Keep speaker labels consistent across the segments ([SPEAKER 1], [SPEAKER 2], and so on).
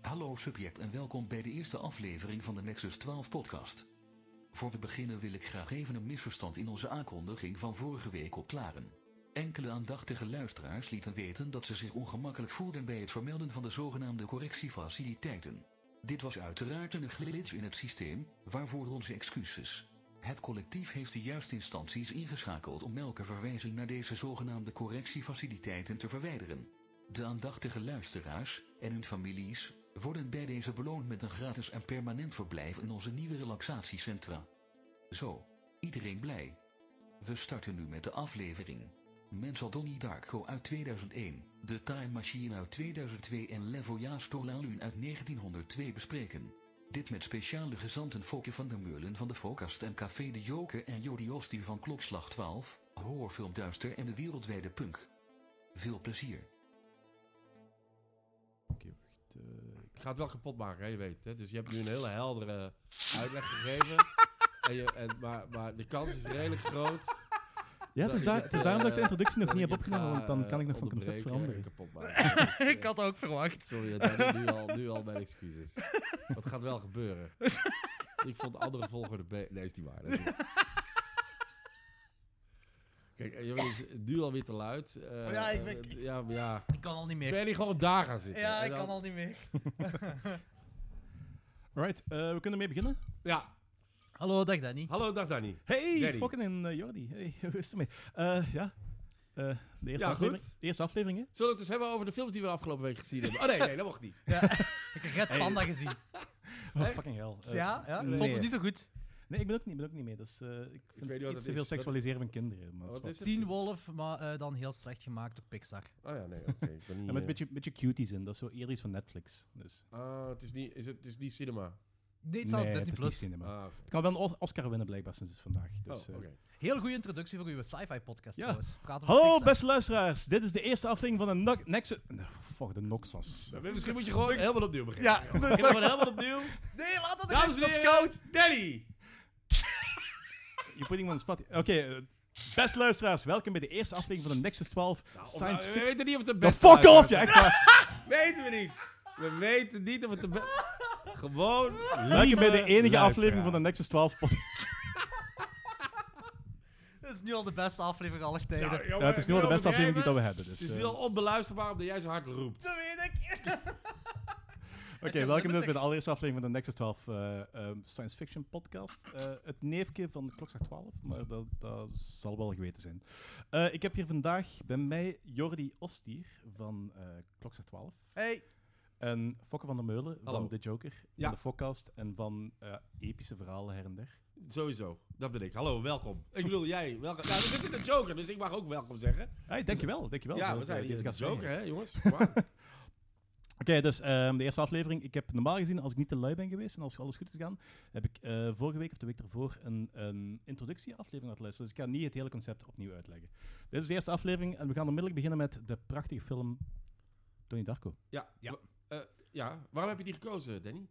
[SPEAKER 1] Hallo subject en welkom bij de eerste aflevering van de Nexus 12 podcast. Voor we beginnen wil ik graag even een misverstand in onze aankondiging van vorige week opklaren. Enkele aandachtige luisteraars lieten weten dat ze zich ongemakkelijk voelden bij het vermelden van de zogenaamde correctiefaciliteiten. Dit was uiteraard een glitch in het systeem, waarvoor onze excuses. Het collectief heeft de juiste instanties ingeschakeld om elke verwijzing naar deze zogenaamde correctiefaciliteiten te verwijderen. De aandachtige luisteraars en hun families worden bij deze beloond met een gratis en permanent verblijf in onze nieuwe relaxatiecentra. Zo, iedereen blij. We starten nu met de aflevering. Mensal Donnie Darko uit 2001, The Time Machine uit 2002 en Le Voyage Tolalun uit 1902 bespreken. Dit met speciale gezanten Fokke van der Meulen van de Focast en Café de Joker en Jody Ostie van Klokslag 12, Horrorfilm Duister en de Wereldwijde Punk. Veel plezier.
[SPEAKER 2] Oké, wacht, eh, ik ga het wel kapot maken, hè, je weet. Hè? Dus je hebt nu een hele heldere uitleg gegeven. en je, en, maar, maar de kans is redelijk groot.
[SPEAKER 3] Ja, het is,
[SPEAKER 2] ik
[SPEAKER 3] daar-
[SPEAKER 2] het,
[SPEAKER 3] het is daarom dat ik de
[SPEAKER 2] eh,
[SPEAKER 3] introductie nog
[SPEAKER 2] dat
[SPEAKER 3] niet
[SPEAKER 2] ik
[SPEAKER 3] heb
[SPEAKER 2] het
[SPEAKER 3] opgenomen,
[SPEAKER 2] ga,
[SPEAKER 3] want dan
[SPEAKER 2] eh,
[SPEAKER 3] kan ik nog van concept
[SPEAKER 2] onderbreken en kapot
[SPEAKER 3] veranderen.
[SPEAKER 2] maken. Dus, eh,
[SPEAKER 4] Ik had ook verwacht.
[SPEAKER 2] Sorry, dat nu, al, nu al mijn excuses. Wat gaat wel gebeuren? ik vond de andere volgorde beter. Nee, is niet waar. dat is niet waar. Kijk, eh, jongen, het is nu alweer te luid. Eh,
[SPEAKER 4] Oh Ja, ik ben-
[SPEAKER 2] het- ja, maar ja.
[SPEAKER 4] Ik kan al niet meer.
[SPEAKER 2] Ben je gewoon daar gaan zitten?
[SPEAKER 4] Ja,
[SPEAKER 2] En
[SPEAKER 4] ik
[SPEAKER 2] dan-
[SPEAKER 4] kan al niet meer.
[SPEAKER 3] Alright, eh, we kunnen mee beginnen.
[SPEAKER 2] Ja,
[SPEAKER 4] Hallo, dag Danny.
[SPEAKER 2] hallo, dag Danny.
[SPEAKER 3] Hey,
[SPEAKER 2] Danny.
[SPEAKER 3] Fokken en eh, Jordi. Hey, hoe is het ermee? Eh, ja, Eh, de, eerste
[SPEAKER 2] Ja,
[SPEAKER 3] aflevering,
[SPEAKER 2] goed.
[SPEAKER 3] de eerste aflevering, hè?
[SPEAKER 2] Zullen we het eens hebben over de films die we afgelopen week gezien hebben? Oh nee, nee, dat mocht niet.
[SPEAKER 4] Ja, ik heb Red
[SPEAKER 3] Hey.
[SPEAKER 4] Panda gezien.
[SPEAKER 3] Oh,
[SPEAKER 2] Echt?
[SPEAKER 3] fucking hell. Eh,
[SPEAKER 4] ja, ja.
[SPEAKER 3] nee.
[SPEAKER 4] Vond het niet zo goed.
[SPEAKER 3] Nee, ik ben ook niet, ben ook niet mee. Dus, eh, ik
[SPEAKER 2] weet
[SPEAKER 3] vind
[SPEAKER 2] niet
[SPEAKER 3] het
[SPEAKER 2] wat
[SPEAKER 3] iets
[SPEAKER 2] het
[SPEAKER 3] te veel
[SPEAKER 2] is.
[SPEAKER 3] seksualiseren van kinderen. Maar dat is
[SPEAKER 2] Wat
[SPEAKER 3] wel-
[SPEAKER 2] is het?
[SPEAKER 4] Teen Wolf, maar eh, dan heel slecht gemaakt door Pixar.
[SPEAKER 2] Oh ja, nee, oké. ik ben niet,
[SPEAKER 3] Ja, met een
[SPEAKER 2] eh,
[SPEAKER 3] beetje, beetje cuties in. Dat is zo eerder iets van Netflix. Dus.
[SPEAKER 2] Ah, het is niet, is het, het is niet cinema.
[SPEAKER 4] Nee, het staat op
[SPEAKER 3] het
[SPEAKER 4] Disney
[SPEAKER 3] is
[SPEAKER 4] Plus.
[SPEAKER 3] niet cinema.
[SPEAKER 2] Ah, oké.
[SPEAKER 3] Het kan wel een Os- Oscar winnen blijkbaar sinds vandaag. Dus,
[SPEAKER 2] Oh,
[SPEAKER 3] eh,
[SPEAKER 2] oké.
[SPEAKER 4] Heel goede introductie voor uw sci-fi podcast
[SPEAKER 3] Ja.
[SPEAKER 4] trouwens. We praten over
[SPEAKER 3] Hallo
[SPEAKER 4] Pixar.
[SPEAKER 3] beste luisteraars, dit is de eerste aflevering van de Nox- Nexus... Nee, Fuck, de Noxas.
[SPEAKER 2] Maar Nou, Misschien moet je gewoon helemaal opnieuw beginnen.
[SPEAKER 4] Ja,
[SPEAKER 2] Begin dan maar helemaal opnieuw.
[SPEAKER 4] Nee, laat dat
[SPEAKER 2] Dames en heren, Danny!
[SPEAKER 3] You're putting me on the spot. Oké, eh, beste luisteraars, welkom bij de eerste aflevering van de Nexus 12
[SPEAKER 2] Nou, of-
[SPEAKER 3] Science
[SPEAKER 2] We
[SPEAKER 3] Fiction...
[SPEAKER 2] weten niet of het de
[SPEAKER 3] The
[SPEAKER 2] beste...
[SPEAKER 3] fuck
[SPEAKER 2] luisteraar
[SPEAKER 3] off, ja, echt waar.
[SPEAKER 2] is. Weten we niet. We weten niet of het de beste... Gewoon...
[SPEAKER 3] Welkom bij de
[SPEAKER 2] lieve
[SPEAKER 3] enige aflevering
[SPEAKER 2] luisteraar.
[SPEAKER 3] van de Nexus 12 podcast.
[SPEAKER 4] Dat is nu al de beste aflevering aller tijden.
[SPEAKER 2] Nou, jongen,
[SPEAKER 3] Ja, het is nu al de beste aflevering die dat
[SPEAKER 2] overdreven.
[SPEAKER 3] we hebben, dus...
[SPEAKER 2] Het is
[SPEAKER 3] eh,
[SPEAKER 2] nu al onbeluisterbaar omdat jij zo hard roept.
[SPEAKER 4] dat weet ik.
[SPEAKER 3] Oké, welkom dus bij de allereerste aflevering van de Nexus 12 eh, ehm, Science Fiction podcast. Eh, het neefje van de klokslag 12, maar dat, dat zal wel geweten zijn. Eh, ik heb hier vandaag bij mij Jordi Ostier van eh klokslag 12.
[SPEAKER 4] Hey,
[SPEAKER 3] En Fokke van der Meulen
[SPEAKER 2] Hallo.
[SPEAKER 3] van The Joker,
[SPEAKER 2] Ja.
[SPEAKER 3] van de Fokcast en van eh, epische verhalen her en der.
[SPEAKER 2] Sowieso. Dat ben ik. Hallo, welkom. Ik bedoel, jij. Welkom. Nou, we zitten in de Joker, dus ik mag ook welkom zeggen.
[SPEAKER 3] Hey, dankjewel, dankjewel.
[SPEAKER 2] ja,
[SPEAKER 3] voor,
[SPEAKER 2] we
[SPEAKER 3] eh,
[SPEAKER 2] zijn hier in de
[SPEAKER 3] gastvrijheid.
[SPEAKER 2] Joker, hè, jongens. Wauw.
[SPEAKER 3] Oké, dus ehm, de eerste aflevering. Ik heb normaal gezien, als ik niet te lui ben geweest en als alles goed is gegaan, heb ik eh, vorige week of de week daarvoor een, een introductieaflevering laten luisteren. Dus ik ga niet het hele concept opnieuw uitleggen. Dit is de eerste aflevering en we gaan onmiddellijk beginnen met de prachtige film Tony Darko.
[SPEAKER 2] Ja.
[SPEAKER 4] Ja.
[SPEAKER 2] wa- eh, ja. Waarom heb je die gekozen, Danny?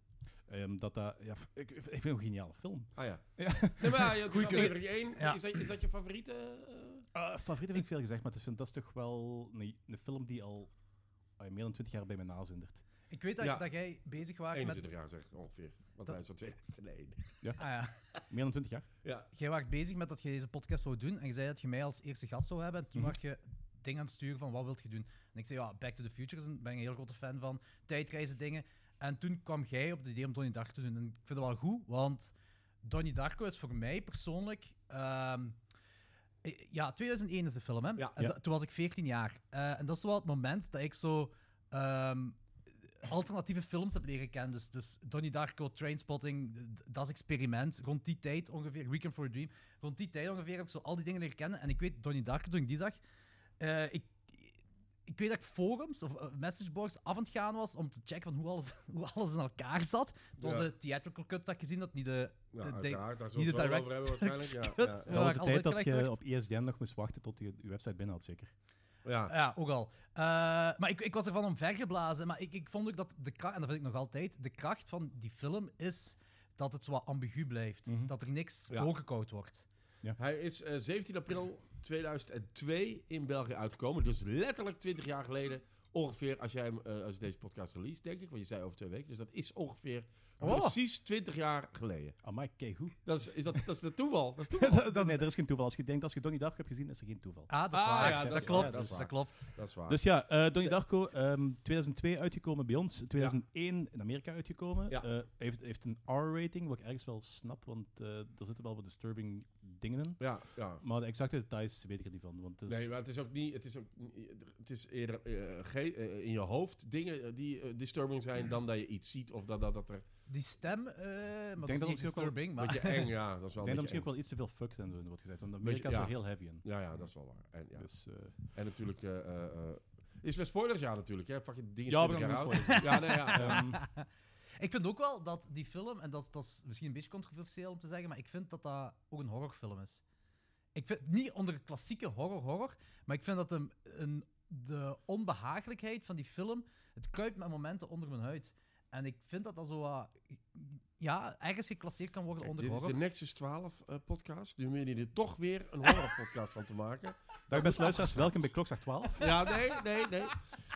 [SPEAKER 3] Ehm, dat, dat, ja, f- ik, ik vind het een geniale film.
[SPEAKER 2] Ah ja.
[SPEAKER 3] Ja.
[SPEAKER 2] Nee, maar ja, het is
[SPEAKER 4] Goeie keuze.
[SPEAKER 2] aflevering 1.
[SPEAKER 4] Ja.
[SPEAKER 2] Is, dat, is dat je favoriete? eh?
[SPEAKER 3] Favoriet favoriete vind ik veel gezegd, maar het is- dat is toch wel een, een film die al ah, meer dan twintig jaar bij mij nazindert.
[SPEAKER 4] ik weet dat,
[SPEAKER 2] Ja.
[SPEAKER 4] dat jij bezig was met...
[SPEAKER 2] 21 jaar zeg ongeveer. Want
[SPEAKER 4] Dat-
[SPEAKER 2] hij is van 2001.
[SPEAKER 4] Ah, ja.
[SPEAKER 3] Meer dan twintig jaar?
[SPEAKER 2] Ja.
[SPEAKER 4] Jij was bezig met dat je deze podcast wou doen en je zei dat je mij als eerste gast zou hebben. En toen
[SPEAKER 3] Mhm.
[SPEAKER 4] was je dingen aan het sturen van wat wilt je doen. En ik zei ja, Back to the Future is een, ben ik een heel grote fan van tijdreizen dingen. En toen kwam jij op het idee om Donnie Darko te doen. En ik vind dat wel goed, want Donnie Darko is voor mij persoonlijk... ehm, eh, ja, 2001 is de film, hè?
[SPEAKER 2] Ja.
[SPEAKER 4] En
[SPEAKER 3] Ja.
[SPEAKER 4] da- toen was ik 14 jaar. Eh, en dat is wel het moment dat ik zo... ehm, alternatieve films heb leren kennen. Dus, dus Donnie Darko, Trainspotting, d- dat is experiment. Rond die tijd ongeveer, Weekend for a Dream. Rond die tijd ongeveer heb ik zo al die dingen leren kennen. En ik weet, Donnie Darko, toen ik die zag, eh, ik, ik weet dat ik forums of eh, messageboards af aan het gaan was om te checken van hoe alles, hoe alles in elkaar zat. Dat
[SPEAKER 2] Ja.
[SPEAKER 4] was de theatrical cut dat ik gezien had, niet de...
[SPEAKER 2] Ja,
[SPEAKER 4] de- de-
[SPEAKER 2] Nou, uiteraard. Daar zullen
[SPEAKER 4] niet
[SPEAKER 2] we
[SPEAKER 4] de
[SPEAKER 2] het wel over hebben
[SPEAKER 4] direct
[SPEAKER 2] waarschijnlijk. Ja, ja,
[SPEAKER 4] cuts.
[SPEAKER 2] ja.
[SPEAKER 3] Dat was de
[SPEAKER 4] alles
[SPEAKER 3] tijd dat
[SPEAKER 4] uitgelegd
[SPEAKER 3] je
[SPEAKER 4] werd.
[SPEAKER 3] op E ISDN nog moest wachten tot je je website binnen had, zeker.
[SPEAKER 2] Ja.
[SPEAKER 4] Ja, ook al. Eh, maar ik, ik was ervan omvergeblazen. Maar ik, ik vond ook dat de kracht, en dat vind ik nog altijd, de kracht van die film is dat het zo wat ambigu blijft.
[SPEAKER 3] Mhm.
[SPEAKER 4] Dat er niks
[SPEAKER 2] Ja.
[SPEAKER 4] voorgekookt wordt.
[SPEAKER 2] Hij is eh, 17 april 2002 in België uitgekomen. Dus letterlijk 20 jaar geleden ongeveer als jij hem, eh, als je deze podcast release, denk ik, want je zei over twee weken. Dus dat is ongeveer
[SPEAKER 4] Oh.
[SPEAKER 2] precies 20 jaar geleden.
[SPEAKER 3] Amai, kijk hoe.
[SPEAKER 2] Dat is, is dat, dat is de toeval. Dat is toeval.
[SPEAKER 3] nee, er is geen toeval. Als je denkt als je Donnie Darko hebt gezien, is er geen toeval.
[SPEAKER 4] Ah, dat is
[SPEAKER 2] Ah,
[SPEAKER 4] waar.
[SPEAKER 2] ja,
[SPEAKER 4] dat,
[SPEAKER 2] dat is
[SPEAKER 4] klopt.
[SPEAKER 2] waar, dat is
[SPEAKER 4] dat,
[SPEAKER 2] waar.
[SPEAKER 4] klopt.
[SPEAKER 2] Dat is waar.
[SPEAKER 3] Dus ja, eh Donnie Darko, ehm, 2002 uitgekomen bij ons, 2001 in Amerika uitgekomen.
[SPEAKER 2] Ja.
[SPEAKER 3] Eh, heeft, heeft een R-rating, wat ik ergens wel snap, want eh er zitten wel wat disturbing dingen in.
[SPEAKER 2] ja, ja.
[SPEAKER 3] Maar de exacte details weet ik er niet van. Want het is-
[SPEAKER 2] Nee, maar het is ook niet. Het is, ook, niet- het is eerder eh, ge- eh, in je hoofd dingen eh, die eh, disturbing zijn dan dat je iets ziet of dat, dat, dat er.
[SPEAKER 4] Die stem, eh maar dat is
[SPEAKER 3] dat
[SPEAKER 4] niet echt
[SPEAKER 3] misschien ook wel-
[SPEAKER 4] disturbing,
[SPEAKER 2] Een
[SPEAKER 4] maar...
[SPEAKER 2] beetje eng, ja. Dat is wel
[SPEAKER 3] ik denk
[SPEAKER 2] een
[SPEAKER 3] dat
[SPEAKER 2] beetje
[SPEAKER 3] misschien ook wel iets te veel fucks aan doen wordt gezegd, want
[SPEAKER 2] Beetje-
[SPEAKER 3] Amerika is er
[SPEAKER 2] ja.
[SPEAKER 3] heel heavy in.
[SPEAKER 2] eng. Ja, ja, dat is wel waar. En, ja.
[SPEAKER 3] Dus, eh,
[SPEAKER 2] en natuurlijk. eh, eh, eh, is met spoilers, ja, natuurlijk. Hè. Fucking dingen
[SPEAKER 3] Ja,
[SPEAKER 2] spelen
[SPEAKER 3] we gaan
[SPEAKER 2] elkaar
[SPEAKER 3] geen
[SPEAKER 2] uit. Ja, nee, ja. Ah, ja.
[SPEAKER 3] ehm,
[SPEAKER 4] Ik vind ook wel dat die film, en dat, is- dat is misschien een beetje controversieel om te zeggen, maar ik vind dat dat ook een horrorfilm is. Ik vind niet onder klassieke horror-horror, maar ik vind dat hem een, de onbehagelijkheid van die film, het kruipt met momenten onder mijn huid. En ik vind dat dat zo wat, ja, ergens geclasseerd kan worden
[SPEAKER 2] Kijk,
[SPEAKER 4] onder
[SPEAKER 2] dit is
[SPEAKER 4] horror.
[SPEAKER 2] de Nexus 12 eh, podcast. Nu meen je er toch weer een horror-podcast van te maken.
[SPEAKER 3] dag beste luisteraars,
[SPEAKER 2] afgestraft.
[SPEAKER 3] welkom bij Klokslag 12.
[SPEAKER 2] Ja, nee, nee, nee.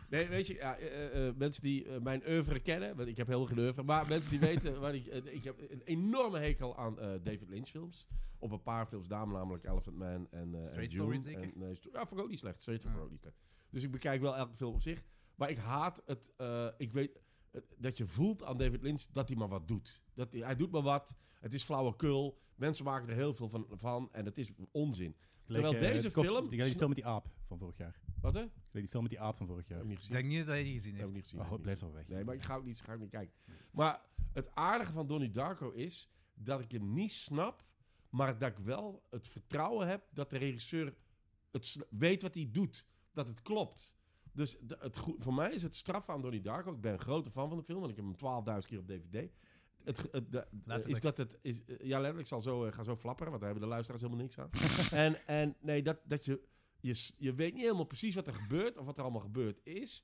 [SPEAKER 2] Nee, weet je, ja, eh, eh, mensen die eh, mijn oeuvre kennen, want ik heb heel geen oeuvre, maar mensen die weten, waar ik, eh, ik heb een enorme hekel aan eh, David Lynch films. Op een paar films, daarom namelijk Elephant Man en, eh en
[SPEAKER 4] Straight
[SPEAKER 2] Dune
[SPEAKER 4] Story zeker?
[SPEAKER 2] En, eh, Sto- ja, vond ik ook niet slecht. Straight
[SPEAKER 4] Ja.
[SPEAKER 2] vond ik ook niet slecht. Dus ik bekijk wel elke film op zich. Maar ik haat het, eh, ik weet, eh, dat je voelt aan David Lynch dat hij maar wat doet. Dat hij, hij doet maar wat, het is flauwekul, mensen maken er heel veel van, van en het is onzin. Terwijl
[SPEAKER 3] Gelijk, eh,
[SPEAKER 2] deze
[SPEAKER 3] het kop-
[SPEAKER 2] film-
[SPEAKER 3] Die, die film met die aap van vorig jaar.
[SPEAKER 2] Wat hè?
[SPEAKER 3] Gelijk Die film met die aap van vorig jaar.
[SPEAKER 2] Heb ik niet
[SPEAKER 4] Ik
[SPEAKER 2] gezien.
[SPEAKER 4] denk niet dat hij die gezien
[SPEAKER 2] Heb ik
[SPEAKER 4] heeft.
[SPEAKER 2] niet gezien.
[SPEAKER 3] Oh,
[SPEAKER 2] heb ik niet
[SPEAKER 3] blijf zo weg.
[SPEAKER 2] Nee, maar ik ga ook niet, ga ook niet kijken. Maar het aardige van Donnie Darko is dat ik hem niet snap, maar dat ik wel het vertrouwen heb dat de regisseur het sn- weet wat hij doet, dat het klopt. Dus de- het, goe- voor mij is het straf aan Donnie Darko. Ik ben een grote fan van de film en ik heb hem 12.000 keer op DVD. Het, ge- het, de- is
[SPEAKER 4] Letterlijk.
[SPEAKER 2] dat het is, eh, ja, letterlijk, ik zal zo, eh, ga zo flapperen, want daar hebben de luisteraars helemaal niks aan. en, en nee, dat, dat je, je, s- je weet niet helemaal precies wat er gebeurt of wat er allemaal gebeurd is.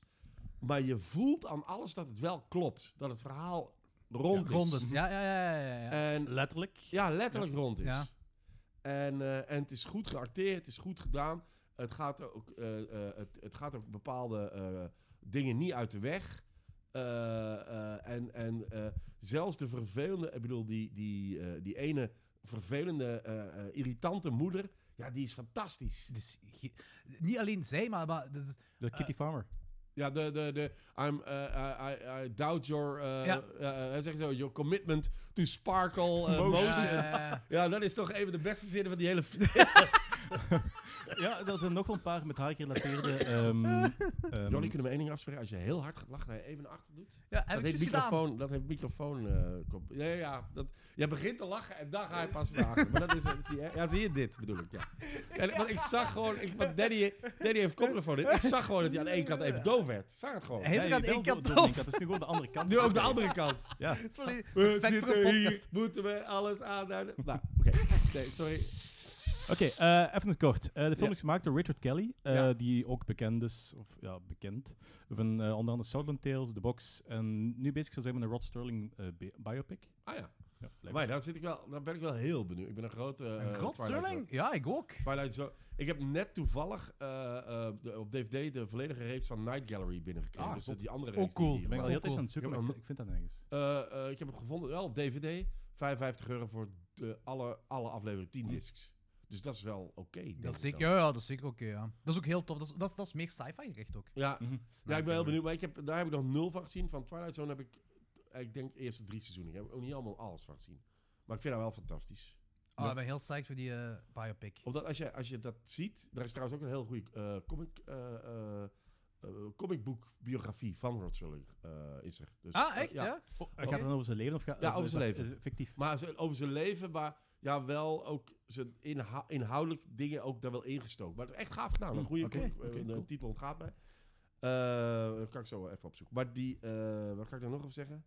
[SPEAKER 2] Maar je voelt aan alles dat het wel klopt. Dat het verhaal rond is.
[SPEAKER 4] Rondes, ja, ja, ja, ja, ja. ja.
[SPEAKER 2] En
[SPEAKER 3] Letterlijk.
[SPEAKER 2] ja, letterlijk rond is.
[SPEAKER 4] Ja.
[SPEAKER 2] En, eh, en het is goed geacteerd, het is goed gedaan. Het gaat ook, eh, eh, het, het gaat ook bepaalde eh, dingen niet uit de weg. Eh, eh, en en eh, zelfs de vervelende, ik bedoel, die, die, eh, die ene vervelende, eh, eh, irritante moeder, ja, die is fantastisch.
[SPEAKER 4] Dus, ge- niet alleen zij, maar, maar dat is-
[SPEAKER 3] De Kitty Farmer.
[SPEAKER 2] Ja, de, de, de I'm, eh, I, I, I doubt your, eh
[SPEAKER 4] Ja.
[SPEAKER 2] eh, eh, zeg zo, your commitment to sparkle eh,
[SPEAKER 3] Motion.
[SPEAKER 2] motion.
[SPEAKER 4] Ja, ja, ja.
[SPEAKER 2] Ja, dat is toch een van de beste zinnen van die hele film.
[SPEAKER 3] Ja, er zijn nog wel een paar met haar gerelateerde. ehm ehm,
[SPEAKER 2] Johnny, kunnen we één ding afspreken? Als je heel hard gaat lachen, dat je even naar achter doet.
[SPEAKER 4] Ja, heb
[SPEAKER 2] Dat
[SPEAKER 4] ik
[SPEAKER 2] heeft,
[SPEAKER 4] juist gedaan.
[SPEAKER 2] microfoon, dat heeft microfoon... eh, kop- ja, ja, ja, dat, jij begint te lachen en dan ga je pas naar achter. Maar dat is, dat is niet erg. Ja, zie je dit, bedoel ik, ja. En, want ik zag gewoon... Ik, want Danny, Danny heeft koptelefoon in. Ik zag gewoon dat hij aan één kant even doof werd. Zag het gewoon.
[SPEAKER 4] Hij is
[SPEAKER 3] ja,
[SPEAKER 4] ook aan
[SPEAKER 3] je
[SPEAKER 4] één
[SPEAKER 3] wil
[SPEAKER 4] kant
[SPEAKER 3] door- door
[SPEAKER 4] doof.
[SPEAKER 3] één kant. Het is nu gewoon de andere kant.
[SPEAKER 2] Nu ook de andere kant.
[SPEAKER 3] Ja.
[SPEAKER 4] Het is volledig
[SPEAKER 2] We
[SPEAKER 4] Respect voor
[SPEAKER 2] zitten
[SPEAKER 4] een
[SPEAKER 2] hier,
[SPEAKER 4] podcast.
[SPEAKER 2] moeten we alles aanduiden. Nou, oké. Nee, sorry.
[SPEAKER 3] Oké, eh, even in het kort. Eh, de film
[SPEAKER 2] Ja.
[SPEAKER 3] is gemaakt door Richard Kelly, eh,
[SPEAKER 2] Ja.
[SPEAKER 3] die ook bekend is, of ja, bekend, van eh, onder andere Southland Tales, The Box, en nu bezig zou zijn met een Rod Sterling eh, bi- biopic.
[SPEAKER 2] Ah ja.
[SPEAKER 3] Ja, blijkbaar.
[SPEAKER 2] Maar daar, zit ik wel, daar ben ik wel heel benieuwd. Ik ben een grote... eh,
[SPEAKER 4] Een god,
[SPEAKER 2] Twilight
[SPEAKER 4] Sterling? Ja, ik ook.
[SPEAKER 2] Twilight Zone. Ik heb net toevallig eh, eh, de- op DVD de volledige reeks van Night Gallery binnengekregen.
[SPEAKER 3] Ah,
[SPEAKER 2] dus
[SPEAKER 3] top.
[SPEAKER 2] die andere
[SPEAKER 4] Ook
[SPEAKER 2] reeks. die
[SPEAKER 4] cool.
[SPEAKER 2] hier
[SPEAKER 3] ik ben wel
[SPEAKER 2] gemaakt-
[SPEAKER 3] heel tijd aan het zoeken,
[SPEAKER 2] Ja,
[SPEAKER 3] maar ik,
[SPEAKER 2] maar-
[SPEAKER 3] ik vind dat nergens.
[SPEAKER 2] Eh, eh, ik heb hem gevonden, wel op DVD. 55 euro voor de alle, alle aflevering 10 discs. Dus dat is wel oké. denk
[SPEAKER 4] Dat is
[SPEAKER 2] ik
[SPEAKER 4] zeker,
[SPEAKER 2] dan.
[SPEAKER 4] ja, ja, dat is zeker oké. ja. Dat is ook heel tof. Dat is, dat is, dat is meer sci-fi gericht ook.
[SPEAKER 2] Ja,
[SPEAKER 3] Mhm.
[SPEAKER 2] ja, ik ben
[SPEAKER 4] Gallery.
[SPEAKER 2] heel benieuwd. Maar ik heb, daar heb ik nog nul van gezien. Van Twilight Zone heb ik, eh, ik denk, eerste drie seizoenen. Ik heb ook niet allemaal alles van gezien. Maar ik vind dat wel fantastisch.
[SPEAKER 4] Ah,
[SPEAKER 3] Ja.
[SPEAKER 4] ik ben heel psyched voor die eh, biopic.
[SPEAKER 2] Omdat als je, als je dat ziet, daar is trouwens ook een heel goede eh comic, eh eh, eh, comicboek biografie van Rod Sterling eh, is er. Dus,
[SPEAKER 4] ah,
[SPEAKER 2] eh,
[SPEAKER 4] echt, ja?
[SPEAKER 3] Oh, gaat het dan over zijn leven? Of gaat
[SPEAKER 2] Ja,
[SPEAKER 3] of
[SPEAKER 2] over
[SPEAKER 3] is
[SPEAKER 2] zijn
[SPEAKER 3] dat,
[SPEAKER 2] leven.
[SPEAKER 3] eh, Fictief.
[SPEAKER 2] Maar ze- over zijn leven, maar ja, wel ook zijn inha- inhoudelijk dingen ook daar wel ingestoken. Maar het is echt gaaf gedaan. Een
[SPEAKER 3] Hm,
[SPEAKER 2] goede
[SPEAKER 3] oké,
[SPEAKER 2] comic,
[SPEAKER 3] oké,
[SPEAKER 2] eh, de
[SPEAKER 3] cool.
[SPEAKER 2] titel ontgaat mij. Eh, dat kan ik zo wel even opzoeken. Maar die, eh, wat kan ik daar nog over zeggen?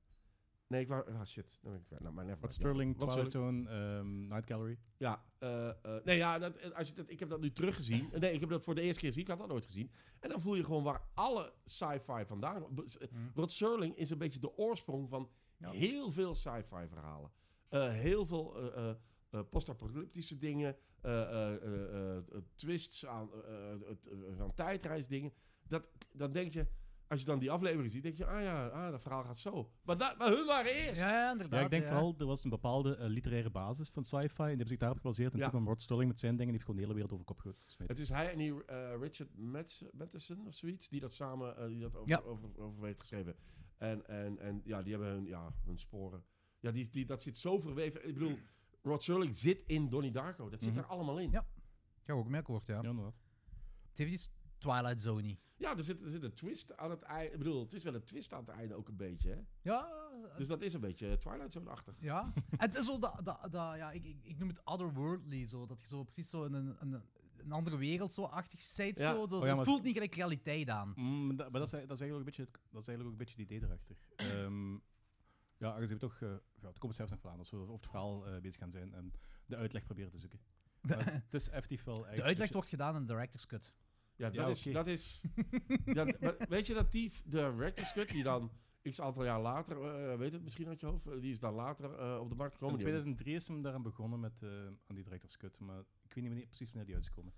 [SPEAKER 2] Nee, ik wou, ah shit, dan ben ik het kwijt. Nou, maar never
[SPEAKER 3] Rod
[SPEAKER 2] mind.
[SPEAKER 3] Sterling,
[SPEAKER 2] Rod
[SPEAKER 3] Twilight Zone, ehm, Night Gallery.
[SPEAKER 2] Ja, eh, eh, nee, ja dat, eh, als je dat, ik heb dat nu teruggezien. Nee, ik heb dat voor de eerste keer gezien. Ik had dat nooit gezien. En dan voel je gewoon waar alle sci-fi vandaan... b- s- eh,
[SPEAKER 4] Mm.
[SPEAKER 2] Rod Serling is een beetje de oorsprong van
[SPEAKER 4] Ja.
[SPEAKER 2] heel veel sci-fi verhalen. Eh, heel veel eh, eh, eh, post-apocalyptische dingen. eh, eh, eh, eh, eh, twists aan, eh, eh, het- eh, van tijdreisdingen. Dat, dan denk je... als je dan die aflevering ziet, denk je, ah ja, ah, dat verhaal gaat zo. Maar, dat, maar hun waren eerst.
[SPEAKER 4] Ja, ja, inderdaad.
[SPEAKER 3] Ja, ik denk
[SPEAKER 4] ja.
[SPEAKER 3] vooral, er was een bepaalde eh, literaire basis van sci-fi. En die hebben zich daarop gebaseerd. En
[SPEAKER 2] Ja.
[SPEAKER 3] toen kwam Rod Sterling met zijn dingen. Die heeft gewoon de hele wereld over kop gesmeten.
[SPEAKER 2] Het is hij en die eh, Richard Mads- Matheson of zoiets, die dat samen eh, die dat over,
[SPEAKER 4] Ja.
[SPEAKER 2] over, over heeft geschreven. En, en, en ja, die hebben hun, ja, hun sporen. Ja, die, die, dat zit zo verweven. Ik bedoel, Rod Serling zit in Donnie Darko. Dat zit
[SPEAKER 3] Mhm.
[SPEAKER 2] er allemaal in.
[SPEAKER 4] Ja. Ik heb ook meer gehoord, ja.
[SPEAKER 3] Ja, inderdaad.
[SPEAKER 4] Het heeft iets Twilight Zone.
[SPEAKER 2] Ja, er zit, er zit een twist aan het einde. Ik bedoel, het is wel een twist aan het einde ook een beetje. Hè?
[SPEAKER 4] Ja, eh,
[SPEAKER 2] Dus dat is een beetje Twilight Zone-achtig.
[SPEAKER 4] Ja, en het is zo dat, dat, dat ja, ik, ik, ik noem het otherworldly, zo, dat je zo precies zo in een, een, een andere wereld zo achtig zijt.
[SPEAKER 2] Ja.
[SPEAKER 4] Zo, dat,
[SPEAKER 3] Oh ja,
[SPEAKER 4] het
[SPEAKER 3] maar-
[SPEAKER 4] voelt niet gelijk realiteit aan.
[SPEAKER 3] Mm, maar dat, maar dat, is, dat, is eigenlijk ook een beetje het, dat is eigenlijk ook een beetje het idee erachter. Ehm, ja, aangezien we toch... eh ja, het komt zelfs nog wel aan als we over het verhaal eh, bezig gaan zijn. En de uitleg proberen te zoeken. Maar het is effectief wel...
[SPEAKER 4] De uitleg wordt gedaan in de Director's Cut.
[SPEAKER 2] Ja, dat
[SPEAKER 3] Ja,
[SPEAKER 2] is.
[SPEAKER 3] oké.
[SPEAKER 2] Dat is dat, maar weet je dat die de Rector's Cut, die dan x aantal jaar later, eh, weet het misschien uit je hoofd, eh, die is dan later eh, op de markt
[SPEAKER 3] In
[SPEAKER 2] gekomen. Die hebben-
[SPEAKER 3] 2003 is hem daaraan begonnen met eh, aan die director's cut. Maar ik weet niet wanneer, precies wanneer die uit is gekomen.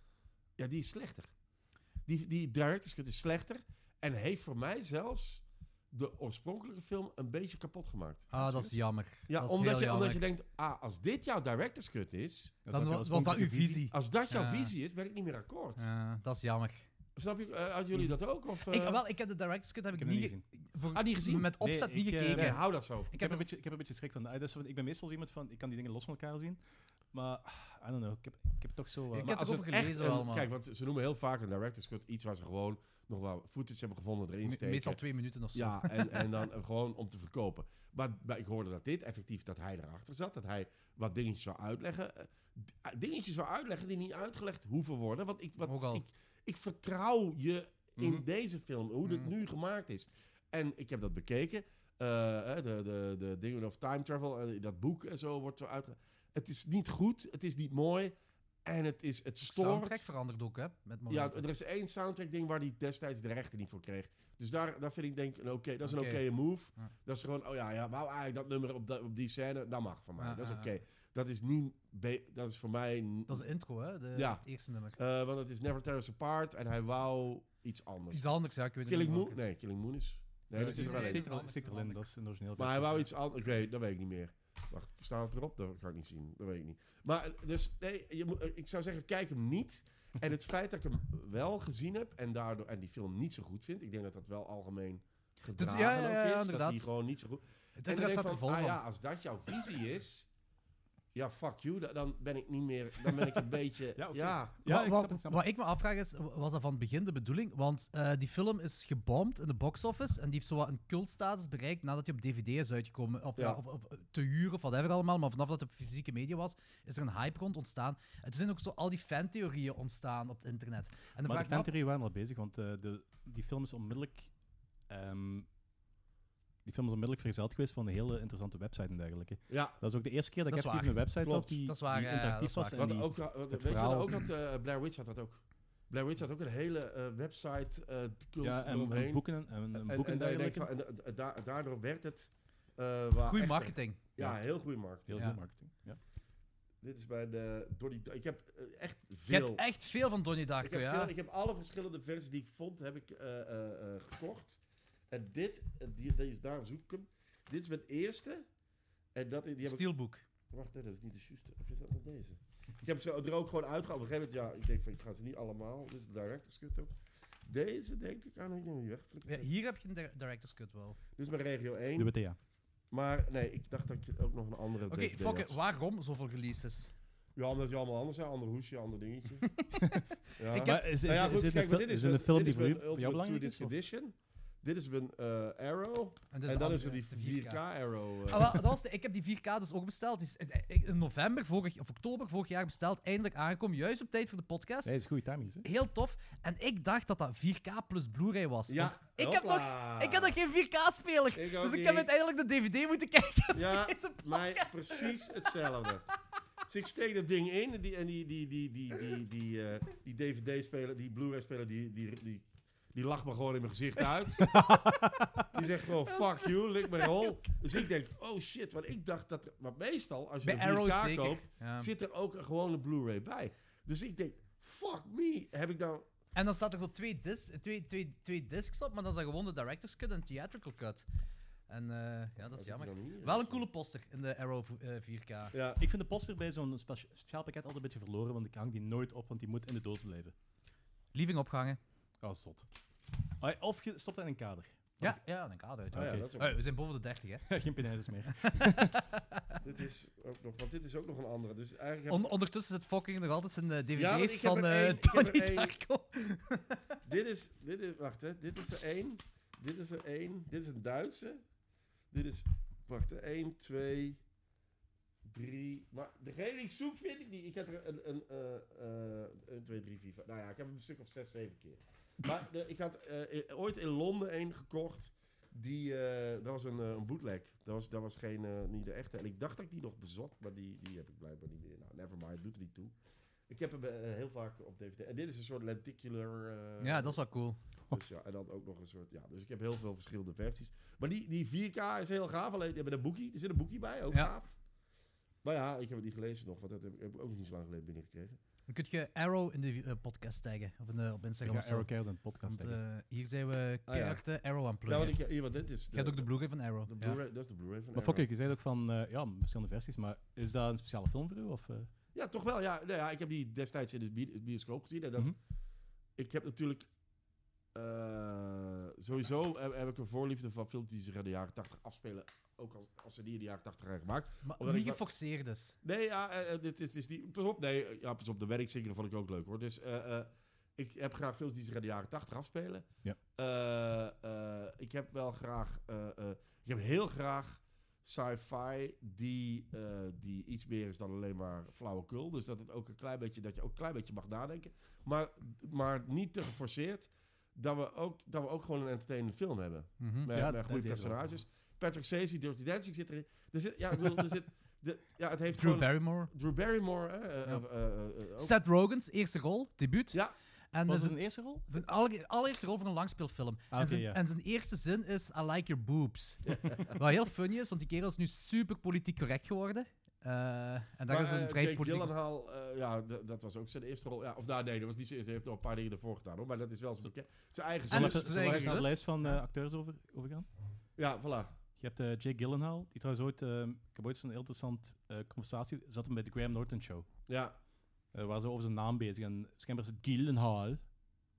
[SPEAKER 2] ja, die is slechter. Die, die Director's Cut is slechter en heeft voor mij zelfs de oorspronkelijke film een beetje kapot gemaakt.
[SPEAKER 4] Ah, dat is jammer.
[SPEAKER 2] Ja,
[SPEAKER 4] dat is
[SPEAKER 2] omdat,
[SPEAKER 4] heel
[SPEAKER 2] je, omdat
[SPEAKER 4] jammer.
[SPEAKER 2] je denkt, ah, als dit jouw Director's Cut is,
[SPEAKER 3] Dat
[SPEAKER 4] Dan
[SPEAKER 3] is ook
[SPEAKER 4] was,
[SPEAKER 3] wel
[SPEAKER 4] was dat uw
[SPEAKER 3] oorspronkelijke
[SPEAKER 4] visie.
[SPEAKER 2] als dat jouw
[SPEAKER 4] Ja.
[SPEAKER 2] visie is, ben ik niet meer akkoord.
[SPEAKER 4] Ja, dat is jammer.
[SPEAKER 2] Snap je, eh, hadden jullie dat ook? Of, eh,
[SPEAKER 4] ik, wel, ik heb de Director's Cut heb
[SPEAKER 3] Ik
[SPEAKER 4] ik,
[SPEAKER 3] heb hem
[SPEAKER 4] niet,
[SPEAKER 3] niet
[SPEAKER 4] ge-
[SPEAKER 3] gezien.
[SPEAKER 4] voor-
[SPEAKER 2] Ah, niet gezien?
[SPEAKER 4] met
[SPEAKER 3] Nee,
[SPEAKER 4] opzet niet
[SPEAKER 3] ik, eh,
[SPEAKER 4] gekeken.
[SPEAKER 2] Nee, hou dat zo.
[SPEAKER 3] Ik
[SPEAKER 4] Ik
[SPEAKER 3] heb,
[SPEAKER 4] heb
[SPEAKER 3] een beetje, ik heb een beetje schrik van. de- ah, dat is wat- ik ben meestal zo iemand van. Ik kan die dingen los van elkaar zien. Maar, ah, I don't know. Ik heb, ik heb toch zo. eh,
[SPEAKER 4] Ik
[SPEAKER 2] Maar
[SPEAKER 4] heb
[SPEAKER 2] als
[SPEAKER 4] erover
[SPEAKER 2] het echt
[SPEAKER 4] gelezen
[SPEAKER 2] een-
[SPEAKER 4] wel, man.
[SPEAKER 2] Kijk, want ze noemen heel vaak een director's cut iets waar ze gewoon nog wel footage hebben gevonden erin
[SPEAKER 4] Me-
[SPEAKER 2] steken.
[SPEAKER 4] Meestal twee minuten of zo.
[SPEAKER 2] Ja, en, en dan eh, gewoon om te verkopen. Maar, bij- ik hoorde dat dit effectief, dat hij erachter zat. Dat hij wat dingetjes zou uitleggen. eh, d- eh, Dingetjes zou uitleggen die niet uitgelegd hoeven worden. Want ik,
[SPEAKER 4] Ook
[SPEAKER 2] wat,
[SPEAKER 4] al.
[SPEAKER 2] ik, ik vertrouw je in
[SPEAKER 3] Mhm.
[SPEAKER 2] deze film, hoe dit
[SPEAKER 4] Mhm.
[SPEAKER 2] nu gemaakt is. En ik heb dat bekeken. eh, eh, de, de, de dingen of time travel, eh, dat boek en zo wordt zo uitge... Het is niet goed, het is niet mooi. En het, is, het
[SPEAKER 4] Soundtrack
[SPEAKER 2] stoort.
[SPEAKER 4] verandert ook, hè? Met
[SPEAKER 2] Ja,
[SPEAKER 4] momenten.
[SPEAKER 2] er is één soundtrack ding waar hij destijds de rechten niet voor kreeg. Dus daar, daar vind ik denk ik, een oké, dat is
[SPEAKER 4] Oké.
[SPEAKER 2] een oké move.
[SPEAKER 4] Ja.
[SPEAKER 2] Dat is gewoon, oh ja, ja wou eigenlijk dat nummer op, dat- op die scène, dat mag van mij.
[SPEAKER 4] Ja,
[SPEAKER 2] dat is
[SPEAKER 4] ja,
[SPEAKER 2] oké.
[SPEAKER 4] ja.
[SPEAKER 2] Dat is niet, be- dat is voor mij... n-
[SPEAKER 4] Dat is de intro, hè? De,
[SPEAKER 2] Ja.
[SPEAKER 4] Het eerste nummer.
[SPEAKER 2] eh, want het is Never Tear Us Apart en hij wou iets anders.
[SPEAKER 4] Iets anders, ja. Ik weet het
[SPEAKER 2] Killing
[SPEAKER 4] niet
[SPEAKER 2] Moon?
[SPEAKER 4] welke.
[SPEAKER 2] Nee, Killing Moon is... Nee,
[SPEAKER 3] eh,
[SPEAKER 2] dat zit er
[SPEAKER 4] die-
[SPEAKER 2] wel
[SPEAKER 4] die-
[SPEAKER 2] in.
[SPEAKER 3] Stikt
[SPEAKER 4] in.
[SPEAKER 3] er wel- stikt er wel in, dat is een origineel.
[SPEAKER 2] Maar hij
[SPEAKER 3] versie.
[SPEAKER 2] wou iets anders. Ik weet, dat weet ik niet meer. Wacht, staat het erop? Dat kan ik niet zien. Dat weet ik niet. Maar eh, dus, nee, je moet, eh, ik zou zeggen, kijk hem niet. En het feit dat ik hem wel gezien heb en daardoor en die film niet zo goed vind, ik denk dat dat wel algemeen gedragen
[SPEAKER 4] ja, ja, ja,
[SPEAKER 2] ook is. Dat
[SPEAKER 4] inderdaad.
[SPEAKER 2] die gewoon niet zo goed. En
[SPEAKER 4] Het
[SPEAKER 2] dan
[SPEAKER 4] internet
[SPEAKER 2] denk
[SPEAKER 4] staat
[SPEAKER 2] ik
[SPEAKER 4] er
[SPEAKER 2] van,
[SPEAKER 4] vol
[SPEAKER 2] ah
[SPEAKER 4] van.
[SPEAKER 2] ja, als dat jouw visie is, ja fuck you, da- dan ben ik niet meer, dan ben ik een beetje,
[SPEAKER 3] Ja,
[SPEAKER 2] ja,
[SPEAKER 3] oké.
[SPEAKER 2] ja,
[SPEAKER 3] Ja,
[SPEAKER 4] Wa-
[SPEAKER 3] ik
[SPEAKER 4] wa-
[SPEAKER 3] snap het. ik snap
[SPEAKER 4] Wat
[SPEAKER 3] het.
[SPEAKER 4] ik me afvraag is, wa- was dat van het begin de bedoeling? Want eh, die film is gebomd in de box-office en die heeft zo wat een cultstatus bereikt nadat hij op DVD is uitgekomen. Of, ja.
[SPEAKER 2] Ja.
[SPEAKER 4] of, of eh, te huren of whatever allemaal, maar vanaf dat het op fysieke media was, is er een hype rond ontstaan. En toen zijn ook zo al die fantheorieën ontstaan op het internet. En dan
[SPEAKER 3] Maar
[SPEAKER 4] vraag
[SPEAKER 3] de
[SPEAKER 4] ik me af-
[SPEAKER 3] fantheorie waren al bezig, want eh, de, die film is onmiddellijk. ehm, die film is onmiddellijk vergezeld geweest van een hele interessante website en dergelijke.
[SPEAKER 2] ja.
[SPEAKER 3] Dat is ook de eerste keer dat,
[SPEAKER 4] Dat
[SPEAKER 3] ik
[SPEAKER 4] is
[SPEAKER 3] effectief een website
[SPEAKER 2] Klopt.
[SPEAKER 3] had die,
[SPEAKER 4] Dat is waar,
[SPEAKER 3] die
[SPEAKER 4] ja, ja,
[SPEAKER 3] interactief
[SPEAKER 4] dat is
[SPEAKER 3] was. En
[SPEAKER 2] Wat
[SPEAKER 3] die,
[SPEAKER 2] ook, wat- weet je wat
[SPEAKER 3] verhaal-
[SPEAKER 2] ook had, eh, Blair Witch had dat ook. Blair Witch had ook een hele eh, website eh cult
[SPEAKER 3] ja, en, en
[SPEAKER 2] eromheen.
[SPEAKER 3] boeken en, en,
[SPEAKER 2] En,
[SPEAKER 3] en boeken
[SPEAKER 2] en dan
[SPEAKER 3] en
[SPEAKER 2] denk
[SPEAKER 3] dergelijke.
[SPEAKER 2] je van, en, da- da- daardoor werd het... eh waar
[SPEAKER 4] goede
[SPEAKER 2] echter-
[SPEAKER 4] marketing.
[SPEAKER 2] Ja, heel goede markt.
[SPEAKER 3] Heel
[SPEAKER 4] Ja.
[SPEAKER 3] goed marketing. Ja.
[SPEAKER 2] Dit is bij de Donnie... Da- Ik heb eh, echt
[SPEAKER 4] Je
[SPEAKER 2] veel...
[SPEAKER 4] hebt echt veel van Donnie
[SPEAKER 2] ik,
[SPEAKER 4] Darko,
[SPEAKER 2] heb
[SPEAKER 4] ja.
[SPEAKER 2] veel ik heb alle verschillende versies die ik vond, heb ik eh, eh, eh, gekocht. En dit, eh, die, die is daar zoek ik hem. Dit is mijn eerste. En dat, die heb ik
[SPEAKER 4] Steelbook.
[SPEAKER 2] Wacht, nee, dat is niet de juiste. Of is dat dan deze? Ik heb ze er ook gewoon uitgehaald. Op een gegeven moment, ja, ik denk van, ik ga ze niet allemaal. Dit is de director's cut ook. Deze denk ik aan, ik denk die
[SPEAKER 4] Ja,
[SPEAKER 2] wegflikkeren.
[SPEAKER 4] hier heb je een dir- director's cut wel.
[SPEAKER 2] Dit is mijn regio 1.
[SPEAKER 3] Doe het ja.
[SPEAKER 2] Maar nee, ik dacht dat ik ook nog een andere
[SPEAKER 4] Oké,
[SPEAKER 2] DVD
[SPEAKER 4] fuck it,
[SPEAKER 2] had.
[SPEAKER 4] waarom zoveel releases?
[SPEAKER 2] Ja, omdat je allemaal anders zijn. Ander hoesje, ander dingetje. ja.
[SPEAKER 4] Ik heb-
[SPEAKER 3] Maar is, is,
[SPEAKER 2] Nou ja,
[SPEAKER 3] is
[SPEAKER 2] goed,
[SPEAKER 3] dit
[SPEAKER 2] kijk,
[SPEAKER 3] een,
[SPEAKER 2] maar
[SPEAKER 3] fil-
[SPEAKER 2] dit
[SPEAKER 3] is
[SPEAKER 2] mijn-
[SPEAKER 3] dit een film
[SPEAKER 2] dit
[SPEAKER 3] die
[SPEAKER 2] is
[SPEAKER 3] voor
[SPEAKER 2] mijn
[SPEAKER 3] jou, voor jou
[SPEAKER 2] Ultimate
[SPEAKER 3] belangrijk is?
[SPEAKER 2] Two-Disc Edition. Dit is mijn eh, Arrow.
[SPEAKER 4] En, dit
[SPEAKER 2] En dan
[SPEAKER 4] de
[SPEAKER 2] is er die
[SPEAKER 4] andere, de
[SPEAKER 2] 4K Arrow. eh.
[SPEAKER 4] Ah, wel, dat was de- ik heb die 4K dus ook besteld. Die is in, in november, vorig, of oktober vorig jaar besteld. Eindelijk aangekomen, juist op tijd voor de podcast.
[SPEAKER 3] Nee, het is goede timing. Hè?
[SPEAKER 4] Heel tof. En ik dacht dat dat 4K plus Blu-ray was. Want
[SPEAKER 2] Ja,
[SPEAKER 4] ik heb nog-
[SPEAKER 2] hopla.
[SPEAKER 4] ik had nog geen 4K-speler.
[SPEAKER 2] Ik ook
[SPEAKER 4] Dus ik
[SPEAKER 2] niet.
[SPEAKER 4] heb uiteindelijk de DVD moeten kijken.
[SPEAKER 2] Ja,
[SPEAKER 4] Deze
[SPEAKER 2] mij precies hetzelfde. Dus ik steek dat ding in en die, en die, die, die, die, die, die, eh, die DVD-speler, die Blu-ray-speler, die, die, die, die lacht me gewoon in mijn gezicht uit. die zegt gewoon, fuck you, lik me rol. Dus ik denk, oh shit, want ik dacht dat... er- Want meestal, als je
[SPEAKER 4] Bij
[SPEAKER 2] een
[SPEAKER 4] Arrow
[SPEAKER 2] 4K
[SPEAKER 4] zeker.
[SPEAKER 2] koopt,
[SPEAKER 4] Ja.
[SPEAKER 2] zit er ook gewoon een Blu-ray bij. Dus ik denk, fuck me, heb ik dan...
[SPEAKER 4] En dan staat er zo twee, dis twee, twee, twee discs op, maar dan is dat gewoon de director's cut en theatrical cut. En eh, ja, dat is jammer. Wel een coole poster in de Arrow v- eh, 4K.
[SPEAKER 2] Ja.
[SPEAKER 3] Ik vind de poster bij zo'n spe- speciaal pakket altijd een beetje verloren, want ik hang die nooit op, want die moet in de doos blijven.
[SPEAKER 4] Lieving opgehangen.
[SPEAKER 3] Ah, zot. Ah, Of je stopt dat in een kader.
[SPEAKER 4] Ja, ja, een kader uit.
[SPEAKER 2] Ah, ja,
[SPEAKER 3] Oké.
[SPEAKER 2] dat is ook-
[SPEAKER 4] Oh, we zijn boven de 30, hè?
[SPEAKER 3] Geen penijzers meer.
[SPEAKER 2] Dit is ook nog, want dit is ook nog een andere. Dus eigenlijk heb
[SPEAKER 4] On- ondertussen zit fucking nog altijd eh, in de DVD's
[SPEAKER 2] Ja, want ik heb
[SPEAKER 4] van
[SPEAKER 2] er één,
[SPEAKER 4] eh
[SPEAKER 2] ik heb er
[SPEAKER 4] Tony
[SPEAKER 2] één.
[SPEAKER 4] Darko.
[SPEAKER 2] Dit is, dit is, wacht hè, dit is er één, dit is er één, dit is een Duitse. Dit is, wacht hè, één, twee, drie. Maar degene die ik zoek vind ik niet. Ik heb er een, een, eh, eh, een twee, drie, vier, vijf. Nou ja, ik heb hem een stuk of zes, zeven keer. Maar de- ik had eh, eh, ooit in Londen een gekocht. Die, eh, dat was een, eh, een bootleg. Dat was, dat was geen, eh, niet de echte. En ik dacht dat ik die nog bezat, maar die, die heb ik blijkbaar niet meer. Nou, never mind, doet er niet toe. Ik heb hem eh, heel vaak op DVD. En dit is een soort lenticular... eh,
[SPEAKER 4] Ja, dat is wel cool.
[SPEAKER 2] dus ja, en dan ook nog een soort. Ja, dus ik heb heel veel verschillende versies. Maar die, die 4K is heel gaaf. Alleen hebben een boekie. Er zit een boekie bij, ook
[SPEAKER 4] Ja.
[SPEAKER 2] gaaf. Maar ja, ik heb het niet gelezen nog, want dat heb ik, heb ik ook nog niet zo lang geleden binnengekregen.
[SPEAKER 4] Dan kun je Arrow in de eh, podcast taggen. Of in de- op
[SPEAKER 3] Ik
[SPEAKER 4] Instagram
[SPEAKER 3] ga
[SPEAKER 4] of zo.
[SPEAKER 3] Arrow Care een podcast
[SPEAKER 4] Want
[SPEAKER 3] taggen.
[SPEAKER 4] eh, hier zijn we
[SPEAKER 2] Ah, ja.
[SPEAKER 4] keihard eh, Arrow aan het
[SPEAKER 2] Ja,
[SPEAKER 4] pluggen.
[SPEAKER 2] want Nou, ik, hier, want dit is.
[SPEAKER 4] Je hebt ook de Blu-ray van Arrow.
[SPEAKER 2] de
[SPEAKER 4] ja.
[SPEAKER 2] Blu-ray, Dat is de Blu-ray van
[SPEAKER 3] Maar
[SPEAKER 2] Arrow.
[SPEAKER 3] Fokke, je zei ook van, eh, ja, verschillende versies, maar is dat een speciale film voor u? Of, eh?
[SPEAKER 2] Ja, toch wel. Ja, nou ja, ik heb die destijds in de bi- bioscoop gezien. En dan,
[SPEAKER 3] Mhm.
[SPEAKER 2] Ik heb natuurlijk. eh, sowieso heb, heb ik een voorliefde van films die zich in de jaren 80 afspelen. Ook als, als ze die in de jaren 80 zijn gemaakt.
[SPEAKER 4] Maar
[SPEAKER 2] Omdat
[SPEAKER 4] niet
[SPEAKER 2] ik-
[SPEAKER 4] geforceerd dus.
[SPEAKER 2] Nee, ja, eh, eh, dit is, is niet... Pas op, nee. eh, Ja, pas op, de werkzingeren vond ik ook leuk, hoor. Dus eh, eh, ik heb graag films die zich in de jaren tachtig afspelen.
[SPEAKER 3] Ja.
[SPEAKER 2] Eh, eh, ik heb wel graag... eh, eh, ik heb heel graag sci-fi die, eh, die iets meer is dan alleen maar flauwekul. Dus dat, het ook een klein beetje, dat je ook een klein beetje mag nadenken. Maar, maar niet te geforceerd. Dat we, ook, dat we ook gewoon een entertainende film hebben. Met,
[SPEAKER 4] Mhm.
[SPEAKER 3] Hm. Ja,
[SPEAKER 2] met
[SPEAKER 3] dat
[SPEAKER 2] goede
[SPEAKER 3] is wel.
[SPEAKER 2] personages. Patrick Swayze, Dirty Dancing zit erin. Er zit, ja, ik bedoel, er zit... De, ja, het heeft
[SPEAKER 4] Drew
[SPEAKER 2] gewoon-
[SPEAKER 4] Barrymore.
[SPEAKER 2] Drew Barrymore. hè, eh,
[SPEAKER 4] Ja.
[SPEAKER 2] eh, eh, eh, ook.
[SPEAKER 4] Seth Rogen's eerste rol, debuut.
[SPEAKER 2] Ja.
[SPEAKER 3] was
[SPEAKER 4] En dus
[SPEAKER 3] het
[SPEAKER 4] zijn,
[SPEAKER 3] een eerste rol?
[SPEAKER 4] zijn alle- allereerste rol van een langspeelfilm.
[SPEAKER 3] Ah,
[SPEAKER 4] en,
[SPEAKER 3] oké,
[SPEAKER 4] zijn,
[SPEAKER 3] ja.
[SPEAKER 4] en zijn eerste zin is I like your boobs. Wat heel funny is, want die kerel is nu super politiek correct geworden. Eh, en daar
[SPEAKER 2] Maar,
[SPEAKER 4] is een
[SPEAKER 2] eh,
[SPEAKER 4] vrij
[SPEAKER 2] Jake
[SPEAKER 4] politiek...
[SPEAKER 2] Gyllenhaal, eh, ja, d- dat was ook zijn eerste rol. Ja, of nou, nee, dat was niet zijn eerste. Hij heeft nog een paar dingen ervoor gedaan, hoor. Maar dat is wel zijn bekend. Zijn eigen
[SPEAKER 4] En
[SPEAKER 3] Zullen
[SPEAKER 2] zus.
[SPEAKER 3] we
[SPEAKER 4] dus-
[SPEAKER 3] zullen we
[SPEAKER 4] dus-
[SPEAKER 3] even naar de
[SPEAKER 4] dus-
[SPEAKER 3] lijst van
[SPEAKER 4] ja.
[SPEAKER 3] eh, acteurs over, overgaan?
[SPEAKER 2] Ja, voilà.
[SPEAKER 3] Je hebt eh, Jake Gyllenhaal, die trouwens ooit... eh, ik heb ooit zo'n heel interessant eh, conversatie... Zat hem bij de Graham Norton Show.
[SPEAKER 2] Ja.
[SPEAKER 3] Eh waar ze over zijn naam bezig en schijnbaar is het Gyllenhaal.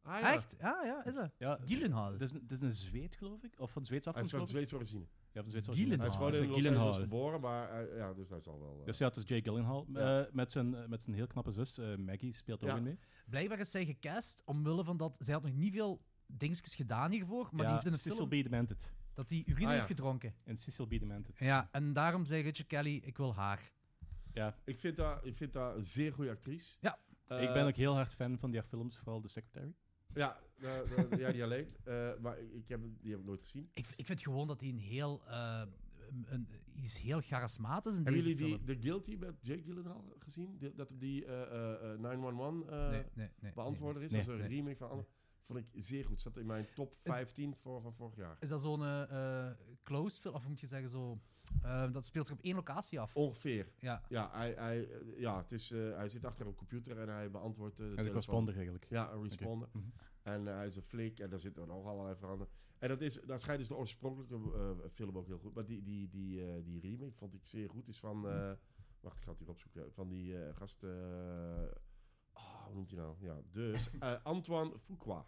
[SPEAKER 2] Ah, ja.
[SPEAKER 4] Echt? Ja, ja, is dat.
[SPEAKER 3] Ja,
[SPEAKER 4] Gyllenhaal.
[SPEAKER 3] het is, een- het is een Zweed, geloof ik. Of van Zweedse
[SPEAKER 2] Hij is
[SPEAKER 3] afkomst,
[SPEAKER 2] van
[SPEAKER 3] geloof
[SPEAKER 2] het
[SPEAKER 3] ik.
[SPEAKER 2] Zweeds origine.
[SPEAKER 3] Ja, van Zweedse
[SPEAKER 2] Hij
[SPEAKER 4] Gyllenhaal.
[SPEAKER 2] is
[SPEAKER 4] Ah,
[SPEAKER 2] gewoon
[SPEAKER 3] dat is
[SPEAKER 2] in
[SPEAKER 3] een
[SPEAKER 2] Los Angeles
[SPEAKER 3] Gyllenhaal.
[SPEAKER 2] geboren, maar eh, ja, dus hij zal wel... eh,
[SPEAKER 3] Dus ja, het is Jake Gyllenhaal.
[SPEAKER 2] Ja.
[SPEAKER 3] eh, met, zijn, eh, met zijn heel knappe zus, eh, Maggie, speelt er
[SPEAKER 2] Ja.
[SPEAKER 3] ook in mee.
[SPEAKER 4] Blijkbaar is zij gecast omwille van dat... Zij had nog niet veel dingetjes gedaan hiervoor,
[SPEAKER 3] ja,
[SPEAKER 4] maar die heeft in het
[SPEAKER 3] Cecil
[SPEAKER 4] film...
[SPEAKER 3] B. Demented.
[SPEAKER 4] Dat hij urine
[SPEAKER 2] Ah, ja.
[SPEAKER 4] heeft gedronken.
[SPEAKER 3] En Cecil B. Demented.
[SPEAKER 4] Ja, en daarom zei Richard Kelly, ik wil haar.
[SPEAKER 3] Ja,
[SPEAKER 2] Ik vind haar- ik vind haar een zeer goede actrice.
[SPEAKER 4] Ja.
[SPEAKER 2] Eh,
[SPEAKER 3] ik ben ook heel hard fan van die haar films, vooral The Secretary.
[SPEAKER 2] Ja, eh, eh, ja, niet alleen. Eh, maar ik ik heb, hem- die heb ik nooit gezien.
[SPEAKER 4] Ik, ik vind gewoon dat hij een heel... eh, een, een- iets heel charismatisch in
[SPEAKER 2] Hebben
[SPEAKER 4] deze
[SPEAKER 2] jullie
[SPEAKER 4] film.
[SPEAKER 2] die, The Guilty met Jake Gyllenhaal gezien? Die- dat die eh, eh, eh, 911... eh,
[SPEAKER 4] nee, nee, nee,
[SPEAKER 2] beantwoorder is.
[SPEAKER 3] Nee,
[SPEAKER 2] dat is een
[SPEAKER 4] nee.
[SPEAKER 2] remake van Anne. Vond ik zeer goed. Zat in mijn top 15 voor, van vorig jaar.
[SPEAKER 4] Is dat zo'n eh, eh, closed film? Of moet je zeggen zo... eh, dat speelt zich op één locatie af.
[SPEAKER 2] Oh. Ongeveer.
[SPEAKER 4] Ja.
[SPEAKER 2] Ja, hij, hij, eh, ja het is, eh, hij zit achter een computer en hij beantwoordt eh, de
[SPEAKER 3] En de
[SPEAKER 2] telefoon.
[SPEAKER 3] corresponder eigenlijk.
[SPEAKER 2] Ja, een responder.
[SPEAKER 3] Mhm.
[SPEAKER 2] En eh, hij is een flik en daar zitten nog allerlei veranderen. En dat is, daar schijnt dus de oorspronkelijke eh, film ook heel goed. Maar die, die, die, eh, die remake vond ik zeer goed. Is
[SPEAKER 3] Mhm.
[SPEAKER 2] van, eh, wacht, ik ga het hier opzoeken. Van die eh, gast, eh, ah, hoe noemt hij nou? Ja, dus eh, Antoine Fuqua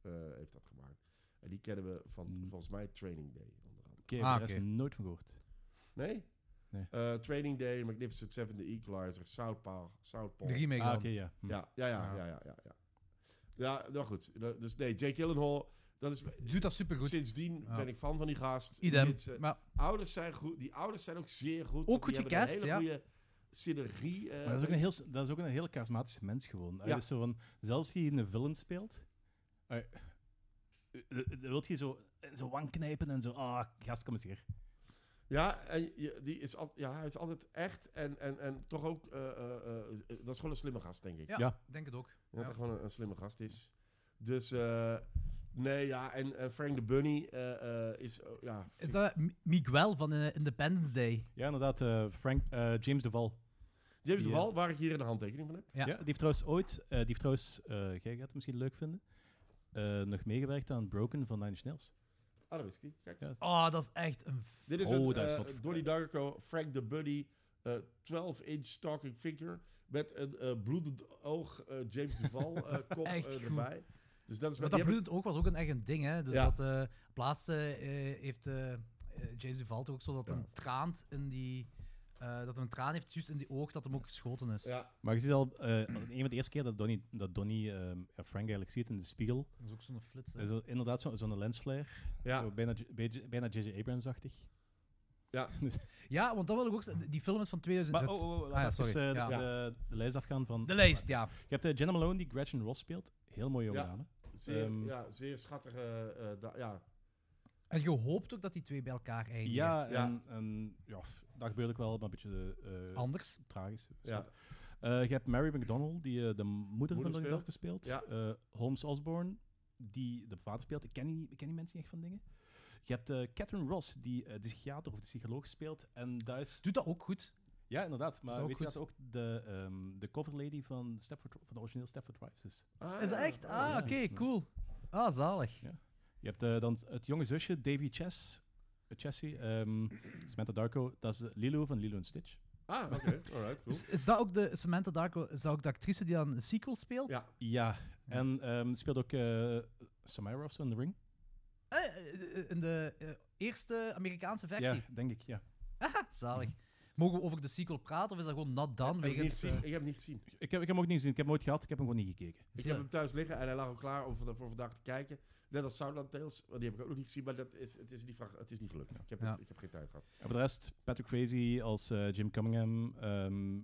[SPEAKER 2] eh, heeft dat gemaakt. En die kennen we van,
[SPEAKER 3] Hmm.
[SPEAKER 2] volgens mij, Training Day onder andere.
[SPEAKER 3] Oké,
[SPEAKER 4] Ah,
[SPEAKER 3] daar is
[SPEAKER 4] oké.
[SPEAKER 3] nooit van gehoord.
[SPEAKER 2] Nee?
[SPEAKER 3] Nee.
[SPEAKER 2] Eh, Training Day, Magnificent Seven, The Equalizer, Southpaw, Southpaw.
[SPEAKER 4] De remake
[SPEAKER 3] Ah,
[SPEAKER 4] dan.
[SPEAKER 3] oké, ja. Hm.
[SPEAKER 2] Ja, ja, ja,
[SPEAKER 4] Ja.
[SPEAKER 2] ja, ja, ja. Ja, ja nou goed. Da- Dus nee, Jake Gyllenhaal, dat is...
[SPEAKER 4] Doet dat supergoed.
[SPEAKER 2] Sindsdien
[SPEAKER 4] Ja.
[SPEAKER 2] ben ik fan van die gast. Die
[SPEAKER 4] Idem.
[SPEAKER 2] vindt ze-
[SPEAKER 4] Maar
[SPEAKER 2] ouders zijn goed, die ouders zijn ook zeer goed.
[SPEAKER 4] Ook
[SPEAKER 2] Die
[SPEAKER 4] goed
[SPEAKER 2] hebben een
[SPEAKER 4] gecast,
[SPEAKER 2] hele
[SPEAKER 4] ja.
[SPEAKER 2] goede synergie. eh,
[SPEAKER 3] Maar dat is ook een heel, s- dat is ook een heel charismatische mens gewoon. Hij
[SPEAKER 2] Ja.
[SPEAKER 3] is zo van, zelfs als hij een villain speelt, eh, eh, eh, dan wil je zo, eh, zo wang knijpen en zo, ah, gast, kom eens hier.
[SPEAKER 2] Ja, en je- die is al, ja, hij is altijd echt en, en, en toch ook... eh, eh, eh, dat is gewoon een slimme gast, denk ik.
[SPEAKER 4] ja,
[SPEAKER 3] Ja.
[SPEAKER 4] denk het ook.
[SPEAKER 2] Ja, Dat
[SPEAKER 4] Ja.
[SPEAKER 2] hij gewoon een, een slimme gast is. Dus, eh, nee, ja, en, en Frank de Bunny eh, eh, is, eh, ja...
[SPEAKER 4] Is dat Mi- Miguel van eh, Independence Day?
[SPEAKER 3] Ja, inderdaad, eh, Frank, eh, James Deval.
[SPEAKER 2] James de
[SPEAKER 3] Die,
[SPEAKER 2] Val, waar ik hier een handtekening van heb.
[SPEAKER 4] Ja.
[SPEAKER 3] Ja. die heeft trouwens ooit, eh, die heeft trouwens, eh, jij gaat het misschien leuk vinden, eh, nog meegewerkt aan Broken van Nine Inch Nails.
[SPEAKER 2] Adamski, kijk.
[SPEAKER 3] Ja.
[SPEAKER 4] Oh, dat is echt een... f-
[SPEAKER 2] Dit is
[SPEAKER 3] Oh,
[SPEAKER 2] een
[SPEAKER 3] daar
[SPEAKER 2] eh,
[SPEAKER 3] is wat-
[SPEAKER 2] Donnie Darko, Frank the Buddy, 12-inch stalking figure met een eh, bloedend oog eh, James Duval eh, kop
[SPEAKER 4] echt
[SPEAKER 2] eh,
[SPEAKER 4] goed.
[SPEAKER 2] erbij. Dus dat is
[SPEAKER 4] Maar
[SPEAKER 2] die hebben-
[SPEAKER 4] dat bloedend oog was ook een echt een ding, hè. Dus
[SPEAKER 2] Ja.
[SPEAKER 4] dat eh op laatste heeft eh, eh, James Duval toch ook zo dat
[SPEAKER 2] Ja.
[SPEAKER 4] hem traant in die... eh, dat hem een traan heeft juist in die oog dat hem ook geschoten is.
[SPEAKER 2] Ja,
[SPEAKER 3] Maar je ziet al, eh, een van de eerste keer dat Donnie, dat Donnie ehm, ja, Frank eigenlijk ziet in de spiegel,
[SPEAKER 4] Dat is ook zo'n flits. hè.
[SPEAKER 3] is er inderdaad zo- zo'n lensflare,
[SPEAKER 2] ja,
[SPEAKER 3] zo bijna J- bij- bijna J.J. Abrams-achtig.
[SPEAKER 4] Ja, want dat wil ik ook... z- Die film is van
[SPEAKER 3] Maar
[SPEAKER 4] 2000.
[SPEAKER 3] oh, oh, oh, laat
[SPEAKER 4] Ah, ja,
[SPEAKER 3] even,
[SPEAKER 4] sorry.
[SPEAKER 3] eh,
[SPEAKER 4] Ja.
[SPEAKER 3] de, de, de lijst afgaan van...
[SPEAKER 4] De lijst, ja.
[SPEAKER 3] Je hebt eh, Jenna Malone die Gretchen Ross speelt. Heel mooie jonge
[SPEAKER 2] Ja.
[SPEAKER 3] dame.
[SPEAKER 2] zeer,
[SPEAKER 3] Ehm.
[SPEAKER 2] ja, zeer schattige... eh, da- ja.
[SPEAKER 4] En je hoopt ook dat die twee bij elkaar eindigen.
[SPEAKER 3] Ja,
[SPEAKER 2] Ja.
[SPEAKER 3] en, en ja, pff, dat gebeurt ook wel, maar een beetje eh,
[SPEAKER 4] Anders.
[SPEAKER 3] tragisch.
[SPEAKER 2] Ja.
[SPEAKER 3] Eh, je hebt Mary McDonald, die eh, de moeder,
[SPEAKER 2] Moeder
[SPEAKER 3] van de
[SPEAKER 2] speelt.
[SPEAKER 3] dochter speelt.
[SPEAKER 2] Ja.
[SPEAKER 3] Eh, Holmes Osborne, die de vader speelt. Ik ken die, ik ken die mensen niet echt van dingen. Je hebt eh, Catherine Ross, die eh, de psychiater of de psycholoog speelt. En daar is...
[SPEAKER 4] Doet dat ook goed.
[SPEAKER 3] Ja, inderdaad. Maar
[SPEAKER 4] ook
[SPEAKER 3] weet je
[SPEAKER 4] goed.
[SPEAKER 3] dat ook de, ehm de coverlady van, Stepford, van de origineel Stepford Wives is?
[SPEAKER 2] Ah,
[SPEAKER 4] Is dat
[SPEAKER 2] ja.
[SPEAKER 4] echt? Ah,
[SPEAKER 3] ja.
[SPEAKER 4] oké, cool. Ah, zalig.
[SPEAKER 3] Je hebt eh, dan het jonge zusje, Davy Chess. eh, Chessie, ehm, Samantha Darko. Dat is eh, Lilo van Lilo en Stitch.
[SPEAKER 2] Ah, oké. Alright, cool.
[SPEAKER 4] Is, is dat ook de Samantha Darko, is dat ook de actrice die dan een sequel speelt?
[SPEAKER 2] Ja.
[SPEAKER 3] Ja, en ehm speelt ook eh Samira of zo in The Ring.
[SPEAKER 4] Eh, eh, in de eh, eerste Amerikaanse versie.
[SPEAKER 3] Ja, denk ik, ja.
[SPEAKER 4] Zalig. Mogen we over de sequel praten of is dat gewoon not done?
[SPEAKER 2] Ik heb, hem niet
[SPEAKER 4] Wegens,
[SPEAKER 2] gezien.
[SPEAKER 4] eh,
[SPEAKER 2] ik heb hem niet gezien.
[SPEAKER 3] Ik heb, ik heb hem ook niet gezien. Ik heb hem ooit gehad. Ik heb hem gewoon niet gekeken.
[SPEAKER 2] Ik
[SPEAKER 4] Ja.
[SPEAKER 2] heb hem thuis liggen en hij lag al klaar om voor voor vandaag te kijken. Net als Soundland Tales, want die heb ik ook nog niet gezien, maar dat is, het, is niet, vraag- het is niet gelukt. Ik heb, het-
[SPEAKER 4] Ja.
[SPEAKER 2] ik heb geen tijd gehad.
[SPEAKER 3] En voor de rest, Patrick Crazy als eh, Jim Cunningham. ehm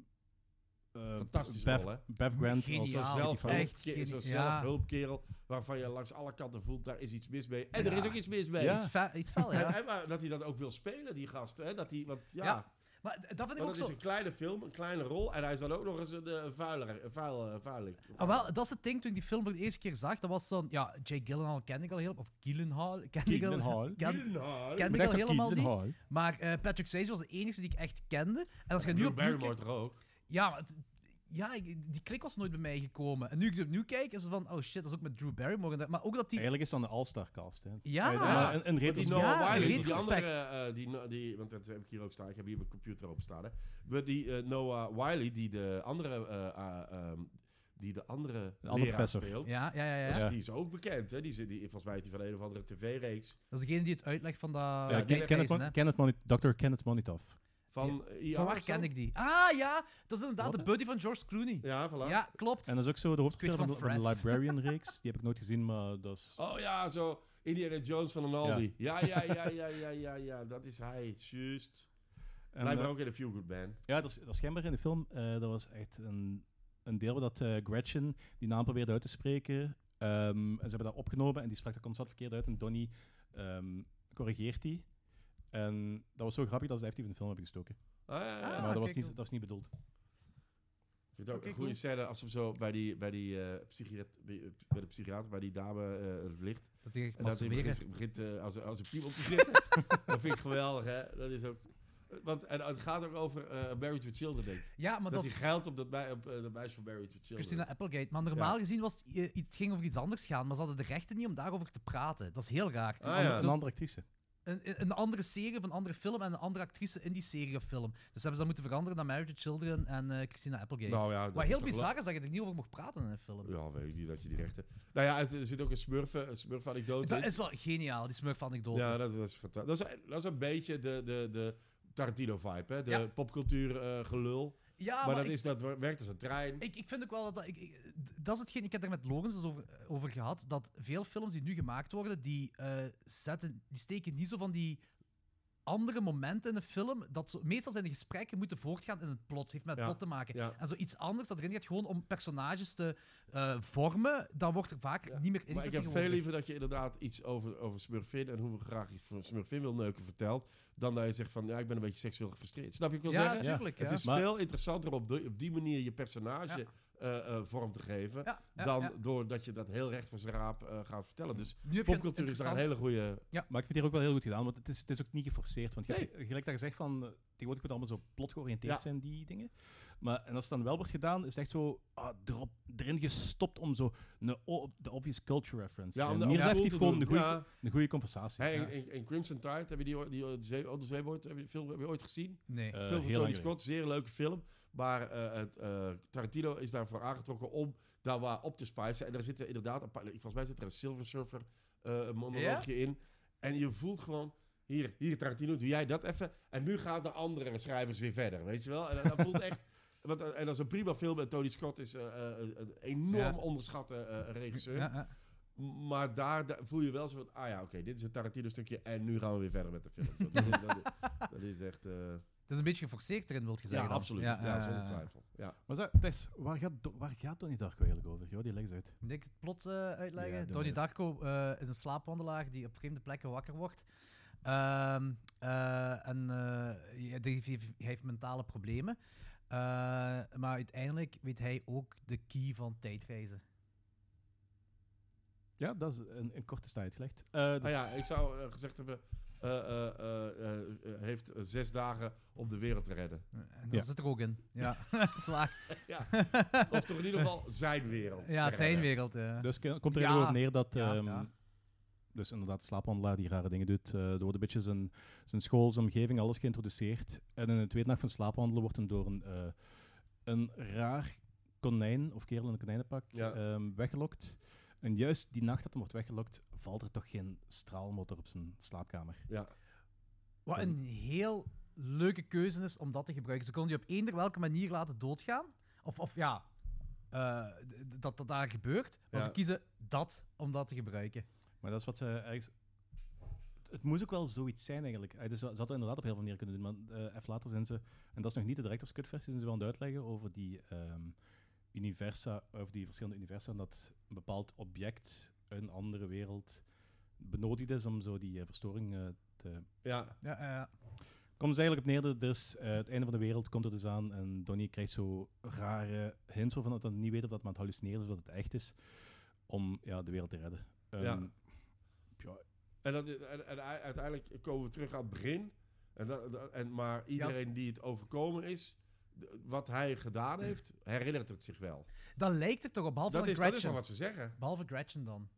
[SPEAKER 4] Ehm,
[SPEAKER 3] eh,
[SPEAKER 2] Fantastische
[SPEAKER 3] Bev,
[SPEAKER 2] rol, hè?
[SPEAKER 3] Bev Grant
[SPEAKER 4] Geniaal.
[SPEAKER 3] als
[SPEAKER 2] Zo'n
[SPEAKER 4] Ja,
[SPEAKER 3] Kitty
[SPEAKER 2] zelf
[SPEAKER 3] Farrell.
[SPEAKER 4] echt geni-
[SPEAKER 2] zo'n
[SPEAKER 4] ja.
[SPEAKER 2] zelfhulpkerel waarvan je langs alle kanten voelt, daar is iets mis mee. En er
[SPEAKER 4] Ja.
[SPEAKER 2] is ook iets mis mee.
[SPEAKER 3] Ja.
[SPEAKER 4] Iets, fe- iets fel,
[SPEAKER 2] En,
[SPEAKER 4] ja.
[SPEAKER 2] en maar dat hij dat ook wil spelen, die gast. Hè? Dat hij, want ja,
[SPEAKER 4] Ja, Maar d- dat vind ik
[SPEAKER 2] want
[SPEAKER 4] ook
[SPEAKER 2] het is
[SPEAKER 4] zo...
[SPEAKER 2] een kleine film, een kleine rol. En hij is dan ook nog eens een eh, vuiler, een vuil, eh, vuilik.
[SPEAKER 4] Ah, wel, dat is het ding, toen ik die film voor de eerste keer zag, dat was zo'n... Ja, Jake Gyllenhaal ken ik al heel... Of Gyllenhaal ken ik al...
[SPEAKER 3] Gyllenhaal.
[SPEAKER 4] Ken,
[SPEAKER 2] Gyllenhaal.
[SPEAKER 4] ken
[SPEAKER 3] Ik
[SPEAKER 4] ik
[SPEAKER 3] dacht
[SPEAKER 4] al
[SPEAKER 3] ook
[SPEAKER 4] helemaal
[SPEAKER 3] Keegan
[SPEAKER 4] niet.
[SPEAKER 3] Hall.
[SPEAKER 4] Maar eh, Patrick Swayze was de enige die ik echt kende. En als je nu
[SPEAKER 2] Drew
[SPEAKER 4] opnieuw...
[SPEAKER 2] Barrymore
[SPEAKER 4] kijkt-
[SPEAKER 2] toch ook?
[SPEAKER 4] Ja, maar het- ja, ik- die klik was nooit bij mij gekomen. En nu ik het opnieuw kijk, is het van... Oh shit, dat is ook met Drew Barrymore. en dat- Maar ook dat die...
[SPEAKER 3] Eigenlijk is dan de All-Star cast, hè.
[SPEAKER 4] Ja.
[SPEAKER 3] Eh, maar een,
[SPEAKER 2] Want
[SPEAKER 3] een
[SPEAKER 2] die
[SPEAKER 3] retrospect-
[SPEAKER 2] Noah
[SPEAKER 4] Ja,
[SPEAKER 2] Wiley, die
[SPEAKER 4] retrospect.
[SPEAKER 2] andere, eh, die, no- die, want dat heb ik hier ook staan. Ik heb hier mijn computer op staan. Hè. Maar die eh, Noah Wiley, die de andere, eh, ah, ehm, die de andere,
[SPEAKER 3] De andere
[SPEAKER 2] leraar
[SPEAKER 3] professor.
[SPEAKER 2] speelt.
[SPEAKER 4] Ja, ja, ja, ja.
[SPEAKER 2] Dus
[SPEAKER 3] Ja.
[SPEAKER 2] Die is ook bekend. Hè? Die, zit- die, volgens mij is die van een of andere tv-reeks.
[SPEAKER 4] Dat is degene die het uitlegt van dat...
[SPEAKER 2] Ja,
[SPEAKER 3] Ja,
[SPEAKER 2] die
[SPEAKER 3] Ken-
[SPEAKER 2] heb
[SPEAKER 3] Kenneth
[SPEAKER 4] hè.
[SPEAKER 3] Mon- Kenneth Moni- Dr. Kenneth Monitoff.
[SPEAKER 2] Van, eh, IR
[SPEAKER 4] Van waar
[SPEAKER 2] of zo?
[SPEAKER 4] ken ik die? Ah ja, dat is inderdaad
[SPEAKER 3] Wat,
[SPEAKER 4] de
[SPEAKER 3] hè?
[SPEAKER 4] buddy van George Clooney. Ja,
[SPEAKER 2] Ja, voilà.
[SPEAKER 4] klopt.
[SPEAKER 3] En dat is ook zo de hoofdspeler van,
[SPEAKER 4] van
[SPEAKER 3] de- van de
[SPEAKER 4] Friends.
[SPEAKER 3] Librarian-reeks. Die heb ik nooit gezien, maar dat is...
[SPEAKER 2] Oh ja, zo Indiana Jones van een Aldi. Ja, ja, ja, ja, ja, ja, ja. Dat is hij. Juist.
[SPEAKER 3] En,
[SPEAKER 2] Lijkt
[SPEAKER 3] eh,
[SPEAKER 2] me ook in de Feel Good Band.
[SPEAKER 3] Ja, dat is, dat is schijnbaar in de film. eh, dat was echt een, een deel waar dat eh, Gretchen die naam probeerde uit te spreken. Ehm, en ze hebben dat opgenomen en die sprak dat constant verkeerd uit. En Donnie ehm, corrigeert die. En dat was zo grappig dat ze het effectief in de film hebben gestoken.
[SPEAKER 2] Ah, ja, ja.
[SPEAKER 4] Ah,
[SPEAKER 3] maar dat was,
[SPEAKER 4] kijk,
[SPEAKER 3] niet,
[SPEAKER 4] cool.
[SPEAKER 3] dat was niet bedoeld.
[SPEAKER 2] Ik vind het ook
[SPEAKER 4] Oké,
[SPEAKER 2] een goede
[SPEAKER 4] cool.
[SPEAKER 2] scène als hem zo bij, die, bij, die, eh, psychiat- bij, eh, bij de psychiater, bij die dame eh, ligt.
[SPEAKER 4] Dat is
[SPEAKER 2] En dat hij
[SPEAKER 4] masturberen.
[SPEAKER 2] begint, begint eh, als, als een piemel te zitten. dat vind ik geweldig, hè. Dat is ook... Want, en het gaat ook over eh Married with Children, denk ik.
[SPEAKER 4] Ja, maar
[SPEAKER 2] Dat,
[SPEAKER 4] dat
[SPEAKER 2] hij
[SPEAKER 4] is
[SPEAKER 2] geldt op dat, mei- op, eh, dat meisje van Married with Children.
[SPEAKER 4] Christina Applegate. Maar normaal gezien was het, eh, het ging over iets anders gaan, maar ze hadden de rechten niet om daarover te praten. Dat is heel raar.
[SPEAKER 2] Ah, ja.
[SPEAKER 3] Een andere actrice.
[SPEAKER 4] Een, een- een andere serie of een andere film en een andere actrice in die serie of film. Dus hebben ze dat moeten veranderen naar Married to Children en eh, Christina Applegate.
[SPEAKER 2] Nou ja, dat
[SPEAKER 4] Wat
[SPEAKER 2] is
[SPEAKER 4] heel
[SPEAKER 2] toch wel-
[SPEAKER 4] bizar is dat je er niet over mocht praten in een film.
[SPEAKER 2] Ja, weet ik niet dat je die rechten... Nou ja, het- er zit ook een smurfen, een smurf anekdote
[SPEAKER 4] Dat
[SPEAKER 2] in.
[SPEAKER 4] is wel geniaal, die smurf anekdote.
[SPEAKER 2] Ja, dat, dat is fantastisch. Dat is, dat is een beetje de, de, de Tarantino-vibe, hè. De
[SPEAKER 4] Ja.
[SPEAKER 2] popcultuur eh, gelul.
[SPEAKER 4] ja
[SPEAKER 2] maar dat,
[SPEAKER 4] ik-
[SPEAKER 2] is, dat werkt als een trein.
[SPEAKER 4] Ik, ik vind ook wel dat... dat- Ik, ik, dat is hetgeen... Ik heb daar met Logans dus over, over gehad, dat veel films die nu gemaakt worden, die, eh, zetten, die steken niet zo van die andere momenten in de film. Dat zo, meestal zijn de gesprekken moeten voortgaan in het plot. Het heeft met het
[SPEAKER 2] Ja,
[SPEAKER 4] plot te maken.
[SPEAKER 2] ja.
[SPEAKER 4] En zoiets anders dat erin gaat, gewoon om personages te eh, vormen, dan wordt er vaak
[SPEAKER 2] Ja.
[SPEAKER 4] niet meer in
[SPEAKER 2] Maar ik heb veel liever dat je inderdaad iets over, over Smurfin en hoe we graag iets van Smurfin wil neuken vertelt, dan dat je zegt van ja, ik ben een beetje seksueel gefrustreerd. Snap je wat ik wil
[SPEAKER 4] Ja,
[SPEAKER 2] zeggen?
[SPEAKER 4] natuurlijk.
[SPEAKER 2] Het is
[SPEAKER 3] Maar-
[SPEAKER 2] veel interessanter op, de- op die manier je personage eh, eh, vorm te geven.
[SPEAKER 4] Ja, ja,
[SPEAKER 2] dan
[SPEAKER 4] ja. Mm.
[SPEAKER 2] doordat je dat heel recht voor zijn raap eh, gaat vertellen. Dus
[SPEAKER 4] Nu heb je een
[SPEAKER 2] popcultuur is daar een
[SPEAKER 4] interessant-
[SPEAKER 2] hele goede.
[SPEAKER 3] Maar ik vind het hier ook wel heel goed gedaan, want het is, het is ook niet geforceerd. Want je hebt-
[SPEAKER 2] Nee.
[SPEAKER 3] gelijk dat je zegt van, eh, tegenwoordig moet allemaal zo plot georiënteerd
[SPEAKER 2] Ja.
[SPEAKER 3] zijn, die dingen. Maar, en als het dan wel wordt gedaan, is het echt zo ah, erop, erin gestopt om zo een o- de obvious culture reference te
[SPEAKER 2] Ja,
[SPEAKER 3] zijn.
[SPEAKER 2] om de- om
[SPEAKER 3] Hier is
[SPEAKER 2] cool
[SPEAKER 3] effectief
[SPEAKER 2] te
[SPEAKER 3] gewoon
[SPEAKER 2] doen.
[SPEAKER 3] een goede,
[SPEAKER 2] Ja.
[SPEAKER 3] een goede conversatie.
[SPEAKER 2] Hey,
[SPEAKER 3] Ja.
[SPEAKER 2] en, en- en Crimson Tide, hebben die, die, die zee, oh, de Zeeboord, heb je, film, heb je ooit gezien?
[SPEAKER 4] Nee.
[SPEAKER 3] Eh,
[SPEAKER 2] film van
[SPEAKER 3] heel
[SPEAKER 2] Tony
[SPEAKER 3] lang
[SPEAKER 2] Scott, zeer leuke film. Maar eh, het, eh, Tarantino is daarvoor aangetrokken om daar wat op te spijzen. En daar zitten inderdaad, een paar, volgens mij zit er een Silver Surfer eh monoloogje in. En je voelt gewoon, hier, hier Tarantino, doe jij dat even. En nu gaan de andere schrijvers weer verder, weet je wel. En dat- dat voelt echt... Want, eh, en dat is een prima film. En Tony Scott is eh, eh, een enorm
[SPEAKER 4] Ja.
[SPEAKER 2] onderschatte eh, regisseur.
[SPEAKER 4] Ja, ja.
[SPEAKER 2] M- Maar daar, daar voel je wel zo van, ah ja, oké, dit is een Tarantino-stukje en nu gaan we weer verder met de film. Zo, Dat, is, dat, is- dat is echt... eh,
[SPEAKER 4] Het is een beetje geforceerd erin, wil je
[SPEAKER 2] ja,
[SPEAKER 4] zeggen. dan.
[SPEAKER 2] absoluut. Ja,
[SPEAKER 4] eh,
[SPEAKER 2] zonder twijfel. Ja.
[SPEAKER 3] Maar zeg, Tess, waar gaat, Do- waar gaat Donnie Darko eigenlijk over? Joh, die leg eens uit.
[SPEAKER 4] Moet ik het plot eh, uitleggen?
[SPEAKER 3] Ja, doe
[SPEAKER 4] Donnie
[SPEAKER 3] maar
[SPEAKER 4] Darko eh, is een slaapwandelaar die op vreemde plekken wakker wordt. Ehm, eh, en eh, ja, die- die- hij heeft mentale problemen. Eh, maar uiteindelijk weet hij ook de key van tijdreizen.
[SPEAKER 3] Ja, dat is een, een korte tijd uitgelegd. Eh, dus-
[SPEAKER 2] Ah ja, ik zou eh, gezegd hebben, eh, eh, eh, eh, eh, heeft eh, zes dagen om de wereld te redden.
[SPEAKER 4] En dat
[SPEAKER 3] Ja.
[SPEAKER 4] zit er ook in. Ja, zwaar.
[SPEAKER 2] Ja. Of toch in ieder geval zijn wereld.
[SPEAKER 4] Ja,
[SPEAKER 2] te
[SPEAKER 4] zijn
[SPEAKER 2] redden.
[SPEAKER 4] wereld. ja.
[SPEAKER 3] Dus ke- komt er
[SPEAKER 4] eh, Ja.
[SPEAKER 3] heel op neer dat...
[SPEAKER 4] Ja,
[SPEAKER 3] ehm,
[SPEAKER 4] ja.
[SPEAKER 3] Dus inderdaad, de slaaphandelaar die rare dingen doet. eh, er wordt een beetje zijn, zijn school, zijn omgeving, alles geïntroduceerd. En in de tweede nacht van slaaphandelen wordt hem door een, eh, een raar konijn, of kerel in een konijnenpak,
[SPEAKER 2] Ja.
[SPEAKER 3] ehm, weggelokt. En juist die nacht dat hem wordt weggelokt, valt er toch geen straalmotor op zijn slaapkamer.
[SPEAKER 2] Ja.
[SPEAKER 4] Wat een heel leuke keuze is om dat te gebruiken. Ze konden je op eender welke manier laten doodgaan. Of, of ja, eh, d- d- dat dat daar gebeurt. Maar
[SPEAKER 2] Ja.
[SPEAKER 4] ze kiezen dat om dat te gebruiken.
[SPEAKER 3] Maar dat is wat ze ergens... Het moest ook wel zoiets zijn, eigenlijk. Eh, Dus ze hadden inderdaad op heel veel manieren kunnen doen, maar eh, even later zijn ze... En dat is nog niet de director's cut versie, zijn ze wel aan het uitleggen over die ehm, universa, over die verschillende universa, en dat een bepaald object uit een andere wereld benodigd is om zo die eh, verstoring eh, te...
[SPEAKER 2] Ja.
[SPEAKER 4] Ja, ja, ja.
[SPEAKER 3] Komt dus eigenlijk op neer, dat dus eh, het einde van de wereld komt er dus aan en Donnie krijgt zo rare hints waarvan dat hij niet weet of dat maar het hallucineert of dat het echt is, om ja, de wereld te redden. Ehm,
[SPEAKER 2] Ja.
[SPEAKER 3] ja,
[SPEAKER 2] En, dat, en, en u- uiteindelijk komen we terug aan het begin. En dat, dat- en, maar iedereen die het overkomen is, d- wat hij gedaan heeft, herinnert het zich wel.
[SPEAKER 4] Dan lijkt het toch op, behalve
[SPEAKER 2] Dat
[SPEAKER 4] van
[SPEAKER 2] is, dat is
[SPEAKER 4] Gretchen.
[SPEAKER 2] wel wat ze zeggen.
[SPEAKER 4] Behalve Gretchen dan.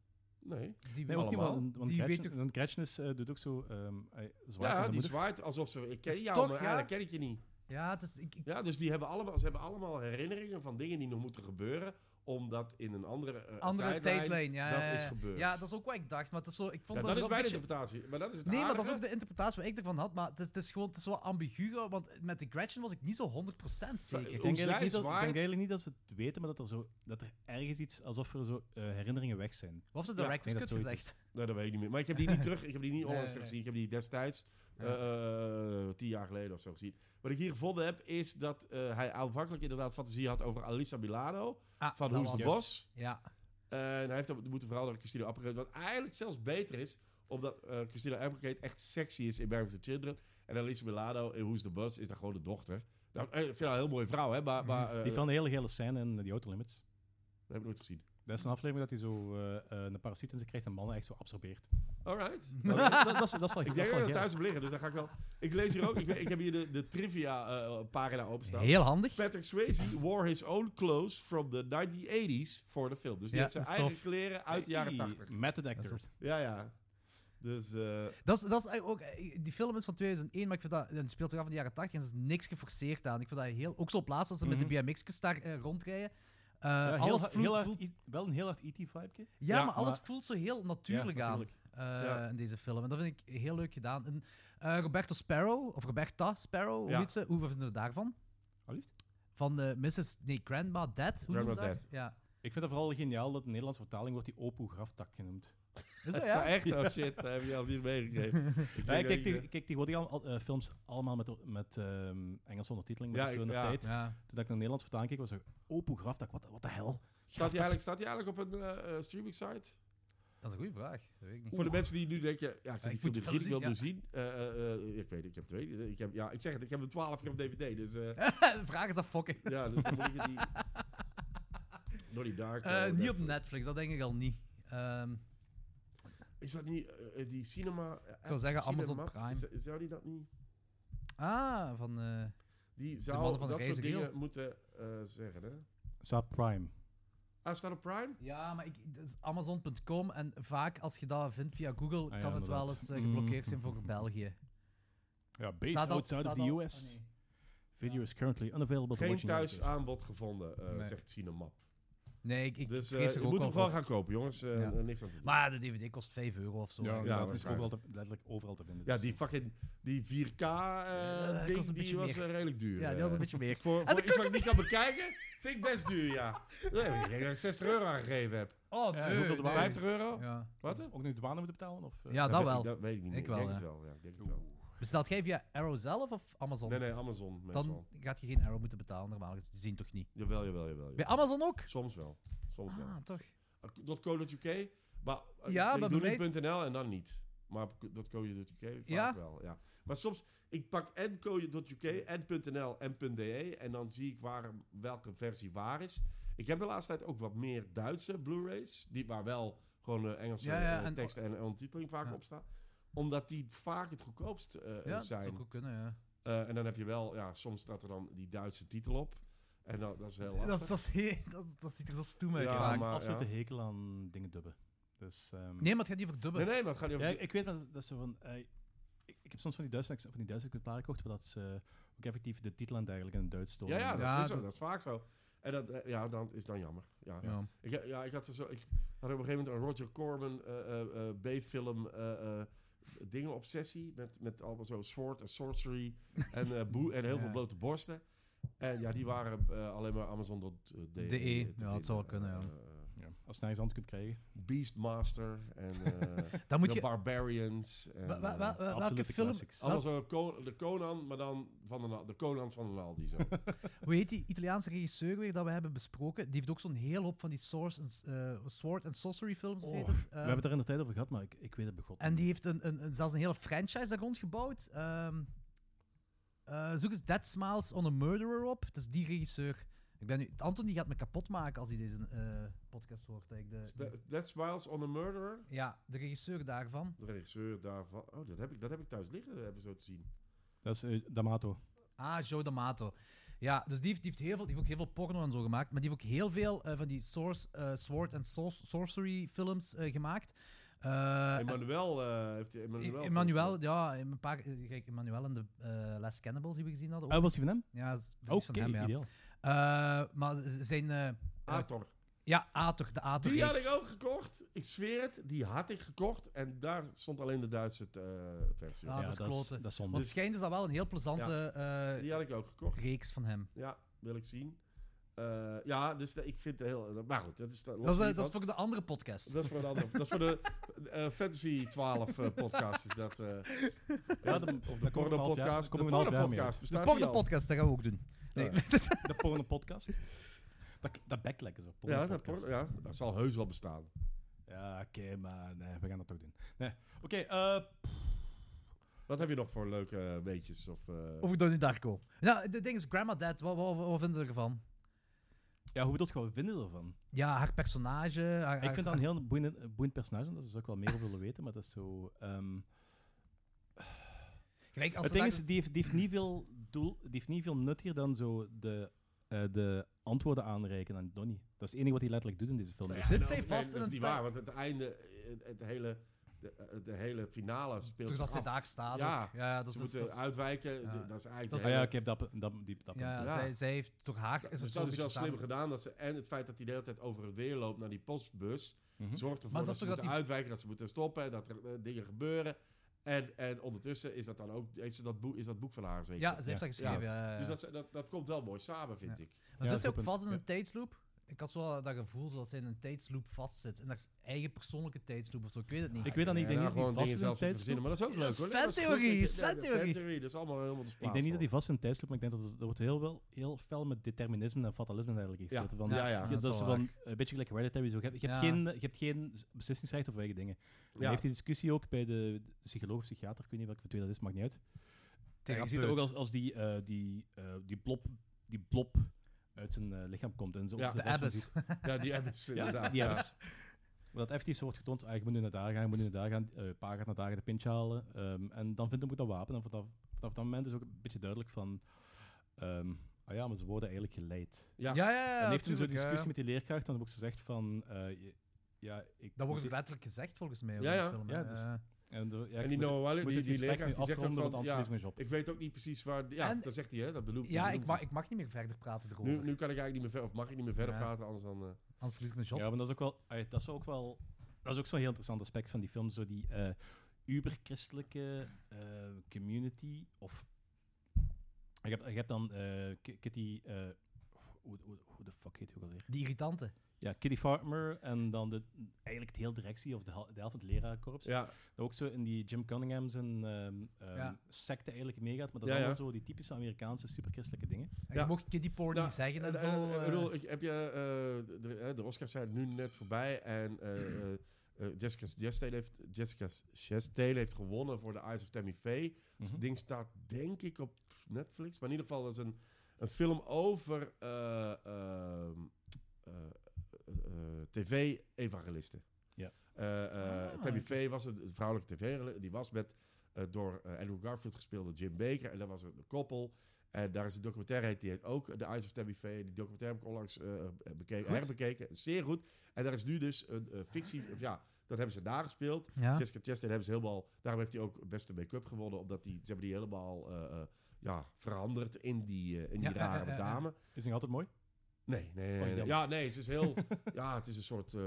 [SPEAKER 2] Nee.
[SPEAKER 4] Die
[SPEAKER 3] Nee,
[SPEAKER 4] weet-
[SPEAKER 3] ook niet, want,
[SPEAKER 2] allemaal.
[SPEAKER 3] want
[SPEAKER 4] Die
[SPEAKER 3] Gretchen,
[SPEAKER 4] weet toch-
[SPEAKER 3] want Gretchen is, eh, doet ook zo ehm hij zwaait naar
[SPEAKER 2] Ja,
[SPEAKER 3] de
[SPEAKER 2] die
[SPEAKER 3] moeder.
[SPEAKER 2] zwaait alsof ze... Ik ken
[SPEAKER 4] Is
[SPEAKER 2] jou,
[SPEAKER 4] toch,
[SPEAKER 2] maar
[SPEAKER 4] ja?
[SPEAKER 2] eigenlijk ken ik je niet.
[SPEAKER 4] Ja, het is, ik, ik-
[SPEAKER 2] Ja, dus die hebben allemaal, ze hebben allemaal herinneringen van dingen die nog moeten gebeuren. Omdat in een andere, eh,
[SPEAKER 4] andere tijdlijn. ja,
[SPEAKER 2] dat
[SPEAKER 4] ja,
[SPEAKER 2] is
[SPEAKER 4] ja.
[SPEAKER 2] gebeurd.
[SPEAKER 4] Ja, dat is ook wat ik dacht. Maar het is zo, ik
[SPEAKER 2] Ja,
[SPEAKER 4] vond
[SPEAKER 2] dat is
[SPEAKER 4] wel
[SPEAKER 2] mijn
[SPEAKER 4] een beetje-
[SPEAKER 2] interpretatie. Maar dat is het
[SPEAKER 4] Nee, maar dat is
[SPEAKER 2] aardige.
[SPEAKER 4] ook de interpretatie waar ik ervan had. Maar het is, het is gewoon het is wel ambigu. Want met de Gretchen was ik niet zo 100% zeker.
[SPEAKER 3] Ik
[SPEAKER 2] Hoe
[SPEAKER 3] denk, eigenlijk
[SPEAKER 2] zij
[SPEAKER 3] niet dat, ik denk
[SPEAKER 2] zwaait-
[SPEAKER 3] eigenlijk niet dat ze het weten, maar dat er, zo, dat er ergens iets alsof er zo eh, herinneringen weg zijn.
[SPEAKER 4] Wat heeft de
[SPEAKER 2] Ja,
[SPEAKER 4] director's
[SPEAKER 3] ik denk
[SPEAKER 4] cut
[SPEAKER 3] dat zoiets
[SPEAKER 4] gezegd?
[SPEAKER 2] Nee, dat weet ik niet meer. Maar ik heb die niet terug. Ik heb die niet onlangs
[SPEAKER 4] Nee,
[SPEAKER 2] terug gezien.
[SPEAKER 4] nee.
[SPEAKER 2] Ik heb die destijds,
[SPEAKER 4] Ja.
[SPEAKER 2] eh, eh, tien jaar geleden of zo gezien. Wat ik hier gevonden heb, is dat eh, hij aanvankelijk inderdaad fantasie had over Alissa Milano.
[SPEAKER 4] Ah,
[SPEAKER 2] van
[SPEAKER 4] dat
[SPEAKER 2] Hoes
[SPEAKER 4] was
[SPEAKER 2] de
[SPEAKER 4] het.
[SPEAKER 2] Bos.
[SPEAKER 4] Ja,
[SPEAKER 2] Eh, en hij heeft dat moeten veranderen naar Christina Appelgate. Wat eigenlijk zelfs beter is, omdat eh, Christina Appelgate echt sexy is in Married with the Children. En Alice Milano in Who's the Bus is daar gewoon de dochter. Nou, eh, ik vind haar een heel mooie vrouw, hè? Maar, maar eh,
[SPEAKER 3] die van de hele gele scène in die Auto Limits.
[SPEAKER 2] dat heb ik nooit gezien.
[SPEAKER 3] Dat is een aflevering dat hij zo eh, eh, een parasiet in zich krijgt en mannen echt zo absorbeert.
[SPEAKER 2] Alright.
[SPEAKER 3] dat, dat, dat is, dat is
[SPEAKER 2] ik
[SPEAKER 3] wel dat
[SPEAKER 2] denk
[SPEAKER 3] is
[SPEAKER 2] dat
[SPEAKER 3] wel
[SPEAKER 2] ik
[SPEAKER 3] geel.
[SPEAKER 2] thuis heb liggen, dus daar ga ik wel. Ik lees hier ook. Ik, ik heb hier de, de trivia eh, pagina openstaan.
[SPEAKER 4] heel handig.
[SPEAKER 2] Patrick Swayze wore his own clothes from the 1980s voor de film. Dus die
[SPEAKER 4] Ja,
[SPEAKER 2] heeft zijn
[SPEAKER 4] dat is
[SPEAKER 2] eigen kleren uit de jaren
[SPEAKER 3] Hey,
[SPEAKER 2] 80.
[SPEAKER 3] Met de actor.
[SPEAKER 4] Dat
[SPEAKER 2] Ja, ja. Dus eh,
[SPEAKER 4] Dat is, dat is eigenlijk ook, eh, die film is van 2001, maar ik vind dat, en speelt zich af in de jaren 80 en er is niks geforceerd aan. Ik vind dat heel, ook zo plaats als ze met de
[SPEAKER 3] Mhm.
[SPEAKER 4] BMX daar eh, rondrijden. Eh,
[SPEAKER 3] Ja, heel
[SPEAKER 4] alles
[SPEAKER 3] hard-
[SPEAKER 4] voelt,
[SPEAKER 3] heel hard
[SPEAKER 4] voelt-
[SPEAKER 3] i- wel een heel hard E E.T.-vibe.
[SPEAKER 4] ja,
[SPEAKER 2] Ja,
[SPEAKER 4] maar alles
[SPEAKER 3] maar-
[SPEAKER 4] voelt zo heel natuurlijk aan eh,
[SPEAKER 2] Ja.
[SPEAKER 4] in deze film. En dat vind ik heel leuk gedaan. En, eh, Roberto Sparrow, of Roberta Sparrow, hoe
[SPEAKER 2] Ja.
[SPEAKER 4] heet ze? Hoe vinden we daarvan?
[SPEAKER 3] Alsjeblieft.
[SPEAKER 4] Van eh, Mrs. Nee, Grandma Dead. Hoe
[SPEAKER 2] Grandma
[SPEAKER 4] noemen ze haar? Ja.
[SPEAKER 3] Ik vind het vooral geniaal dat in de Nederlandse vertaling wordt die Opo Graftak genoemd.
[SPEAKER 4] Is dat
[SPEAKER 2] Is dat
[SPEAKER 4] ja?
[SPEAKER 2] echt, oh shit, dat heb je al niet meegegeven. Ik weet
[SPEAKER 3] Ja, ik
[SPEAKER 2] dat
[SPEAKER 3] kijk, die,
[SPEAKER 2] ik-
[SPEAKER 3] ik kijk tegenwoordig al, al, eh, films allemaal met, met ehm, Engelse ondertiteling. Maar
[SPEAKER 2] Ja,
[SPEAKER 3] dat is zo
[SPEAKER 2] ik-
[SPEAKER 3] in
[SPEAKER 2] ja.
[SPEAKER 3] de tijd.
[SPEAKER 4] Ja.
[SPEAKER 3] Toen ik naar Nederlands vertaling keek, was er Opo Graftak. Wat, wat de hel?
[SPEAKER 2] Staat hij eigenlijk, staat hij eigenlijk op een eh, eh, streaming site?
[SPEAKER 4] Dat is een goede vraag. Dat weet ik niet.
[SPEAKER 2] Voor de mensen die nu denken, ja, ik heb
[SPEAKER 4] ik
[SPEAKER 2] die
[SPEAKER 4] moet
[SPEAKER 2] film niet
[SPEAKER 4] die
[SPEAKER 2] gezien, ik wil hem
[SPEAKER 4] film
[SPEAKER 2] nu zien. Eh, eh, eh, ik weet, ik heb twee. Ik heb, ja, ik zeg het, ik heb hem twaalf keer op DVD, dus eh,
[SPEAKER 4] vraag is dat fokken.
[SPEAKER 2] ja, dus dan moet ik het die...
[SPEAKER 5] Donnie Darko.
[SPEAKER 4] Eh, niet
[SPEAKER 5] dat
[SPEAKER 4] op
[SPEAKER 5] soort-
[SPEAKER 4] Netflix, dat denk ik al niet. Ehm,
[SPEAKER 2] Is dat niet eh, eh, die cinema... Ik
[SPEAKER 4] zou zeggen Amazon Prime.
[SPEAKER 2] zou die dat niet...
[SPEAKER 4] ah, van... eh,
[SPEAKER 2] Die
[SPEAKER 4] mannen
[SPEAKER 2] zou
[SPEAKER 4] van
[SPEAKER 2] dat soort
[SPEAKER 4] Razor Grill.
[SPEAKER 2] dingen moeten eh, zeggen, hè?
[SPEAKER 3] Staat Prime.
[SPEAKER 2] Ah, staat op Prime?
[SPEAKER 4] Ja, maar ik, dat is Amazon.com en vaak als je dat vindt via Google,
[SPEAKER 3] Ah ja,
[SPEAKER 4] kan het wel
[SPEAKER 3] inderdaad.
[SPEAKER 4] eens eh, geblokkeerd zijn voor België.
[SPEAKER 3] Ja, based
[SPEAKER 4] Staat al-
[SPEAKER 3] outside of
[SPEAKER 4] staat
[SPEAKER 3] the
[SPEAKER 4] al-
[SPEAKER 3] US.
[SPEAKER 4] oh, nee.
[SPEAKER 3] Video is currently unavailable for
[SPEAKER 2] Geen
[SPEAKER 3] watching.
[SPEAKER 2] thuis aanbod gevonden, eh,
[SPEAKER 4] Nee.
[SPEAKER 2] zegt Cinemap.
[SPEAKER 4] Nee, ik, ik
[SPEAKER 2] Dus eh,
[SPEAKER 4] vrees er
[SPEAKER 2] je
[SPEAKER 4] ook
[SPEAKER 2] moet
[SPEAKER 4] wel
[SPEAKER 2] hem wel
[SPEAKER 4] voor.
[SPEAKER 2] gaan kopen, jongens. eh,
[SPEAKER 4] Ja.
[SPEAKER 2] eh, niks aan te doen.
[SPEAKER 4] Maar de DVD kost 5 euro of zo.
[SPEAKER 3] Ja,
[SPEAKER 2] ja,
[SPEAKER 4] Dus
[SPEAKER 3] dat is
[SPEAKER 2] waarschijnlijk.
[SPEAKER 3] overal te, letterlijk overal te vinden.
[SPEAKER 2] Ja,
[SPEAKER 3] dus.
[SPEAKER 2] die fucking die 4K eh,
[SPEAKER 4] dat
[SPEAKER 2] ding,
[SPEAKER 4] kost een
[SPEAKER 2] die
[SPEAKER 4] beetje
[SPEAKER 2] was
[SPEAKER 4] meer.
[SPEAKER 2] eh, redelijk duur.
[SPEAKER 4] ja, die
[SPEAKER 2] eh.
[SPEAKER 4] was een beetje meer. Ah,
[SPEAKER 2] Voor,
[SPEAKER 4] dan
[SPEAKER 2] voor iets wat ik niet kan bekijken, vind ik best duur, ja. Nee, maar ik denk dat ik 60 euro aangegeven heb.
[SPEAKER 4] Oh,
[SPEAKER 3] Ja,
[SPEAKER 4] nee,
[SPEAKER 3] hoeveel de
[SPEAKER 4] nee.
[SPEAKER 3] waar-
[SPEAKER 2] 50 euro?
[SPEAKER 4] Ja.
[SPEAKER 2] Wat? hè?
[SPEAKER 3] Dus Ook nu douane moeten betalen? Of, eh?
[SPEAKER 4] Ja, dat
[SPEAKER 2] weet-
[SPEAKER 4] wel.
[SPEAKER 2] Dat weet ik niet
[SPEAKER 4] Ik
[SPEAKER 2] meer. Ik,
[SPEAKER 4] wel,
[SPEAKER 2] denk
[SPEAKER 4] ja.
[SPEAKER 2] het wel. Ja, ik denk het wel.
[SPEAKER 4] Bestelt jij via Arrow zelf of Amazon?
[SPEAKER 2] Nee, nee, Amazon meestal.
[SPEAKER 4] Dan gaat je geen Arrow moeten betalen, normaal gezien. Die zien toch niet.
[SPEAKER 2] Jawel, jawel, jawel.
[SPEAKER 4] Bij
[SPEAKER 2] jawel.
[SPEAKER 4] Amazon ook?
[SPEAKER 2] Soms wel. Soms wel.
[SPEAKER 4] Ah, toch.
[SPEAKER 2] Dat .co.uk, maar eh,
[SPEAKER 4] Ja,
[SPEAKER 2] ik
[SPEAKER 4] maar
[SPEAKER 2] doe
[SPEAKER 4] bij
[SPEAKER 2] niet .nl en dan niet. Maar op dat .co.uk vaak
[SPEAKER 4] Ja?
[SPEAKER 2] wel, ja. Maar soms, ik pak en .co.uk en .nl en .de en dan zie ik waar, welke versie waar is. Ik heb de laatste tijd ook wat meer Duitse Blu-rays, die waar wel gewoon eh, Engelse
[SPEAKER 4] Ja, ja,
[SPEAKER 2] eh,
[SPEAKER 4] en-
[SPEAKER 2] teksten en ondertiteling vaak
[SPEAKER 4] Ja.
[SPEAKER 2] op staan. Omdat die vaak het goedkoopst eh,
[SPEAKER 4] Ja, dat
[SPEAKER 2] zijn.
[SPEAKER 4] zou goed kunnen, ja.
[SPEAKER 2] Eh, en dan heb je wel, ja, soms staat er dan die Duitse titel op. En dat, dat is heel lastig.
[SPEAKER 4] Dat, is- dat, is he- dat, is- dat ziet er zo stoem uit.
[SPEAKER 2] Ja,
[SPEAKER 3] ik heb een
[SPEAKER 2] maar,
[SPEAKER 3] absolute
[SPEAKER 2] ja.
[SPEAKER 3] hekel aan dingen dubben. Dus, ehm,
[SPEAKER 4] Nee, maar het gaat niet over dubben.
[SPEAKER 2] Nee, nee, maar het gaat niet
[SPEAKER 3] ja,
[SPEAKER 2] over...
[SPEAKER 3] ik, ik weet maar dat, dat ze van... eh, ik, ik heb soms van die Duitse accent- van die Duitse exemplaren gekocht, waar dat ze ook effectief de titel en dergelijke in het Duits stonden.
[SPEAKER 2] Ja, ja, dat,
[SPEAKER 4] Ja,
[SPEAKER 2] is zo,
[SPEAKER 4] dat-
[SPEAKER 2] dat is vaak zo. En dat eh, ja, dan, is dan jammer. Ja.
[SPEAKER 4] Ja.
[SPEAKER 2] Ik, eh, ja, ik had er zo, ik had op een gegeven moment een Roger Corman eh, eh, eh, B-film eh, eh, dingen obsessie met, met allemaal zo sword en sorcery en, eh, boe- en heel
[SPEAKER 4] Ja.
[SPEAKER 2] veel blote borsten. En ja, die waren eh, alleen maar Amazon.de.
[SPEAKER 4] E, ja, dat zou wel kunnen, ja.
[SPEAKER 3] Ja, Als je het nergens anders kunt krijgen.
[SPEAKER 2] Eh, Beastmaster en eh,
[SPEAKER 4] Dan moet
[SPEAKER 2] The
[SPEAKER 4] je...
[SPEAKER 2] Barbarians. En,
[SPEAKER 4] Wa- wa- wa-
[SPEAKER 2] eh,
[SPEAKER 4] wa- welke
[SPEAKER 3] Absolute
[SPEAKER 4] film... Oh, eh.
[SPEAKER 3] classics.
[SPEAKER 2] allemaal zo Con- de Conan, maar dan van de, Na- de Conans van de Aldi. Zo.
[SPEAKER 4] Hoe heet die Italiaanse regisseur weer dat we hebben besproken? Die heeft ook zo'n hele hoop van die source and, eh, Sword and Sorcery films. of heet het?
[SPEAKER 3] Oh, we
[SPEAKER 4] Ehm,
[SPEAKER 3] hebben het er in de tijd over gehad, maar ik, ik weet het begot.
[SPEAKER 4] En die heeft een, een, een- zelfs een hele franchise daar rondgebouwd. Ehm eh, zoek eens Dead Smiles on a Murderer op. Het is die regisseur. Ik ben nu, Anton die gaat me kapot maken als hij deze eh, podcast hoort. denk ik. De,
[SPEAKER 2] That- That Smiles on a Murderer.
[SPEAKER 4] ja, de regisseur daarvan.
[SPEAKER 2] De regisseur daarvan. Oh, dat heb ik, dat heb ik thuis liggen, hebben zo te zien.
[SPEAKER 3] Dat is eh, D'Amato.
[SPEAKER 4] Ah, Joe D'Amato. Ja, dus die heeft, die, heeft heel veel, die heeft ook heel veel porno en zo gemaakt. Maar die heeft ook heel veel eh, van die source, eh, Sword and Sor- Sorcery films eh, gemaakt. Eh,
[SPEAKER 2] Emmanuel eh, heeft hij Emmanuel.
[SPEAKER 4] Emmanuel,
[SPEAKER 2] volgens
[SPEAKER 4] ja, een paar, eh, kijk, Emmanuel en de eh Last Cannibals die we gezien hadden.
[SPEAKER 3] Ah,
[SPEAKER 4] Ook.
[SPEAKER 3] was die van hem?
[SPEAKER 4] Ja, dat is dat is
[SPEAKER 3] Oké,
[SPEAKER 4] van hem, ja.
[SPEAKER 3] ideaal.
[SPEAKER 4] Eh, maar z- zijn, eh,
[SPEAKER 2] mij. Hathor.
[SPEAKER 4] ja, Ator, de Ator.
[SPEAKER 2] Die had ik ook gekocht. Ik zweer het, die had ik gekocht. En daar stond alleen de Duitse eh, versie. op.
[SPEAKER 4] Ah, dat is kloten.
[SPEAKER 3] Dat is zonde.
[SPEAKER 2] Dus,
[SPEAKER 4] Want het schijnt is dat wel een heel plezante eh,
[SPEAKER 2] Die had ik ook gekocht.
[SPEAKER 4] reeks van hem.
[SPEAKER 2] Ja, wil ik zien. Eh, ja, dus de- ik vind het heel. Maar goed, dat is. de-
[SPEAKER 4] Dat is, eh,
[SPEAKER 2] hiervan.
[SPEAKER 4] dat is voor de andere podcast.
[SPEAKER 2] Dat is voor een andere. dat is voor de eh, Fantasy 12 eh, podcast. Is dat, eh.
[SPEAKER 3] Ja, dan-
[SPEAKER 2] of de
[SPEAKER 3] dan kom ik een
[SPEAKER 2] porno
[SPEAKER 3] half jaar-
[SPEAKER 2] podcast.
[SPEAKER 3] dan kom
[SPEAKER 2] De
[SPEAKER 3] ik een half
[SPEAKER 2] porno
[SPEAKER 3] jaar mee.
[SPEAKER 2] podcast
[SPEAKER 4] De
[SPEAKER 2] bestaat.
[SPEAKER 4] volgende
[SPEAKER 2] die al?
[SPEAKER 4] podcast, dat gaan we ook doen. Nee.
[SPEAKER 2] Ja.
[SPEAKER 3] De porno podcast. Dat, dat backlek is op.
[SPEAKER 2] Ja, dat, porno- ja, dat zal heus wel bestaan.
[SPEAKER 3] Ja, oké, maar nee, we gaan dat toch doen. Nee. Oké, eh,
[SPEAKER 2] Wat heb je nog voor leuke eh, weetjes? Of, eh,
[SPEAKER 4] Of ik Donnie Darko. Nou, het ding is, Grandma Dead, wat, wat, wat, wat vinden we ervan?
[SPEAKER 3] ja, hoe bedoelt je, wat vinden we ervan?
[SPEAKER 4] Ja, haar personage. haar-
[SPEAKER 3] ik
[SPEAKER 4] haar-
[SPEAKER 3] vind dat een heel boeiend, eh, boeiend personage, daar zou ik wel meer over willen weten, maar dat is zo... ehm,
[SPEAKER 4] Gelijk
[SPEAKER 3] het
[SPEAKER 4] als
[SPEAKER 3] ding
[SPEAKER 4] ze daar- Mhm.
[SPEAKER 3] is, die heeft, die heeft niet veel doel, die heeft niet veel nut hier dan zo de, eh, de antwoorden aanreiken aan Donnie. Dat is het enige wat hij letterlijk doet in deze film.
[SPEAKER 2] nou ja,
[SPEAKER 4] Zit
[SPEAKER 2] nou,
[SPEAKER 4] zij vast in
[SPEAKER 2] dat is
[SPEAKER 4] een
[SPEAKER 2] niet
[SPEAKER 4] tuin?
[SPEAKER 2] waar, want het einde, het, het hele, de, de hele finale speelt
[SPEAKER 4] Doordat
[SPEAKER 2] zich
[SPEAKER 4] zij
[SPEAKER 2] af.
[SPEAKER 4] daar staat.
[SPEAKER 2] Ja.
[SPEAKER 4] ook. ja, ja, dat
[SPEAKER 2] Ze
[SPEAKER 4] is- dat
[SPEAKER 2] moeten
[SPEAKER 4] is-
[SPEAKER 2] uitwijken.
[SPEAKER 4] ja.
[SPEAKER 2] de- Dat is eigenlijk
[SPEAKER 4] Dat
[SPEAKER 2] de
[SPEAKER 3] Ah ja,
[SPEAKER 2] hele-
[SPEAKER 3] ik heb dat, dat, die, dat punt.
[SPEAKER 4] ja,
[SPEAKER 2] Ja.
[SPEAKER 4] Zij, zij heeft door haar is
[SPEAKER 2] dus
[SPEAKER 4] het zo
[SPEAKER 2] dat
[SPEAKER 4] een
[SPEAKER 2] is
[SPEAKER 4] beetje
[SPEAKER 2] wel slim
[SPEAKER 4] samen-
[SPEAKER 2] gedaan. Dat ze, en het feit dat hij de hele tijd over het weer loopt naar die postbus...
[SPEAKER 3] Mhm.
[SPEAKER 2] zorgt ervoor
[SPEAKER 4] Maar
[SPEAKER 2] dat,
[SPEAKER 4] Hm? dat is
[SPEAKER 2] ze
[SPEAKER 4] toch
[SPEAKER 2] moeten
[SPEAKER 4] dat die-
[SPEAKER 2] uitwijken, dat ze moeten stoppen... dat er eh, dingen gebeuren. En, en ondertussen is dat dan ook... Heeft ze dat boek, is dat boek van haar zeker?
[SPEAKER 4] Ja, ze heeft
[SPEAKER 3] Ja.
[SPEAKER 4] dat geschreven. Ja, ja, ja.
[SPEAKER 2] Dus dat, ze- dat, dat komt wel mooi samen, vind
[SPEAKER 4] Ja.
[SPEAKER 2] ik.
[SPEAKER 4] Dan
[SPEAKER 3] Ja,
[SPEAKER 4] zit
[SPEAKER 3] goed
[SPEAKER 4] ze ook
[SPEAKER 3] punt.
[SPEAKER 4] vast in
[SPEAKER 3] Ja.
[SPEAKER 4] een tijdsloop. Ik had zo dat gevoel zoals zij in een tijdsloop vastzit. In haar eigen persoonlijke tijdsloop of zo. Ik weet het niet.
[SPEAKER 3] Ik weet dat niet, ik
[SPEAKER 2] En
[SPEAKER 3] denk
[SPEAKER 2] daar
[SPEAKER 3] niet dat
[SPEAKER 2] gewoon
[SPEAKER 3] hij vast
[SPEAKER 2] dingen
[SPEAKER 3] is in
[SPEAKER 2] zelf
[SPEAKER 3] een
[SPEAKER 2] te verzinnen.
[SPEAKER 3] tijdsloop.
[SPEAKER 2] Maar dat is ook
[SPEAKER 4] Ja,
[SPEAKER 2] leuk,
[SPEAKER 4] dat is
[SPEAKER 2] hoor. Nee, dat goed dat
[SPEAKER 4] fantheorie, is
[SPEAKER 2] je- ja,
[SPEAKER 4] fantheorie.
[SPEAKER 2] fantheorie, dat is allemaal helemaal de
[SPEAKER 3] Ik denk niet dat hij vast in een tijdsloop, maar ik denk dat het- er wordt heel, wel, heel fel met determinisme en fatalisme eigenlijk ingesloten. Van,
[SPEAKER 2] Ja, ja.
[SPEAKER 3] Ja, dat is
[SPEAKER 4] wel
[SPEAKER 3] van
[SPEAKER 4] waar.
[SPEAKER 3] een beetje gelijk Hereditary. Zo. Je, hebt, je, hebt
[SPEAKER 4] Ja.
[SPEAKER 3] geen, je hebt geen z- beslissingsrecht over eigen dingen. En
[SPEAKER 2] Ja.
[SPEAKER 3] heeft die discussie ook bij de de psycholoog of psychiater, ik weet niet welke van twee dat is, maakt niet uit. En je ziet
[SPEAKER 4] Therapeut.
[SPEAKER 3] ook als, als die, eh, die, eh, die blob, die blob eh, uit zijn eh, lichaam komt. En zo
[SPEAKER 2] Ja.
[SPEAKER 3] is
[SPEAKER 4] De
[SPEAKER 3] rest van
[SPEAKER 4] Abbas.
[SPEAKER 2] Ja, die hebben ze
[SPEAKER 3] Ja,
[SPEAKER 2] inderdaad.
[SPEAKER 3] die hebben ze. Maar Dat effectief zo wordt getoond, ah, je moet nu naar daar gaan, je moet nu naar daar gaan, eh pa gaat naar daar de pinch halen. ehm, en dan vindt hem ook dat wapen. En vanaf, vanaf dat moment is ook een beetje duidelijk van, ehm, ah ja, maar ze worden eigenlijk geleid.
[SPEAKER 2] Ja.
[SPEAKER 4] Ja, ja, ja.
[SPEAKER 3] en heeft hij zo'n
[SPEAKER 4] tuurlijk, ja,
[SPEAKER 3] discussie
[SPEAKER 4] ja.
[SPEAKER 3] met die leerkracht, dan heb ik ze gezegd van, eh, je- ja, ik...
[SPEAKER 4] Dat wordt
[SPEAKER 3] moet-
[SPEAKER 4] letterlijk gezegd volgens
[SPEAKER 2] Ja,
[SPEAKER 4] mij. in de
[SPEAKER 2] ja.
[SPEAKER 4] film,
[SPEAKER 3] Ja,
[SPEAKER 4] hè.
[SPEAKER 3] dus-
[SPEAKER 4] Eh,
[SPEAKER 3] en, de- ja, ik
[SPEAKER 2] En die
[SPEAKER 3] moet-
[SPEAKER 2] Noah Wiley,
[SPEAKER 3] moet
[SPEAKER 2] die,
[SPEAKER 3] het
[SPEAKER 2] die
[SPEAKER 3] gesprek nu
[SPEAKER 2] leerkracht, die zegt ook
[SPEAKER 3] afronden, want
[SPEAKER 2] van...
[SPEAKER 3] anders
[SPEAKER 2] Ja,
[SPEAKER 3] is mijn job.
[SPEAKER 2] ik weet ook niet precies waar... Ja,
[SPEAKER 4] En-
[SPEAKER 2] dat zegt hij, hè? Dat bedoelt
[SPEAKER 4] ja, ik,
[SPEAKER 2] bedoelt
[SPEAKER 4] mag,
[SPEAKER 2] hij.
[SPEAKER 4] ik mag niet meer verder praten erover.
[SPEAKER 2] Nu, nu kan ik eigenlijk niet meer verder... Of mag ik niet meer verder
[SPEAKER 4] Ja.
[SPEAKER 2] praten, anders dan... eh,
[SPEAKER 4] Anders verlies ik mijn job.
[SPEAKER 3] Ja, maar dat is ook wel, ah, dat is wel ook wel, dat is ook zo'n heel interessant aspect van die film, zo die eh uberchristelijke eh, community of je hebt, je hebt dan eh, Ki- Kitty, eh, hoe, hoe, hoe de fuck heet hij ook alweer?
[SPEAKER 4] Die irritante.
[SPEAKER 3] Ja, Kitty Farmer en dan de, eigenlijk de hele directie of de, hel- de helft van het lerarenkorps.
[SPEAKER 2] ja,
[SPEAKER 3] Dat ook zo in die Jim Cunningham's en ehm, ehm,
[SPEAKER 4] Ja.
[SPEAKER 3] secte eigenlijk meegaat, maar dat
[SPEAKER 2] Ja,
[SPEAKER 3] zijn
[SPEAKER 2] ja.
[SPEAKER 3] allemaal zo die typische Amerikaanse superchristelijke dingen.
[SPEAKER 4] En
[SPEAKER 2] Ja.
[SPEAKER 4] Je mocht Kitty Poor
[SPEAKER 2] Nou,
[SPEAKER 4] niet zeggen en,
[SPEAKER 2] En,
[SPEAKER 4] zo.
[SPEAKER 2] en, ik
[SPEAKER 4] eh.
[SPEAKER 2] bedoel, ik- heb je, eh, de, eh, de Oscars zijn nu net voorbij en eh, eh, eh, Jessica, Chastain heeft, Jessica Chastain heeft gewonnen voor The Eyes of Tammy Faye.
[SPEAKER 3] Mhm.
[SPEAKER 2] Het ding staat denk ik op Netflix, maar in ieder geval dat is een, een film over eh, ehm, eh, eh, eh, tv-evangelisten.
[SPEAKER 3] Ja.
[SPEAKER 2] Eh, eh,
[SPEAKER 4] Ah,
[SPEAKER 2] Tammy
[SPEAKER 4] oké.
[SPEAKER 2] Faye was een vrouwelijke tv die was met eh, door eh, Andrew Garfield gespeelde Jim Baker en dat was een koppel. En daar is een documentaire, heet, die heet ook The Eyes of Tammy Faye. Die documentaire heb ik onlangs eh, bekeken,
[SPEAKER 3] Goed.
[SPEAKER 2] herbekeken. Zeer goed. En daar is nu dus een eh, fictie... Of ja, dat hebben ze daar gespeeld.
[SPEAKER 4] ja.
[SPEAKER 2] Jessica Chastain hebben ze helemaal... Daarom heeft hij ook beste make-up gewonnen. Omdat die, ze hebben die helemaal eh, eh, ja, veranderd in die, eh, in die
[SPEAKER 4] Ja, ja,
[SPEAKER 2] rare
[SPEAKER 4] ja, ja, ja.
[SPEAKER 2] dame.
[SPEAKER 3] Is nog altijd mooi?
[SPEAKER 2] Nee, nee, nee,
[SPEAKER 3] Oh,
[SPEAKER 2] nee.
[SPEAKER 3] jammer.
[SPEAKER 2] Ja, nee, ze is heel... ja, het is een soort, eh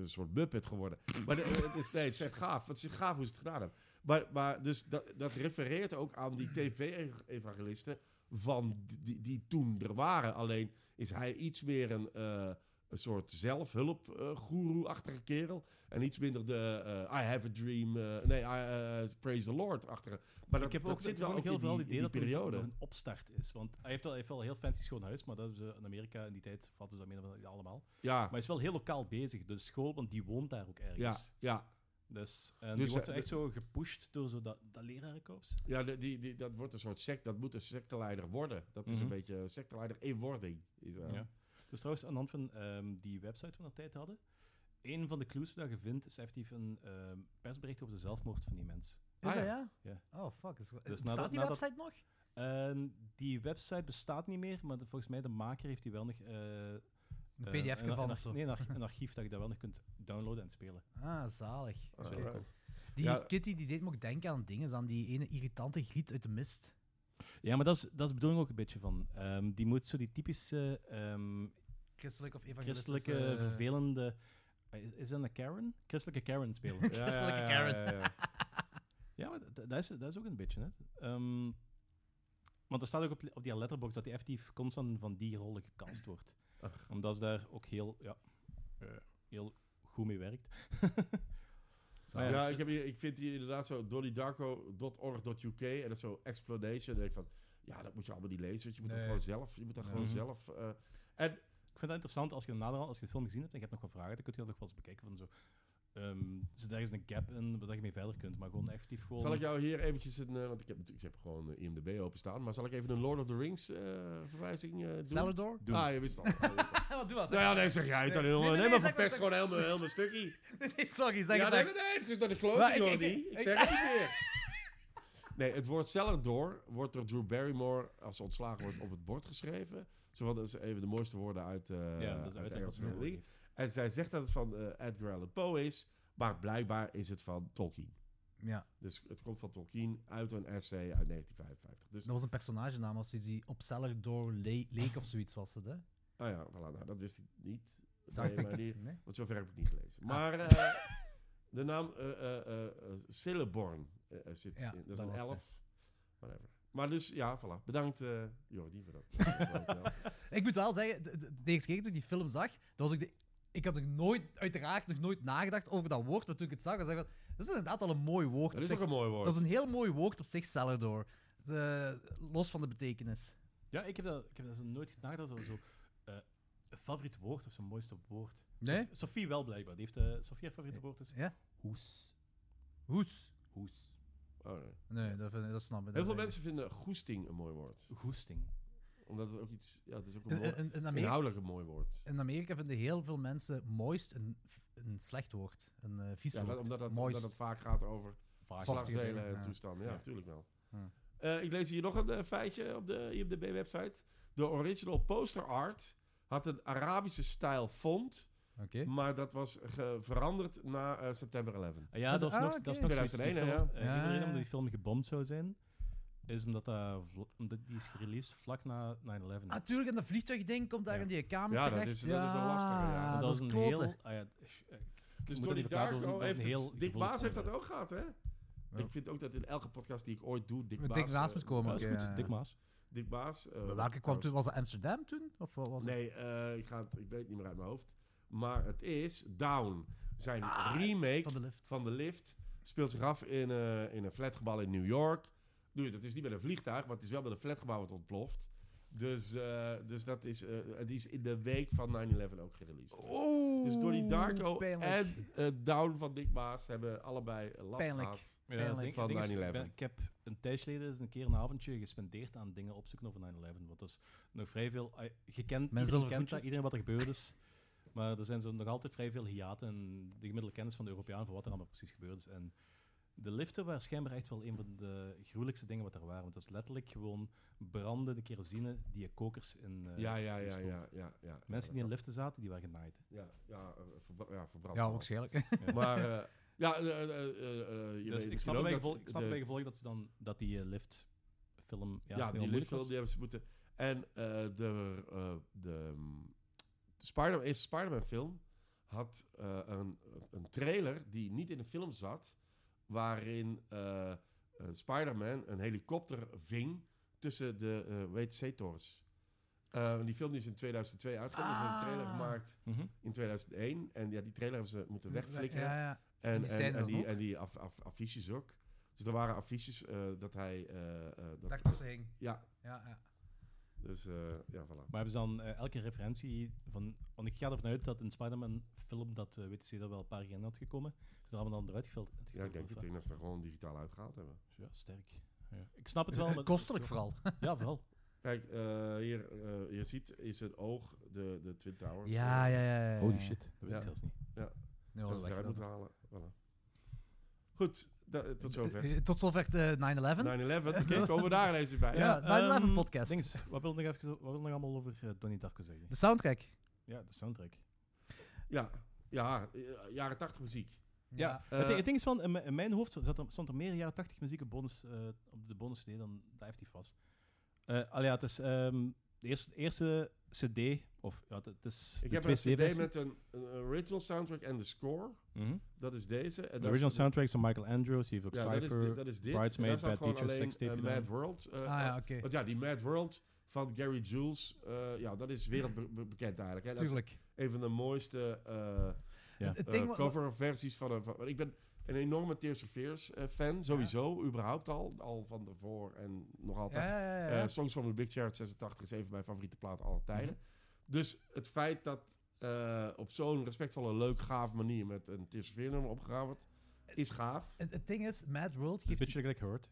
[SPEAKER 2] een soort Muppet geworden. Maar de- het is, nee, het is echt gaaf. Het is gaaf hoe ze het gedaan hebben. Maar, maar dus dat, dat refereert ook aan die tv-evangelisten van die, die, die toen er waren. Alleen is hij iets meer een, eh, een soort zelfhulpgoeroe-achtige kerel. En iets minder de eh, I have a dream, eh, nee, I, eh, praise the Lord-achtige. Maar dat,
[SPEAKER 3] ik heb
[SPEAKER 2] dat
[SPEAKER 3] ook
[SPEAKER 2] zit wel
[SPEAKER 3] gewoon
[SPEAKER 2] ook
[SPEAKER 3] heel
[SPEAKER 2] in
[SPEAKER 3] veel
[SPEAKER 2] die,
[SPEAKER 3] het idee
[SPEAKER 2] in
[SPEAKER 3] dat
[SPEAKER 2] die
[SPEAKER 3] er nog
[SPEAKER 2] periode.
[SPEAKER 3] een opstart is. Want hij heeft wel, hij heeft wel een heel fancy schoon huis, maar dat is in Amerika in die tijd vatten ze dat minder dan allemaal.
[SPEAKER 2] Ja,
[SPEAKER 3] Maar hij is wel heel lokaal bezig. De school, want die woont daar ook
[SPEAKER 2] ja,
[SPEAKER 3] ergens.
[SPEAKER 2] ja.
[SPEAKER 3] Dus, en
[SPEAKER 2] Dus,
[SPEAKER 3] die wordt zo
[SPEAKER 2] eh,
[SPEAKER 3] echt zo gepusht door zo dat, dat lerarenkorps.
[SPEAKER 2] Ja, de- die, die, dat wordt een soort sect, dat moet een secteleider worden. Dat is
[SPEAKER 3] Mhm.
[SPEAKER 2] een beetje secteleider in wording. Is, eh.
[SPEAKER 3] Ja. Dus trouwens, aan de hand van ehm, die website van we tijd hadden, een van de clues die je vindt, is effectief een ehm, persbericht over de zelfmoord van die mens.
[SPEAKER 4] Is
[SPEAKER 2] Ah,
[SPEAKER 4] dat
[SPEAKER 2] ja.
[SPEAKER 4] ja?
[SPEAKER 3] Ja.
[SPEAKER 4] Oh, fuck. Is,
[SPEAKER 3] Dus
[SPEAKER 4] staat
[SPEAKER 3] nadat-
[SPEAKER 4] die
[SPEAKER 3] nadat-
[SPEAKER 4] website nog?
[SPEAKER 3] En die website bestaat niet meer, maar de- volgens mij de maker heeft die wel nog... eh,
[SPEAKER 4] Een
[SPEAKER 3] eh,
[SPEAKER 4] pdf
[SPEAKER 3] een-
[SPEAKER 4] van
[SPEAKER 3] een
[SPEAKER 4] of
[SPEAKER 3] arch-
[SPEAKER 4] zo.
[SPEAKER 3] Nee, een, arch- een archief dat je daar wel nog kunt downloaden en spelen.
[SPEAKER 4] Ah, zalig.
[SPEAKER 2] Ah,
[SPEAKER 3] Zo.
[SPEAKER 2] right.
[SPEAKER 4] Die
[SPEAKER 2] Ja.
[SPEAKER 4] Kitty die deed me ook denken aan dingen, aan die ene irritante griet uit de mist.
[SPEAKER 3] Ja, maar dat is, dat is de bedoeling ook een beetje van. Ehm, die moet zo die typische ehm,
[SPEAKER 4] Christelijk of evangelistische...
[SPEAKER 3] christelijke, vervelende... eh, Is, is dat een Karen? Christelijke Karen spelen. Eh,
[SPEAKER 2] Ja, ja,
[SPEAKER 4] Christelijke
[SPEAKER 2] ja,
[SPEAKER 4] Karen.
[SPEAKER 2] ja, ja.
[SPEAKER 3] ja, maar dat, dat is, dat is ook een beetje, hè. Ehm, want er staat ook op, op die letterbox dat die effectief constant van die rollen gecast wordt.
[SPEAKER 2] Ach.
[SPEAKER 3] Omdat ze daar ook heel, ja, eh, heel goed mee werkt. Maar
[SPEAKER 2] Ja,
[SPEAKER 3] ja,
[SPEAKER 2] ik, heb hier, ik vind hier inderdaad zo donnydarko.org.uk en dat is zo explanation. En ik van, ja, dat moet je allemaal niet lezen, want je moet dat
[SPEAKER 4] Nee.
[SPEAKER 2] gewoon zelf, je moet dat gewoon
[SPEAKER 3] Mhm.
[SPEAKER 2] zelf... eh, en
[SPEAKER 3] Ik vind dat interessant als je naderhand, als je de film gezien hebt en je hebt nog wat vragen, dan kun je dat nog wel eens bekijken van zo. ehm zit ergens een gap in waar je mee verder kunt, maar gewoon effectief gewoon.
[SPEAKER 2] zal ik jou hier eventjes een, eh, want ik heb natuurlijk ik heb gewoon eh, IMDb openstaan, maar zal ik even een Lord of the Rings eh, verwijzing eh doen?
[SPEAKER 4] Celador?
[SPEAKER 3] doen?
[SPEAKER 2] Ah, je wist het al. je wist het al.
[SPEAKER 4] Wat doe dat?
[SPEAKER 2] nou ja, nee, zeg jij het dan,
[SPEAKER 4] Nee,
[SPEAKER 2] jongen.
[SPEAKER 4] nee,
[SPEAKER 2] Nee,
[SPEAKER 4] nee, nee,
[SPEAKER 2] maar
[SPEAKER 4] zeg maar,
[SPEAKER 2] verpest
[SPEAKER 4] zeg
[SPEAKER 2] gewoon helemaal, helemaal een stukje.
[SPEAKER 4] Nee, sorry, zeg
[SPEAKER 2] ja,
[SPEAKER 4] het
[SPEAKER 2] nee,
[SPEAKER 4] maar.
[SPEAKER 2] maar nee, het is naar de
[SPEAKER 4] Maar
[SPEAKER 2] klote,
[SPEAKER 4] ik- ik-
[SPEAKER 2] Jordi. Ik,
[SPEAKER 4] ik-
[SPEAKER 2] zeg het niet meer. Nee, het woord Cellador wordt door Drew Barrymore, als ze ontslagen wordt, op het bord geschreven. Zo van, dat is even de mooiste woorden uit, eh
[SPEAKER 3] ja, dat
[SPEAKER 2] uit
[SPEAKER 3] is
[SPEAKER 2] de
[SPEAKER 3] uitleg wat
[SPEAKER 2] Engelse
[SPEAKER 3] ze nodig
[SPEAKER 2] Nederlandse.
[SPEAKER 3] heeft.
[SPEAKER 2] En zij zegt dat het van eh, Edgar Allan Poe is, maar blijkbaar is het van Tolkien.
[SPEAKER 4] Ja,
[SPEAKER 2] Dus het komt van Tolkien uit een essay uit 1955. Dus,
[SPEAKER 4] dat was een personagenaam als iets die op Celador le leek of zoiets was het, hè?
[SPEAKER 2] ah ja, voilà, nou, dat wist ik niet.
[SPEAKER 4] Dacht
[SPEAKER 2] Nee,
[SPEAKER 4] ik.
[SPEAKER 2] maar die-
[SPEAKER 4] Nee?
[SPEAKER 2] Want zover heb ik niet gelezen. Maar eh, de naam eh eh, eh, eh, Celeborn eh, eh, zit
[SPEAKER 4] Ja,
[SPEAKER 2] in. Dat is
[SPEAKER 4] dat
[SPEAKER 2] een
[SPEAKER 4] was ze.
[SPEAKER 2] elf. Whatever. Maar dus, ja, voilà. Bedankt eh Jordi voor dat. dat wel.
[SPEAKER 4] Ik moet wel zeggen, de, de, de eerste keer toen ik die film zag, dat was ik de, ik had nog nooit, uiteraard nog nooit nagedacht over dat woord, maar toen ik het zag, was ik van, dat is inderdaad wel een mooi woord.
[SPEAKER 2] dat
[SPEAKER 4] op
[SPEAKER 2] is
[SPEAKER 4] zich.
[SPEAKER 2] ook een mooi woord.
[SPEAKER 4] dat is een heel mooi woord op zich, Celador. De- los van de betekenis.
[SPEAKER 3] Ja, ik heb dat, ik heb dat zo nooit nagedacht over zo. eh, een favoriet woord of zijn mooiste woord.
[SPEAKER 4] Nee?
[SPEAKER 3] Sof- Sophie wel blijkbaar. Die heeft, eh Sophie haar favoriete woord is.
[SPEAKER 4] Ja?
[SPEAKER 3] Hoes.
[SPEAKER 4] Hoes.
[SPEAKER 2] Oh, nee.
[SPEAKER 4] Nee, dat, vind ik- dat snap ik.
[SPEAKER 2] Heel veel
[SPEAKER 4] dat-
[SPEAKER 2] mensen vinden goesting een mooi woord.
[SPEAKER 3] Goesting.
[SPEAKER 2] Omdat het ook iets... Ja, het is ook een
[SPEAKER 4] In,
[SPEAKER 2] mooi,
[SPEAKER 4] in, in, Amerika,
[SPEAKER 2] inhoudelijk een mooi woord.
[SPEAKER 4] in Amerika vinden heel veel mensen moist een, een slecht woord. Een eh vies
[SPEAKER 2] Ja,
[SPEAKER 4] woord.
[SPEAKER 2] dat, omdat, dat,
[SPEAKER 4] moist.
[SPEAKER 2] omdat het vaak gaat over
[SPEAKER 3] Vaak.
[SPEAKER 2] geslachtsdelen en
[SPEAKER 4] ja.
[SPEAKER 2] toestanden. Ja,
[SPEAKER 4] Ja.
[SPEAKER 2] natuurlijk wel.
[SPEAKER 3] Ja.
[SPEAKER 2] Eh, ik lees hier nog een eh, feitje op de IMDb-website. De original poster art had een Arabische stijl font,
[SPEAKER 4] Oké.
[SPEAKER 2] maar dat was ge- veranderd na eh, september 11.
[SPEAKER 3] Ah Ja, dat is
[SPEAKER 4] Ah,
[SPEAKER 3] nog,
[SPEAKER 4] oké.
[SPEAKER 3] dat is nog zoiets.
[SPEAKER 2] 2001,
[SPEAKER 3] die
[SPEAKER 2] hè,
[SPEAKER 3] film- eh,
[SPEAKER 4] ja.
[SPEAKER 3] de reden
[SPEAKER 4] Ja.
[SPEAKER 3] omdat die film gebomd zou zijn, is omdat, dat vla- omdat die is gereleased vlak na 9-11. Want
[SPEAKER 4] Natuurlijk, en Ah, dat vliegtuigding komt daar
[SPEAKER 3] Ja.
[SPEAKER 4] in die kamer
[SPEAKER 2] Ja, dat
[SPEAKER 4] terecht.
[SPEAKER 2] is- dat is een lastige, ja. Want
[SPEAKER 4] dat, is
[SPEAKER 3] een
[SPEAKER 4] kloten.
[SPEAKER 3] heel... ah ja, sh- eh,
[SPEAKER 2] Dus
[SPEAKER 3] moet dat
[SPEAKER 2] Tony
[SPEAKER 3] even klaar doen,
[SPEAKER 2] Darko
[SPEAKER 3] dat is
[SPEAKER 2] heeft
[SPEAKER 3] een
[SPEAKER 2] het-
[SPEAKER 3] heel
[SPEAKER 2] Dick
[SPEAKER 3] gevoelig
[SPEAKER 2] Baas heeft dat
[SPEAKER 3] onderwerp.
[SPEAKER 2] ook gehad, hè? Ik vind ook dat in elke podcast die ik ooit doe, Dick
[SPEAKER 4] Met
[SPEAKER 2] Baas...
[SPEAKER 4] Dick Baas
[SPEAKER 2] eh,
[SPEAKER 4] moet komen.
[SPEAKER 3] dat is
[SPEAKER 4] oké,
[SPEAKER 3] goed,
[SPEAKER 4] ja.
[SPEAKER 3] Dick Maas.
[SPEAKER 2] Dick Baas... eh,
[SPEAKER 4] Maar Welke kwam
[SPEAKER 2] trouwens-
[SPEAKER 4] toen? Was het Amsterdam toen? Of wat was het?
[SPEAKER 2] Nee, eh, ik, ga het, ik weet het niet meer uit mijn hoofd. Maar het is Down. Zijn
[SPEAKER 4] Ah,
[SPEAKER 2] remake
[SPEAKER 4] Van de lift.
[SPEAKER 2] van de lift speelt zich af in, eh, in een flatgebouw in New York. Doe je, dat is niet met een vliegtuig, maar het is wel met een flatgebouw wat ontploft. Dus, eh, dus dat is, eh, die is in de week van 9-11 ook gereleased.
[SPEAKER 4] Oh,
[SPEAKER 2] dus Donnie Darko
[SPEAKER 4] pijnlijk.
[SPEAKER 2] en eh, Down van Dick Baas hebben allebei last
[SPEAKER 4] Pijnlijk.
[SPEAKER 2] gehad.
[SPEAKER 3] Ja,
[SPEAKER 4] Pijnlijk.
[SPEAKER 3] ik denk-
[SPEAKER 2] Van
[SPEAKER 3] ik denk eens-
[SPEAKER 2] 9/11.
[SPEAKER 3] ik ben- Ik heb een tijdje geleden eens een keer een avondje gespendeerd aan dingen opzoeken over 9-11. Want dat is dus nog vrij veel... ah, Je kent, iedereen
[SPEAKER 4] zullen
[SPEAKER 3] kent
[SPEAKER 4] voetje.
[SPEAKER 3] dat, iedereen wat er gebeurd is. Maar er zijn zo nog altijd vrij veel hiaten en de gemiddelde kennis van de Europeanen voor wat er allemaal precies gebeurd is. En de liften waren schijnbaar echt wel een van de gruwelijkste dingen wat er waren. Want dat is letterlijk gewoon brandende kerosine die je kokers in... eh,
[SPEAKER 2] Ja, ja, ja,
[SPEAKER 3] is
[SPEAKER 2] ja,
[SPEAKER 3] goed.
[SPEAKER 2] ja, ja, ja.
[SPEAKER 3] Mensen die in liften zaten, die waren genaaid. hè.
[SPEAKER 2] Ja, ja, eh, verbra- ja verbrand.
[SPEAKER 4] Ja,
[SPEAKER 2] vooral.
[SPEAKER 4] waarschijnlijk.
[SPEAKER 2] Maar eh, ja, eh, eh, eh, eh, je
[SPEAKER 3] Dus
[SPEAKER 2] weet
[SPEAKER 3] ik
[SPEAKER 2] misschien
[SPEAKER 3] snap
[SPEAKER 2] ook
[SPEAKER 3] bij
[SPEAKER 2] dat
[SPEAKER 3] gevolg, ik snap
[SPEAKER 2] de-
[SPEAKER 3] bij gevolg dat, ze dan, dat die eh, liftfilm...
[SPEAKER 2] Ja,
[SPEAKER 3] Ja, heel
[SPEAKER 2] die
[SPEAKER 3] moeilijk
[SPEAKER 2] liftfilm
[SPEAKER 3] was.
[SPEAKER 2] die hebben ze moeten. En eh, de, eh de mm, Spider eerste Spider-Man film had eh, een, een trailer die niet in de film zat, waarin eh, eh, Spider-Man een helikopter ving tussen de eh weet C-torens. Eh, die film die is in 2002 uitgekomen. dus Er is een trailer
[SPEAKER 4] Ah.
[SPEAKER 2] gemaakt
[SPEAKER 3] Mhm.
[SPEAKER 2] in 2001. En ja, die trailer hebben ze moeten wegflikkeren.
[SPEAKER 4] Ja, ja.
[SPEAKER 2] En,
[SPEAKER 4] Die
[SPEAKER 2] en,
[SPEAKER 4] zijn
[SPEAKER 2] en
[SPEAKER 4] er
[SPEAKER 2] die,
[SPEAKER 4] ook.
[SPEAKER 2] en die af, af, affiches ook. Dus er waren affiches eh, dat hij... eh, eh, dat,
[SPEAKER 4] Dacht dat ze hing.
[SPEAKER 2] ja,
[SPEAKER 4] Ja, ja.
[SPEAKER 2] dus eh, ja, voilà.
[SPEAKER 3] Maar hebben ze dan eh, elke referentie van... Want ik ga ervan uit dat in Spider-Man film dat eh, WTC dat wel een paar keer in had gekomen. Ze er allemaal dan eruit gefilterd.
[SPEAKER 2] Ja, ik denk, ik
[SPEAKER 3] gefilterd
[SPEAKER 2] denk dat ze er gewoon digitaal uitgehaald hebben.
[SPEAKER 3] waren. Ja, sterk. Ja. Ik snap het wel. Maar...
[SPEAKER 4] Kostelijk vooral.
[SPEAKER 3] Ja, vooral.
[SPEAKER 2] Kijk, eh, hier, eh, je ziet in zijn oog de, de Twin Towers.
[SPEAKER 4] Ja,
[SPEAKER 2] eh,
[SPEAKER 4] ja, ja. ja.
[SPEAKER 3] Holy shit. Dat wist
[SPEAKER 2] Ja.
[SPEAKER 3] ik zelfs niet.
[SPEAKER 4] Nee,
[SPEAKER 2] Dat
[SPEAKER 4] wel
[SPEAKER 2] ze
[SPEAKER 4] weg
[SPEAKER 2] eruit
[SPEAKER 4] dan.
[SPEAKER 2] moeten halen. Voilà. Goed, da- eh, tot zover. 9-11,
[SPEAKER 4] Eh, Tot zover de 9-11.
[SPEAKER 2] oké, komen we daar ineens weer bij.
[SPEAKER 4] Ja, 9/11
[SPEAKER 3] ehm,
[SPEAKER 4] podcast.
[SPEAKER 3] Dings, wat wil je nog, even, wat wil je nog allemaal over eh, Donnie Darko zeggen?
[SPEAKER 4] De soundtrack.
[SPEAKER 3] Ja, de soundtrack.
[SPEAKER 2] Ja, ja, eh, jaren 80 muziek.
[SPEAKER 3] Ja, eh, het, ding- het ding is van, in, mijn- in mijn hoofd zat er, stond er meer jaren 80 muziek op, bonus, eh, op de bonus CD dan daar heeft hij vast. Eh al ja, het is ehm, de eerste, de eerste CD, of ja, het- het is
[SPEAKER 2] Ik
[SPEAKER 3] de
[SPEAKER 2] heb
[SPEAKER 3] twee
[SPEAKER 2] een cd
[SPEAKER 3] CD-versie.
[SPEAKER 2] met een, een original soundtrack en de score.
[SPEAKER 3] Mhm.
[SPEAKER 2] Dat is deze. En
[SPEAKER 3] De
[SPEAKER 2] daar
[SPEAKER 3] original
[SPEAKER 2] staat-
[SPEAKER 3] soundtracks van Michael Andrews, die heeft ook
[SPEAKER 2] Ja, dat is,
[SPEAKER 3] Cypher.
[SPEAKER 2] dit, dat is dit.
[SPEAKER 3] Bridesmaid,
[SPEAKER 2] En daar staat
[SPEAKER 3] Bad
[SPEAKER 2] gewoon
[SPEAKER 3] Teacher,
[SPEAKER 2] alleen,
[SPEAKER 3] Sextape
[SPEAKER 2] eh,
[SPEAKER 3] gedaan.
[SPEAKER 2] Mad World. eh,
[SPEAKER 4] Ah
[SPEAKER 2] eh,
[SPEAKER 4] ja, oké.
[SPEAKER 2] Want ja, die Mad World van Gary Jules, eh, ja, dat is wereldbekend eigenlijk. Hè. Dat is
[SPEAKER 4] Tuurlijk.
[SPEAKER 2] een van de mooiste eh,
[SPEAKER 3] Ja.
[SPEAKER 4] Het- Het ding
[SPEAKER 2] eh,
[SPEAKER 4] wat-
[SPEAKER 2] coverversies van, een- van- want Ik ben een enorme Tears of Fears eh, fan, sowieso, überhaupt al. Al van daarvoor en nog altijd.
[SPEAKER 4] Ja, ja, ja,
[SPEAKER 2] Eh,
[SPEAKER 4] ja.
[SPEAKER 2] Songs from the Big Chair uit 86 is een van mijn favoriete platen aller tijden.
[SPEAKER 4] Mhm.
[SPEAKER 2] Dus het feit dat eh, op zo'n respectvolle, leuk, gaaf manier met een Tears of Fears nummer opgegraven wordt, is gaaf.
[SPEAKER 4] Het het ding is, Mad World
[SPEAKER 3] Het is een
[SPEAKER 4] geeft...
[SPEAKER 3] beetje gelijk Hurt.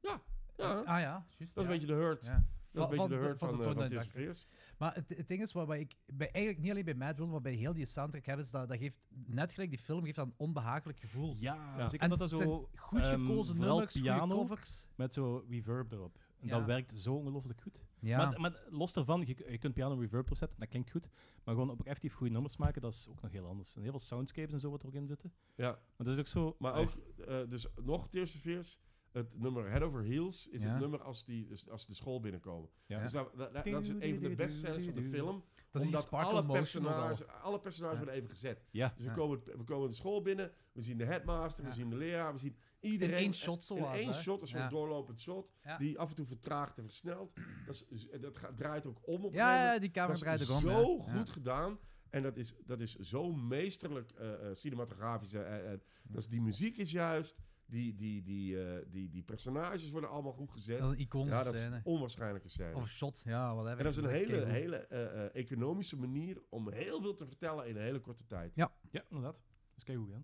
[SPEAKER 2] Ja,
[SPEAKER 4] Ah
[SPEAKER 2] dat
[SPEAKER 4] ja, juist.
[SPEAKER 2] is een beetje de hurt.
[SPEAKER 4] Ja.
[SPEAKER 2] Dat is een beetje de hurt van, eh, van,
[SPEAKER 4] Tony
[SPEAKER 2] Tears
[SPEAKER 4] Darko.
[SPEAKER 2] of Fears.
[SPEAKER 4] Maar het, het ding is, wat, wat ik bij, eigenlijk niet alleen bij Mad World, maar bij heel die soundtrack hebben, is dat, dat geeft, net gelijk die film, geeft dat een onbehagelijk gevoel.
[SPEAKER 3] Ja,
[SPEAKER 2] Ja.
[SPEAKER 3] zeker
[SPEAKER 4] En
[SPEAKER 3] dat dat
[SPEAKER 4] het
[SPEAKER 3] zo
[SPEAKER 4] Goed
[SPEAKER 3] ehm,
[SPEAKER 4] gekozen
[SPEAKER 3] vooral
[SPEAKER 4] nummers, goede
[SPEAKER 3] piano
[SPEAKER 4] covers.
[SPEAKER 3] met zo reverb erop. En dat
[SPEAKER 4] Ja.
[SPEAKER 3] werkt zo ongelooflijk goed.
[SPEAKER 4] Ja.
[SPEAKER 3] Maar, maar los daarvan, je, je kunt piano reverb opzetten, dat klinkt goed. Maar gewoon op effectief goede nummers maken, dat is ook nog heel anders. En heel veel soundscapes en zo wat er ook in zitten.
[SPEAKER 2] Ja,
[SPEAKER 3] Maar dat is ook zo...
[SPEAKER 2] maar
[SPEAKER 3] eh,
[SPEAKER 2] ook, eh, dus nog Tears of Fears. Het nummer Head Over Heels is
[SPEAKER 4] Ja.
[SPEAKER 2] het nummer als, die, dus als de school binnenkomen.
[SPEAKER 3] Ja.
[SPEAKER 2] Dus dat, dat, dat is een van de bestsellers van de film.
[SPEAKER 4] dat is die
[SPEAKER 2] omdat
[SPEAKER 4] sparkle
[SPEAKER 2] alle
[SPEAKER 4] motion ook al.
[SPEAKER 2] personages, alle personages
[SPEAKER 4] Ja.
[SPEAKER 2] worden even gezet.
[SPEAKER 3] Ja.
[SPEAKER 2] Dus we,
[SPEAKER 4] Ja.
[SPEAKER 2] komen, we komen de school binnen, we zien de headmaster, we
[SPEAKER 4] Ja.
[SPEAKER 2] zien de leraar, we zien
[SPEAKER 4] In
[SPEAKER 2] iedereen.
[SPEAKER 4] één shot zo
[SPEAKER 2] in één shot, een soort
[SPEAKER 4] ja.
[SPEAKER 2] doorlopend shot,
[SPEAKER 4] Ja.
[SPEAKER 2] die af en toe vertraagt en versnelt. Dat, is, dat gaat, draait ook om op een
[SPEAKER 4] Ja, ja,
[SPEAKER 2] moment.
[SPEAKER 4] ja, die camera
[SPEAKER 2] Dat
[SPEAKER 4] draait
[SPEAKER 2] is
[SPEAKER 4] ook om. ja.
[SPEAKER 2] zo
[SPEAKER 4] Ja.
[SPEAKER 2] goed gedaan. En dat is, dat is zo meesterlijk eh, eh, cinematografisch. eh, eh, eh. dat is, die muziek is juist. Die, die, die, eh, die, die personages worden allemaal goed gezet.
[SPEAKER 4] Dat is een iconische
[SPEAKER 2] ja, dat is
[SPEAKER 4] scène.
[SPEAKER 2] een onwaarschijnlijke scène.
[SPEAKER 4] Of shot, ja, wat
[SPEAKER 2] en dat is een hele, hele eh, eh, economische manier om heel veel te vertellen in een hele korte tijd.
[SPEAKER 4] Ja.
[SPEAKER 3] Ja, inderdaad. Dat is keigoed, hè.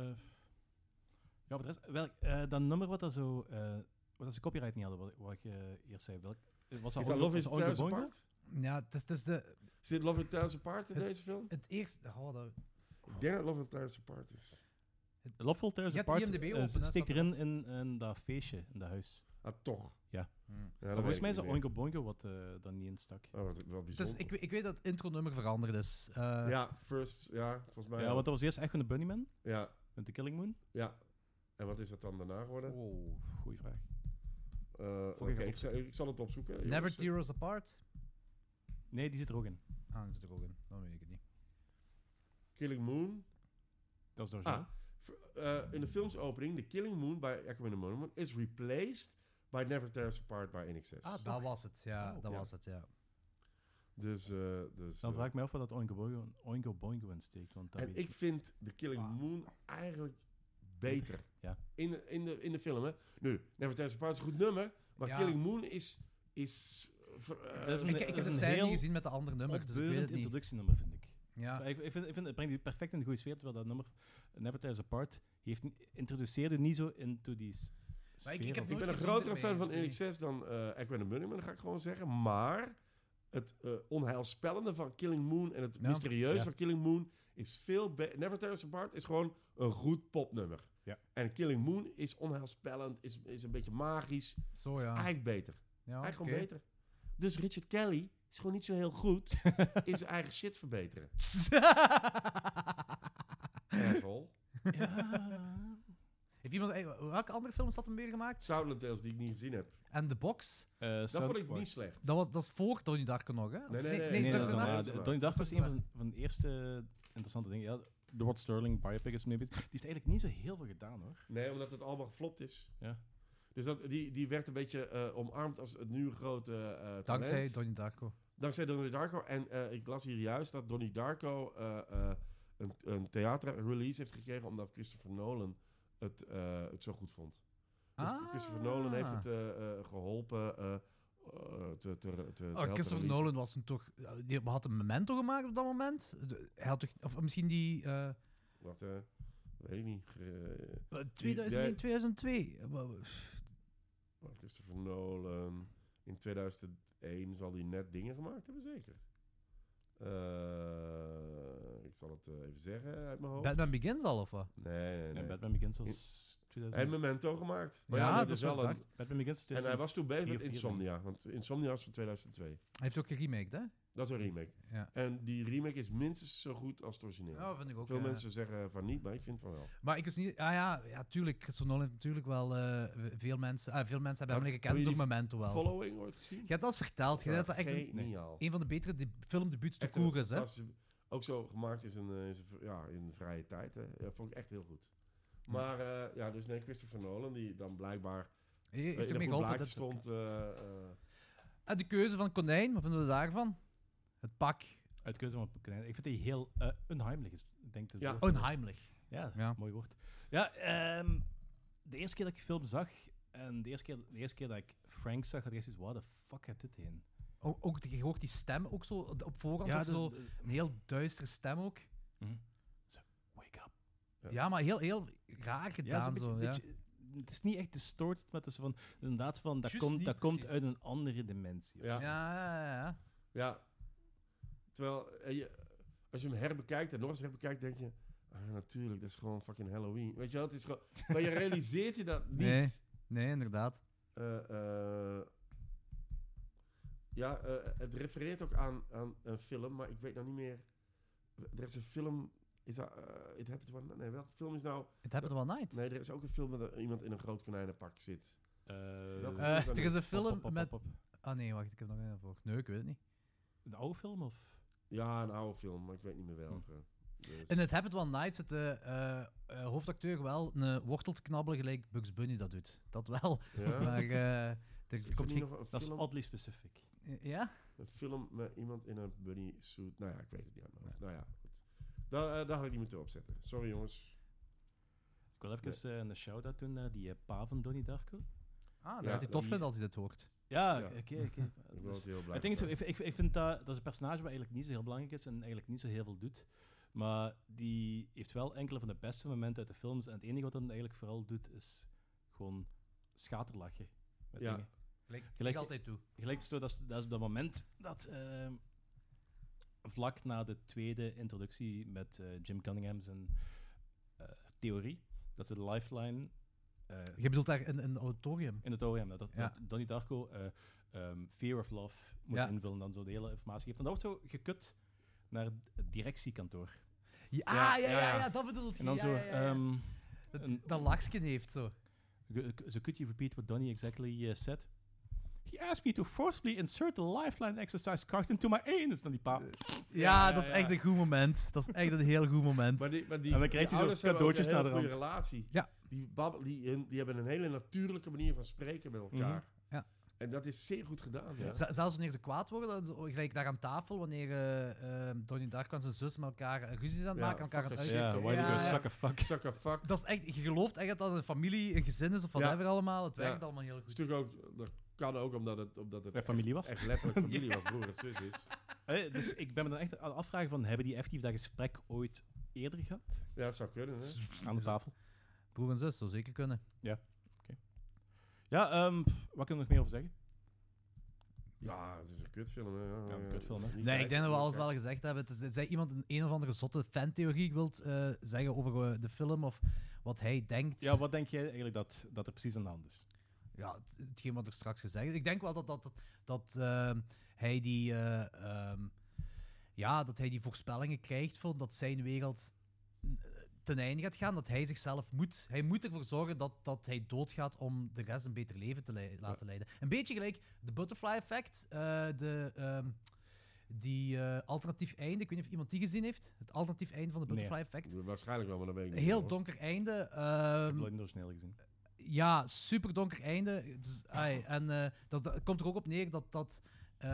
[SPEAKER 3] Eh ja, voor de rest... Wel, eh, dat nummer wat, dat zo, eh, wat dat ze copyright niet hadden, wat, wat je eerst zei, welk, Was dat
[SPEAKER 2] Is dat Love in
[SPEAKER 3] ooit- was dat ooit
[SPEAKER 2] 1000
[SPEAKER 3] begonnen?
[SPEAKER 2] Apart?
[SPEAKER 4] Ja, het is, het is de,
[SPEAKER 2] Zit Love in 1000 Apart in
[SPEAKER 4] Het-
[SPEAKER 2] deze film?
[SPEAKER 4] het eerste... Oh, dat,
[SPEAKER 2] Ik denk dat Love in 1000 Apart is.
[SPEAKER 3] Loveful
[SPEAKER 4] Je
[SPEAKER 3] Terrace
[SPEAKER 4] hebt
[SPEAKER 3] Apart
[SPEAKER 4] IMDb
[SPEAKER 3] eh,
[SPEAKER 4] open, hè,
[SPEAKER 3] steekt
[SPEAKER 4] staat er.
[SPEAKER 3] erin in, in dat feestje, in dat huis.
[SPEAKER 2] Ah, toch.
[SPEAKER 3] Ja.
[SPEAKER 2] Ja, dat
[SPEAKER 3] Maar
[SPEAKER 2] weet
[SPEAKER 3] volgens mij
[SPEAKER 2] ik
[SPEAKER 3] is dat
[SPEAKER 2] niet meer.
[SPEAKER 3] Oingo Boingo wat eh dan niet in stak.
[SPEAKER 2] Oh, wat, wat
[SPEAKER 4] het is-
[SPEAKER 2] bijzonder.
[SPEAKER 4] ik, ik weet dat het intro-nummer veranderd is. Eh,
[SPEAKER 2] ja, first, ja, volgens mij.
[SPEAKER 3] ja,
[SPEAKER 2] wel.
[SPEAKER 3] want dat was eerst echt van de Bunnyman,
[SPEAKER 2] ja,
[SPEAKER 3] met de Killing Moon.
[SPEAKER 2] ja. En wat is dat dan daarna geworden?
[SPEAKER 3] Oh, goeie vraag.
[SPEAKER 2] Eh, Oké,
[SPEAKER 3] ga het
[SPEAKER 2] ik, zal- ik zal het opzoeken.
[SPEAKER 4] Never
[SPEAKER 2] jongens.
[SPEAKER 4] Tear Us Apart.
[SPEAKER 3] Nee, die zit er ook in.
[SPEAKER 4] Ah, dat zit er ook in. Dan weet ik het niet.
[SPEAKER 2] Killing Moon.
[SPEAKER 3] Dat is door
[SPEAKER 2] Ah, v- eh, in de filmsopening, The Killing Moon by Echo and the Monument is replaced by Never Tear Us Apart by NXS.
[SPEAKER 3] Ah,
[SPEAKER 4] Dat was het, ja.
[SPEAKER 3] Oh,
[SPEAKER 4] dat
[SPEAKER 2] ja.
[SPEAKER 4] was het, ja.
[SPEAKER 2] Dus, eh, dus
[SPEAKER 3] Dan
[SPEAKER 2] eh,
[SPEAKER 3] vraag ik mij af wat dat Oingo Boingo, Oingo Boingo in steekt. Want dat
[SPEAKER 2] En
[SPEAKER 3] weet je.
[SPEAKER 2] ik vind The Killing
[SPEAKER 3] Wauw.
[SPEAKER 2] Moon eigenlijk beter.
[SPEAKER 3] Ja.
[SPEAKER 2] In, de- in, de, in de film, hè. Nu, Never Tear Us Apart is een goed nummer, maar
[SPEAKER 4] Ja.
[SPEAKER 2] Killing Moon is... is eh, ver- eh,
[SPEAKER 3] Dat is
[SPEAKER 4] Ik,
[SPEAKER 3] een-
[SPEAKER 4] ik heb de
[SPEAKER 3] een
[SPEAKER 4] scène
[SPEAKER 3] heel
[SPEAKER 4] niet gezien met de andere nummer, dus ik weet
[SPEAKER 3] Opbeurend
[SPEAKER 4] het niet.
[SPEAKER 3] introductienummer, vind ik.
[SPEAKER 4] Ja.
[SPEAKER 3] Ik, ik vind, ik vind het brengt die perfect in de goede sfeer, terwijl dat nummer Never Tears Apart heeft, niet- introduceerde niet zo into die s- sfeer.
[SPEAKER 4] ik- ik heb
[SPEAKER 3] als-
[SPEAKER 2] ik ben een
[SPEAKER 4] gezien
[SPEAKER 2] grotere
[SPEAKER 4] ermee,
[SPEAKER 2] fan van
[SPEAKER 4] dus ik
[SPEAKER 2] NXS dan eh Echo and the Bunnymen, dat ga ik gewoon zeggen. Maar het eh, onheilspellende van Killing Moon en het
[SPEAKER 4] Ja.
[SPEAKER 2] mysterieuze
[SPEAKER 3] Ja.
[SPEAKER 2] van Killing Moon is veel beter. Never Tear Us Apart is gewoon een goed popnummer.
[SPEAKER 3] Ja.
[SPEAKER 2] En Killing Moon is onheilspellend, is, is een beetje magisch.
[SPEAKER 4] Zo,
[SPEAKER 2] is
[SPEAKER 4] Oh ja.
[SPEAKER 2] eigenlijk beter.
[SPEAKER 4] ja
[SPEAKER 2] Hij
[SPEAKER 4] oké.
[SPEAKER 2] gewoon beter. Dus Richard Kelly is gewoon niet zo heel goed in zijn eigen shit verbeteren. Asshole.
[SPEAKER 3] Ja.
[SPEAKER 4] Heeft iemand... eh, Welke andere films had hem weer gemaakt?
[SPEAKER 2] Silent Tales die ik niet gezien heb.
[SPEAKER 4] En The Box?
[SPEAKER 3] Eh,
[SPEAKER 2] Dat vond ik
[SPEAKER 3] Soundtrack.
[SPEAKER 2] niet slecht.
[SPEAKER 4] Dat, was, dat is voor Tony Darko nog, hè? Of
[SPEAKER 2] Nee, nee, nee,
[SPEAKER 3] Nee,
[SPEAKER 2] Is
[SPEAKER 3] dat
[SPEAKER 2] dat
[SPEAKER 3] is
[SPEAKER 2] een
[SPEAKER 3] dan,
[SPEAKER 2] waar?
[SPEAKER 3] eh,
[SPEAKER 2] Dat is
[SPEAKER 3] Donnie
[SPEAKER 2] waar.
[SPEAKER 3] Darko is een
[SPEAKER 4] waar.
[SPEAKER 3] van, zijn- van de eerste interessante dingen. Ja, de Rod Sterling biopic is mee bezig. Die heeft eigenlijk niet zo heel veel gedaan, hoor.
[SPEAKER 2] Nee, omdat het allemaal geflopt is.
[SPEAKER 3] Ja.
[SPEAKER 2] Dus dat, die, die werd een beetje eh, omarmd als het nieuwe grote eh talent.
[SPEAKER 4] Dankzij Donnie Darko.
[SPEAKER 2] Dankzij Donnie Darko. En eh, ik las hier juist dat Donnie Darko eh, eh, een, een theaterrelease heeft gekregen... omdat Christopher Nolan het, eh, het zo goed vond. Dus
[SPEAKER 4] Ah.
[SPEAKER 2] Christopher Nolan heeft het eh, eh, geholpen eh, eh, te, te, te, te
[SPEAKER 4] Oh, Christopher
[SPEAKER 2] releasen.
[SPEAKER 4] Nolan was toen toch... eh, Die had een memento gemaakt op dat moment. De- Hij had toch... Of misschien die... eh
[SPEAKER 2] Wacht, eh, weet ik niet. Ge-
[SPEAKER 4] 2001, 2002. Eh, wa- wa-
[SPEAKER 2] Oh. eh, Christopher Nolan. In 2001 zal hij net dingen gemaakt hebben, zeker. Eh, ik zal het eh, even zeggen uit mijn hoofd.
[SPEAKER 4] Batman Begins al, of wat?
[SPEAKER 2] Nee, nee,
[SPEAKER 3] En
[SPEAKER 2] nee.
[SPEAKER 3] Batman Begins was...
[SPEAKER 2] Hij
[SPEAKER 3] 2000,
[SPEAKER 2] heeft Memento gemaakt. Maar
[SPEAKER 4] Ja,
[SPEAKER 2] ja, dat
[SPEAKER 4] dat
[SPEAKER 2] is
[SPEAKER 4] is wat
[SPEAKER 2] wel
[SPEAKER 4] ik
[SPEAKER 2] een...
[SPEAKER 3] Batman Begins
[SPEAKER 2] En hij
[SPEAKER 3] 2000.
[SPEAKER 2] was toen bezig
[SPEAKER 3] drie
[SPEAKER 2] met
[SPEAKER 3] of vier,
[SPEAKER 2] Insomnia. Want Insomnia was van 2002.
[SPEAKER 4] Hij heeft ook geremaked, hè?
[SPEAKER 2] Dat is een remake.
[SPEAKER 4] Ja.
[SPEAKER 2] En die remake is minstens zo goed als het origineel.
[SPEAKER 4] Ja, vind ik ook.
[SPEAKER 2] Veel
[SPEAKER 4] eh.
[SPEAKER 2] mensen zeggen van niet, maar ik vind van wel.
[SPEAKER 4] Maar ik wist niet... Ah ja, ja, tuurlijk. Christopher Nolan heeft natuurlijk wel... eh, v- veel, mensen, ah, veel mensen hebben hem
[SPEAKER 2] Had-
[SPEAKER 4] leren kennen
[SPEAKER 2] wil
[SPEAKER 4] door
[SPEAKER 2] je die
[SPEAKER 4] Memento wel.
[SPEAKER 2] Following ooit gezien?
[SPEAKER 4] Je hebt dat eens verteld. Je
[SPEAKER 2] Ja,
[SPEAKER 4] hebt dat echt een,
[SPEAKER 2] geniaal.
[SPEAKER 4] een van de betere de- filmdebuuts te
[SPEAKER 2] Echt eh, een
[SPEAKER 4] koer is, hè?
[SPEAKER 2] fantastische- Ook zo gemaakt is een, eh, is een v- ja, in de vrije tijd. Hè. Ja, vond ik echt heel goed. Maar eh, ja, dus nee, Christopher Nolan, die dan blijkbaar
[SPEAKER 4] Hij
[SPEAKER 2] eh,
[SPEAKER 4] heeft
[SPEAKER 2] in
[SPEAKER 4] ermee
[SPEAKER 2] een goed
[SPEAKER 4] geholpen.
[SPEAKER 2] blaadje
[SPEAKER 4] Dat
[SPEAKER 2] stond. eh, eh,
[SPEAKER 4] En de keuze van Konijn, wat vinden we daarvan? Het pak.
[SPEAKER 3] Uit Keuze van Konijn. Ik vind die heel eh unheimlich. is. Ik denk dat het
[SPEAKER 2] Ja.
[SPEAKER 4] Oh,
[SPEAKER 3] woord-
[SPEAKER 4] Onheimlich.
[SPEAKER 3] Ja,
[SPEAKER 4] Ja.
[SPEAKER 3] mooi woord. Ja, ehm, de eerste keer dat ik de film zag... En de eerste keer, de eerste keer dat ik Frank zag, had ik echt zoiets... Waar de fuck gaat dit heen?
[SPEAKER 4] Ook, ook, je hoort die stem ook zo op voorhand. ook
[SPEAKER 3] dus- Mhm.
[SPEAKER 4] zo,
[SPEAKER 3] eh,
[SPEAKER 4] een heel duistere stem ook.
[SPEAKER 3] wake up.
[SPEAKER 2] Ja.
[SPEAKER 4] Ja, maar heel, heel raar
[SPEAKER 3] Ja,
[SPEAKER 4] gedaan.
[SPEAKER 3] zo'n
[SPEAKER 4] zo,
[SPEAKER 3] beetje-
[SPEAKER 4] ja.
[SPEAKER 3] beetje- het is niet echt distorted, maar het is van, het is inderdaad van, dat,
[SPEAKER 4] Juist
[SPEAKER 3] komt,
[SPEAKER 4] niet
[SPEAKER 3] dat komt
[SPEAKER 4] precies.
[SPEAKER 3] uit een andere dimensie.
[SPEAKER 2] ja,
[SPEAKER 4] Ja,
[SPEAKER 2] ja.
[SPEAKER 4] ja, ja, ja.
[SPEAKER 2] Terwijl, eh, je- als je hem herbekijkt en nog eens herbekijkt, denk je... ah, natuurlijk, dat is gewoon fucking Halloween. Weet je wel, het is gewoon... maar je realiseert je dat niet.
[SPEAKER 4] Nee. Nee, inderdaad.
[SPEAKER 2] Eh, eh, ja, eh, het refereert ook aan, aan een film, maar ik weet nou niet meer. Er is een film. Is dat. eh, It Happened One Night? Nee, welke film is nou.
[SPEAKER 4] Het happened one night.
[SPEAKER 2] Nee, er is ook een film dat er iemand in een groot konijnenpak zit.
[SPEAKER 3] Eh,
[SPEAKER 2] Welke
[SPEAKER 3] eh,
[SPEAKER 2] film
[SPEAKER 4] Eh,
[SPEAKER 2] is dat
[SPEAKER 4] er
[SPEAKER 2] nu?
[SPEAKER 4] is een
[SPEAKER 3] pop,
[SPEAKER 4] film
[SPEAKER 3] pop, pop,
[SPEAKER 4] met...
[SPEAKER 3] pop.
[SPEAKER 4] Ah nee, wacht, ik heb nog een voor. Nee, ik weet het niet.
[SPEAKER 3] Een oude film of?
[SPEAKER 2] Ja, een oude film, maar ik weet niet
[SPEAKER 3] Hm.
[SPEAKER 2] meer welke. Dus-
[SPEAKER 4] In het Happened One Night zit de eh, eh, hoofdacteur wel een wortel te knabbelen gelijk Bugs Bunny dat doet. Dat wel.
[SPEAKER 2] ja?
[SPEAKER 4] Maar eh,
[SPEAKER 2] Is
[SPEAKER 4] er
[SPEAKER 2] er
[SPEAKER 4] komt
[SPEAKER 2] niet
[SPEAKER 4] geen...
[SPEAKER 2] nog een
[SPEAKER 3] Dat is
[SPEAKER 2] film,
[SPEAKER 3] oddly specific.
[SPEAKER 4] Ja?
[SPEAKER 2] een film met iemand in een bunny suit? Nou ja, ik weet het niet. uit mijn hoofd. Nou ja, goed. Daar, eh, daar had ik niet moeten opzetten. Sorry jongens.
[SPEAKER 3] Ik wil even eh, een shout-out doen naar die eh, pa van Donnie Darko.
[SPEAKER 4] Ah, dat
[SPEAKER 2] Ja,
[SPEAKER 4] gaat hij tof
[SPEAKER 3] die-
[SPEAKER 4] vinden als hij dit hoort.
[SPEAKER 3] Ja,
[SPEAKER 2] Ja.
[SPEAKER 3] oké, oké.
[SPEAKER 2] Ik
[SPEAKER 3] Dus-
[SPEAKER 2] was heel blij.
[SPEAKER 3] Het ding is,
[SPEAKER 2] mee.
[SPEAKER 3] ik, ik, ik vind dat, dat is een personage wat eigenlijk niet zo heel belangrijk is en eigenlijk niet zo heel veel doet. Maar die heeft wel enkele van de beste momenten uit de films. En het enige wat hij eigenlijk vooral doet, is gewoon schaterlachen. Met
[SPEAKER 2] Ja.
[SPEAKER 3] dingen.
[SPEAKER 4] Gelijk,
[SPEAKER 3] Gelijk-
[SPEAKER 4] altijd toe.
[SPEAKER 3] Gelijk zo, dat is, dat is op dat moment dat ehm, vlak na de tweede introductie met eh, Jim Cunningham zijn eh, theorie, dat ze de lifeline eh,
[SPEAKER 4] Je bedoelt daar een, een auditorium?
[SPEAKER 3] in het OEM, dat, dat
[SPEAKER 4] Ja.
[SPEAKER 3] dat Donnie Darko eh, ehm, Fear of Love moet
[SPEAKER 4] Ja.
[SPEAKER 3] invullen en dan zo de hele informatie geeft. En dat wordt zo gekut naar het directiekantoor.
[SPEAKER 4] Ja, ah,
[SPEAKER 3] Ja,
[SPEAKER 4] ja,
[SPEAKER 3] ja,
[SPEAKER 4] ja, ja,
[SPEAKER 3] ja.
[SPEAKER 4] dat bedoelt je.
[SPEAKER 3] En dan
[SPEAKER 4] ja,
[SPEAKER 3] zo,
[SPEAKER 4] ja, ja.
[SPEAKER 3] ehm,
[SPEAKER 4] dat,
[SPEAKER 3] een-
[SPEAKER 4] dat lachsken heeft zo.
[SPEAKER 3] So could you repeat what Donnie exactly uh, said? He asked me to forcibly insert the lifeline exercise card into my anus. Dan die pa.
[SPEAKER 4] Ja, dat is echt een goed moment. Dat is echt een heel goed moment.
[SPEAKER 2] Maar die, maar die,
[SPEAKER 3] En dan krijgt
[SPEAKER 2] die
[SPEAKER 3] hij zo
[SPEAKER 2] ouders hebben ook
[SPEAKER 3] cadeautjes
[SPEAKER 2] een hele
[SPEAKER 3] naar de
[SPEAKER 2] goede relatie.
[SPEAKER 4] Ja.
[SPEAKER 2] Die, babbel- die, hun- die hebben een hele natuurlijke manier van spreken met elkaar.
[SPEAKER 4] Ja.
[SPEAKER 2] En dat is zeer goed gedaan. Ja.
[SPEAKER 4] Z- zelfs wanneer ze kwaad worden, zo- gelijk daar aan tafel, wanneer eh eh, Donnie Darko en zijn zus met elkaar een ruzie zijn aan het
[SPEAKER 2] Ja,
[SPEAKER 4] maken, elkaar aan het
[SPEAKER 2] fucking
[SPEAKER 4] uitzien.
[SPEAKER 2] shit,
[SPEAKER 3] Ja,
[SPEAKER 2] hoor.
[SPEAKER 3] why you
[SPEAKER 4] Ja,
[SPEAKER 3] go
[SPEAKER 4] ja.
[SPEAKER 3] suck a fuck.
[SPEAKER 2] Suck a fuck.
[SPEAKER 4] Dat is echt, je gelooft echt dat dat een familie, een gezin is of whatever allemaal. Het
[SPEAKER 2] Ja.
[SPEAKER 4] werkt allemaal heel
[SPEAKER 2] Dat is
[SPEAKER 4] goed.
[SPEAKER 2] natuurlijk ook, dat kan ook omdat het, omdat het
[SPEAKER 3] Ja, familie was.
[SPEAKER 2] echt letterlijk familie was, broer en zus is.
[SPEAKER 3] Eh, dus ik ben me dan echt aan het afvragen van, hebben die effectief dat gesprek ooit eerder gehad?
[SPEAKER 2] Ja, dat zou kunnen. Hè?
[SPEAKER 3] Aan de tafel.
[SPEAKER 4] Broer en zus, zou zeker kunnen.
[SPEAKER 3] Ja, ehm, pff, wat kunnen we nog meer over zeggen?
[SPEAKER 2] Ja, het is een kutfilm. Hè. Ja,
[SPEAKER 3] een kutfilm, hè.
[SPEAKER 2] Niet
[SPEAKER 4] Nee,
[SPEAKER 2] kijken,
[SPEAKER 4] ik denk dat we
[SPEAKER 2] niet
[SPEAKER 4] alles wel
[SPEAKER 2] kijken.
[SPEAKER 4] gezegd hebben. Het is, zei iemand een, een of andere zotte fantheorie wilt eh, zeggen over eh, de film of wat hij denkt.
[SPEAKER 3] Ja, wat denk jij eigenlijk dat, dat er precies aan de hand is?
[SPEAKER 4] ja, het- hetgeen wat er straks gezegd is. Ik denk wel dat, dat, dat, dat ehm, hij die. eh, ehm, ja, dat hij die voorspellingen krijgt van dat zijn wereld eh, ten einde gaat gaan. Dat hij zichzelf moet. Hij moet ervoor zorgen dat, dat hij doodgaat om de rest een beter leven te lei- laten leiden. Een beetje gelijk de butterfly effect. eh, de, ehm, die eh, alternatief einde. Ik weet niet of iemand die gezien heeft. Het alternatief einde van de
[SPEAKER 3] Nee.
[SPEAKER 4] butterfly effect.
[SPEAKER 2] Waarschijnlijk wel, maar dan weet ik
[SPEAKER 4] Een
[SPEAKER 2] niet
[SPEAKER 4] heel
[SPEAKER 2] meer, hoor.
[SPEAKER 4] donker einde.
[SPEAKER 3] Ik heb
[SPEAKER 4] ehm,
[SPEAKER 3] het nooit origineel gezien.
[SPEAKER 4] ja, super donker einde. Het is- ai, en eh, dat, dat komt er ook op neer dat, dat eh,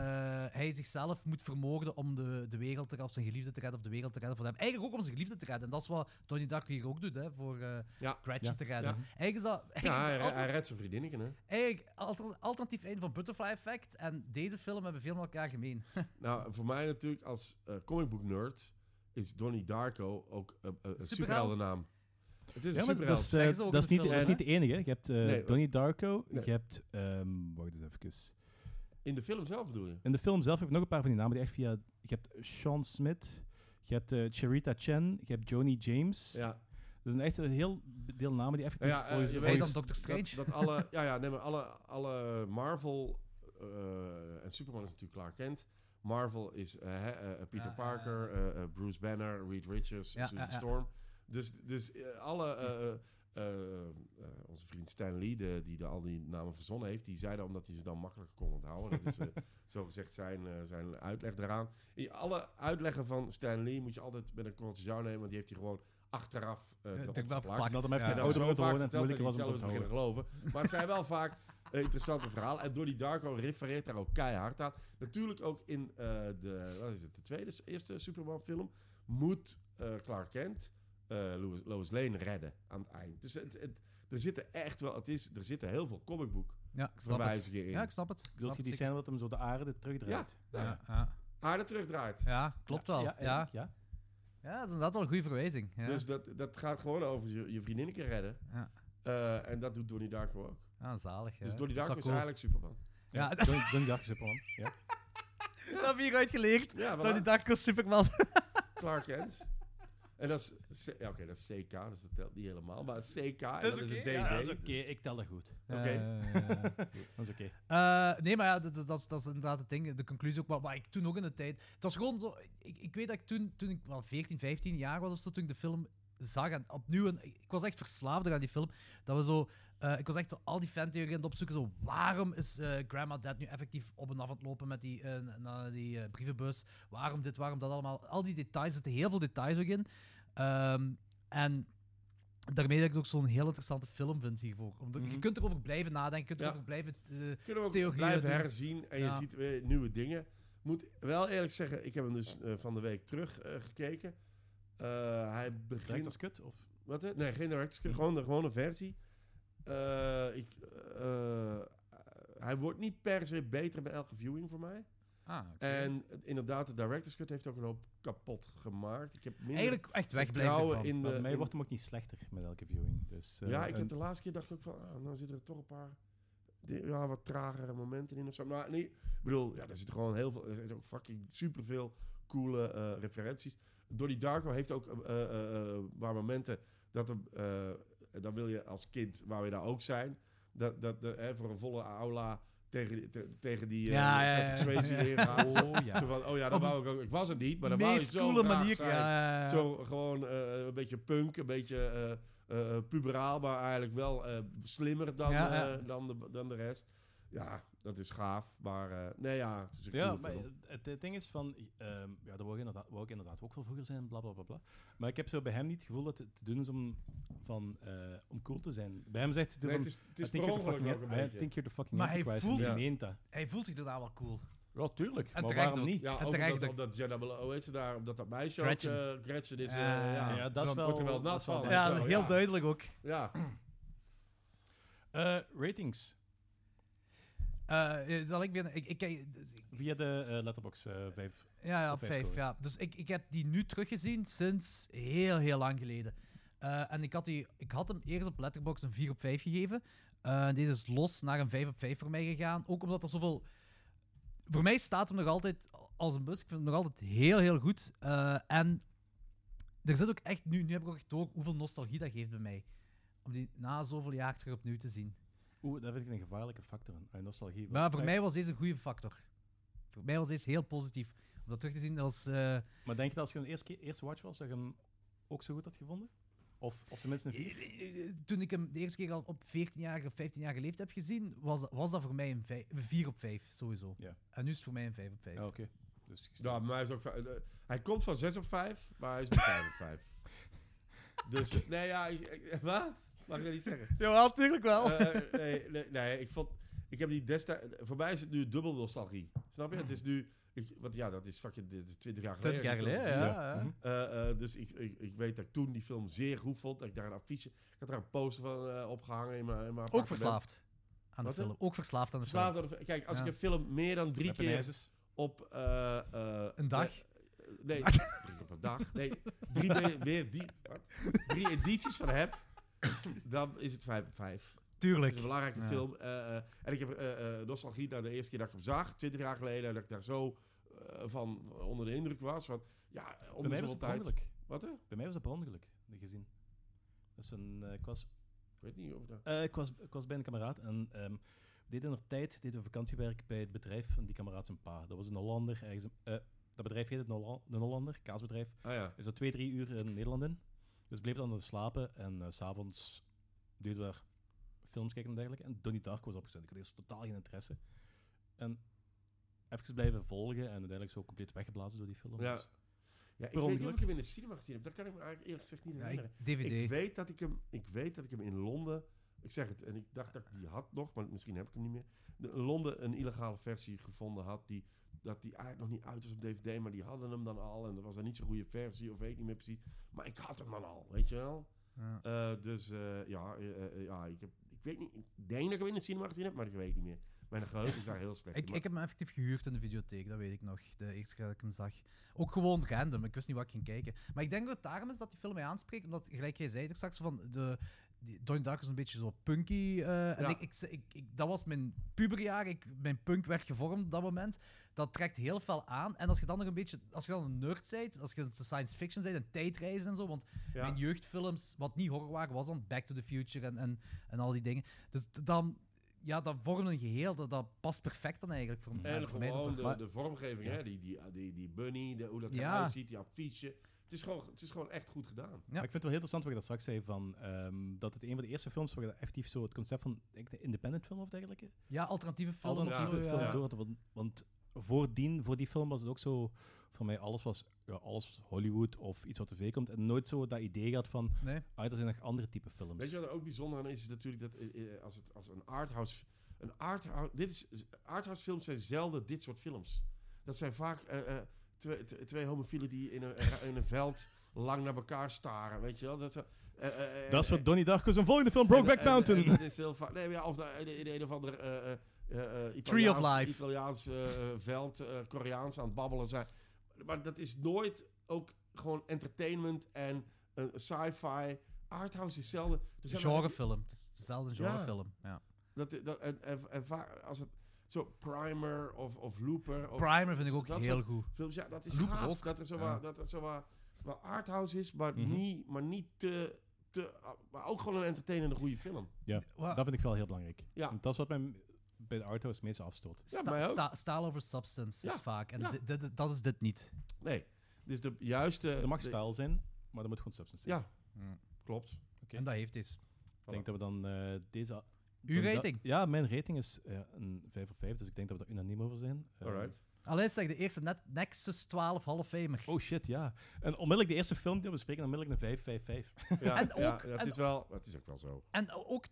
[SPEAKER 4] hij zichzelf moet vermoorden om de, de wereld te redden, of zijn geliefde te redden, of de wereld te redden voor hem. Eigenlijk ook om zijn geliefde te redden. En dat is wat Donnie Darko hier ook doet, hè, voor eh
[SPEAKER 2] Ja,
[SPEAKER 4] Gretchen
[SPEAKER 3] ja,
[SPEAKER 4] te redden. Eigenlijk is dat...
[SPEAKER 2] Ja, hij,
[SPEAKER 4] eigenlijk-
[SPEAKER 2] hij redt zijn vriendinnetje, hè.
[SPEAKER 4] Eigenlijk, alter- alternatief einde van Butterfly Effect en deze film hebben veel met elkaar gemeen.
[SPEAKER 2] Nou, voor mij natuurlijk als eh comic book nerd is Donnie Darko ook een uh,
[SPEAKER 4] Superheld.
[SPEAKER 2] superheldennaam. Het is
[SPEAKER 3] Ja,
[SPEAKER 2] een
[SPEAKER 3] maar
[SPEAKER 2] superheld.
[SPEAKER 3] dat is, eh,
[SPEAKER 4] Dat zeggen ze ook
[SPEAKER 3] dat is
[SPEAKER 4] in de
[SPEAKER 3] niet, dat is
[SPEAKER 4] film,
[SPEAKER 3] niet de enige. hè. Je hebt eh,
[SPEAKER 2] Nee,
[SPEAKER 3] Donnie Darko,
[SPEAKER 2] nee.
[SPEAKER 3] je hebt... ehm, wacht eens even.
[SPEAKER 2] In de film zelf bedoel je?
[SPEAKER 3] In de film zelf heb ik nog een paar van die namen die echt via... Je hebt Sean Smith, je hebt eh, Charita Chen, je hebt Joni James.
[SPEAKER 2] Ja.
[SPEAKER 3] Dat zijn echt een heel deel namen die effectief...
[SPEAKER 2] Ja, eh,
[SPEAKER 3] voor-
[SPEAKER 2] je
[SPEAKER 3] voor-
[SPEAKER 4] Zij
[SPEAKER 2] weet-
[SPEAKER 4] dan Doctor Strange.
[SPEAKER 2] Dat, dat alle, ja, ja, nee, maar alle, alle Marvel eh, en Superman is natuurlijk Clark Kent. Marvel is eh, hè, eh, eh, Peter
[SPEAKER 4] Ja,
[SPEAKER 2] Parker,
[SPEAKER 4] eh,
[SPEAKER 2] eh, eh, Bruce Banner, Reed Richards,
[SPEAKER 4] Ja,
[SPEAKER 2] Susan
[SPEAKER 4] ja, ja.
[SPEAKER 2] Storm. Dus, dus eh, alle, eh, eh, eh, eh, onze vriend Stan Lee, de, die de, al die namen verzonnen heeft, die zei dat omdat hij ze dan makkelijker kon onthouden. Dat is eh, zogezegd zijn, eh, zijn uitleg daaraan. In alle uitleggen van Stan Lee moet je altijd met een korreltje zout nemen, want die heeft hij gewoon achteraf eh
[SPEAKER 4] Eh,
[SPEAKER 2] erop
[SPEAKER 4] erop
[SPEAKER 2] geplakt.
[SPEAKER 3] Dat hem even
[SPEAKER 4] Ja.
[SPEAKER 2] En
[SPEAKER 3] de
[SPEAKER 2] dat was
[SPEAKER 3] ouder
[SPEAKER 2] zo
[SPEAKER 3] wordt
[SPEAKER 2] vaak
[SPEAKER 3] geworden en het
[SPEAKER 2] verteld dat
[SPEAKER 3] moeilijker
[SPEAKER 2] hij het
[SPEAKER 3] was om
[SPEAKER 2] zelf
[SPEAKER 3] te
[SPEAKER 2] is beginnen
[SPEAKER 3] onthouden.
[SPEAKER 2] geloven. Maar het zijn wel vaak eh, interessante verhalen. En Donnie Darko refereert daar ook keihard aan. Natuurlijk ook in eh, de, wat is het, de tweede, eerste Superman film... moet eh, Clark Kent eh, Lois, Lois Lane redden aan het eind. Dus het, het, er zitten echt wel... Het is, er zitten heel veel comicboek
[SPEAKER 4] Ja, ik snap het.
[SPEAKER 2] verwijzingen in.
[SPEAKER 4] Ja, ik snap het. Ik
[SPEAKER 3] Ik bedoel,
[SPEAKER 4] snap
[SPEAKER 3] je die
[SPEAKER 4] het zeker.
[SPEAKER 3] scène dat hem zo de aarde terugdraait?
[SPEAKER 2] Ja,
[SPEAKER 4] ja, ja.
[SPEAKER 2] Aarde terugdraait.
[SPEAKER 4] Ja, klopt wel. Ja, ja.
[SPEAKER 3] eigenlijk, ja.
[SPEAKER 4] dat is inderdaad wel een goede verwijzing. Ja.
[SPEAKER 2] Dus dat, dat gaat gewoon over je, je vriendinnetje redden.
[SPEAKER 4] Ja.
[SPEAKER 2] Eh, en dat doet Donnie Darko ook.
[SPEAKER 4] ja, Ah, zalig. Ja.
[SPEAKER 2] Dus Donnie
[SPEAKER 4] Dat
[SPEAKER 2] Darko is
[SPEAKER 4] wel cool.
[SPEAKER 2] eigenlijk Superman.
[SPEAKER 4] Ja,
[SPEAKER 3] Ja, Donnie Donnie Darko is Superman. Ja.
[SPEAKER 4] Dat heb je hieruit geleerd.
[SPEAKER 2] Ja, voilà.
[SPEAKER 4] Tony Darko is Superman.
[SPEAKER 2] Clark Kent. En dat is, C- ja, oké, dat is CK, dus dat telt niet helemaal. Maar CK, en
[SPEAKER 4] Dat
[SPEAKER 2] dat
[SPEAKER 4] is
[SPEAKER 2] is,
[SPEAKER 4] oké,
[SPEAKER 2] een DD.
[SPEAKER 4] ja,
[SPEAKER 3] Dat is oké, ik tel dat goed. Eh,
[SPEAKER 2] Oké.
[SPEAKER 3] Dat is oké.
[SPEAKER 4] Eh, nee, maar ja, dat, dat, dat is- dat is inderdaad het ding, de conclusie ook. Maar, maar ik toen ook in de tijd... Het was gewoon zo... Ik, ik weet dat ik toen, toen ik wel 14, 15 jaar was of zo, toen ik de film zag en opnieuw... En, ik was echt verslaafd aan die film. Dat we zo... eh, ik was echt zo al die fantheorieën aan het opzoeken. Zo, waarom is eh, Grandma Dead nu effectief op en af aan het lopen met die, eh, naar die eh, brievenbus? Waarom dit, waarom dat allemaal? Al die details, er zitten heel veel details ook in. Ehm, en daarmee dat ik het ook zo'n heel interessante film vind hiervoor. Omdat, Je
[SPEAKER 3] Mhm.
[SPEAKER 4] kunt erover blijven nadenken, je kunt
[SPEAKER 2] Ja.
[SPEAKER 4] erover blijven... eh,
[SPEAKER 2] Kunnen we ook
[SPEAKER 4] Theorieën
[SPEAKER 2] blijven
[SPEAKER 4] doen.
[SPEAKER 2] herzien en
[SPEAKER 4] Ja.
[SPEAKER 2] je ziet weer nieuwe dingen. Moet wel eerlijk zeggen, ik heb hem dus eh, van de week terug eh, gekeken. Eh, hij
[SPEAKER 3] Direct
[SPEAKER 2] begint...
[SPEAKER 3] als kut? Of?
[SPEAKER 2] Wat, hè? Nee, geen director's
[SPEAKER 4] Hm.
[SPEAKER 2] cut, gewoon de gewone versie. Eh, ik, eh, eh, hij wordt niet per se beter bij elke viewing voor mij.
[SPEAKER 4] Ah, oké.
[SPEAKER 2] En eh, inderdaad, de director's cut heeft ook een hoop kapot gemaakt. Ik heb minder
[SPEAKER 4] Eigenlijk echt
[SPEAKER 2] vertrouwen
[SPEAKER 4] wegblijven.
[SPEAKER 2] in de...
[SPEAKER 3] Bij mij
[SPEAKER 2] in-
[SPEAKER 3] wordt hem ook niet slechter met elke viewing. Dus, eh,
[SPEAKER 2] ja, ik
[SPEAKER 3] en-
[SPEAKER 2] heb de laatste keer dacht ik ook van, ah, nou zitten er toch een paar di- ja, wat tragere momenten in of zo. Maar nee, ik bedoel, ja, er zit gewoon heel veel, er zit ook fucking superveel coole eh, referenties. Donnie Darko heeft ook eh, eh, eh, waar momenten dat er, eh, dan wil je als kind, waar we daar ook zijn, dat, dat de- hè, voor een volle aula tegen, die- te- tegen die eh
[SPEAKER 4] Ja, ja,
[SPEAKER 2] Patrick
[SPEAKER 4] ja.
[SPEAKER 2] Swayze erin gaan.
[SPEAKER 3] Oh
[SPEAKER 2] Zo
[SPEAKER 3] ja.
[SPEAKER 2] van, oh ja, dat
[SPEAKER 4] Op
[SPEAKER 2] wou ik ook. Ik was het niet, maar dat wou ik
[SPEAKER 4] meest
[SPEAKER 2] zo
[SPEAKER 4] coole
[SPEAKER 2] graag
[SPEAKER 4] manier.
[SPEAKER 2] zijn.
[SPEAKER 4] ja, ja, ja.
[SPEAKER 2] Zo gewoon eh, een beetje punk, een beetje eh, eh, puberaal, maar eigenlijk wel eh, slimmer dan,
[SPEAKER 4] Ja, ja.
[SPEAKER 2] eh, dan, de, dan de rest. Ja, dat is gaaf. Maar eh, nee, ja, het is een
[SPEAKER 3] Ja,
[SPEAKER 2] coole
[SPEAKER 3] maar
[SPEAKER 2] film.
[SPEAKER 3] het, het ding is van, ehm, ja, dat wou ik, inderdaad, wou ik inderdaad ook wel vroeger zijn, bla bla bla. bla. Maar ik heb zo bij hem niet het gevoel dat het te doen is om, van, eh, om cool te zijn. Bij hem zegt hij
[SPEAKER 2] Nee,
[SPEAKER 3] van,
[SPEAKER 2] het is, het is
[SPEAKER 3] I think
[SPEAKER 2] per
[SPEAKER 3] you're the
[SPEAKER 2] ongeluk ook
[SPEAKER 3] fucking,
[SPEAKER 2] een
[SPEAKER 3] I
[SPEAKER 2] beetje.
[SPEAKER 3] think you're the fucking
[SPEAKER 4] Maar hij
[SPEAKER 3] Antichrist.
[SPEAKER 4] voelt-
[SPEAKER 3] en die
[SPEAKER 2] Ja.
[SPEAKER 3] meent dat.
[SPEAKER 4] Hij voelt zich daarna wel cool.
[SPEAKER 5] Ja, tuurlijk.
[SPEAKER 4] En
[SPEAKER 5] maar
[SPEAKER 4] terecht
[SPEAKER 5] waarom
[SPEAKER 4] ook.
[SPEAKER 5] niet?
[SPEAKER 2] Ja,
[SPEAKER 4] En
[SPEAKER 2] ook
[SPEAKER 4] terecht
[SPEAKER 2] omdat,
[SPEAKER 4] ook.
[SPEAKER 2] omdat Jenna Bel- hoe heet ze daar, omdat dat meisje
[SPEAKER 4] Gretchen.
[SPEAKER 2] ook eh, Gretchen is. eh,
[SPEAKER 4] Ja,
[SPEAKER 2] ja,
[SPEAKER 3] ja, dat
[SPEAKER 2] Dan
[SPEAKER 3] is wel-
[SPEAKER 2] wordt er wel
[SPEAKER 3] dat
[SPEAKER 2] nat
[SPEAKER 3] is wel
[SPEAKER 2] van.
[SPEAKER 3] Ja,
[SPEAKER 4] Ja,
[SPEAKER 2] en zo,
[SPEAKER 4] heel
[SPEAKER 2] ja.
[SPEAKER 4] duidelijk ook.
[SPEAKER 2] Ja,
[SPEAKER 3] Eh, ratings
[SPEAKER 4] Eh, eh, zal ik beginnen? Ik, ik, kijk- dus ik-
[SPEAKER 3] via de eh, Letterboxd eh 5.
[SPEAKER 4] ja, ja,
[SPEAKER 3] Op
[SPEAKER 4] op
[SPEAKER 3] vijf
[SPEAKER 4] vijf.
[SPEAKER 3] scoren.
[SPEAKER 4] Ja. Dus ik, ik heb die nu teruggezien sinds heel, heel lang geleden. Eh, en ik had, die, ik had hem eerst op Letterboxd een 4 op 5 gegeven. Eh, deze is los naar een 5 op 5 voor mij gegaan. Ook omdat er zoveel... Voor mij staat hem nog altijd als een bus. Ik vind hem nog altijd heel, heel goed. Eh, en er zit ook echt nu... Nu heb ik ook echt door hoeveel nostalgie dat geeft bij mij. Om die na zoveel jaar terug opnieuw te zien.
[SPEAKER 3] Oeh, daar vind ik een gevaarlijke factor in. Ah, nostalgie.
[SPEAKER 4] Maar voor
[SPEAKER 3] Eh,
[SPEAKER 4] mij was deze een goede factor. Voor mij was deze heel positief. Om dat terug te zien als. eh,
[SPEAKER 3] Maar denk je dat als je hem eerst, eerst watch was, dat je hem ook zo goed had gevonden? Of, of tenminste een 4?
[SPEAKER 4] Eh, toen ik hem de eerste keer al op 14-jarige of 15-jarige leeftijd heb gezien, was dat, was dat voor mij een vij- een 4 op 5 sowieso.
[SPEAKER 3] Ja.
[SPEAKER 4] En nu is het voor mij een 5 op 5.
[SPEAKER 3] Ja, oké. Dus ik
[SPEAKER 2] nou, maar hij, is ook, vijf- eh, hij komt van 6 op 5, maar hij is nu 5 op 5. Dus, eh, nee, ja, ik- ik- wat? Mag ik dat niet zeggen?
[SPEAKER 4] Ja, natuurlijk wel.
[SPEAKER 2] Eh, nee, nee, nee, ik vond... Ik heb die destijds... Voor mij is het nu dubbel nostalgie. Snap je? Het is nu... Ik, want ja, dat is fucking dit is 20 jaar geleden.
[SPEAKER 4] 20 jaar
[SPEAKER 2] die film
[SPEAKER 4] geleden,
[SPEAKER 2] gezien.
[SPEAKER 4] ja. ja.
[SPEAKER 2] Eh, eh, dus ik, ik, ik weet dat ik toen die film zeer goed vond. Dat ik daar een affiche... Ik had daar een poster van eh, opgehangen in mijn, in mijn
[SPEAKER 4] Ook
[SPEAKER 2] appartement.
[SPEAKER 4] verslaafd aan de
[SPEAKER 2] Wat, hè?
[SPEAKER 4] film. Ook verslaafd aan de
[SPEAKER 2] Verslaafd
[SPEAKER 4] film.
[SPEAKER 2] aan de- Kijk, als
[SPEAKER 4] Ja.
[SPEAKER 2] ik een film meer dan drie keer op... eh, eh,
[SPEAKER 4] Een dag?
[SPEAKER 2] Nee, drie op een dag. Nee, drie meer, meer die, wat? drie edities van heb, dan is het vijf op vijf.
[SPEAKER 4] Tuurlijk.
[SPEAKER 2] Het is een belangrijke
[SPEAKER 4] Ja.
[SPEAKER 2] film. eh, eh, en ik heb eh, eh, nostalgie naar de eerste keer dat ik hem zag, 20 jaar geleden, en dat ik daar zo eh, van onder de indruk was. Want ja,
[SPEAKER 3] Bij
[SPEAKER 2] onder zoveel
[SPEAKER 3] mij was het per
[SPEAKER 2] tijd.
[SPEAKER 3] ongeluk.
[SPEAKER 2] Wat hè? Ik
[SPEAKER 3] Bij mij was het per ongeluk, gezien. Dat is een, eh, ik was
[SPEAKER 2] weet niet of dat.
[SPEAKER 3] Eh, ik, was, ik was bij een kameraad en ehm, we deden nog tijd, deden we vakantiewerk bij het bedrijf van die kameraad zijn pa. Dat was een Hollander. Ergens, in- eh, dat bedrijf heette een, Holla- een Hollander, kaasbedrijf.
[SPEAKER 2] Ah ja.
[SPEAKER 3] Is dat twee, drie uur in Nederland in. Dus ik bleef dan nog slapen en eh, s s'avonds deden we daar films kijken en dergelijke. En Donnie Darko was opgezet. Ik had eerst totaal geen interesse. En even blijven volgen en uiteindelijk zo compleet weggeblazen door die film.
[SPEAKER 2] Ja.
[SPEAKER 3] Dus-
[SPEAKER 2] ja ik weet niet of
[SPEAKER 3] ongeluk.
[SPEAKER 2] ik hem in de cinema gezien heb. Dat kan ik me eigenlijk eerlijk gezegd niet
[SPEAKER 4] Ja,
[SPEAKER 2] herinneren.
[SPEAKER 4] ik- DVD.
[SPEAKER 2] Ik weet, dat ik, hem, ik weet dat ik hem in Londen. Ik zeg het, en ik dacht dat ik die had nog, maar misschien heb ik hem niet meer. De, in Londen een illegale versie gevonden had. Die, dat die eigenlijk nog niet uit was op DVD, maar die hadden hem dan al. En dat was dan niet zo'n goede versie, of weet ik niet meer precies. Maar ik had hem dan al, weet je wel.
[SPEAKER 4] Ja.
[SPEAKER 2] Eh, dus eh, ja, eh, eh, ja ik, heb, ik weet niet. Ik denk dat ik hem in de cinema gezien heb, maar ik weet het niet meer. Mijn geheugen is daar heel slecht. in,
[SPEAKER 4] Ik,
[SPEAKER 2] maar-
[SPEAKER 4] ik heb hem effectief gehuurd in de videotheek, dat weet ik nog. De eerste keer dat ik hem zag. Ook gewoon random, ik wist niet wat ik ging kijken. Maar ik denk dat het daarom is dat die film mij aanspreekt, omdat, gelijk jij zei er straks, van de, die, Donnie Darko is een beetje zo punky. eh, en
[SPEAKER 2] Ja.
[SPEAKER 4] ik, ik, ik, ik- dat was mijn puberjaar, ik, mijn punk werd gevormd op dat moment. Dat trekt heel veel aan. En als je dan nog een beetje, als je dan een nerd bent, als je een science fiction bent en tijdreizen en zo, want
[SPEAKER 2] ja.
[SPEAKER 4] mijn jeugdfilms, wat niet horror waren, was dan Back to the Future en, en, en al die dingen. Dus d- dan, ja, dat vormt een geheel, dat, dat past perfect dan eigenlijk voor, ja,
[SPEAKER 2] En
[SPEAKER 4] voor mij. dan
[SPEAKER 2] gewoon
[SPEAKER 4] toch.
[SPEAKER 2] de,
[SPEAKER 3] Maar-
[SPEAKER 2] de vormgeving, hè? Die, die, die, die bunny, de, hoe dat
[SPEAKER 4] Ja.
[SPEAKER 2] eruit ziet, die affiche. Het is, gewoon, het is gewoon echt goed gedaan.
[SPEAKER 4] Ja.
[SPEAKER 3] Maar ik vind het wel heel interessant wat je dat straks zei, van, ehm, dat het een van de eerste films waar je effectief zo het concept van ik denk, independent film of dergelijke
[SPEAKER 4] Ja, alternatieve eh, film.
[SPEAKER 3] alternatieve
[SPEAKER 4] of zo,
[SPEAKER 3] film
[SPEAKER 2] ja.
[SPEAKER 3] door. had, Want, want voordien, voor die film was het ook zo... Voor mij alles was, ja, alles was Hollywood of iets wat tv komt. En nooit zo dat idee gehad van...
[SPEAKER 4] Nee.
[SPEAKER 3] Ah, er zijn nog andere type films.
[SPEAKER 2] Weet je wat er ook bijzonder aan is? Is natuurlijk dat eh, eh, als, het, als een arthouse... Een arthouse, dit is, arthouse films zijn zelden dit soort films. Dat zijn vaak eh, eh, twee, t- twee homofielen die in een, eh, in een veld lang naar elkaar staren. Weet je wel? Dat, ze- eh, eh, eh,
[SPEAKER 3] dat is
[SPEAKER 2] eh,
[SPEAKER 3] wat Donnie Darko zijn volgende film, Brokeback
[SPEAKER 2] en- en-
[SPEAKER 3] Mountain.
[SPEAKER 2] en dat is heel vaak. Nee, maar ja, of daar in, in een of ander eh, eh, eh, eh,
[SPEAKER 4] Tree of
[SPEAKER 2] Italiaans-
[SPEAKER 4] Life.
[SPEAKER 2] Italiaans eh, eh, veld, eh, Koreaans aan het babbelen zijn. Maar dat is nooit ook gewoon entertainment en eh, sci-fi. Arthouse is zelden. Er zijn maar-
[SPEAKER 4] Dus Genrefilm. Het is dezelfde
[SPEAKER 2] Ja.
[SPEAKER 4] genrefilm. Ja.
[SPEAKER 2] Dat, dat, en, en, en vaak als het zo Primer of, of Looper. Of
[SPEAKER 4] Primer vind ik ook
[SPEAKER 2] dat
[SPEAKER 4] heel
[SPEAKER 2] soort
[SPEAKER 4] goed.
[SPEAKER 2] Films, ja, dat is
[SPEAKER 4] Looper
[SPEAKER 2] gaaf.
[SPEAKER 4] ook.
[SPEAKER 2] Dat er zo
[SPEAKER 4] Ja.
[SPEAKER 2] wat, dat er zo wat, wat arthouse is, maar,
[SPEAKER 3] Mhm.
[SPEAKER 2] niet, maar niet te, te... Maar ook gewoon een entertainende goede film.
[SPEAKER 3] Ja,
[SPEAKER 4] Wa-
[SPEAKER 3] dat vind ik wel heel belangrijk.
[SPEAKER 2] Ja.
[SPEAKER 3] Want dat is wat mij bij de auto's het meest afstoot.
[SPEAKER 2] Ja,
[SPEAKER 4] Sta-
[SPEAKER 2] mij ook.
[SPEAKER 4] sta- staal over substance
[SPEAKER 2] Ja,
[SPEAKER 4] is vaak. En
[SPEAKER 2] ja.
[SPEAKER 4] dit- dit- dat is dit niet.
[SPEAKER 2] Nee. Dus de juiste...
[SPEAKER 3] Er mag
[SPEAKER 2] Eh, de-
[SPEAKER 3] stijl zijn, maar er moet gewoon substance zijn.
[SPEAKER 2] Ja, klopt.
[SPEAKER 3] Hmm, Oké.
[SPEAKER 4] En dat heeft deze.
[SPEAKER 3] Ik denk dat we dan eh, deze... a-
[SPEAKER 4] Uw
[SPEAKER 3] dan dat-
[SPEAKER 4] rating?
[SPEAKER 3] ja, mijn rating is eh, een 5 op 5, dus ik denk dat we daar unaniem over zijn. Eh,
[SPEAKER 2] Alright.
[SPEAKER 4] Alleen zeg de eerste net Nexus 12 half famer.
[SPEAKER 3] Oh shit, ja. En onmiddellijk de eerste film die we bespreken, onmiddellijk een 5, 5, 5.
[SPEAKER 2] Ja,
[SPEAKER 4] En
[SPEAKER 2] ja,
[SPEAKER 4] ook-
[SPEAKER 2] dat
[SPEAKER 4] en-
[SPEAKER 2] is wel... Dat is ook wel zo.
[SPEAKER 4] En ook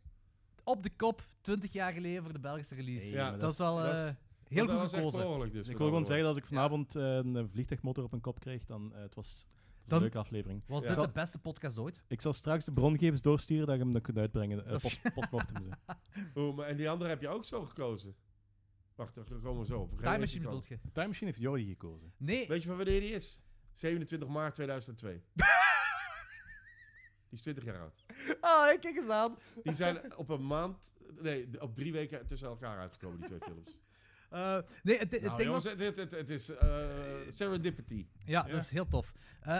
[SPEAKER 4] op de kop, 20 jaar geleden voor de Belgische release.
[SPEAKER 3] Hey,
[SPEAKER 2] Ja,
[SPEAKER 3] maar
[SPEAKER 4] dat,
[SPEAKER 3] dat
[SPEAKER 4] is wel
[SPEAKER 2] dat
[SPEAKER 4] eh,
[SPEAKER 2] is-
[SPEAKER 4] heel
[SPEAKER 2] Dat
[SPEAKER 4] goed
[SPEAKER 2] was echt
[SPEAKER 4] gekozen.
[SPEAKER 2] per ongeluk dus.
[SPEAKER 3] ik
[SPEAKER 2] met
[SPEAKER 3] wil gewoon
[SPEAKER 2] andere
[SPEAKER 3] zeggen dat als ik vanavond eh, een vliegtuigmotor op mijn kop kreeg, dan eh, het was, het was
[SPEAKER 4] Dan-
[SPEAKER 3] een leuke aflevering.
[SPEAKER 4] Was
[SPEAKER 2] Ja.
[SPEAKER 4] dit
[SPEAKER 3] Zal-
[SPEAKER 4] de beste podcast ooit?
[SPEAKER 3] Ik zal straks de brongevers doorsturen dat je hem dan kunt uitbrengen. eh
[SPEAKER 4] Dat is-
[SPEAKER 3] post, postmortem. zo.
[SPEAKER 2] woorden. Oeh, maar en die andere heb je ook zo gekozen. Wacht, daar komen we zo op. We gaan
[SPEAKER 4] Time
[SPEAKER 2] eerst
[SPEAKER 4] Machine
[SPEAKER 2] iets
[SPEAKER 4] bedoelt
[SPEAKER 2] anders.
[SPEAKER 4] je?
[SPEAKER 3] Time Machine heeft Jordi gekozen.
[SPEAKER 4] Nee,
[SPEAKER 2] Weet je van wanneer die is? 27 maart 2002. die is 20 jaar oud.
[SPEAKER 4] ah, kijk eens aan.
[SPEAKER 2] Die zijn op een maand... Nee, d- op drie weken tussen elkaar uitgekomen, die twee films.
[SPEAKER 4] Eh, nee, het, het
[SPEAKER 2] Nou,
[SPEAKER 4] ding
[SPEAKER 2] jongens,
[SPEAKER 4] was...
[SPEAKER 2] het, het, het, het is eh, serendipity.
[SPEAKER 4] Ja,
[SPEAKER 3] Ja.
[SPEAKER 4] dat is heel tof. Eh,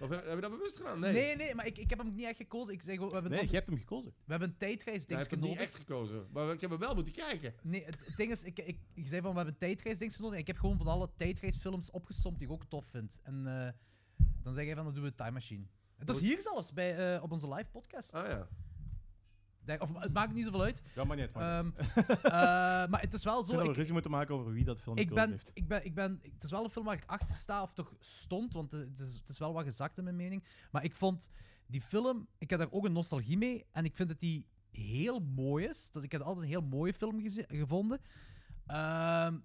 [SPEAKER 2] Of heb je dat bewust gedaan? Nee.
[SPEAKER 4] nee. nee, maar ik, ik heb hem niet echt gekozen. Ik zeg, we hebben,
[SPEAKER 3] Nee,
[SPEAKER 4] een-
[SPEAKER 3] je hebt hem gekozen.
[SPEAKER 4] we hebben een tijdreis
[SPEAKER 2] Hij heeft hem niet
[SPEAKER 4] nodig.
[SPEAKER 2] echt gekozen. Maar ik heb hem wel moeten kijken.
[SPEAKER 4] Nee, het, het ding is, ik, ik, ik zei van, we hebben tijdreisdings nodig. En ik heb gewoon van alle tijdreisfilms opgesomd die ik ook tof vind. En eh, dan zeg jij van, dan doen we Time Machine. Het is
[SPEAKER 2] Goed.
[SPEAKER 4] hier zelfs, bij, eh, op onze live podcast.
[SPEAKER 2] Ah ja.
[SPEAKER 4] Daar- Of, het maakt niet zoveel uit.
[SPEAKER 3] Ja, maar niet. Maar
[SPEAKER 4] Ehm, eh, maar het is wel
[SPEAKER 3] Ik vind
[SPEAKER 4] zo...
[SPEAKER 3] dat we
[SPEAKER 4] Ik,
[SPEAKER 3] ruzie moeten maken over wie dat film
[SPEAKER 4] ik,
[SPEAKER 3] gekozen
[SPEAKER 4] ben,
[SPEAKER 3] heeft.
[SPEAKER 4] ik, ben, ik ben... Het is wel een film waar ik achter sta, of toch stond. Want eh, het is, het is wel wat gezakt in mijn mening. Maar ik vond die film... Ik heb daar ook een nostalgie mee. En ik vind dat die heel mooi is. Dat, ik heb altijd een heel mooie film geze- gevonden. Ehm,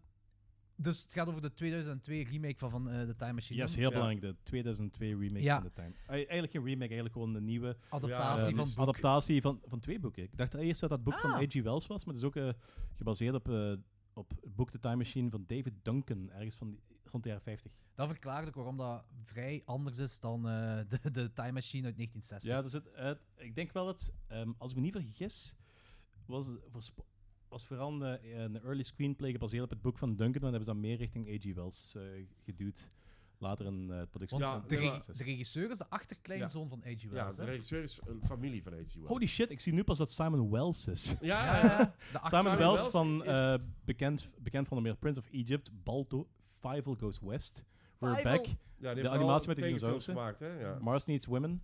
[SPEAKER 4] dus het gaat over de 2002 remake van, van eh The Time Machine.
[SPEAKER 3] Yes, heel
[SPEAKER 2] Ja.
[SPEAKER 3] belangrijk. De 2002 remake
[SPEAKER 4] Ja.
[SPEAKER 3] van The Time. Eh, eigenlijk geen remake, eigenlijk gewoon een nieuwe
[SPEAKER 4] Adaptatie
[SPEAKER 3] eh,
[SPEAKER 4] van...
[SPEAKER 2] dus- boek.
[SPEAKER 3] adaptatie van, van twee boeken. Ik dacht eerst dat dat boek
[SPEAKER 4] Ah.
[SPEAKER 3] van A.G. Wells was, maar het is ook eh, gebaseerd op, eh, op het boek The Time Machine van David Duncan, ergens van die- rond de jaren 50.
[SPEAKER 4] Dat verklaart ook waarom dat vrij anders is dan eh, de, de Time Machine uit 1960.
[SPEAKER 3] Ja, dus het, het- ik denk wel dat, ehm, als ik me niet vergis, was, het voor sp- was vooral een, eh, een early screenplay gebaseerd op het boek van Duncan, maar dat hebben ze dan meer richting A.G. Wells eh, geduwd. Later in eh, het productie.
[SPEAKER 4] Want
[SPEAKER 2] Ja,
[SPEAKER 4] de,
[SPEAKER 2] nee,
[SPEAKER 4] reg-
[SPEAKER 2] maar-
[SPEAKER 4] de regisseur is de achterkleinzoon van A.G.
[SPEAKER 2] Ja,
[SPEAKER 4] Wells.
[SPEAKER 2] de
[SPEAKER 4] hè?
[SPEAKER 2] regisseur is een familie van H.G. Wells.
[SPEAKER 3] Holy shit, ik zie nu pas dat Simon Wells is.
[SPEAKER 2] Ja,
[SPEAKER 4] Ja,
[SPEAKER 2] ja,
[SPEAKER 4] ja.
[SPEAKER 2] ja.
[SPEAKER 4] De acht-
[SPEAKER 3] Simon,
[SPEAKER 2] Simon
[SPEAKER 3] Wells,
[SPEAKER 2] Wells
[SPEAKER 3] van,
[SPEAKER 2] is-
[SPEAKER 3] eh, bekend, bekend van de meer Prince of Egypt, Balto, Fivel Goes West, We're
[SPEAKER 4] Fievel.
[SPEAKER 3] Back,
[SPEAKER 2] die heeft
[SPEAKER 3] De
[SPEAKER 2] vooral
[SPEAKER 3] animatie met de
[SPEAKER 2] tekenfilms
[SPEAKER 3] dinosaurussen.
[SPEAKER 2] gemaakt, hè? Ja.
[SPEAKER 3] Mars Needs Women.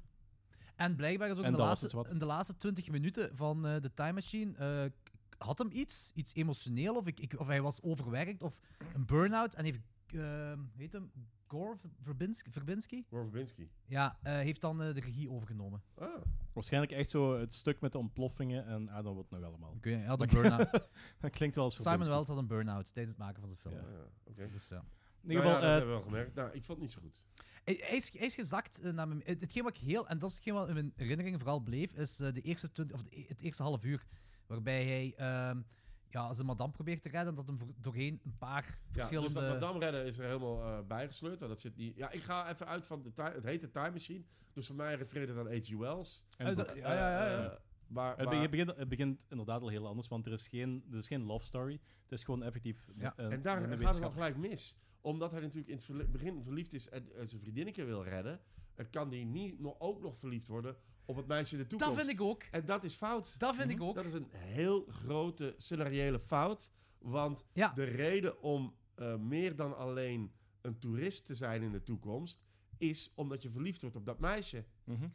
[SPEAKER 4] En blijkbaar is ook
[SPEAKER 3] En
[SPEAKER 4] in de,
[SPEAKER 3] dat was
[SPEAKER 4] laatste,
[SPEAKER 3] het wat.
[SPEAKER 4] in de laatste 20 minuten van eh, de Time Machine. eh, k- had hem iets, iets emotioneel, of, ik, ik, of hij was overwerkt, of een burn-out. En heeft, ehm, heet hem, Gore Verbinski? Verbinski?
[SPEAKER 2] Gore Verbinski.
[SPEAKER 4] Ja, eh, heeft dan eh, de regie overgenomen.
[SPEAKER 2] Ah.
[SPEAKER 3] Waarschijnlijk echt zo het stuk met de ontploffingen en I don't know wat nog allemaal.
[SPEAKER 4] Oké, hij had een burn-out.
[SPEAKER 3] Dat klinkt wel eens
[SPEAKER 4] Simon
[SPEAKER 3] verbind.
[SPEAKER 4] Wells had een burn-out tijdens het maken van zijn film.
[SPEAKER 2] Ja,
[SPEAKER 3] Ja.
[SPEAKER 2] ja, oké.
[SPEAKER 4] Dus, ja.
[SPEAKER 3] In ieder geval,
[SPEAKER 2] nou, ja, dat
[SPEAKER 3] eh,
[SPEAKER 2] hebben we wel gemerkt. Nou, ik vond het niet zo goed.
[SPEAKER 4] Hij, hij is, hij is gezakt eh, naar mijn... het- Hetgeen wat ik heel... En dat is hetgeen wat in mijn herinneringen vooral bleef, is eh, de eerste 20 of de e- het eerste half uur, waarbij hij ehm, ja, zijn madame probeert te redden en dat hem voor- doorheen een paar
[SPEAKER 2] Ja,
[SPEAKER 4] verschillende...
[SPEAKER 2] dus dat Madame Redden is er helemaal eh, bijgesleurd. Want dat zit niet... Ja, ik ga even uit van... De ti- het heet de Time Machine. Dus voor mij refereert het aan H.G. Wells.
[SPEAKER 3] en
[SPEAKER 4] Eh,
[SPEAKER 3] boek.
[SPEAKER 4] dat- ja, ja, ja, ja.
[SPEAKER 2] Eh, maar,
[SPEAKER 3] het,
[SPEAKER 2] maar-
[SPEAKER 3] begint- het begint, het begint inderdaad al heel anders, want er is geen, er is geen love story. Het is gewoon effectief
[SPEAKER 4] Ja,
[SPEAKER 3] een,
[SPEAKER 2] en daar
[SPEAKER 3] een
[SPEAKER 2] gaat het al gelijk mis. Omdat hij natuurlijk in het verli- begin verliefd is en eh, zijn vriendinnetje wil redden... eh, kan hij niet nog, ook nog verliefd worden op het meisje in de toekomst.
[SPEAKER 4] dat vind ik ook.
[SPEAKER 2] En dat is fout.
[SPEAKER 4] Dat vind ik ook.
[SPEAKER 2] Mhm, Dat is een heel grote scenariële fout. Want
[SPEAKER 4] Ja.
[SPEAKER 2] de reden om eh, meer dan alleen een toerist te zijn in de toekomst... is omdat je verliefd wordt op dat meisje.
[SPEAKER 4] Eh,
[SPEAKER 3] Mhm.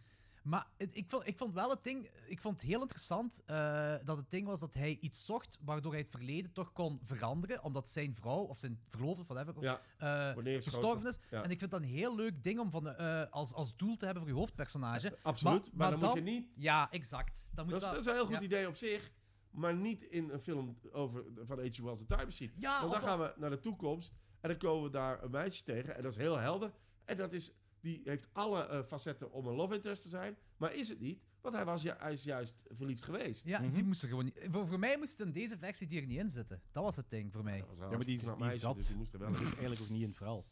[SPEAKER 4] Maar het- ik vond, ik vond wel het ding... Ik vond het heel interessant eh, dat het ding was dat hij iets zocht waardoor hij het verleden toch kon veranderen, omdat zijn vrouw, of zijn verloofde, of whatever,
[SPEAKER 2] Ja,
[SPEAKER 4] eh,
[SPEAKER 2] wanneer is groter?
[SPEAKER 4] gestorven is.
[SPEAKER 2] Ja.
[SPEAKER 4] En ik vind dat een heel leuk ding om van, eh, als, als doel te hebben voor je hoofdpersonage.
[SPEAKER 2] Eh, Absoluut,
[SPEAKER 4] Maar-
[SPEAKER 2] maar,
[SPEAKER 4] maar
[SPEAKER 2] dan,
[SPEAKER 4] dan-
[SPEAKER 2] moet je niet...
[SPEAKER 4] Ja, exact. Dan moet
[SPEAKER 2] Dat is,
[SPEAKER 4] dat-
[SPEAKER 2] dat is een heel goed
[SPEAKER 4] ja.
[SPEAKER 2] idee op zich... maar niet in een film over, van H.G. Wells' The Time Machine.
[SPEAKER 4] Ja,
[SPEAKER 2] Want dan
[SPEAKER 4] of-
[SPEAKER 2] gaan we naar de toekomst... en dan komen we daar een meisje tegen... en dat is heel helder. En dat is... Die heeft alle eh, facetten om een love interest te zijn, maar is het niet, want hij, was ju- hij is juist verliefd geweest.
[SPEAKER 4] Ja,
[SPEAKER 3] Mhm.
[SPEAKER 4] die moest er gewoon niet... Voor, voor mij moest het in deze versie die er niet in zitten. Dat was het ding voor mij.
[SPEAKER 2] Dat was een
[SPEAKER 3] Ja, maar die-
[SPEAKER 2] knap
[SPEAKER 3] die zat.
[SPEAKER 2] dus die moest er wel
[SPEAKER 3] Dat is eigenlijk ook niet in het verhaal.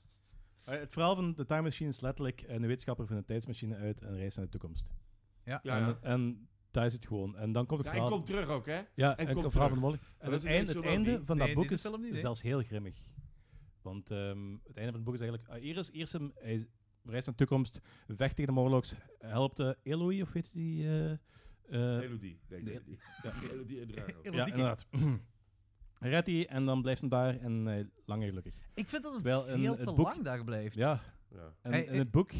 [SPEAKER 3] Eh, het verhaal van de Time eh, Machine is letterlijk een wetenschapper van een tijdsmachine uit en reist naar de toekomst.
[SPEAKER 2] Ja, ja.
[SPEAKER 3] En Daar is het gewoon. En dan komt het
[SPEAKER 2] Ja, en
[SPEAKER 3] verhaal...
[SPEAKER 2] komt terug ook, hè?
[SPEAKER 3] Ja,
[SPEAKER 2] en
[SPEAKER 3] en
[SPEAKER 2] komt
[SPEAKER 3] het verhaal van
[SPEAKER 2] terug.
[SPEAKER 3] de Molly. En
[SPEAKER 2] dat is
[SPEAKER 3] het
[SPEAKER 2] in
[SPEAKER 3] einde,
[SPEAKER 2] deze
[SPEAKER 3] het
[SPEAKER 2] film
[SPEAKER 3] einde
[SPEAKER 2] niet.
[SPEAKER 3] van dat
[SPEAKER 4] Nee,
[SPEAKER 3] boek
[SPEAKER 4] deze
[SPEAKER 3] is
[SPEAKER 4] film niet, hè?
[SPEAKER 3] zelfs heel grimmig. Want ehm, het einde van het boek is eigenlijk... ah, hier is eerst hem, hij is- reist naar de toekomst, vecht tegen de Morlocks, helpt eh Eloy, of weet je die... eh, eh,
[SPEAKER 2] Elodie, denk
[SPEAKER 3] nee.
[SPEAKER 2] ik. Elodie. Elodie en Drago.
[SPEAKER 4] Ja.
[SPEAKER 3] ja, inderdaad. Hij Redt hij en dan blijft hij daar en eh, lang en gelukkig.
[SPEAKER 4] Ik vind dat het
[SPEAKER 3] Terwijl in
[SPEAKER 4] veel
[SPEAKER 3] het
[SPEAKER 4] te
[SPEAKER 3] boek-
[SPEAKER 4] lang daar blijft.
[SPEAKER 3] Ja,
[SPEAKER 2] Ja.
[SPEAKER 3] en
[SPEAKER 4] Hij-
[SPEAKER 3] in het boek,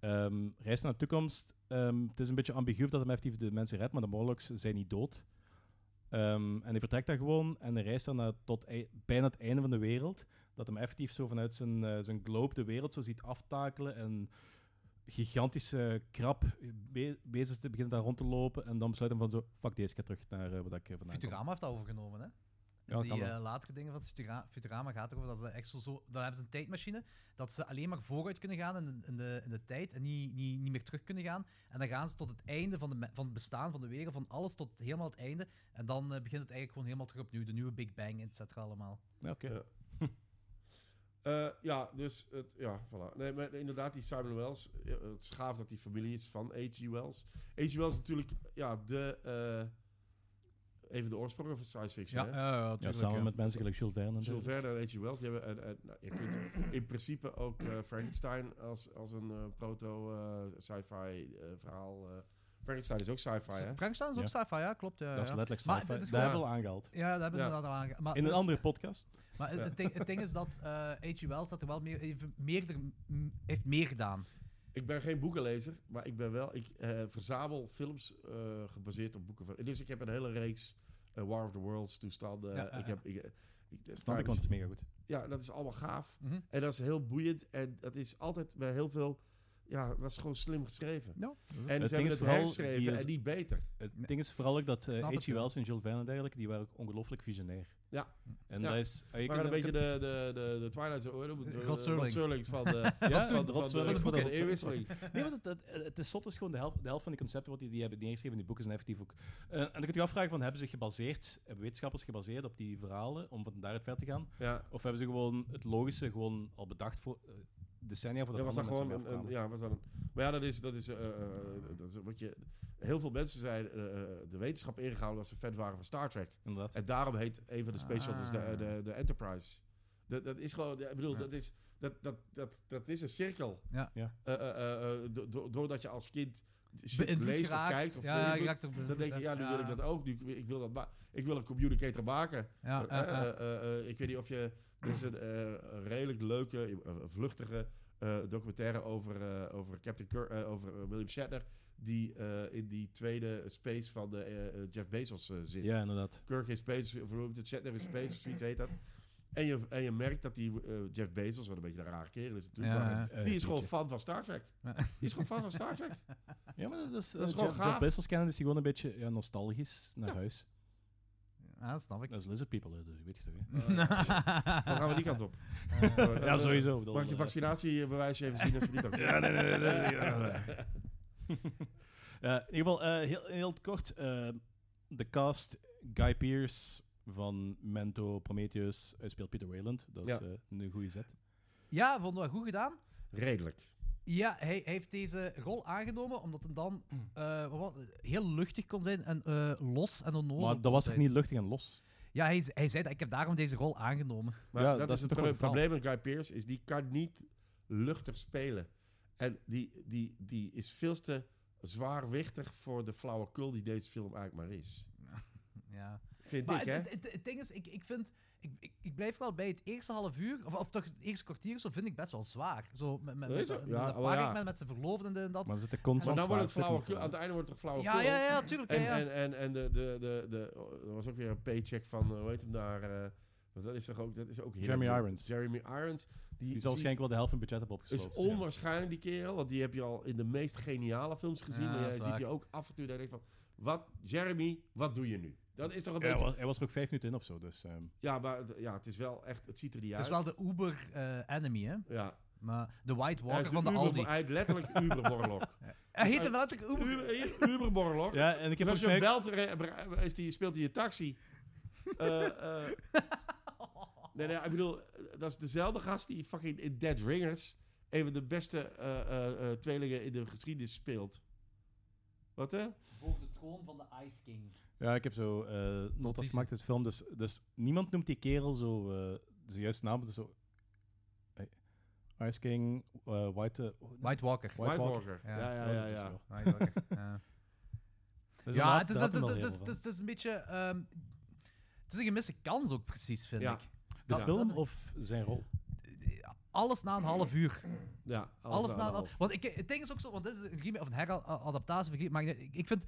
[SPEAKER 3] ehm, Reis naar de toekomst, ehm, het is een beetje ambigu of dat hem effectief de mensen redt, maar de Morlocks zijn niet dood. Ehm, en hij vertrekt daar gewoon en hij reist dan naar tot ei- bijna het einde van de wereld. Dat hem effectief zo vanuit zijn, eh, zijn globe de wereld zo ziet aftakelen en gigantische krab be bezig te beginnen daar rond te lopen. En dan besluit hem van zo, fuck deze, ik ga terug naar eh, waar ik eh, vandaan kom.
[SPEAKER 4] Futurama heeft dat overgenomen, hè?
[SPEAKER 3] Ja,
[SPEAKER 4] die
[SPEAKER 3] kan wel.
[SPEAKER 4] eh, latere dingen van Futura- Futurama gaat erover dat ze echt zo, zo... Dan hebben ze een tijdmachine, dat ze alleen maar vooruit kunnen gaan in de, in de, in de tijd en niet, niet, niet meer terug kunnen gaan. En dan gaan ze tot het einde van, de, me- van het bestaan van de wereld, van alles tot helemaal het einde. En dan eh, begint het eigenlijk gewoon helemaal terug opnieuw, de nieuwe Big Bang, et cetera, allemaal.
[SPEAKER 3] Ja, oké.
[SPEAKER 2] Ja. Eh, ja, dus het, ja, voilà. Nee, maar inderdaad, die Simon Wells. ja, Het is gaaf dat die familie is van H.G. Wells. H.G. Wells is natuurlijk ja, de, eh, even de oorsprong van science fiction.
[SPEAKER 4] eh,
[SPEAKER 2] hè? Dus
[SPEAKER 3] Ja, samen met mensen gelijk Jules Verne. en
[SPEAKER 2] Jules
[SPEAKER 3] dergelijke.
[SPEAKER 2] Verne en H.G. Wells. Die hebben, een- een- nou, je kunt in principe ook eh, Frankenstein als, als een eh, proto-sci-fi verhaal. eh, Frankenstein is ook sci-fi, hè?
[SPEAKER 4] Frankenstein is ook sci-fi, ja, klopt. Ja,
[SPEAKER 3] Dat is
[SPEAKER 4] ja.
[SPEAKER 3] letterlijk
[SPEAKER 4] Maar
[SPEAKER 3] sci-fi. Daar
[SPEAKER 4] dit is
[SPEAKER 3] hebben we
[SPEAKER 2] gewoon-
[SPEAKER 3] al aangehaald.
[SPEAKER 4] Ja, daar hebben we
[SPEAKER 2] Ja.
[SPEAKER 4] inderdaad al aange- maar
[SPEAKER 3] In een
[SPEAKER 4] het-
[SPEAKER 3] andere podcast.
[SPEAKER 4] Maar het,
[SPEAKER 2] Ja.
[SPEAKER 4] het ding, het ding is dat eh H.G. Wells dat er wel meer, even meer, er- m- heeft meer gedaan.
[SPEAKER 2] Ik ben geen boekenlezer, maar ik ben wel. Ik eh, verzamel films eh, gebaseerd op boeken van. Dus ik heb een hele reeks eh, War of the Worlds toestanden.
[SPEAKER 4] Ja, ja,
[SPEAKER 2] ik
[SPEAKER 4] ja.
[SPEAKER 2] heb. Ik, eh, ik- eh,
[SPEAKER 3] Snap ik, want het is mega goed.
[SPEAKER 2] ja, dat is allemaal gaaf.
[SPEAKER 4] Mhm.
[SPEAKER 2] En dat is heel boeiend. En dat is altijd bij heel veel. Ja, dat is gewoon slim geschreven.
[SPEAKER 4] Ja.
[SPEAKER 2] En
[SPEAKER 3] Het
[SPEAKER 2] ze
[SPEAKER 3] ding
[SPEAKER 2] hebben
[SPEAKER 3] is
[SPEAKER 2] het
[SPEAKER 3] vooral,
[SPEAKER 2] herschreven
[SPEAKER 3] die is-
[SPEAKER 2] en niet beter.
[SPEAKER 3] Het
[SPEAKER 4] Nee.
[SPEAKER 3] ding is vooral ook dat eh,
[SPEAKER 4] Snap
[SPEAKER 3] H.G.
[SPEAKER 4] het, ja.
[SPEAKER 3] Wells en Jules Verne en dergelijke, die waren ook ongelooflijk visionair.
[SPEAKER 2] Ja.
[SPEAKER 3] En
[SPEAKER 2] Ja.
[SPEAKER 3] dat is... ah, je
[SPEAKER 2] Maar een
[SPEAKER 3] kunt-
[SPEAKER 2] beetje de, de, de, de Twilight Zone. hoe noemt het?
[SPEAKER 4] Rod
[SPEAKER 2] Eh,
[SPEAKER 4] Serling.
[SPEAKER 2] van de,
[SPEAKER 3] Ja,
[SPEAKER 2] van,
[SPEAKER 3] de
[SPEAKER 2] van,
[SPEAKER 3] Rod
[SPEAKER 2] van de,
[SPEAKER 3] Serling
[SPEAKER 2] van
[SPEAKER 3] van
[SPEAKER 2] de,
[SPEAKER 3] de Rod
[SPEAKER 2] eeuwwisseling.
[SPEAKER 3] Nee, want het, het, het is zot is gewoon de helft, de helft van de concepten wat die, die hebben neergeschreven in die boeken zijn effectief ook... Eh, en dan kun je je afvragen van, hebben ze gebaseerd, hebben wetenschappers gebaseerd op die verhalen om van daaruit ver te gaan?
[SPEAKER 2] Ja.
[SPEAKER 3] Of hebben ze gewoon het logische gewoon al bedacht voor eh, decennia
[SPEAKER 2] Ja,
[SPEAKER 3] voordat
[SPEAKER 2] was dat
[SPEAKER 3] andere
[SPEAKER 2] gewoon
[SPEAKER 3] mensen
[SPEAKER 2] een, een-
[SPEAKER 3] ermee afkwamen?
[SPEAKER 2] ja, was dat een. Maar ja, dat is, dat is, eh, eh, eh, dat is wat je. Heel veel mensen zijn eh, eh, de wetenschap ingehouden als ze fan waren van Star Trek.
[SPEAKER 3] Inderdaad.
[SPEAKER 2] En daarom heet een van de space
[SPEAKER 4] Ah.
[SPEAKER 2] shuttles de, de, de Enterprise. Dat, dat is gewoon, ik bedoel,
[SPEAKER 4] Ja.
[SPEAKER 2] dat, is, dat, dat, dat, dat is een cirkel.
[SPEAKER 4] Ja.
[SPEAKER 3] Ja.
[SPEAKER 2] Eh, eh, eh, eh, do- do- doordat je als kind shit
[SPEAKER 4] Beïnvloed
[SPEAKER 2] leest of
[SPEAKER 4] geraakt.
[SPEAKER 2] kijkt. Of
[SPEAKER 4] ja,
[SPEAKER 2] beïnvloed,
[SPEAKER 4] je raakt er
[SPEAKER 2] dan
[SPEAKER 4] beïnvloed,
[SPEAKER 2] denk je,
[SPEAKER 4] hè.
[SPEAKER 2] ja, nu wil ik dat ook. Nu, ik, wil dat ma- ik wil een communicator maken.
[SPEAKER 4] Ja,
[SPEAKER 2] Eh,
[SPEAKER 4] eh, eh.
[SPEAKER 2] eh, eh, eh, ik weet niet of je. Er is een eh, een redelijk leuke, eh, vluchtige eh, documentaire over, eh, over, Captain Kirk, eh, over eh, William Shatner. Die eh, in die tweede space van de, eh, eh, Jeff Bezos eh, zit.
[SPEAKER 3] Ja, inderdaad.
[SPEAKER 2] Kirk in Space, of hoe noemt het? Shatner in Space, of zoiets heet dat. En je, en je merkt dat die eh, Jeff Bezos, wat een beetje een rare kerel is natuurlijk, maar
[SPEAKER 4] Ja,
[SPEAKER 3] Eh,
[SPEAKER 2] die is gewoon
[SPEAKER 3] jeetje.
[SPEAKER 2] fan van Star Trek.
[SPEAKER 4] Ja.
[SPEAKER 2] Die is gewoon fan van Star Trek.
[SPEAKER 3] Ja, maar dat is,
[SPEAKER 2] Dat is
[SPEAKER 3] eh,
[SPEAKER 2] gewoon
[SPEAKER 3] Jeff- Jeff
[SPEAKER 2] gaaf.
[SPEAKER 3] Bezos kennen is die gewoon een beetje ja, nostalgisch naar huis.
[SPEAKER 4] ja, snap ik.
[SPEAKER 3] Dat is Lizard People, hè, dus weet je toch, hè?
[SPEAKER 2] Eh, Dan gaan we die kant op. Eh,
[SPEAKER 3] Ja,
[SPEAKER 2] eh,
[SPEAKER 3] sowieso. Ik bedoel,
[SPEAKER 2] Mag ik je
[SPEAKER 3] eh,
[SPEAKER 2] vaccinatiebewijsje even zien? Als je die dan
[SPEAKER 3] Ja, nee, nee, nee. nee, nee, ja, nee. Eh, in ieder geval, eh, heel, heel het kort. eh, de cast, Guy Pearce van Mento, Prometheus, hij speelt Peter Wayland. Dat is
[SPEAKER 2] Ja.
[SPEAKER 3] eh, een goede zet.
[SPEAKER 4] Ja, vonden we goed gedaan.
[SPEAKER 2] Redelijk.
[SPEAKER 4] Ja, hij, hij heeft deze rol aangenomen omdat het dan
[SPEAKER 2] Mm.
[SPEAKER 4] eh, wat- heel luchtig kon zijn en eh, los en onnozel.
[SPEAKER 3] Maar
[SPEAKER 4] kon
[SPEAKER 3] dat was toch
[SPEAKER 4] zijn.
[SPEAKER 3] niet luchtig en los?
[SPEAKER 4] Ja, hij, hij zei dat ik heb daarom deze rol aangenomen.
[SPEAKER 2] Maar
[SPEAKER 3] Ja,
[SPEAKER 2] dat,
[SPEAKER 3] dat
[SPEAKER 2] is
[SPEAKER 3] is
[SPEAKER 2] het
[SPEAKER 3] toch
[SPEAKER 2] pro-
[SPEAKER 3] een verhaal.
[SPEAKER 2] probleem met Guy Pearce is die kan niet luchtig spelen. En die, die, die is veel te zwaarwichtig voor de flauwekul die deze film eigenlijk maar is.
[SPEAKER 4] Ja.
[SPEAKER 2] Vind
[SPEAKER 4] Maar
[SPEAKER 2] ik, hè?
[SPEAKER 4] het, het, het- het ding is, ik, ik vind... Ik, ik, ik blijf wel bij het eerste half uur, of, of toch het eerste kwartier, of zo vind ik best wel zwaar. Zo met,
[SPEAKER 2] Dat
[SPEAKER 4] met, met,
[SPEAKER 2] is
[SPEAKER 4] dat-
[SPEAKER 2] ook- ja,
[SPEAKER 4] dat
[SPEAKER 2] wel ja.
[SPEAKER 4] paar met, met zijn verloofden en dat.
[SPEAKER 3] Maar er zitten
[SPEAKER 2] Maar
[SPEAKER 3] constant
[SPEAKER 2] dan wordt het
[SPEAKER 3] zwaar zitten
[SPEAKER 2] flauwekul. Aan het einde wordt het flauwekul.
[SPEAKER 4] Ja, ja, ja, tuurlijk.
[SPEAKER 2] En,
[SPEAKER 4] ja, ja.
[SPEAKER 2] en, en, en de, de, de, de, oh, er was ook weer een paycheck van, eh, hoe heet hem daar? eh, want dat is toch ook, dat is ook heel-
[SPEAKER 3] Jeremy Irons.
[SPEAKER 2] Jeremy Irons. Die,
[SPEAKER 3] Die
[SPEAKER 2] zie-
[SPEAKER 3] zal waarschijnlijk wel de helft van het budget hebben
[SPEAKER 2] is
[SPEAKER 3] opgesloten.
[SPEAKER 2] onwaarschijnlijk, die kerel. Want die heb je al in de meest geniale films gezien.
[SPEAKER 4] Ja,
[SPEAKER 2] maar
[SPEAKER 4] dat
[SPEAKER 2] je
[SPEAKER 4] is
[SPEAKER 2] ziet
[SPEAKER 4] waar.
[SPEAKER 2] je ook af en toe dat je denkt van, wat, Jeremy, wat doe je nu? Dat is toch een
[SPEAKER 3] Ja, hij
[SPEAKER 2] beetje...
[SPEAKER 3] was- hij was er ook vijf minuten in of zo, dus... ehm,
[SPEAKER 2] Ja, maar het- ja, het is wel echt, het ziet er niet
[SPEAKER 4] Het
[SPEAKER 2] uit.
[SPEAKER 4] is wel de Uber eh, enemy, hè?
[SPEAKER 2] Ja,
[SPEAKER 4] Maar de White
[SPEAKER 2] hij is
[SPEAKER 4] Walker
[SPEAKER 2] de
[SPEAKER 4] van de
[SPEAKER 2] Uber,
[SPEAKER 4] Aldi.
[SPEAKER 2] Hij heet letterlijk Uberborlok.
[SPEAKER 4] Hij
[SPEAKER 2] dus
[SPEAKER 4] heette
[SPEAKER 2] hij-
[SPEAKER 4] wel letterlijk Uber.
[SPEAKER 2] Uber, hier, Uberborlok.
[SPEAKER 3] Ja, en ik
[SPEAKER 2] En
[SPEAKER 3] heb
[SPEAKER 2] als je hem
[SPEAKER 3] volgens mij...
[SPEAKER 2] belt, re- bre- is die, speelt hij je taxi. Eh, eh. nee, nee, ik bedoel, eh, dat is dezelfde gast die fucking in Dead Ringers een van de beste eh, eh, eh, tweelingen in de geschiedenis speelt. Wat hè?
[SPEAKER 6] Volgende
[SPEAKER 4] patroon van de Ice King.
[SPEAKER 3] Ja, ik heb zo eh notas
[SPEAKER 4] Notities.
[SPEAKER 3] gemaakt in de film. Dus, dus niemand noemt die kerel zo eh zijn juiste naam. Dus zo, eh, Ice King, eh, White, eh,
[SPEAKER 4] White Walker. dus,
[SPEAKER 3] White Walker.
[SPEAKER 2] Ja, ja, ja. ja, ja.
[SPEAKER 4] White Walker. ja.
[SPEAKER 3] Dus
[SPEAKER 4] Ja,
[SPEAKER 3] inderdaad,
[SPEAKER 4] het is,
[SPEAKER 3] daar
[SPEAKER 4] het, is,
[SPEAKER 3] had ik
[SPEAKER 4] het, is,
[SPEAKER 3] al heel
[SPEAKER 4] het,
[SPEAKER 3] veel
[SPEAKER 4] is, het is een beetje. ehm, het is een gemiste kans ook, precies, vind
[SPEAKER 2] Ja.
[SPEAKER 4] ik.
[SPEAKER 3] van. De
[SPEAKER 2] Ja.
[SPEAKER 3] film of zijn rol?
[SPEAKER 4] Alles na een half uur.
[SPEAKER 2] Ja,
[SPEAKER 4] Alles na een half
[SPEAKER 2] half.
[SPEAKER 4] Want ik, het ding is ook zo, want dit is een remake of een heradaptatie. van remake, Maar ik, ik vind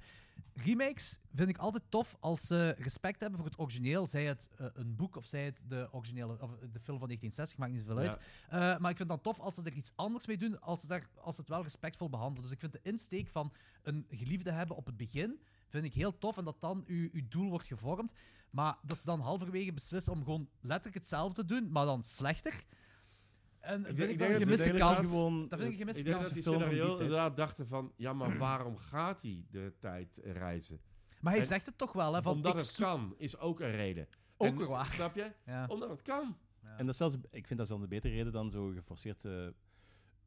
[SPEAKER 4] remakes vind ik altijd tof als ze respect hebben voor het origineel. Zij het eh, een boek of zij het de originele of de film van 1960, maakt niet zoveel uit.
[SPEAKER 2] Ja.
[SPEAKER 4] Eh, maar ik vind dan tof als ze er iets anders mee doen, als ze, daar, als ze het wel respectvol behandelen. Dus ik vind de insteek van een geliefde hebben op het begin, vind ik heel tof. En dat dan uw, uw doel wordt gevormd. Maar dat ze dan halverwege beslissen om gewoon letterlijk hetzelfde te doen, maar dan slechter. En vind
[SPEAKER 2] denk-
[SPEAKER 4] ik
[SPEAKER 2] ik
[SPEAKER 4] wel
[SPEAKER 2] denk
[SPEAKER 4] een
[SPEAKER 2] dat ze
[SPEAKER 4] gemiste
[SPEAKER 2] inderdaad-
[SPEAKER 4] kans.
[SPEAKER 3] Gewoon,
[SPEAKER 4] Dat vind ik een gemiste
[SPEAKER 2] Ik denk
[SPEAKER 4] kans.
[SPEAKER 2] dat die
[SPEAKER 3] film van die
[SPEAKER 2] scenario
[SPEAKER 3] tijd.
[SPEAKER 2] inderdaad dachten van... Ja, maar waarom gaat hij de tijd reizen?
[SPEAKER 4] Maar hij
[SPEAKER 2] En-
[SPEAKER 4] zegt het toch wel, hè? Van,
[SPEAKER 2] Omdat
[SPEAKER 4] ik
[SPEAKER 2] het
[SPEAKER 4] zoek-
[SPEAKER 2] kan, is ook een reden.
[SPEAKER 4] Ook
[SPEAKER 2] En-
[SPEAKER 4] weer waar.
[SPEAKER 2] Snap je?
[SPEAKER 4] Ja.
[SPEAKER 2] Omdat het kan.
[SPEAKER 3] En dat is zelfs, ik vind dat zelfs een betere reden dan zo geforceerd eh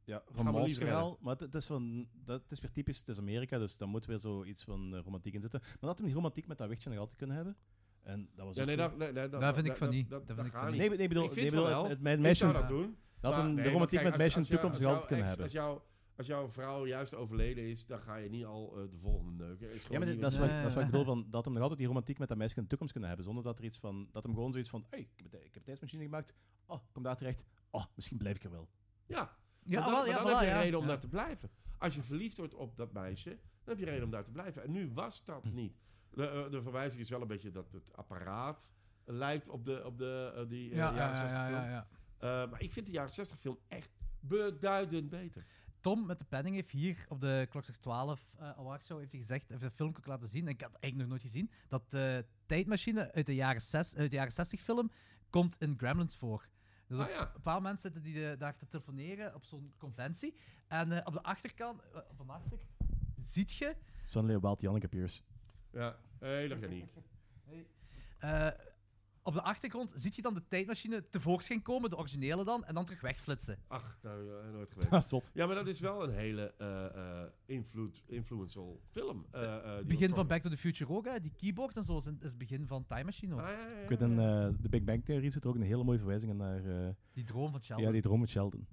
[SPEAKER 3] ja, romansverhaal. Maar het, het is van, dat het is weer typisch, het is Amerika, dus daar moet weer zoiets van eh, romantiek in zitten. Maar dat hem die romantiek met dat wichtje nog altijd kunnen hebben. En dat was
[SPEAKER 2] Ja,
[SPEAKER 3] ook
[SPEAKER 2] nee,
[SPEAKER 3] goed.
[SPEAKER 2] dat, nee, nee, dat,
[SPEAKER 4] Daar vind ik van niet.
[SPEAKER 2] Dat, dat
[SPEAKER 4] Daar vind ik
[SPEAKER 2] gaat
[SPEAKER 4] van
[SPEAKER 2] niet.
[SPEAKER 3] Nee, nee, bedoel,
[SPEAKER 2] Ik
[SPEAKER 3] nee,
[SPEAKER 2] vind
[SPEAKER 3] bedoel
[SPEAKER 2] van wel.
[SPEAKER 3] het, het, mijn
[SPEAKER 2] Ik
[SPEAKER 3] meisje,
[SPEAKER 2] zou dat doen.
[SPEAKER 3] dat
[SPEAKER 2] Maar
[SPEAKER 3] hem
[SPEAKER 2] nee,
[SPEAKER 3] de romantiek
[SPEAKER 2] maar kijk,
[SPEAKER 3] met meisje in
[SPEAKER 2] als-
[SPEAKER 3] de toekomst
[SPEAKER 2] als
[SPEAKER 3] nog
[SPEAKER 2] jou-
[SPEAKER 3] altijd kunnen
[SPEAKER 2] als
[SPEAKER 3] hebben.
[SPEAKER 2] jou- Als, jou, als jouw vrouw juist overleden is, dan ga je niet al eh, de volgende neuken. Is
[SPEAKER 3] Ja,
[SPEAKER 2] gewoon
[SPEAKER 3] maar
[SPEAKER 2] niet
[SPEAKER 3] dat is,
[SPEAKER 2] een-
[SPEAKER 3] wat, ik- dat is wat ik
[SPEAKER 4] Nee.
[SPEAKER 3] bedoel, van, dat hem nog altijd die romantiek met dat meisje in de toekomst kunnen hebben. Zonder dat er iets van, dat hem gewoon zoiets van, hey, ik heb, een tij- ik heb een tijdsmachine gemaakt, oh, ik kom daar terecht, oh, misschien blijf ik er wel.
[SPEAKER 2] Ja,
[SPEAKER 4] Ja,
[SPEAKER 2] maar dan,
[SPEAKER 4] wel,
[SPEAKER 2] maar
[SPEAKER 4] ja,
[SPEAKER 2] dan
[SPEAKER 4] wel,
[SPEAKER 2] heb je
[SPEAKER 4] ja.
[SPEAKER 2] reden om
[SPEAKER 4] Ja.
[SPEAKER 2] daar te blijven. Als je verliefd wordt op dat meisje, dan heb je reden om daar te blijven. En nu was dat
[SPEAKER 3] Hm.
[SPEAKER 2] niet. De, eh, de verwijzing is wel een beetje dat het apparaat lijkt op de, op de eh, die, eh,
[SPEAKER 4] Ja, ja,
[SPEAKER 2] jaren
[SPEAKER 4] ja,
[SPEAKER 2] 60
[SPEAKER 4] ja,
[SPEAKER 2] film.
[SPEAKER 4] ja, ja.
[SPEAKER 2] Eh, maar ik vind de jaren 60 film echt beduidend beter.
[SPEAKER 4] Tom met de penning heeft hier op de Klokslag 12 eh Award Show heeft hij gezegd, heeft een filmpje ook laten zien, en ik had het eigenlijk nog nooit gezien, dat de tijdmachine uit de jaren, zes, uit de jaren 60 film komt in Gremlins voor. Dus
[SPEAKER 2] Ah
[SPEAKER 4] op-
[SPEAKER 2] ja.
[SPEAKER 4] een paar mensen zitten die eh, daar te telefoneren op zo'n conventie. En eh, op de achterkant, eh, op de achter, ziet je
[SPEAKER 3] Sunny Wild, Janneke Pierce.
[SPEAKER 2] Ja, hele geniek.
[SPEAKER 4] Eh, op de achtergrond ziet je dan de tijdmachine tevoorschijn komen, de originele dan, en dan terug wegflitsen.
[SPEAKER 2] Ach, nou, eh, nooit
[SPEAKER 3] Dat
[SPEAKER 2] geweten.
[SPEAKER 3] is zot.
[SPEAKER 2] Ja, maar dat is wel een hele eh, eh, invloed, influential film. eh, eh, die
[SPEAKER 4] Het begin van
[SPEAKER 2] ontkomen.
[SPEAKER 4] Back to the Future ook, hè? die keyboard en zo, is is het begin van Time Machine ook.
[SPEAKER 2] Ah, ja, ja, ja,
[SPEAKER 3] Ik weet, in eh, de Big Bang Theory zit er ook een hele mooie verwijzing in naar eh,
[SPEAKER 4] Die droom van Sheldon.
[SPEAKER 3] ja, die droom met Sheldon.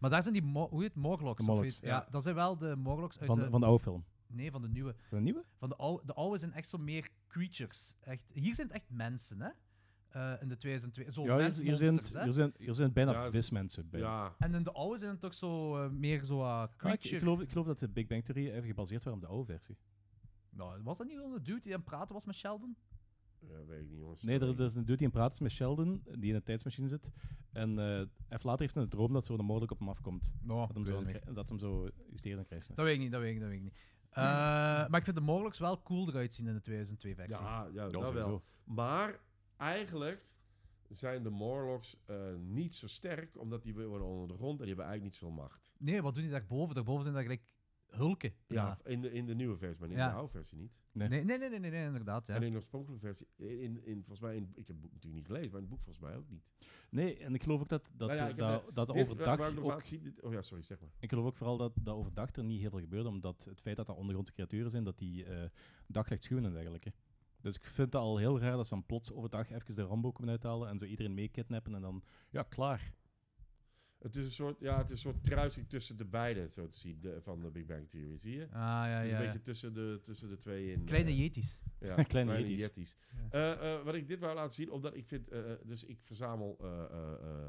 [SPEAKER 4] Maar daar zijn die, mo- hoe heet het, Morlocks?
[SPEAKER 3] De
[SPEAKER 4] of
[SPEAKER 3] Morlocks,
[SPEAKER 4] weet- ja.
[SPEAKER 2] ja.
[SPEAKER 4] dat zijn wel de Morlocks uit
[SPEAKER 3] Van,
[SPEAKER 4] de...
[SPEAKER 3] van de oude film.
[SPEAKER 4] Nee, van de nieuwe.
[SPEAKER 3] Van de nieuwe?
[SPEAKER 4] Van de, oude, de oude zijn echt zo meer creatures. Echt, hier zijn het echt mensen, hè? Eh, in de 2002. Zo
[SPEAKER 3] Ja, hier,
[SPEAKER 4] mensen,
[SPEAKER 3] hier, zijn,
[SPEAKER 4] monsters, hè?
[SPEAKER 3] hier, zijn, hier zijn bijna
[SPEAKER 2] Ja, het-
[SPEAKER 3] vismensen bij.
[SPEAKER 2] ja.
[SPEAKER 4] En in de oude zijn het toch zo eh, meer zo eh,
[SPEAKER 3] Maar ik, ik
[SPEAKER 4] creature...
[SPEAKER 3] geloof, ik geloof dat de Big Bang Theory even gebaseerd werd op de oude versie.
[SPEAKER 4] nou, was dat niet zo'n dude die aan het praten was met Sheldon?
[SPEAKER 2] Ja, weet ik niet, jongens.
[SPEAKER 3] Nee, er is, er is een dude die in praat is met Sheldon, die in een tijdsmachine zit. En eh even later heeft hij een droom dat zo'n mogelijk op hem afkomt.
[SPEAKER 4] Nou,
[SPEAKER 3] Dat hem zo, een kri- dat hem zo iets tegen een krijgt.
[SPEAKER 4] Dat weet ik niet, dat weet ik, dat weet ik niet. Eh, maar ik vind de mogelijks wel cool eruit zien in de 2002-versie.
[SPEAKER 2] Ja, ja, dat
[SPEAKER 3] sowieso.
[SPEAKER 2] wel. Maar eigenlijk zijn de Morlocks eh, niet zo sterk, omdat die worden onder de grond en die hebben eigenlijk niet zoveel macht.
[SPEAKER 4] Nee, wat doen die daarboven? Daarboven zijn daar gelijk hulken.
[SPEAKER 2] Ja, Nou, in de, in de nieuwe versie, maar niet in
[SPEAKER 4] Ja.
[SPEAKER 2] de oude versie niet.
[SPEAKER 3] Ja.
[SPEAKER 4] Nee, nee, nee, nee, nee, nee, inderdaad. Ja.
[SPEAKER 2] En in de oorspronkelijke versie, in, in, volgens mij, in, ik heb het boek natuurlijk niet gelezen, maar in het boek volgens mij ook niet.
[SPEAKER 3] Nee, en ik geloof ook dat, dat,
[SPEAKER 2] Nou ja, ik heb,
[SPEAKER 3] dat, dat
[SPEAKER 2] Dit, waar- waar
[SPEAKER 3] overdag
[SPEAKER 2] ik nog
[SPEAKER 3] ook-
[SPEAKER 2] laat zien, dit- oh ja, sorry, zeg maar.
[SPEAKER 3] Ik geloof ook vooral dat, dat overdag er niet heel veel gebeurde, omdat het feit dat er ondergrondse creaturen zijn, dat die eh daglicht schuwen en dergelijke. Dus ik vind het al heel raar dat ze dan plots overdag even de Rambo komen uithalen en zo iedereen mee kidnappen en dan, ja, klaar.
[SPEAKER 2] Het is een soort, ja, het is een soort kruising tussen de beide, zo te zien, de, van de Big Bang Theory, zie je?
[SPEAKER 4] Ah, ja, ja.
[SPEAKER 2] het is een
[SPEAKER 4] ja.
[SPEAKER 2] beetje tussen de, tussen de twee in.
[SPEAKER 4] Kleine
[SPEAKER 2] eh,
[SPEAKER 4] Yetis.
[SPEAKER 2] Ja,
[SPEAKER 3] Kleine
[SPEAKER 2] kleine,
[SPEAKER 3] Yetis.
[SPEAKER 2] Yetis. Eh, eh, wat ik dit wou laten zien, omdat ik vind... eh, eh, dus ik verzamel eh eh, eh,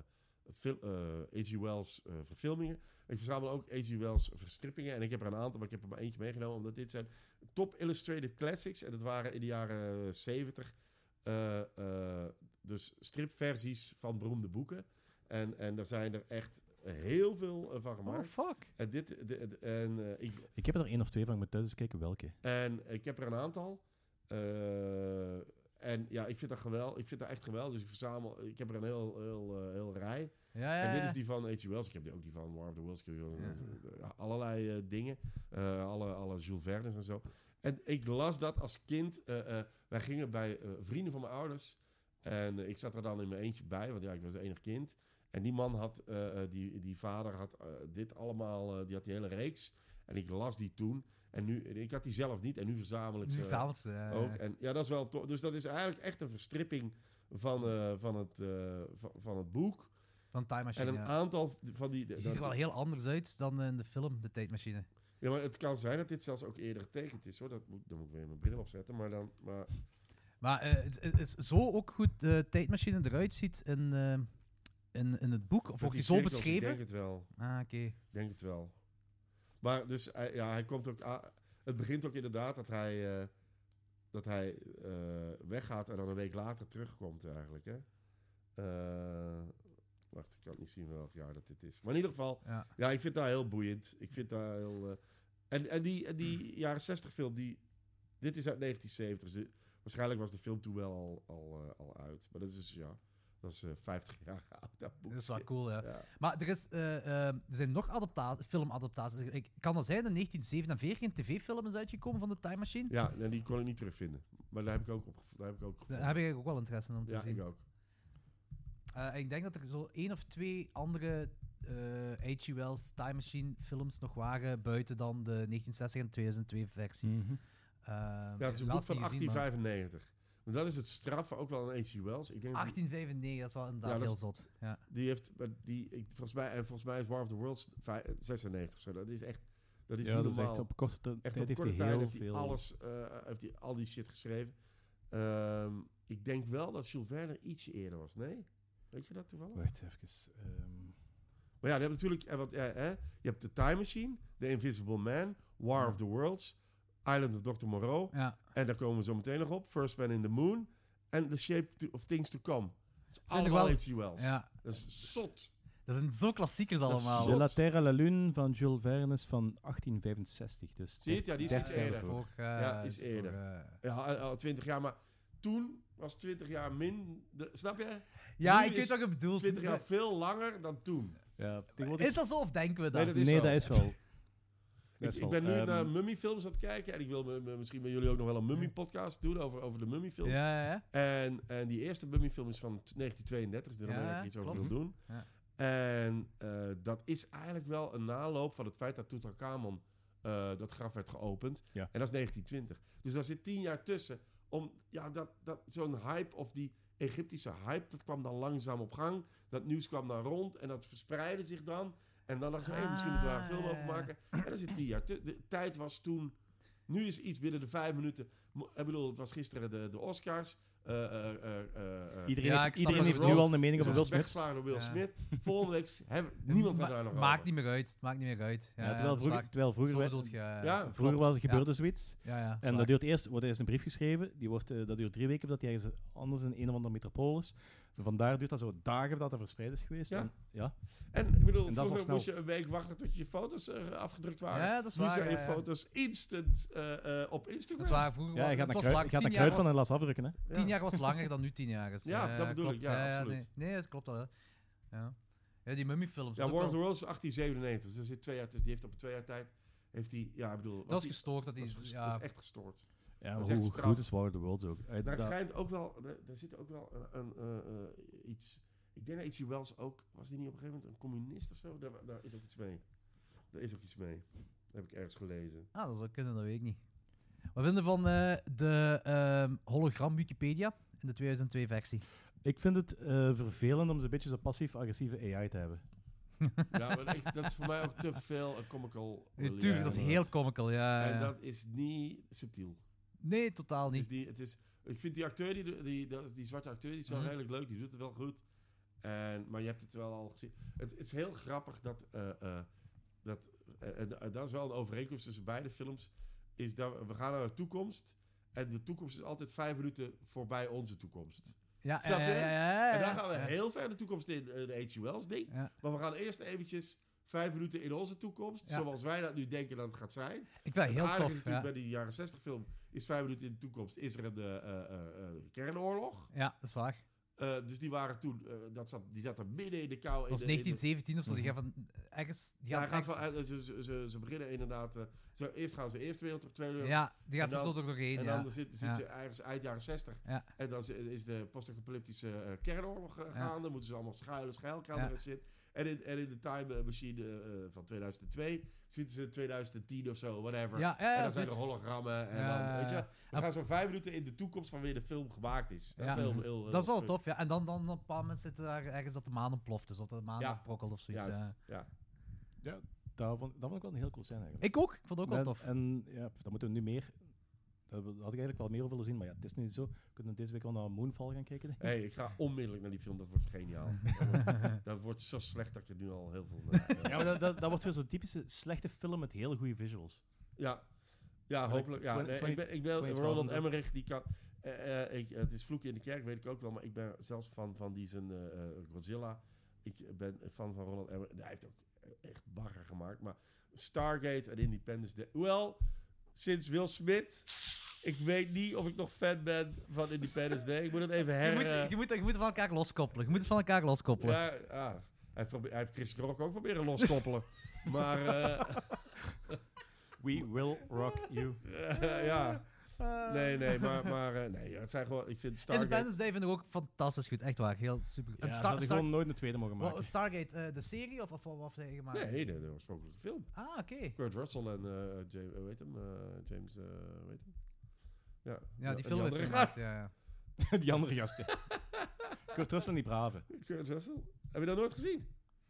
[SPEAKER 2] fil- eh, H.G. Wells eh, verfilmingen. Ik verzamel ook H.G. Wells verstrippingen. En ik heb er een aantal, maar ik heb er maar eentje meegenomen. Omdat dit zijn top illustrated classics. En dat waren in de jaren 70. eh, eh, dus stripversies van beroemde boeken. En, en daar zijn er echt heel veel eh, van
[SPEAKER 4] Oh,
[SPEAKER 2] gemaakt.
[SPEAKER 4] fuck.
[SPEAKER 2] En, dit, de- de- en eh, ik,
[SPEAKER 3] Ik heb er één of twee van, ik moet thuis eens kijken welke.
[SPEAKER 2] en ik heb er een aantal. Eh, en ja, ik vind dat geweldig. Ik vind dat echt geweldig. Dus ik verzamel. Ik heb er een heel, heel, eh, heel rij.
[SPEAKER 4] Ja, ja,
[SPEAKER 2] En dit
[SPEAKER 4] ja.
[SPEAKER 2] is die van H.G. Wells. Ik heb die ook die van War of the Worlds. Ik heb die van-
[SPEAKER 4] Ja.
[SPEAKER 2] ja, Allerlei eh, dingen. Eh, alle, alle Jules Verne's en zo. En ik las dat als kind. Eh, eh, wij gingen bij eh, vrienden van mijn ouders. En eh, ik zat er dan in mijn eentje bij. Want ja, ik was het enige kind. En die man had, eh, eh, die, die vader had eh, dit allemaal, eh, die had die hele reeks. En ik las die toen. En nu, ik had die zelf niet. En nu verzamel ik ze
[SPEAKER 4] Verzameld ze, ja, ja,
[SPEAKER 2] ook.
[SPEAKER 4] ja.
[SPEAKER 2] En ja, dat is wel tof. Dus dat is eigenlijk echt een verstripping van, eh, van, het, eh, van, van het boek.
[SPEAKER 4] Van Time Machine.
[SPEAKER 2] en een
[SPEAKER 4] ja.
[SPEAKER 2] aantal van die...
[SPEAKER 4] Die ziet er wel heel anders uit dan in de film, de tijdmachine.
[SPEAKER 2] Ja, maar het kan zijn dat dit zelfs ook eerder getekend is. Hoor. Dat moet, dan moet ik weer mijn bril opzetten. Maar dan... Maar,
[SPEAKER 4] Maar eh, het, het is zo ook goed de tijdmachine eruit ziet in, eh, in, in het boek. Of
[SPEAKER 2] Met
[SPEAKER 4] wordt
[SPEAKER 2] die
[SPEAKER 4] die zo
[SPEAKER 2] cirkels, Ik
[SPEAKER 4] beschreven?
[SPEAKER 2] denk het wel.
[SPEAKER 4] Ah, oké.
[SPEAKER 2] Ik denk het wel. Maar dus, hij- ja, hij komt ook... a- het begint ook inderdaad dat hij... eh, dat hij eh, weggaat en dan een week later terugkomt eigenlijk. Hè? Eh, wacht, ik kan niet zien welk jaar dat dit is. Maar in ieder geval,
[SPEAKER 4] Ja.
[SPEAKER 2] ja, ik vind dat heel boeiend. Ik vind dat heel... eh, en, en die, en
[SPEAKER 4] Hmm.
[SPEAKER 2] die jaren 60 film, die, dit is uit 1970. Dus de- waarschijnlijk was de film toen wel al, al, eh, al uit. Maar dat is dus, ja, dat is eh, 50 jaar oud, dat boek.
[SPEAKER 4] Dat is wel cool, ja.
[SPEAKER 2] Ja.
[SPEAKER 4] Maar er, is, eh, eh, er zijn nog adapta- filmadaptaties. Ik kan dat zijn, in 1947 een tv-film is uitgekomen van de Time Machine.
[SPEAKER 2] Ja, en die kon ik niet terugvinden. Maar daar heb ik ook op daar heb ik ook
[SPEAKER 4] Daar
[SPEAKER 2] gevonden.
[SPEAKER 4] heb ik eigenlijk ook wel interesse in om te
[SPEAKER 2] ja,
[SPEAKER 4] zien.
[SPEAKER 2] ik ook.
[SPEAKER 4] Eh, en ik denk dat er zo één of twee andere eh, H.G. Wells Time Machine films nog waren, buiten dan de 1960 en 2002 versie.
[SPEAKER 3] Mhm.
[SPEAKER 4] Eh,
[SPEAKER 2] Ja, het is een boek
[SPEAKER 4] helaas
[SPEAKER 2] van
[SPEAKER 4] niet gezien, maar-
[SPEAKER 2] 1895. Maar dat is het straffe ook wel aan H.G. Wells. Ik denk dat
[SPEAKER 4] 1895, dat is wel inderdaad
[SPEAKER 2] Ja, dat
[SPEAKER 4] heel
[SPEAKER 2] is-
[SPEAKER 4] zot. Ja.
[SPEAKER 2] die heeft, maar die, ik, volgens mij, en volgens mij is War of the Worlds vij- 96 of zo. Dat is echt, dat is
[SPEAKER 3] ja,
[SPEAKER 2] niet
[SPEAKER 3] dat is
[SPEAKER 2] normaal.
[SPEAKER 3] echt op korte
[SPEAKER 2] Echt
[SPEAKER 3] tijd
[SPEAKER 2] op
[SPEAKER 3] heeft hij
[SPEAKER 2] korte tijd
[SPEAKER 3] heel
[SPEAKER 2] heeft hij
[SPEAKER 3] veel.
[SPEAKER 2] alles, eh, heeft hij al die shit geschreven. Ehm, ik denk wel dat Jules Verne er ietsje eerder was. Nee? Weet je dat toevallig?
[SPEAKER 3] Wacht even. ehm,
[SPEAKER 2] Maar ja, je hebt natuurlijk, eh, wat, eh, hè, je hebt The Time Machine, The Invisible Man, War
[SPEAKER 4] Ja.
[SPEAKER 2] of the Worlds, Island of Dr. Moreau.
[SPEAKER 4] Ja.
[SPEAKER 2] En daar komen we zo meteen nog op. First Man in the Moon. En The Shape to- of Things to Come. Het is
[SPEAKER 4] Zijn er
[SPEAKER 2] allemaal
[SPEAKER 4] wel-
[SPEAKER 2] H.G. Wells.
[SPEAKER 4] ja,
[SPEAKER 2] Dat is zot.
[SPEAKER 4] dat zijn zo klassiekers
[SPEAKER 2] is
[SPEAKER 4] allemaal.
[SPEAKER 2] zo-
[SPEAKER 3] De La Terre à la Lune van Jules Verne is van 1865. Dus
[SPEAKER 2] Zie je het? Ja, die is iets
[SPEAKER 3] 30 jaar
[SPEAKER 2] eerder.
[SPEAKER 3] ervoor.
[SPEAKER 4] Ook, eh,
[SPEAKER 2] Ja, is
[SPEAKER 4] ook,
[SPEAKER 2] eerder.
[SPEAKER 4] eh,
[SPEAKER 2] Ja, eh, al twintig jaar. Maar toen was twintig jaar minder... Snap je?
[SPEAKER 4] ja,
[SPEAKER 2] Nu
[SPEAKER 4] ik weet
[SPEAKER 2] is
[SPEAKER 4] wat je bedoelt.
[SPEAKER 2] Twintig jaar veel langer dan toen.
[SPEAKER 3] Ja, tegenwoordig...
[SPEAKER 4] Is dat zo of denken we dat?
[SPEAKER 2] Nee, dat is
[SPEAKER 3] nee,
[SPEAKER 2] zo.
[SPEAKER 3] dat is wel.
[SPEAKER 2] Ik,
[SPEAKER 3] Best
[SPEAKER 2] ik
[SPEAKER 3] wel.
[SPEAKER 2] ben nu
[SPEAKER 3] Ehm,
[SPEAKER 2] naar mummyfilms aan het kijken. En ik wil me- me- misschien met jullie ook nog wel een mummy-podcast doen over, over de mummyfilms.
[SPEAKER 4] Ja, ja, ja.
[SPEAKER 2] En, en die eerste Mummy-film is van t- 1932, dus daar
[SPEAKER 4] Ja,
[SPEAKER 2] wil ik iets over
[SPEAKER 4] klopt.
[SPEAKER 2] wil doen.
[SPEAKER 4] Ja.
[SPEAKER 2] En eh, dat is eigenlijk wel een naloop van het feit dat Tutankhamon eh dat graf werd geopend.
[SPEAKER 3] Ja.
[SPEAKER 2] En dat is 1920. Dus daar zit tien jaar tussen. Om, ja, dat, dat, zo'n hype of die Egyptische hype, dat kwam dan langzaam op gang. Dat nieuws kwam dan rond en dat verspreidde zich dan. En dan dachten ze, hey, misschien moeten we daar een
[SPEAKER 4] Ah,
[SPEAKER 2] film over
[SPEAKER 4] ja, ja.
[SPEAKER 2] maken. En daar zit tien jaar tussen. De tijd was toen... Nu is iets binnen de vijf minuten. Mo- Ik bedoel, het was gisteren de, de Oscars. Eh, eh, eh, eh, eh,
[SPEAKER 3] Iedereen,
[SPEAKER 4] Ja, ik
[SPEAKER 3] heeft,
[SPEAKER 4] snap
[SPEAKER 3] iedereen
[SPEAKER 4] het
[SPEAKER 3] heeft
[SPEAKER 2] wel.
[SPEAKER 3] nu al een mening
[SPEAKER 2] is
[SPEAKER 3] over Will
[SPEAKER 2] ons
[SPEAKER 3] Smith.
[SPEAKER 2] weggeslagen door Will
[SPEAKER 4] Ja.
[SPEAKER 2] Smith. Volgende week hebben niemand het
[SPEAKER 4] Ma-
[SPEAKER 2] daar nog
[SPEAKER 4] Maakt
[SPEAKER 2] over.
[SPEAKER 4] niet meer uit. Maakt niet meer uit. Ja,
[SPEAKER 3] Ja, terwijl
[SPEAKER 4] dat is
[SPEAKER 3] vroeger,
[SPEAKER 4] waar.
[SPEAKER 3] terwijl vroeger,
[SPEAKER 4] Zo
[SPEAKER 3] werd-
[SPEAKER 4] bedoelt je. Ja,
[SPEAKER 2] Ja,
[SPEAKER 4] ja.
[SPEAKER 3] vroeger
[SPEAKER 2] klopt.
[SPEAKER 3] was, gebeurde
[SPEAKER 4] Ja.
[SPEAKER 3] zoiets.
[SPEAKER 4] ja, ja,
[SPEAKER 3] En dat duurt eerst, wordt er is een brief geschreven, die wordt, eh, dat duurt drie weken voordat hij ergens anders in een of andere metropool is. Vandaar duurt dat zo dagen voordat dat verspreid is geweest.
[SPEAKER 2] Ja.
[SPEAKER 3] En, ja.
[SPEAKER 2] En ik bedoel,
[SPEAKER 3] En dat is al
[SPEAKER 2] vroeger
[SPEAKER 3] snel.
[SPEAKER 2] moest je een week wachten tot je foto's eh, afgedrukt waren.
[SPEAKER 4] Ja, dat is
[SPEAKER 2] nu
[SPEAKER 4] waar.
[SPEAKER 2] zijn
[SPEAKER 4] ja,
[SPEAKER 2] je
[SPEAKER 4] ja.
[SPEAKER 2] foto's instant eh, eh, op Instagram.
[SPEAKER 4] Dat is waar. Vroeger
[SPEAKER 3] ja,
[SPEAKER 4] was
[SPEAKER 3] hij gaat naar
[SPEAKER 4] het was
[SPEAKER 3] Kruid,
[SPEAKER 4] lang.
[SPEAKER 3] hij gaat naar
[SPEAKER 4] Tien
[SPEAKER 3] Kruid
[SPEAKER 4] jaar
[SPEAKER 3] van en
[SPEAKER 4] was-
[SPEAKER 3] las afdrukken. Hè.
[SPEAKER 2] Ja.
[SPEAKER 4] Tien jaar was langer dan nu tien jaar is.
[SPEAKER 2] Ja, dat bedoel ik.
[SPEAKER 4] klopt.
[SPEAKER 2] Ja, absoluut.
[SPEAKER 4] nee. Nee, dat klopt wel. hè. Ja. Ja, die mummyfilms.
[SPEAKER 2] Ja,
[SPEAKER 4] dat is ook
[SPEAKER 2] War of
[SPEAKER 4] wel-
[SPEAKER 2] the Worlds is 1897. Dus er zit twee jaar tussen. Die heeft op twee jaar tijd... Heeft hij, ja, ik bedoel... want
[SPEAKER 4] Dat is
[SPEAKER 2] die-
[SPEAKER 4] gestoord. Dat
[SPEAKER 2] dat is
[SPEAKER 4] is,
[SPEAKER 2] ges-
[SPEAKER 4] ja.
[SPEAKER 2] dat is echt gestoord.
[SPEAKER 3] Ja,
[SPEAKER 2] Dat
[SPEAKER 3] maar
[SPEAKER 2] is
[SPEAKER 3] hoe
[SPEAKER 2] echt straf.
[SPEAKER 3] goed is War of the Worlds ook. Eh,
[SPEAKER 2] Daar
[SPEAKER 3] dat-
[SPEAKER 2] schijnt ook wel, daar- daar zit ook wel een, een, eh, eh, iets. Ik denk dat H.G. Wells ook, was die niet op een gegeven moment een communist of zo? Daar, daar is ook iets mee. Daar is ook iets mee. Dat heb ik ergens gelezen.
[SPEAKER 4] Ah, dat zou kunnen, dat weet ik niet. Wat vinden we van eh, de ehm, hologram Wikipedia in de 2002-versie?
[SPEAKER 3] Ik vind het eh, vervelend om zo'n beetje zo'n passief-agressieve AI te hebben.
[SPEAKER 2] ja, maar dat is, dat is voor mij ook te veel een comical. eh, relief.
[SPEAKER 4] Tuurlijk, dat is heel eh, comical, ja.
[SPEAKER 2] En
[SPEAKER 4] ja.
[SPEAKER 2] dat is niet subtiel.
[SPEAKER 4] Nee, totaal
[SPEAKER 2] Het is
[SPEAKER 4] niet.
[SPEAKER 2] die, het is, ik vind die acteur, die, die, die, die zwarte acteur, die is wel
[SPEAKER 4] Mhm.
[SPEAKER 2] redelijk leuk. Die doet het wel goed. En, maar je hebt het wel al gezien. Het, het is heel grappig dat... eh, eh, dat eh, en, eh, dat is wel een overeenkomst tussen beide films. Is dat we- we gaan naar de toekomst. En de toekomst is altijd vijf minuten voorbij onze toekomst.
[SPEAKER 4] Ja,
[SPEAKER 2] Snap
[SPEAKER 4] ja,
[SPEAKER 2] je?
[SPEAKER 4] Ja, ja, ja,
[SPEAKER 2] En dan
[SPEAKER 4] ja.
[SPEAKER 2] gaan we
[SPEAKER 4] Ja.
[SPEAKER 2] heel ver de toekomst in, eh, de H.G. Wells ding.
[SPEAKER 4] Ja.
[SPEAKER 2] Maar we gaan eerst eventjes vijf minuten in onze toekomst.
[SPEAKER 4] Ja.
[SPEAKER 2] Zoals wij dat nu denken dat het gaat zijn.
[SPEAKER 4] Ik vind dat
[SPEAKER 2] Het
[SPEAKER 4] heel
[SPEAKER 2] aardige
[SPEAKER 4] tof.
[SPEAKER 2] is natuurlijk
[SPEAKER 4] Ja.
[SPEAKER 2] bij die jaren 60 film, is vijf minuten in de toekomst, is er een eh, eh, eh, eh, kernoorlog.
[SPEAKER 4] ja, dat is waar.
[SPEAKER 2] Eh, dus die waren toen, eh, dat zat, die zaten midden in de kou.
[SPEAKER 4] Dat
[SPEAKER 2] in
[SPEAKER 4] was
[SPEAKER 2] de- in de-
[SPEAKER 4] 1917 of zo. Die gaan van, ergens... Die
[SPEAKER 2] Mhm. Ja, hij
[SPEAKER 4] gaat
[SPEAKER 2] gaat
[SPEAKER 4] ergens-
[SPEAKER 2] wel uit- ze, ze, ze, ze beginnen inderdaad... eh, ze, eerst gaan ze Eerste Wereldoorlog, Tweede Wereldoorlog.
[SPEAKER 4] Ja, die gaat
[SPEAKER 2] En
[SPEAKER 4] er
[SPEAKER 2] dan-
[SPEAKER 4] zo door doorheen.
[SPEAKER 2] En
[SPEAKER 4] ja.
[SPEAKER 2] dan zit, zit
[SPEAKER 4] Ja.
[SPEAKER 2] ze ergens eind jaren 60.
[SPEAKER 4] Ja.
[SPEAKER 2] En dan is- is de post-apocalyptische eh, kernoorlog eh,
[SPEAKER 4] Ja.
[SPEAKER 2] gaande. Moeten ze allemaal schuilen, schuilkelder
[SPEAKER 4] Ja.
[SPEAKER 2] en shit. En in, en in de time machine eh, van 2002 zitten ze 2010 of zo, whatever.
[SPEAKER 4] Ja, ja, ja,
[SPEAKER 2] en dan
[SPEAKER 4] dat
[SPEAKER 2] zijn
[SPEAKER 4] is-
[SPEAKER 2] er hologrammen. En
[SPEAKER 4] Eh, Ja,
[SPEAKER 2] dan, weet je,
[SPEAKER 4] ja,
[SPEAKER 2] we gaan zo vijf minuten in de toekomst van weer de film gemaakt is. Dat
[SPEAKER 4] Ja.
[SPEAKER 2] is heel, heel, heel
[SPEAKER 4] dat is wel
[SPEAKER 2] goed.
[SPEAKER 4] tof, ja. En dan, dan op een bepaald moment zit er daar ergens dat de maan ontploft is. Of dat de maan
[SPEAKER 2] Ja,
[SPEAKER 4] afbrokkelt of zoiets.
[SPEAKER 2] Juist,
[SPEAKER 4] eh.
[SPEAKER 2] ja.
[SPEAKER 3] Dat vond, dat vond ik wel een heel cool scène eigenlijk.
[SPEAKER 4] Ik ook. Ik vond het ook wel
[SPEAKER 3] en,
[SPEAKER 4] tof.
[SPEAKER 3] En ja, pff, dat moeten we nu meer... Daar had ik eigenlijk wel meer over willen zien, maar ja, het is nu zo. We kunnen deze week wel naar Moonfall gaan kijken. denk ik.
[SPEAKER 2] Hey, ik ga onmiddellijk naar die film. Dat wordt geniaal. Dat wordt- dat wordt zo slecht dat je nu al heel veel... eh,
[SPEAKER 3] Ja, maar dat, dat, dat wordt weer zo'n typische slechte film met hele goede visuals.
[SPEAKER 2] Ja, ja hopelijk. Ja,
[SPEAKER 3] twen-
[SPEAKER 2] nee,
[SPEAKER 3] twenty-
[SPEAKER 2] ik ben, ik ben
[SPEAKER 3] 2012
[SPEAKER 2] Ronald
[SPEAKER 3] en zo.
[SPEAKER 2] Emmerich, die kan... eh, eh, ik, het is vloek in de kerk, weet ik ook wel. Maar ik ben zelfs fan van die zijn eh, eh, Godzilla. Ik ben fan van Ronald Emmerich. Hij heeft ook eh, echt bagger gemaakt. Maar Stargate en Independence Day. Wel, sinds Will Smith... Ik weet niet of ik nog fan ben van Independence Day. Ik moet het even
[SPEAKER 4] Je
[SPEAKER 2] her...
[SPEAKER 4] moet,
[SPEAKER 2] eh,
[SPEAKER 4] je, moet, je moet het van elkaar loskoppelen. Je moet het van elkaar loskoppelen.
[SPEAKER 2] ja, ah, hij, heeft probe- hij heeft Chris Rock ook proberen loskoppelen. maar eh,
[SPEAKER 3] We will rock you.
[SPEAKER 2] eh, ja... Nee, nee, maar, maar eh, nee, het zijn gewoon, ik vind Stargate...
[SPEAKER 4] Independence Day vind ik ook fantastisch goed. Echt waar. Heel super.
[SPEAKER 3] Ja,
[SPEAKER 4] En
[SPEAKER 3] ze
[SPEAKER 4] Star-
[SPEAKER 3] hadden
[SPEAKER 4] Star-
[SPEAKER 3] gewoon nooit een tweede mogen
[SPEAKER 4] Wel,
[SPEAKER 3] maken.
[SPEAKER 4] Stargate, eh, de serie of, of wat wat heb je gemaakt?
[SPEAKER 2] Nee, de, de oorspronkelijke film.
[SPEAKER 4] Ah, oké.
[SPEAKER 2] Kurt Russell en eh James, hoe heet hem? Eh, James, eh, hoe heet hem? Ja,
[SPEAKER 4] Ja, die
[SPEAKER 2] en
[SPEAKER 4] film heeft
[SPEAKER 2] andere
[SPEAKER 4] hij
[SPEAKER 2] gast.
[SPEAKER 4] gemaakt, ja, ja.
[SPEAKER 3] die andere gasten. Kurt Russell en die brave.
[SPEAKER 2] Kurt Russell. Heb je dat nooit gezien?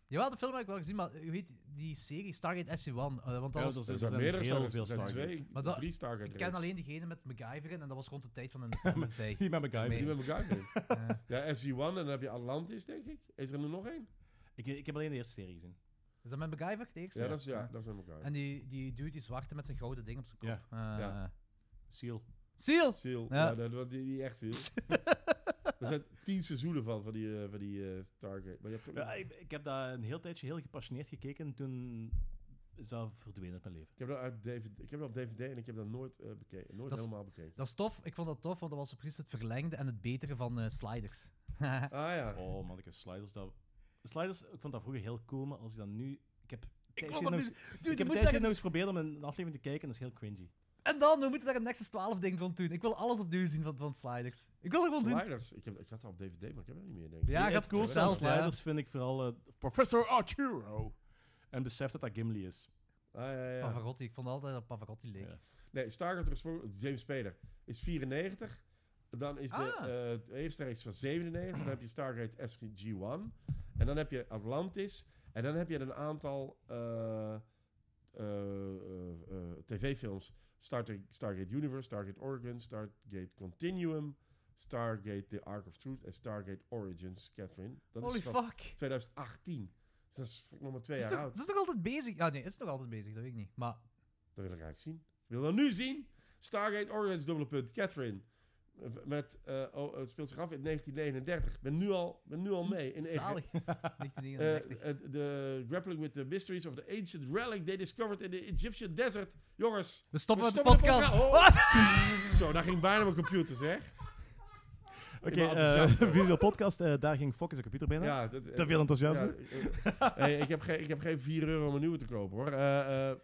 [SPEAKER 4] Jawel, de film heb ik wel gezien, maar hoe heet die serie? Stargate SG-1. eh, want dat
[SPEAKER 3] Ja,
[SPEAKER 4] was-
[SPEAKER 3] dat is-
[SPEAKER 2] Er zijn
[SPEAKER 3] er zijn
[SPEAKER 2] meerdere
[SPEAKER 3] heel
[SPEAKER 2] Stargates.
[SPEAKER 3] veel
[SPEAKER 2] Er zijn
[SPEAKER 3] Stargates.
[SPEAKER 2] twee,
[SPEAKER 4] Maar dat-
[SPEAKER 2] drie Stargate
[SPEAKER 4] ik ken
[SPEAKER 2] races.
[SPEAKER 4] alleen diegene met MacGyver in en dat was rond de tijd van Independence Day.
[SPEAKER 3] Die met MacGyver.
[SPEAKER 4] Nee.
[SPEAKER 2] Die met elkaar doen.
[SPEAKER 4] Eh,
[SPEAKER 2] Ja, SG-1 en dan heb je Atlantis, denk ik. Is er nu nog één?
[SPEAKER 3] Ik, ik heb alleen de eerste serie gezien.
[SPEAKER 4] is dat met MacGyver, de eerste?
[SPEAKER 2] Ja, dat is, ja, dat is met elkaar.
[SPEAKER 4] En die, die dude, die zwarte met zijn gouden ding op zijn kop.
[SPEAKER 3] Ja.
[SPEAKER 4] Eh,
[SPEAKER 2] Ja.
[SPEAKER 3] Seal.
[SPEAKER 4] Seal!
[SPEAKER 2] Seal. Ja,
[SPEAKER 4] Ja.
[SPEAKER 2] dat, was die, die echt Seal. er zijn tien seizoenen van, van die, eh, van die eh, Stargate. Maar je hebt ook nog-
[SPEAKER 3] Ja, ik, ik heb daar een heel tijdje heel gepassioneerd gekeken en toen is dat verdwenen uit mijn leven.
[SPEAKER 2] Ik heb dat uit DVD, ik heb dat op DVD en ik heb dat nooit, eh, bekeken, nooit
[SPEAKER 4] Dat is-
[SPEAKER 2] helemaal bekeken.
[SPEAKER 4] Dat is tof. Ik vond dat tof, want dat was precies het verlengde en het betere van eh, Sliders.
[SPEAKER 2] Ah ja.
[SPEAKER 3] Oh man, ik heb sliders. Dat... Sliders, ik vond dat vroeger heel cool, maar als je dan nu... Ik heb ik
[SPEAKER 4] wil dat
[SPEAKER 3] nog
[SPEAKER 4] nu-
[SPEAKER 3] eens,
[SPEAKER 4] Dude,
[SPEAKER 3] ik
[SPEAKER 4] je
[SPEAKER 3] heb
[SPEAKER 4] moet
[SPEAKER 3] een
[SPEAKER 4] daar
[SPEAKER 3] tijdje
[SPEAKER 4] een-
[SPEAKER 3] nog eens proberen om een aflevering te kijken en dat is heel cringy.
[SPEAKER 4] En dan, we moeten daar een Nexus 12 ding rond doen. Ik wil alles opnieuw zien van, van Sliders. Ik wil er gewoon doen.
[SPEAKER 2] Sliders. Ik, heb, ik had dat op DVD, maar ik heb dat niet meer, denk ik.
[SPEAKER 4] Ja,
[SPEAKER 3] Het
[SPEAKER 4] gaat cool
[SPEAKER 3] coolste aan
[SPEAKER 4] zelfs, ja.
[SPEAKER 3] sliders vind ik vooral eh, Professor Arturo. En besef dat dat Gimli is.
[SPEAKER 2] Ah, ja, ja.
[SPEAKER 4] Pavarotti, ik vond altijd dat Pavarotti leek.
[SPEAKER 3] Ja.
[SPEAKER 2] Nee, Stargate gesproken, James Spader is 94. Dan is de,
[SPEAKER 4] Ah.
[SPEAKER 2] eh, de eerste reeks van 97. Dan heb je Stargate SG-1. En dan heb je Atlantis. En dan heb je een aantal eh, eh, eh, eh, tv-films. Stargate, Stargate Universe, Stargate Oregon, Stargate Continuum, Stargate The Ark of Truth en Stargate Origins, Catherine. Dat
[SPEAKER 4] Holy
[SPEAKER 2] is van
[SPEAKER 4] fuck.
[SPEAKER 2] 2018. Dus dat is nog maar twee
[SPEAKER 4] Het is,
[SPEAKER 2] jaar
[SPEAKER 4] toch,
[SPEAKER 2] oud.
[SPEAKER 4] het is toch altijd bezig? Ja, nee, het is nog altijd bezig, dat weet ik niet. Maar
[SPEAKER 2] Dat wil ik eigenlijk zien. Ik wil dat nu zien. Stargate Origins, dubbele punt. Catherine. Eh, Met, eh, oh, het speelt zich af in 1939. Ik ben nu al, ben nu al mee. In
[SPEAKER 4] zalig.
[SPEAKER 2] eh,
[SPEAKER 4] 1939.
[SPEAKER 2] eh, de grappling with the mysteries of the ancient relic they discovered in the Egyptian desert. Jongens,
[SPEAKER 4] we stoppen
[SPEAKER 2] we
[SPEAKER 4] met de
[SPEAKER 2] stoppen met
[SPEAKER 4] podcast.
[SPEAKER 2] podcast. zo, daar ging bijna mijn computer, zeg.
[SPEAKER 3] Oké,
[SPEAKER 2] ben
[SPEAKER 3] eh
[SPEAKER 2] enthousiast, hoor.
[SPEAKER 3] visual podcast, eh, daar ging Focus zijn computer bijna.
[SPEAKER 2] Ja, dat,
[SPEAKER 3] Te veel enthousiasme.
[SPEAKER 2] ja, eh, hey, ik, heb geen, ik heb geen 4 euro om een nieuwe te kopen, hoor. Eh, eh,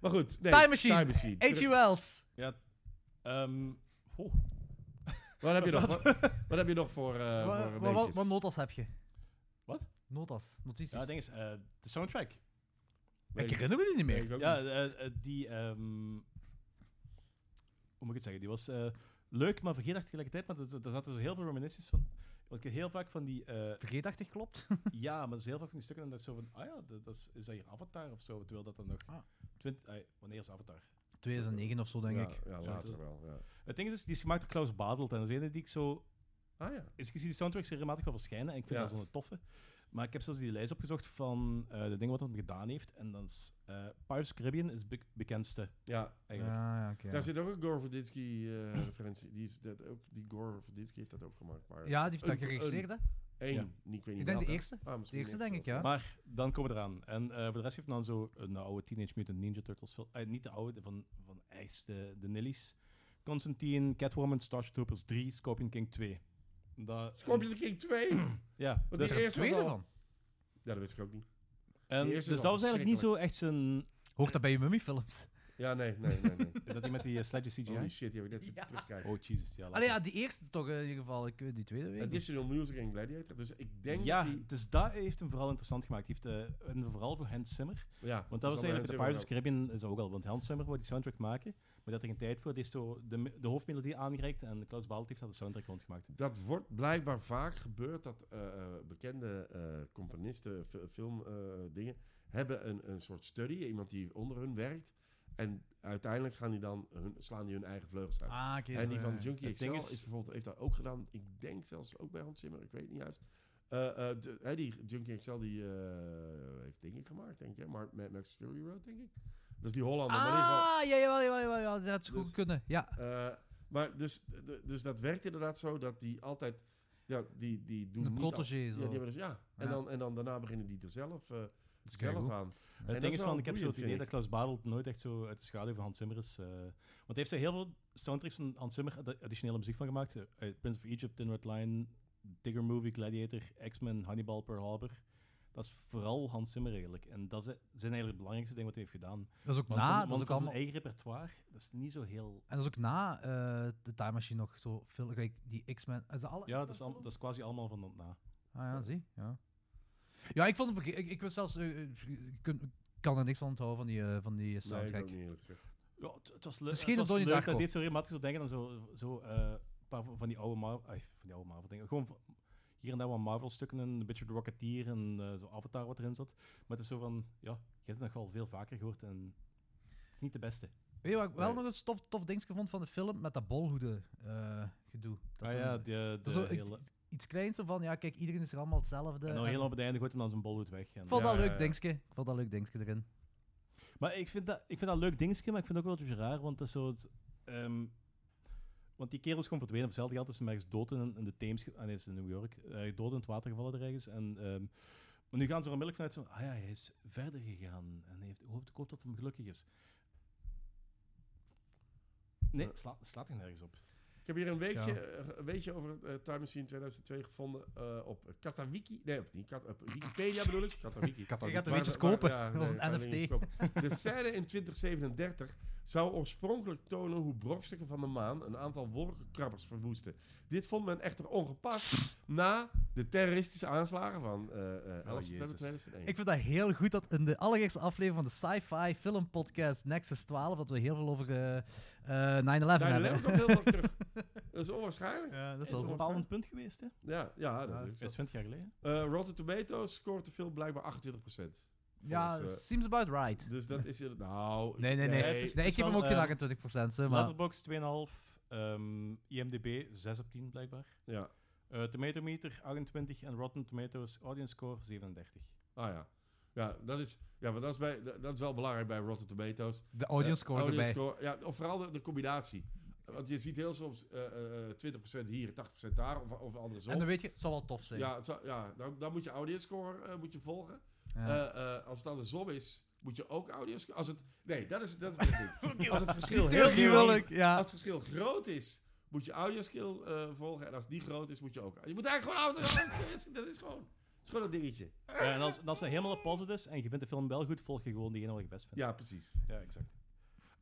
[SPEAKER 2] maar goed. Nee,
[SPEAKER 4] Time Machine.
[SPEAKER 2] Time Machine.
[SPEAKER 4] H.G. Wells.
[SPEAKER 3] Ja. Ehm oh,
[SPEAKER 2] Wat heb je
[SPEAKER 3] Wat
[SPEAKER 2] nog? Wat, wat heb je nog voor, eh
[SPEAKER 4] Wa-
[SPEAKER 2] voor
[SPEAKER 4] wa-
[SPEAKER 2] een
[SPEAKER 4] wa- wat,
[SPEAKER 2] beentjes?
[SPEAKER 4] notas heb je?
[SPEAKER 3] Wat?
[SPEAKER 4] Notas. Notities.
[SPEAKER 3] ja, het ding is, eh, de soundtrack.
[SPEAKER 2] Weet
[SPEAKER 4] ik herinner me die niet
[SPEAKER 2] weet
[SPEAKER 4] meer.
[SPEAKER 2] ik ook
[SPEAKER 3] Ja,
[SPEAKER 2] niet.
[SPEAKER 3] eh, eh, die... ehm, hoe moet ik het zeggen? Die was eh, leuk, maar vergeetachtig tegelijkertijd. Maar er- er zaten zo heel veel reminiscences van... Want ik heb heel vaak van die... eh,
[SPEAKER 4] Vergeetachtig klopt.
[SPEAKER 3] ja, maar er is heel vaak van die stukken en dat is zo van... Ah ja, dat, dat is, is dat hier Avatar of zo? Terwijl dat dan nog...
[SPEAKER 4] Ah.
[SPEAKER 3] Twint, ai, wanneer is Avatar?
[SPEAKER 4] 2009 of zo, denk
[SPEAKER 2] ja,
[SPEAKER 4] ik.
[SPEAKER 2] Ja,
[SPEAKER 3] Zo,
[SPEAKER 2] later
[SPEAKER 3] dat-
[SPEAKER 2] wel. Ja.
[SPEAKER 3] Het ding is, dus, die is gemaakt door Klaus Badelt. En dat is een die ik zo
[SPEAKER 2] Ah ja.
[SPEAKER 3] is, ik zie die soundtracks regelmatig wel verschijnen en ik vind
[SPEAKER 2] Ja.
[SPEAKER 3] dat zo'n toffe. Maar ik heb zelfs die lijst opgezocht van eh, de dingen wat hij gedaan heeft. En dan is eh, Pirates of the Caribbean is het bekendste,
[SPEAKER 2] Ja,
[SPEAKER 3] eigenlijk.
[SPEAKER 4] Ah, ja, oké, ja.
[SPEAKER 2] daar zit ook een Gore Verdinsky eh, referentie. Die, is dat ook, die Gore Verdinsky heeft dat ook gemaakt. Maar
[SPEAKER 4] Ja, die heeft dat
[SPEAKER 2] Een-
[SPEAKER 4] geregisseerd, hè?
[SPEAKER 2] Eén,
[SPEAKER 3] Ja.
[SPEAKER 2] niet- ik weet niet
[SPEAKER 4] Ik denk de
[SPEAKER 2] welke.
[SPEAKER 4] eerste.
[SPEAKER 2] Ah, misschien
[SPEAKER 4] De eerste,
[SPEAKER 2] niet,
[SPEAKER 4] denk ik,
[SPEAKER 2] dat-
[SPEAKER 4] ja.
[SPEAKER 3] Maar dan komen we eraan. En eh, voor de rest heeft hij dan zo een oude Teenage Mutant Ninja Turtles film. eh, niet de oude, de van, van echt de, de Nillies. Constantine, Catwoman, Starship Troopers 3, Scorpion King 2. Dat,
[SPEAKER 2] Scorpion Oh, King 2.
[SPEAKER 3] Ja,
[SPEAKER 2] Wat
[SPEAKER 3] dus-
[SPEAKER 2] is-
[SPEAKER 4] Tweede
[SPEAKER 2] was al-
[SPEAKER 4] van.
[SPEAKER 2] ja, dat wist ik ook niet.
[SPEAKER 3] En,
[SPEAKER 2] Die
[SPEAKER 3] dus
[SPEAKER 2] eerste
[SPEAKER 3] dat
[SPEAKER 2] was
[SPEAKER 3] was eigenlijk niet zo echt zijn...
[SPEAKER 4] Hoort dat bij je mummiefilms?
[SPEAKER 2] Ja, nee, nee, nee. nee.
[SPEAKER 3] Is dat die met die uh, sledge CGI?
[SPEAKER 2] Holy shit, die heb ik net zitten
[SPEAKER 4] Ja.
[SPEAKER 2] terugkijken.
[SPEAKER 3] Oh, Jesus. Ja, laat
[SPEAKER 4] Allee, ja,
[SPEAKER 3] maar.
[SPEAKER 4] die eerste toch eh, in ieder geval. Ik, weet- die tweede weet ik niet.
[SPEAKER 2] Additional Music en Gladiator. Dus ik denk
[SPEAKER 3] ja
[SPEAKER 2] dat die...
[SPEAKER 3] dus dat heeft hem vooral interessant gemaakt. Die heeft, eh, en vooral voor Hans Zimmer.
[SPEAKER 2] Ja,
[SPEAKER 3] Want dat was
[SPEAKER 2] zal
[SPEAKER 3] eigenlijk de
[SPEAKER 2] mensen
[SPEAKER 3] Pirates of the
[SPEAKER 2] wel-
[SPEAKER 3] Caribbean is dat ook al. Want Hans Zimmer wou die soundtrack maken, maar dat er geen tijd voor. Die heeft zo de, de hoofdmelodie aangereikt en Klaus Balt heeft dat de soundtrack rondgemaakt.
[SPEAKER 2] Dat wordt blijkbaar vaak gebeurd dat eh, eh, bekende eh, componisten, filmdingen, hebben een, een soort study, iemand die onder hun werkt. En uiteindelijk gaan die dan hun, slaan die hun eigen vleugels uit.
[SPEAKER 4] Ah, oké.
[SPEAKER 2] En
[SPEAKER 4] zo,
[SPEAKER 2] die van
[SPEAKER 4] ja.
[SPEAKER 2] Junkie
[SPEAKER 3] Het
[SPEAKER 2] XL
[SPEAKER 3] ding
[SPEAKER 2] is,
[SPEAKER 3] is-
[SPEAKER 2] bijvoorbeeld, heeft dat ook gedaan. Ik denk zelfs ook bij Hans Zimmer, ik weet het niet juist. Eh, eh, de- hè, die Junkie XL die, eh, heeft dingen gemaakt, denk ik. hè, Maar Mad Max Fury Road, denk ik. Dat is die Hollander. maar in ieder geval-
[SPEAKER 4] Ah, ja, jawel, jawel, jawel, jawel. Dat zou goed
[SPEAKER 2] Dus-
[SPEAKER 4] kunnen. Ja.
[SPEAKER 2] eh, maar dus, de- dus dat werkt inderdaad zo dat die altijd... Ja, die, die doen
[SPEAKER 4] Een
[SPEAKER 2] niet al-
[SPEAKER 4] protégé,
[SPEAKER 2] Ja,
[SPEAKER 4] zo.
[SPEAKER 2] die hebben dus, ja. En,
[SPEAKER 4] Ja.
[SPEAKER 2] Dan, en dan daarna beginnen die er zelf, eh,
[SPEAKER 4] is
[SPEAKER 2] zelf
[SPEAKER 4] keigoed.
[SPEAKER 2] aan.
[SPEAKER 3] het
[SPEAKER 2] dat
[SPEAKER 3] ding
[SPEAKER 2] is
[SPEAKER 3] is
[SPEAKER 2] wel
[SPEAKER 3] van, ik heb zo
[SPEAKER 2] boeiend,
[SPEAKER 3] het idee
[SPEAKER 2] vind
[SPEAKER 3] dat
[SPEAKER 2] ik.
[SPEAKER 3] Klaus Badelt nooit echt zo uit de schaduw van Hans Zimmer is. eh, want heeft hij heel veel soundtracks van Hans Zimmer ad- additionele muziek van gemaakt. Eh, Prince of Egypt, Thin Red Line, Digger Movie, Gladiator, X-Men, Hannibal, Pearl Harbor. Dat is vooral Hans Zimmer eigenlijk. En dat is- e- zijn eigenlijk het belangrijkste ding wat hij heeft gedaan.
[SPEAKER 4] Dat is ook
[SPEAKER 3] Want
[SPEAKER 4] na.
[SPEAKER 3] van-
[SPEAKER 4] Nou, dat
[SPEAKER 3] want
[SPEAKER 4] is ook
[SPEAKER 3] van
[SPEAKER 4] allemaal...
[SPEAKER 3] zijn eigen repertoire, dat is niet zo heel...
[SPEAKER 4] En dat is ook na eh, de Time Machine nog zo veel. Kijk, die X-Men. Is dat alle?
[SPEAKER 3] Ja, dat is, al- dat is quasi allemaal van nou. dat na.
[SPEAKER 4] Ah ja, zie. Ja, ja ik vond hem verge- ik, ik wist zelfs. eh, eh, ik kun- ik kan er niks van onthouden van die, eh, van die
[SPEAKER 2] Nee,
[SPEAKER 4] eh,
[SPEAKER 2] ik ook
[SPEAKER 4] soundtrack.
[SPEAKER 2] niet eerlijk gezegd.
[SPEAKER 3] Ja, het, het was, le-
[SPEAKER 4] Het is
[SPEAKER 3] het
[SPEAKER 4] geen
[SPEAKER 3] was
[SPEAKER 4] Donnie
[SPEAKER 3] leuk
[SPEAKER 4] Darko.
[SPEAKER 3] dat dit zo regelmatig zo denken dan zo, zo eh, een paar van van die oude Marvel, van die oude Marvel dingen. Gewoon van- hier en daar wat Marvel stukken en een beetje de Rocketeer en eh, zo Avatar wat erin zat. Maar het is zo van, ja, je hebt het nog wel veel vaker gehoord en het is niet de beste.
[SPEAKER 4] Weet je wat ik wel
[SPEAKER 2] Nee.
[SPEAKER 4] nog een tof, tof dingetje vond van de film? Met dat bolhoede eh, gedoe. Dat
[SPEAKER 3] ah
[SPEAKER 4] dan-
[SPEAKER 3] ja, de, de
[SPEAKER 4] dat is zo
[SPEAKER 3] hele,
[SPEAKER 4] iets, iets kleins zo van, ja kijk, iedereen is er allemaal hetzelfde.
[SPEAKER 3] en dan
[SPEAKER 4] en-
[SPEAKER 3] helemaal op het einde gooit hem dan zijn bolhoed weg. En,
[SPEAKER 4] Ik vond dat
[SPEAKER 2] Ja, ja,
[SPEAKER 4] leuk
[SPEAKER 2] ja.
[SPEAKER 4] dingetje. Ik vond dat leuk dingetje erin.
[SPEAKER 3] Maar ik vind, dat, ik vind dat een leuk dingetje, maar ik vind het ook wel een beetje raar, want dat is zo... het, ehm, want die kerel is gewoon verdwenen. Op hetzelfde geld is hem ergens dood in, in de Thames... ge- Ah, nee, is in New York. eh, dood in het water gevallen er ergens. En, ehm, maar nu gaan ze er onmiddellijk vanuit van... Ah ja, hij is verder gegaan. En hij heeft, hoopt, ik hoop dat hem gelukkig is. Nee,
[SPEAKER 2] Ja.
[SPEAKER 3] sla, slaat er nergens op.
[SPEAKER 2] Ik heb hier een weetje,
[SPEAKER 4] Ja.
[SPEAKER 2] eh, een weetje over eh, Time Machine 2002 gevonden eh, op Katawiki. Nee, op, niet, Kat, op Wikipedia bedoel ik. Katawiki.
[SPEAKER 4] Je gaat er
[SPEAKER 2] Maar-
[SPEAKER 4] weetjes
[SPEAKER 2] maar-
[SPEAKER 4] kopen.
[SPEAKER 2] ja,
[SPEAKER 4] dat was
[SPEAKER 2] nee,
[SPEAKER 4] een
[SPEAKER 2] ik
[SPEAKER 4] NFT.
[SPEAKER 2] kan er niks kopen. De scène in 2037 zou oorspronkelijk tonen hoe brokstukken van de maan een aantal wolkenkrabbers verwoesten. Dit vond men echter ongepast na de terroristische aanslagen van eh, eh, 11 september
[SPEAKER 3] Jezus.
[SPEAKER 2] 2001.
[SPEAKER 4] Ik vind dat heel goed dat in de allereerste aflevering van de sci-fi film podcast Nexus 12, dat we heel veel over eh, eh, 9-11
[SPEAKER 2] Daar
[SPEAKER 4] hebben.
[SPEAKER 2] leef ik ook heel nog terug. Dat is onwaarschijnlijk.
[SPEAKER 4] Ja, dat
[SPEAKER 3] Dat
[SPEAKER 4] is
[SPEAKER 3] is een
[SPEAKER 4] wel zo.
[SPEAKER 3] bepalend punt geweest, hè?
[SPEAKER 2] Ja, ja, dat
[SPEAKER 4] Ja,
[SPEAKER 2] is
[SPEAKER 3] Dat is 20 jaar geleden.
[SPEAKER 2] Eh, Rotten Tomatoes scoort de film blijkbaar 28%.
[SPEAKER 4] Ja,
[SPEAKER 2] Volgens, eh,
[SPEAKER 4] seems about right.
[SPEAKER 2] Dus dat is inderdaad... Nou,
[SPEAKER 4] Nee, nee, nee.
[SPEAKER 3] Nee, het is-
[SPEAKER 4] Nee, ik geef
[SPEAKER 3] wel,
[SPEAKER 4] hem ook geen
[SPEAKER 2] eh,
[SPEAKER 3] ehm,
[SPEAKER 4] 28 hè, maar...
[SPEAKER 3] Letterboxd 2,5. ehm, IMDB 6 op 10, blijkbaar.
[SPEAKER 2] Ja,
[SPEAKER 3] Eh Tomatometer 28 en Rotten Tomatoes audience score 37.
[SPEAKER 2] ah ja. Ja, dat is, ja, want dat is, bij, dat, dat is wel belangrijk bij Rotten Tomatoes.
[SPEAKER 4] De audience
[SPEAKER 2] Eh,
[SPEAKER 4] score erbij.
[SPEAKER 2] score, ja, of vooral de, de combinatie. Want je ziet heel soms eh, eh, 20% hier, 80% daar, of, of andersom.
[SPEAKER 4] En dan weet je, het zal wel tof zijn.
[SPEAKER 2] ja, het zou- ja dan, dan moet je audience score eh, moet je volgen.
[SPEAKER 4] Ja.
[SPEAKER 2] Eh, eh, als het andersom is, moet je ook audience score... Als het, nee, dat is, dat is het ding. Als het verschil
[SPEAKER 4] Heel
[SPEAKER 2] heel groot
[SPEAKER 4] gruwelijk, ja.
[SPEAKER 2] Als het verschil groot is, moet je audioskill eh volgen. En als die groot is, moet je ook. Je moet eigenlijk gewoon audioskill. dat is gewoon. Dat is gewoon dat dingetje.
[SPEAKER 3] Ja, Eh, en als, en als het helemaal op positive is en je vindt de film wel goed, volg je gewoon diegene wat je best vindt.
[SPEAKER 2] Ja, precies.
[SPEAKER 3] Ja, exact.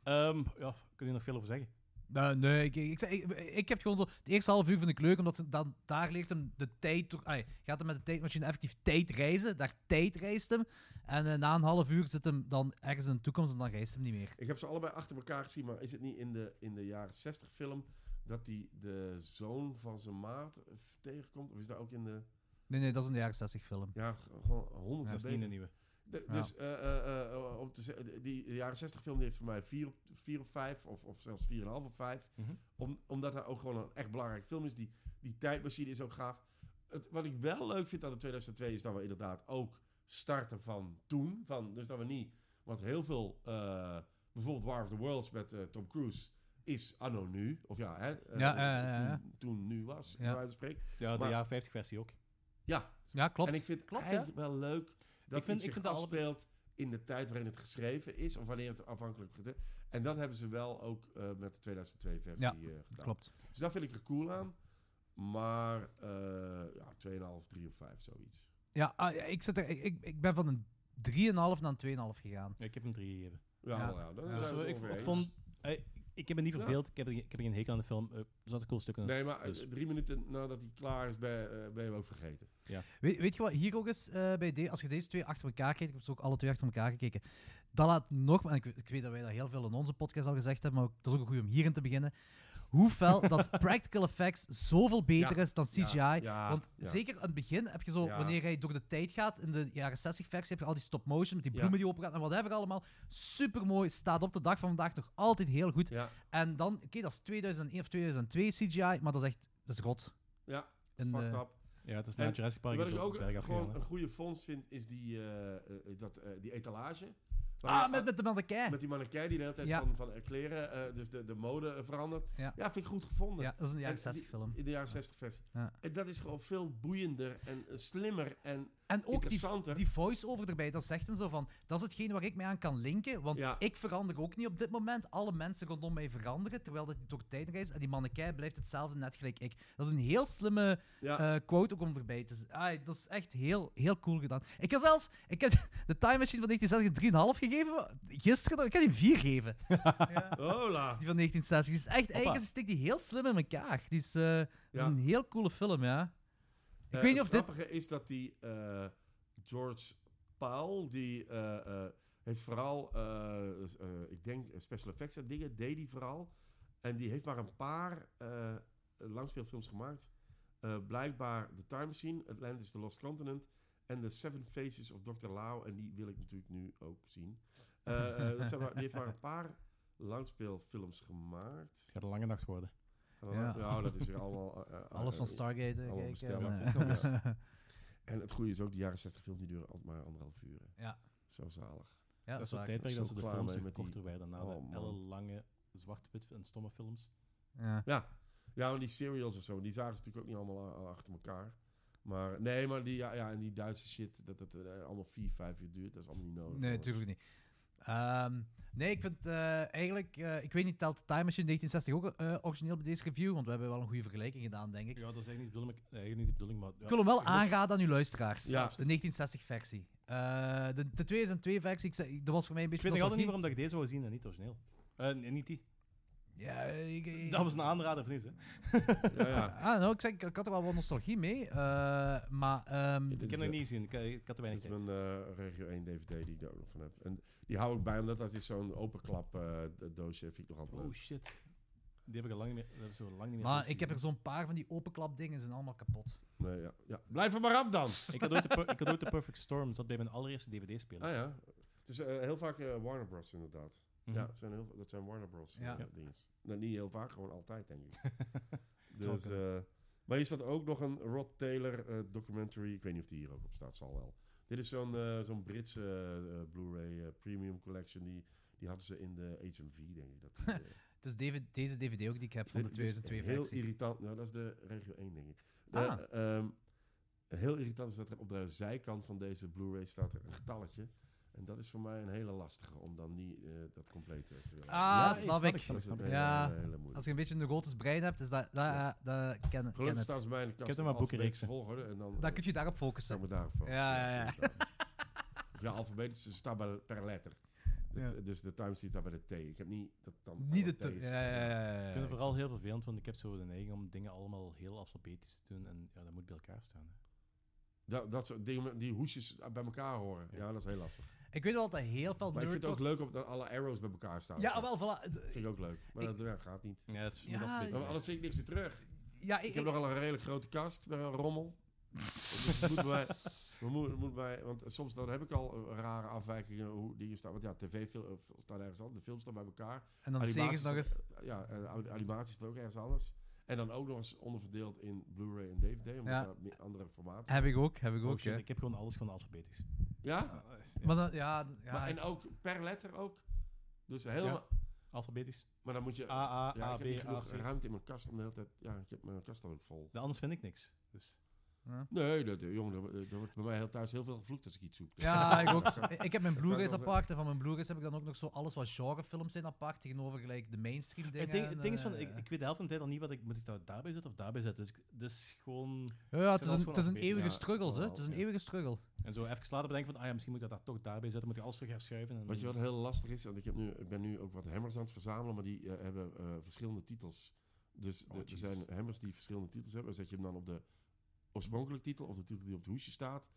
[SPEAKER 3] Ehm ja, kun je nog veel over zeggen?
[SPEAKER 4] Nou, nee, ik, ik, zeg- ik, ik heb gewoon zo... Het eerste half uur vind ik leuk, omdat ze dan, daar leert hem de tijd... door- ai, gaat hem met de tijdmachine effectief tijd reizen. Daar tijd reist hem. En eh, na een half uur zit hem dan ergens in de toekomst en dan reist hem niet meer.
[SPEAKER 2] Ik heb ze allebei achter elkaar gezien, maar is het niet in de, in de jaren 60 film dat hij de zoon van zijn maat eh, tegenkomt? Of is dat ook in de.
[SPEAKER 4] Nee, nee, dat is een jaren 60 film.
[SPEAKER 2] Ja, g- gewoon 100
[SPEAKER 3] Dat is niet
[SPEAKER 2] beter.
[SPEAKER 3] een nieuwe.
[SPEAKER 2] De-
[SPEAKER 4] Ja.
[SPEAKER 2] Dus eh, eh, eh, eh, om te ze- die- die jaren 60 film die heeft voor mij 4 op, 4 op 5 of, of zelfs 4,5 op 5.
[SPEAKER 3] Mhm.
[SPEAKER 2] Om, omdat hij ook gewoon een echt belangrijke film is. Die, die tijdmachine is ook gaaf. Het, wat ik wel leuk vind aan de 2002 is dat we inderdaad ook starten van toen. Van, dus dat we niet... Want heel veel... eh, bijvoorbeeld War of the Worlds met eh, Tom Cruise is anno nu. Of ja, hè, eh,
[SPEAKER 4] Ja, ja, ja, ja.
[SPEAKER 2] Toen, toen nu was,
[SPEAKER 4] Ja.
[SPEAKER 2] bij wijze van spreken.
[SPEAKER 3] Ja, de
[SPEAKER 2] Maar-
[SPEAKER 3] jaar 50 versie ook.
[SPEAKER 2] Ja,
[SPEAKER 4] Ja, klopt.
[SPEAKER 2] en ik vind het
[SPEAKER 4] Klopt, ja.
[SPEAKER 2] eigenlijk wel leuk dat
[SPEAKER 3] Ik vind-
[SPEAKER 2] ik vind,
[SPEAKER 3] ik
[SPEAKER 2] zich
[SPEAKER 3] vind de
[SPEAKER 2] afspeelt in de tijd waarin het geschreven is, of wanneer het afhankelijk wordt. En dat hebben ze wel ook eh, met de 2002-versie
[SPEAKER 4] Ja,
[SPEAKER 2] gedaan.
[SPEAKER 4] Klopt.
[SPEAKER 2] Dus daar vind ik er cool aan. Maar eh ja, 2,5, 3 of 5, zoiets.
[SPEAKER 4] Ja, ah, ja, ik, zit er, ik, ik ben van een 3,5 naar een 2,5 gegaan.
[SPEAKER 3] Ja, ik heb hem drie gegeven.
[SPEAKER 2] Ja,
[SPEAKER 4] Ja.
[SPEAKER 2] nou ja, dan
[SPEAKER 4] Ja,
[SPEAKER 2] zijn
[SPEAKER 3] Dus,
[SPEAKER 2] we
[SPEAKER 3] eh,
[SPEAKER 2] het
[SPEAKER 3] ik
[SPEAKER 2] over
[SPEAKER 3] v-
[SPEAKER 2] eens.
[SPEAKER 3] vond... eh, ik heb me niet
[SPEAKER 2] Ja.
[SPEAKER 3] verveeld. Ik, heb er, geen- ik heb er geen hekel aan de film. eh, Er zaten cool stukken.
[SPEAKER 2] Nee, maar eh,
[SPEAKER 3] Dus-
[SPEAKER 2] drie minuten nadat hij klaar is, ben, je, eh, ben je hem ook vergeten.
[SPEAKER 4] Weet, weet je wat hier ook is eh, bij de, als je deze twee achter elkaar kijkt, ik heb ze ook alle twee achter elkaar gekeken. Dat laat nog, en ik, ik weet dat wij dat heel veel in onze podcast al gezegd hebben, maar ook- dat is ook goed om hierin te beginnen. Hoe fel dat practical effects zoveel beter
[SPEAKER 2] Ja,
[SPEAKER 4] is dan CGI.
[SPEAKER 2] Ja, ja,
[SPEAKER 4] Want
[SPEAKER 2] ja.
[SPEAKER 4] zeker aan het begin heb je zo,
[SPEAKER 2] Ja.
[SPEAKER 4] wanneer hij door de tijd gaat, in de jaren 60 versie heb je al die stop motion met die
[SPEAKER 2] Ja.
[SPEAKER 4] bloemen die open gaan en whatever allemaal. Super mooi, staat op de dag van vandaag nog altijd heel goed.
[SPEAKER 2] Ja,
[SPEAKER 4] En dan, oké, dat is 2001 of 2002 CGI, maar dat is echt, dat is rot.
[SPEAKER 2] ja.
[SPEAKER 4] En,
[SPEAKER 2] Fucked
[SPEAKER 4] eh,
[SPEAKER 2] up.
[SPEAKER 3] Ja, het is
[SPEAKER 2] En
[SPEAKER 3] na Jurassic Park.
[SPEAKER 2] Wat
[SPEAKER 3] is
[SPEAKER 2] ik
[SPEAKER 3] ook
[SPEAKER 2] ook
[SPEAKER 3] bergaf
[SPEAKER 2] gewoon
[SPEAKER 3] gegaan,
[SPEAKER 2] een
[SPEAKER 3] hè.
[SPEAKER 2] goede fonds vind, is die, eh, eh, dat, eh, die etalage. Waar
[SPEAKER 4] Ah,
[SPEAKER 2] je-
[SPEAKER 4] met, met de mannequin.
[SPEAKER 2] Met die mannequin die de hele tijd
[SPEAKER 4] Ja.
[SPEAKER 2] van, van eh, kleren, eh, dus de, de mode eh, verandert.
[SPEAKER 4] Ja.
[SPEAKER 2] Ja. vind ik goed gevonden.
[SPEAKER 4] Ja, dat is een jaren
[SPEAKER 2] En die-
[SPEAKER 4] 60 film.
[SPEAKER 2] In de jaren 60 versie.
[SPEAKER 4] Ja.
[SPEAKER 2] En dat is gewoon veel boeiender en eh, slimmer en
[SPEAKER 4] En ook die,
[SPEAKER 2] interessanter.
[SPEAKER 4] die voice-over erbij, dat zegt hem zo van... Dat is hetgeen waar ik mij aan kan linken, want
[SPEAKER 2] Ja.
[SPEAKER 4] ik verander ook niet op dit moment. Alle mensen rondom mij veranderen, terwijl dat door de tijd reist. En die mannekei blijft hetzelfde, net gelijk ik. Dat is een heel slimme
[SPEAKER 2] ja.
[SPEAKER 4] eh, quote ook om erbij te z- Ah, dat is echt heel, heel cool gedaan. Ik heb zelfs... Ik heb de Time Machine van 1960 3,5 gegeven. Gisteren, nog- ik kan die 4 geven.
[SPEAKER 2] Hola.
[SPEAKER 4] Eh, Die van 1960. Die is echt... Eigenlijk is- steekt die heel slim in elkaar. Die is, eh, dat
[SPEAKER 2] Ja.
[SPEAKER 4] is
[SPEAKER 2] Eh,
[SPEAKER 4] een heel coole film, ja. Ik weet niet of
[SPEAKER 2] het
[SPEAKER 4] dit...
[SPEAKER 2] grappige is dat die eh, George Paul, die eh, eh, heeft vooral, eh, eh, ik denk, eh, special effects en dingen, deed die vooral. En die heeft maar een paar eh, langspeelfilms gemaakt. Eh, blijkbaar The Time Machine, Atlantis The Lost Continent en The Seven Faces of Dr. Lau. En die wil ik natuurlijk nu ook zien. Eh, eh, dat zijn maar, die heeft maar een paar langspeelfilms gemaakt.
[SPEAKER 3] Het gaat een lange nacht worden.
[SPEAKER 4] Ja.
[SPEAKER 2] Nou, dat is weer allemaal... eh, eh,
[SPEAKER 4] Alles van
[SPEAKER 2] eh,
[SPEAKER 4] Stargate. eh,
[SPEAKER 2] allemaal
[SPEAKER 4] kijken
[SPEAKER 2] bestelbaar.
[SPEAKER 4] en, eh,
[SPEAKER 2] En het goede is ook, die jaren 60 films die duren altijd maar anderhalf uur. hè.
[SPEAKER 4] Ja.
[SPEAKER 2] Zo zalig.
[SPEAKER 4] Ja,
[SPEAKER 3] dat is het
[SPEAKER 4] waar.
[SPEAKER 3] tijdperk
[SPEAKER 2] Zo
[SPEAKER 3] dat ze de
[SPEAKER 2] klaar
[SPEAKER 3] films
[SPEAKER 2] mee
[SPEAKER 3] weer
[SPEAKER 2] met die-
[SPEAKER 3] korter werden. Na
[SPEAKER 2] Oh,
[SPEAKER 3] de
[SPEAKER 2] man.
[SPEAKER 3] hele lange zwart-wit en stomme films.
[SPEAKER 4] Ja.
[SPEAKER 2] Ja, ja want die serials of zo, die zagen ze natuurlijk ook niet allemaal a- achter elkaar. Maar nee, maar die, ja, ja, en die Duitse shit, dat het eh, allemaal vier, vijf uur duurt, dat is allemaal niet
[SPEAKER 3] Oh,
[SPEAKER 2] nodig.
[SPEAKER 4] Nee,
[SPEAKER 2] jongens.
[SPEAKER 4] natuurlijk niet. Ehm, nee, ik vind eh, eigenlijk, eh, ik weet niet, telt Time Machine 1960 ook eh, origineel bij deze review, want we hebben wel een goede vergelijking gedaan, denk ik.
[SPEAKER 3] Ja, dat is eigenlijk niet de bedoeling, eigenlijk niet de bedoeling maar... Ja,
[SPEAKER 4] Ik wil hem wel
[SPEAKER 3] ik moet-
[SPEAKER 4] aanraden aan uw luisteraars.
[SPEAKER 2] Ja.
[SPEAKER 4] De 1960-versie. Eh, de, de 2002-versie, ik zei- dat was voor mij een
[SPEAKER 3] Ik
[SPEAKER 4] beetje...
[SPEAKER 3] weet nog altijd niet
[SPEAKER 4] nostalgie.
[SPEAKER 3] waarom dat ik deze wou zien en niet het origineel. Eh, nee, niet die.
[SPEAKER 4] Ja, ik, ik-
[SPEAKER 3] Dat was een aanrader of niet, hè?
[SPEAKER 2] Dus Ja, ja.
[SPEAKER 4] Ah, nou, ik, zeg, ik had er wel wat nostalgie mee, eh, maar... ehm,
[SPEAKER 2] Ja,
[SPEAKER 3] Ik
[SPEAKER 2] Dit is
[SPEAKER 3] heb nog
[SPEAKER 2] de-
[SPEAKER 3] niet gezien. Ik, eh, ik had er
[SPEAKER 2] Dat
[SPEAKER 3] weinig
[SPEAKER 2] is
[SPEAKER 3] tijd.
[SPEAKER 2] mijn eh, Regio 1 DVD die ik daar ook nog van heb. En die hou ik bij, omdat dat is zo'n openklap eh, d- doosje, vind ik nog altijd
[SPEAKER 3] Oh,
[SPEAKER 2] leuk.
[SPEAKER 3] shit. Die heb ik al lang niet meer... Dat heb ik zo lang niet meer
[SPEAKER 4] maar
[SPEAKER 3] thuis
[SPEAKER 4] ik heb er
[SPEAKER 3] gezien.
[SPEAKER 4] zo'n paar van die openklap dingen, zijn allemaal kapot.
[SPEAKER 2] Nee, ja, ja. Blijf er maar af dan!
[SPEAKER 3] Ik had ooit de, per- ik had ooit de Perfect Storm. Dat zat bij mijn allereerste DVD-speler.
[SPEAKER 2] Ah ja, het is eh, heel vaak eh, Warner Bros inderdaad.
[SPEAKER 3] Mhm.
[SPEAKER 4] Ah,
[SPEAKER 2] Ja, het zijn heel, dat zijn Warner Bros.
[SPEAKER 4] Mhm. Ja.
[SPEAKER 2] Ja.
[SPEAKER 3] Ja.
[SPEAKER 2] Nou, niet heel vaak, gewoon altijd, denk ik. dus, eh, maar hier staat ook nog een Rod Taylor eh, documentary. Ik weet niet of die hier ook op staat, zal wel. Dit is zo'n eh, zo'n Britse eh, eh, Blu-ray eh, Premium Collection. Die, die hadden ze in de HMV, denk ik. Dat die, eh,
[SPEAKER 4] Het is David- deze DVD ook die ik heb van de
[SPEAKER 2] dit- dit is
[SPEAKER 4] 2002-versie.
[SPEAKER 2] Heel irritant. Nou, dat is de regio 1, denk ik. De,
[SPEAKER 4] Ah.
[SPEAKER 2] ehm, heel irritant is dat er op de zijkant van deze Blu-ray staat er een getalletje. En dat is voor mij een hele lastige, om dan niet eh, dat compleet eh, te willen.
[SPEAKER 4] Ah,
[SPEAKER 2] hebben.
[SPEAKER 4] snap ik.
[SPEAKER 2] Dat
[SPEAKER 3] snap
[SPEAKER 2] is
[SPEAKER 3] ik, snap
[SPEAKER 2] een
[SPEAKER 3] ik.
[SPEAKER 2] hele,
[SPEAKER 4] Ja.
[SPEAKER 2] hele moeilijke.
[SPEAKER 4] Als je een beetje een rotes brein hebt, is dat, dat, eh,
[SPEAKER 2] Ja.
[SPEAKER 4] dat ken, ken
[SPEAKER 2] Gelukkig
[SPEAKER 4] het.
[SPEAKER 2] staan ze bij mij in de kast.
[SPEAKER 3] heb er maar
[SPEAKER 2] in
[SPEAKER 3] boekenreeksen.
[SPEAKER 2] alfabetische Volgorde, en dan, eh,
[SPEAKER 4] Dan kun je daarop
[SPEAKER 2] Zou
[SPEAKER 4] focussen.
[SPEAKER 2] me daarop focussen.
[SPEAKER 4] Ja, ja, ja.
[SPEAKER 2] eh, Of ja, alfabetisch, ze staan bij- per letter. De-
[SPEAKER 4] Ja.
[SPEAKER 2] Dus de time staat bij de T. Ik heb niet dat dan
[SPEAKER 4] Niet de
[SPEAKER 2] alle
[SPEAKER 4] te-
[SPEAKER 2] T's.
[SPEAKER 4] Ja, ja, ja, ja,
[SPEAKER 3] Ik
[SPEAKER 4] ja.
[SPEAKER 3] vind het vooral heel vervelend, want ik heb zo de neiging om dingen allemaal heel alfabetisch te doen. En ja, dat moet bij elkaar staan. hè.
[SPEAKER 2] Dat, dat soort dingen, met die hoesjes bij elkaar horen. Ja,
[SPEAKER 3] Ja.
[SPEAKER 2] dat is heel lastig.
[SPEAKER 4] Ik weet wel dat heel veel
[SPEAKER 2] Maar ik
[SPEAKER 4] nerd
[SPEAKER 2] vind het ook leuk op dat alle arrows bij elkaar staan.
[SPEAKER 4] Ja,
[SPEAKER 2] Dat
[SPEAKER 4] wel, voilà. D-
[SPEAKER 2] Vind ik ook leuk. Maar
[SPEAKER 4] Ik-
[SPEAKER 2] dat ja, gaat niet.
[SPEAKER 3] Ja, het is
[SPEAKER 4] Ja,
[SPEAKER 3] nog een
[SPEAKER 2] Maar
[SPEAKER 3] beetje-
[SPEAKER 2] anders vind ik niks meer terug.
[SPEAKER 4] Ja, ik,
[SPEAKER 2] Ik heb
[SPEAKER 4] ik-
[SPEAKER 2] nogal een redelijk grote kast met een rommel. dus het moet bij, we moet, moet bij, want soms dan heb ik al eh, rare afwijkingen hoe dingen staan. Want ja, tv fil- eh, staan ergens anders, de films staan bij elkaar.
[SPEAKER 4] en dan
[SPEAKER 2] Animatie
[SPEAKER 4] zeggen ze nog eens...
[SPEAKER 2] staat- Ja, eh, en de animatie staat ook ergens anders. En dan ook nog eens onderverdeeld in Blu-ray en DVD, omdat
[SPEAKER 4] Ja.
[SPEAKER 2] daar meer andere formaten zijn.
[SPEAKER 4] Heb ik ook, heb ik
[SPEAKER 3] Oh,
[SPEAKER 4] ook,
[SPEAKER 3] shit,
[SPEAKER 4] hè.
[SPEAKER 3] ik heb gewoon alles gewoon alfabetisch.
[SPEAKER 2] Ja,
[SPEAKER 3] Ah, is- ja,
[SPEAKER 4] Maar dan, ja, d- ja,
[SPEAKER 2] maar, en
[SPEAKER 4] ik-
[SPEAKER 2] ook per letter ook. Dus helemaal,
[SPEAKER 3] Alfabetisch.
[SPEAKER 2] maar dan moet je...
[SPEAKER 3] A, A,
[SPEAKER 2] ja,
[SPEAKER 3] A,
[SPEAKER 2] ik
[SPEAKER 3] B,
[SPEAKER 2] heb niet
[SPEAKER 3] A,
[SPEAKER 2] genoeg
[SPEAKER 3] C.
[SPEAKER 2] ruimte in mijn kast om de hele tijd... Ja, ik heb mijn kast al ook vol.
[SPEAKER 3] De anders vind ik niks. Dus
[SPEAKER 4] Ja.
[SPEAKER 2] Nee, dat, eh, jongen, er- er wordt bij mij heel thuis heel veel gevloekt als ik iets zoek.
[SPEAKER 4] Ja, ik ook. Ik ik heb mijn
[SPEAKER 7] Dat
[SPEAKER 4] Blu-rays
[SPEAKER 7] was-
[SPEAKER 4] apart. En van mijn Blu-rays heb ik dan ook nog zo alles wat genrefilms zijn apart. Tegenover gelijk de mainstream dingen.
[SPEAKER 3] Het ding,
[SPEAKER 4] en,
[SPEAKER 3] het ding is van,
[SPEAKER 4] eh,
[SPEAKER 3] ik, ik weet de helft van de tijd al niet wat ik moet ik dat daarbij zetten of daarbij zetten. Dus ik- het is gewoon
[SPEAKER 4] Ja, ja, het
[SPEAKER 3] Ze
[SPEAKER 4] is
[SPEAKER 3] was gewoon
[SPEAKER 4] een, het is een
[SPEAKER 3] afgebeten.
[SPEAKER 4] eeuwige
[SPEAKER 2] Ja,
[SPEAKER 4] struggle,
[SPEAKER 2] dat
[SPEAKER 4] hè.
[SPEAKER 2] wel,
[SPEAKER 4] Het is een
[SPEAKER 2] ja.
[SPEAKER 4] eeuwige struggle.
[SPEAKER 3] en zo even later bedenken van, ah ja, misschien moet ik dat daar toch daarbij zetten, moet ik alles terug herschuiven. En
[SPEAKER 2] Wat je wat heel lastig is, want ik, heb nu, ik ben nu ook wat hammers aan het verzamelen, maar die eh, hebben eh, verschillende titels. Dus
[SPEAKER 3] Oh,
[SPEAKER 2] de- er
[SPEAKER 3] jezus.
[SPEAKER 2] zijn hammers die verschillende titels hebben. Dan zet je hem dan op de oorspronkelijke titel of de titel die op het hoesje staat.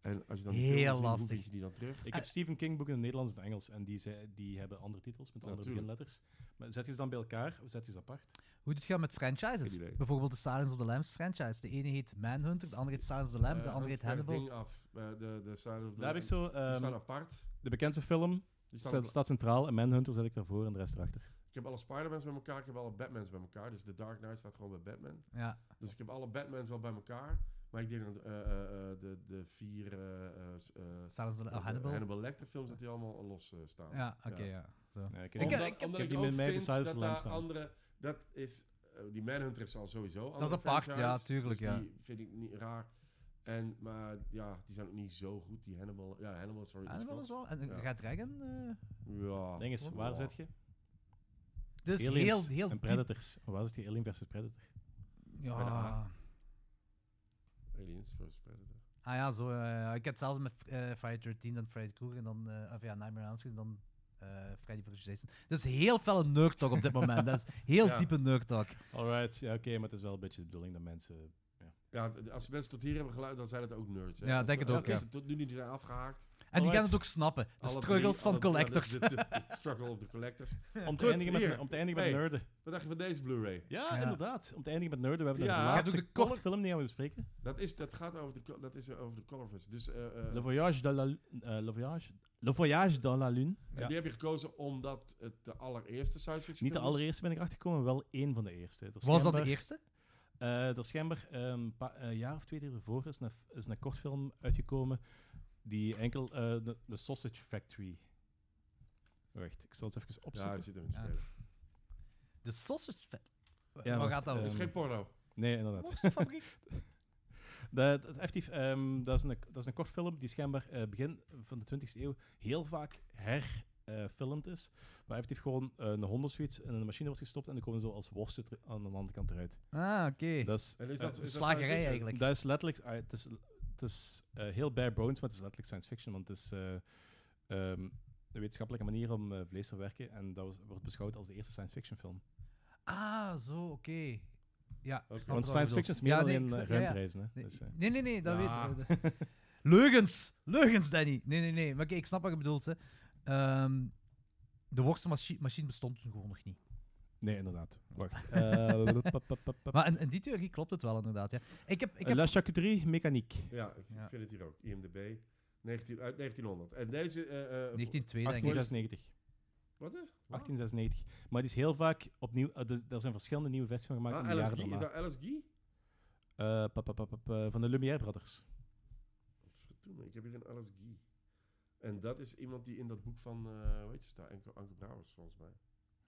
[SPEAKER 2] En als je dan die
[SPEAKER 4] Heel
[SPEAKER 2] film wil zien, hoe
[SPEAKER 4] lastig.
[SPEAKER 2] vind je die dan terug?
[SPEAKER 3] Ik heb Stephen King boeken in het Nederlands en het Engels en die, zei- die hebben andere titels met
[SPEAKER 2] Ja,
[SPEAKER 3] andere
[SPEAKER 2] tuurlijk.
[SPEAKER 3] beginletters. Maar zet je ze dan bij elkaar of zet je ze apart?
[SPEAKER 4] Hoe doet je dat met franchises?
[SPEAKER 2] Geen idee.
[SPEAKER 4] Bijvoorbeeld de Silence of the Lambs franchise. De ene heet Manhunter, de andere heet Silence of the Lambs, de
[SPEAKER 2] Eh,
[SPEAKER 4] andere
[SPEAKER 2] hangt
[SPEAKER 4] heet
[SPEAKER 2] per
[SPEAKER 4] Hannibal.
[SPEAKER 2] ding af. Eh, de, de Silent of the
[SPEAKER 3] Daar heb ik zo
[SPEAKER 2] Die
[SPEAKER 3] ehm,
[SPEAKER 2] staan apart.
[SPEAKER 3] de bekendste film,
[SPEAKER 2] Die staan
[SPEAKER 3] staat,
[SPEAKER 2] op-
[SPEAKER 3] staat centraal en Manhunter zet ik daarvoor en de rest erachter.
[SPEAKER 2] ik heb alle Spider-Mans bij elkaar, ik heb alle Batmans bij elkaar. Dus de Dark Knight staat gewoon bij Batman.
[SPEAKER 4] Ja.
[SPEAKER 2] Dus ik heb alle Batmans wel bij elkaar. Maar ik denk dat eh, eh, eh, de, de vier eh, eh, s- eh,
[SPEAKER 4] Silence of the
[SPEAKER 2] de
[SPEAKER 4] oh, Hannibal.
[SPEAKER 2] Hannibal Lecter films, dat die allemaal los eh, staan.
[SPEAKER 4] Ja, oké,
[SPEAKER 2] Ja.
[SPEAKER 4] ja. Zo.
[SPEAKER 3] Ja, ik,
[SPEAKER 2] Omdat,
[SPEAKER 3] heb-
[SPEAKER 2] ik, omdat
[SPEAKER 3] heb
[SPEAKER 2] ik
[SPEAKER 3] die
[SPEAKER 2] ook
[SPEAKER 3] met mij
[SPEAKER 2] vind
[SPEAKER 3] besluit
[SPEAKER 2] dat
[SPEAKER 3] te laten
[SPEAKER 2] daar
[SPEAKER 3] staan.
[SPEAKER 2] andere... Dat is... eh, die Manhunter is al sowieso
[SPEAKER 4] is
[SPEAKER 2] andere
[SPEAKER 4] apart, ja,
[SPEAKER 2] franchise,
[SPEAKER 4] tuurlijk,
[SPEAKER 2] dus
[SPEAKER 4] ja.
[SPEAKER 2] die vind ik niet raar. En, maar ja, die zijn ook niet zo goed. Die Hannibal... Ja, Hannibal, sorry. is
[SPEAKER 4] Hannibal
[SPEAKER 2] wel-
[SPEAKER 4] is wel. En
[SPEAKER 2] Ja.
[SPEAKER 4] gaat Red Dragon. eh,
[SPEAKER 2] Ja.
[SPEAKER 3] ding is, waar
[SPEAKER 2] Ja.
[SPEAKER 3] zet je?
[SPEAKER 4] dit is heel,
[SPEAKER 3] Aliens
[SPEAKER 4] heel
[SPEAKER 3] en
[SPEAKER 4] diep.
[SPEAKER 3] Predators. Waar zit je Alien versus Predator?
[SPEAKER 2] Bij de
[SPEAKER 4] Ja.
[SPEAKER 2] A. Aliens vs. Predator.
[SPEAKER 4] Ah ja, zo. ja, ja. ik heb hetzelfde met eh, Friday 13, dan Freddy Krueger en dan eh, of ja, Nightmare on Elm Street en dan eh, Freddy vs. Jason. Dat is heel felle nerd talk op dit moment. Dat is heel
[SPEAKER 2] Ja.
[SPEAKER 4] diepe nerd talk.
[SPEAKER 3] Alright, ja, oké, maar het is wel een beetje de bedoeling dat mensen...
[SPEAKER 2] Ja, d- als mensen tot hier hebben geluid, dan zijn het ook nerds. Hè?
[SPEAKER 4] Ja,
[SPEAKER 2] Als
[SPEAKER 4] denk
[SPEAKER 2] de-
[SPEAKER 4] het
[SPEAKER 2] als
[SPEAKER 4] ook,
[SPEAKER 2] mensen tot nu niet zijn afgehaakt.
[SPEAKER 4] En die gaan
[SPEAKER 3] Alright.
[SPEAKER 4] het ook snappen. De
[SPEAKER 2] alle
[SPEAKER 4] struggles
[SPEAKER 2] drie-
[SPEAKER 4] van
[SPEAKER 2] alle-
[SPEAKER 4] collectors.
[SPEAKER 2] Ja, de, de- de struggle of the collectors.
[SPEAKER 3] Om te
[SPEAKER 2] Goed,
[SPEAKER 3] eindigen met,
[SPEAKER 2] hier.
[SPEAKER 3] om te eindigen met
[SPEAKER 2] Hey.
[SPEAKER 3] nerden.
[SPEAKER 2] Wat dacht je van deze Blu-ray?
[SPEAKER 3] Ja,
[SPEAKER 4] Ja.
[SPEAKER 3] inderdaad. Om te eindigen met nerden. We hebben
[SPEAKER 2] Ja.
[SPEAKER 3] de
[SPEAKER 2] Gaat
[SPEAKER 3] laatste
[SPEAKER 4] ook de
[SPEAKER 3] kort
[SPEAKER 4] color-
[SPEAKER 3] film die gaan we bespreken.
[SPEAKER 2] Dat, is, dat gaat over de, co- dat is eh, over de colorfest. Dus, eh, eh,
[SPEAKER 3] Le Voyage de la, Lu- eh, Le Voyage, Le Voyage de la Lune.
[SPEAKER 2] en die heb je gekozen omdat het de allereerste science fiction
[SPEAKER 3] Niet de
[SPEAKER 2] film is?
[SPEAKER 3] allereerste ben ik achtergekomen, wel één van de eerste. Er
[SPEAKER 4] Was dat de e-
[SPEAKER 3] schijnbaar-
[SPEAKER 4] eerste?
[SPEAKER 3] eh, er schijnbaar eh, een pa- een jaar of twee ervoor is een, is een kortfilm uitgekomen die enkel eh, de, de Sausage Factory. Wacht, ik zal het even
[SPEAKER 2] Ja,
[SPEAKER 3] opzoeken.
[SPEAKER 2] hij zit erin te
[SPEAKER 4] Ja.
[SPEAKER 2] spelen.
[SPEAKER 4] De sausage. fa- Waar
[SPEAKER 3] Ja,
[SPEAKER 4] waar
[SPEAKER 3] wacht,
[SPEAKER 4] gaat dat
[SPEAKER 3] eh,
[SPEAKER 2] Het
[SPEAKER 4] over?
[SPEAKER 2] is geen porno.
[SPEAKER 3] nee, inderdaad.
[SPEAKER 4] Monsterfabriek?
[SPEAKER 3] Dat, dat, effectief, ehm, dat, is een, dat is een kortfilm die schijnbaar eh, begin van de 20e eeuw heel vaak herfilmd is. Waar effectief gewoon eh, een hond of zoiets in een machine wordt gestopt en dan komen zo als worsten ter- aan de andere kant eruit.
[SPEAKER 4] ah, oké.
[SPEAKER 3] Dat is,
[SPEAKER 2] En is
[SPEAKER 3] eh,
[SPEAKER 2] dat, is dat
[SPEAKER 4] slagerij
[SPEAKER 2] science fiction?
[SPEAKER 4] eigenlijk.
[SPEAKER 3] dat is letterlijk... ah, het is, het is eh, heel bare bones, maar het is letterlijk science fiction, want het is... eh, ehm, een wetenschappelijke manier om eh, vlees te werken en dat was- wordt beschouwd als de eerste science fiction film.
[SPEAKER 4] Ah, zo, oké. Ja, ik
[SPEAKER 2] Oké.
[SPEAKER 4] snap
[SPEAKER 3] Want
[SPEAKER 4] wat je
[SPEAKER 3] science fiction
[SPEAKER 4] bedoelt.
[SPEAKER 3] is meer
[SPEAKER 4] Ja,
[SPEAKER 3] dan alleen
[SPEAKER 4] nee, ik
[SPEAKER 3] eh,
[SPEAKER 4] snap- ja, ja.
[SPEAKER 3] ruimtereizen. Hè?
[SPEAKER 4] Nee,
[SPEAKER 3] Dus, eh,
[SPEAKER 4] nee, nee, nee, dat
[SPEAKER 2] Ja.
[SPEAKER 4] weet ik. Leugens! Leugens, Danny! Nee, nee, nee. Maar oké, ik snap wat je bedoelt. Hè. Ehm, de worstelmachine bestond toen gewoon nog niet.
[SPEAKER 3] nee, inderdaad. Wacht. Eh, pap, pap, pap, pap.
[SPEAKER 4] Maar in, in die theorie klopt het wel, inderdaad. Ja. Ik heb, ik heb
[SPEAKER 3] La charcuterie mechaniek.
[SPEAKER 2] Ja, ik
[SPEAKER 4] Ja.
[SPEAKER 2] vind het hier ook. IMDb. 19, uit 1900. En deze... eh, eh,
[SPEAKER 4] 1902, denk ik.
[SPEAKER 3] 1896.
[SPEAKER 2] Wat? hè? Wauw.
[SPEAKER 3] 1896. Maar die is heel vaak opnieuw. eh, de- er zijn verschillende nieuwe versies van gemaakt
[SPEAKER 2] Ah,
[SPEAKER 3] in de
[SPEAKER 2] Alice
[SPEAKER 3] jaren
[SPEAKER 2] Guy? Is
[SPEAKER 3] daarna.
[SPEAKER 2] dat Alice Guy?
[SPEAKER 3] Eh, pap, pap, pap, pap, eh, van de Lumière Brothers.
[SPEAKER 2] Verdomme, ik heb hier een Alice Guy. En dat is iemand die in dat boek van, eh hoe heet ze daar? Anke, Anke Brouwers, volgens mij.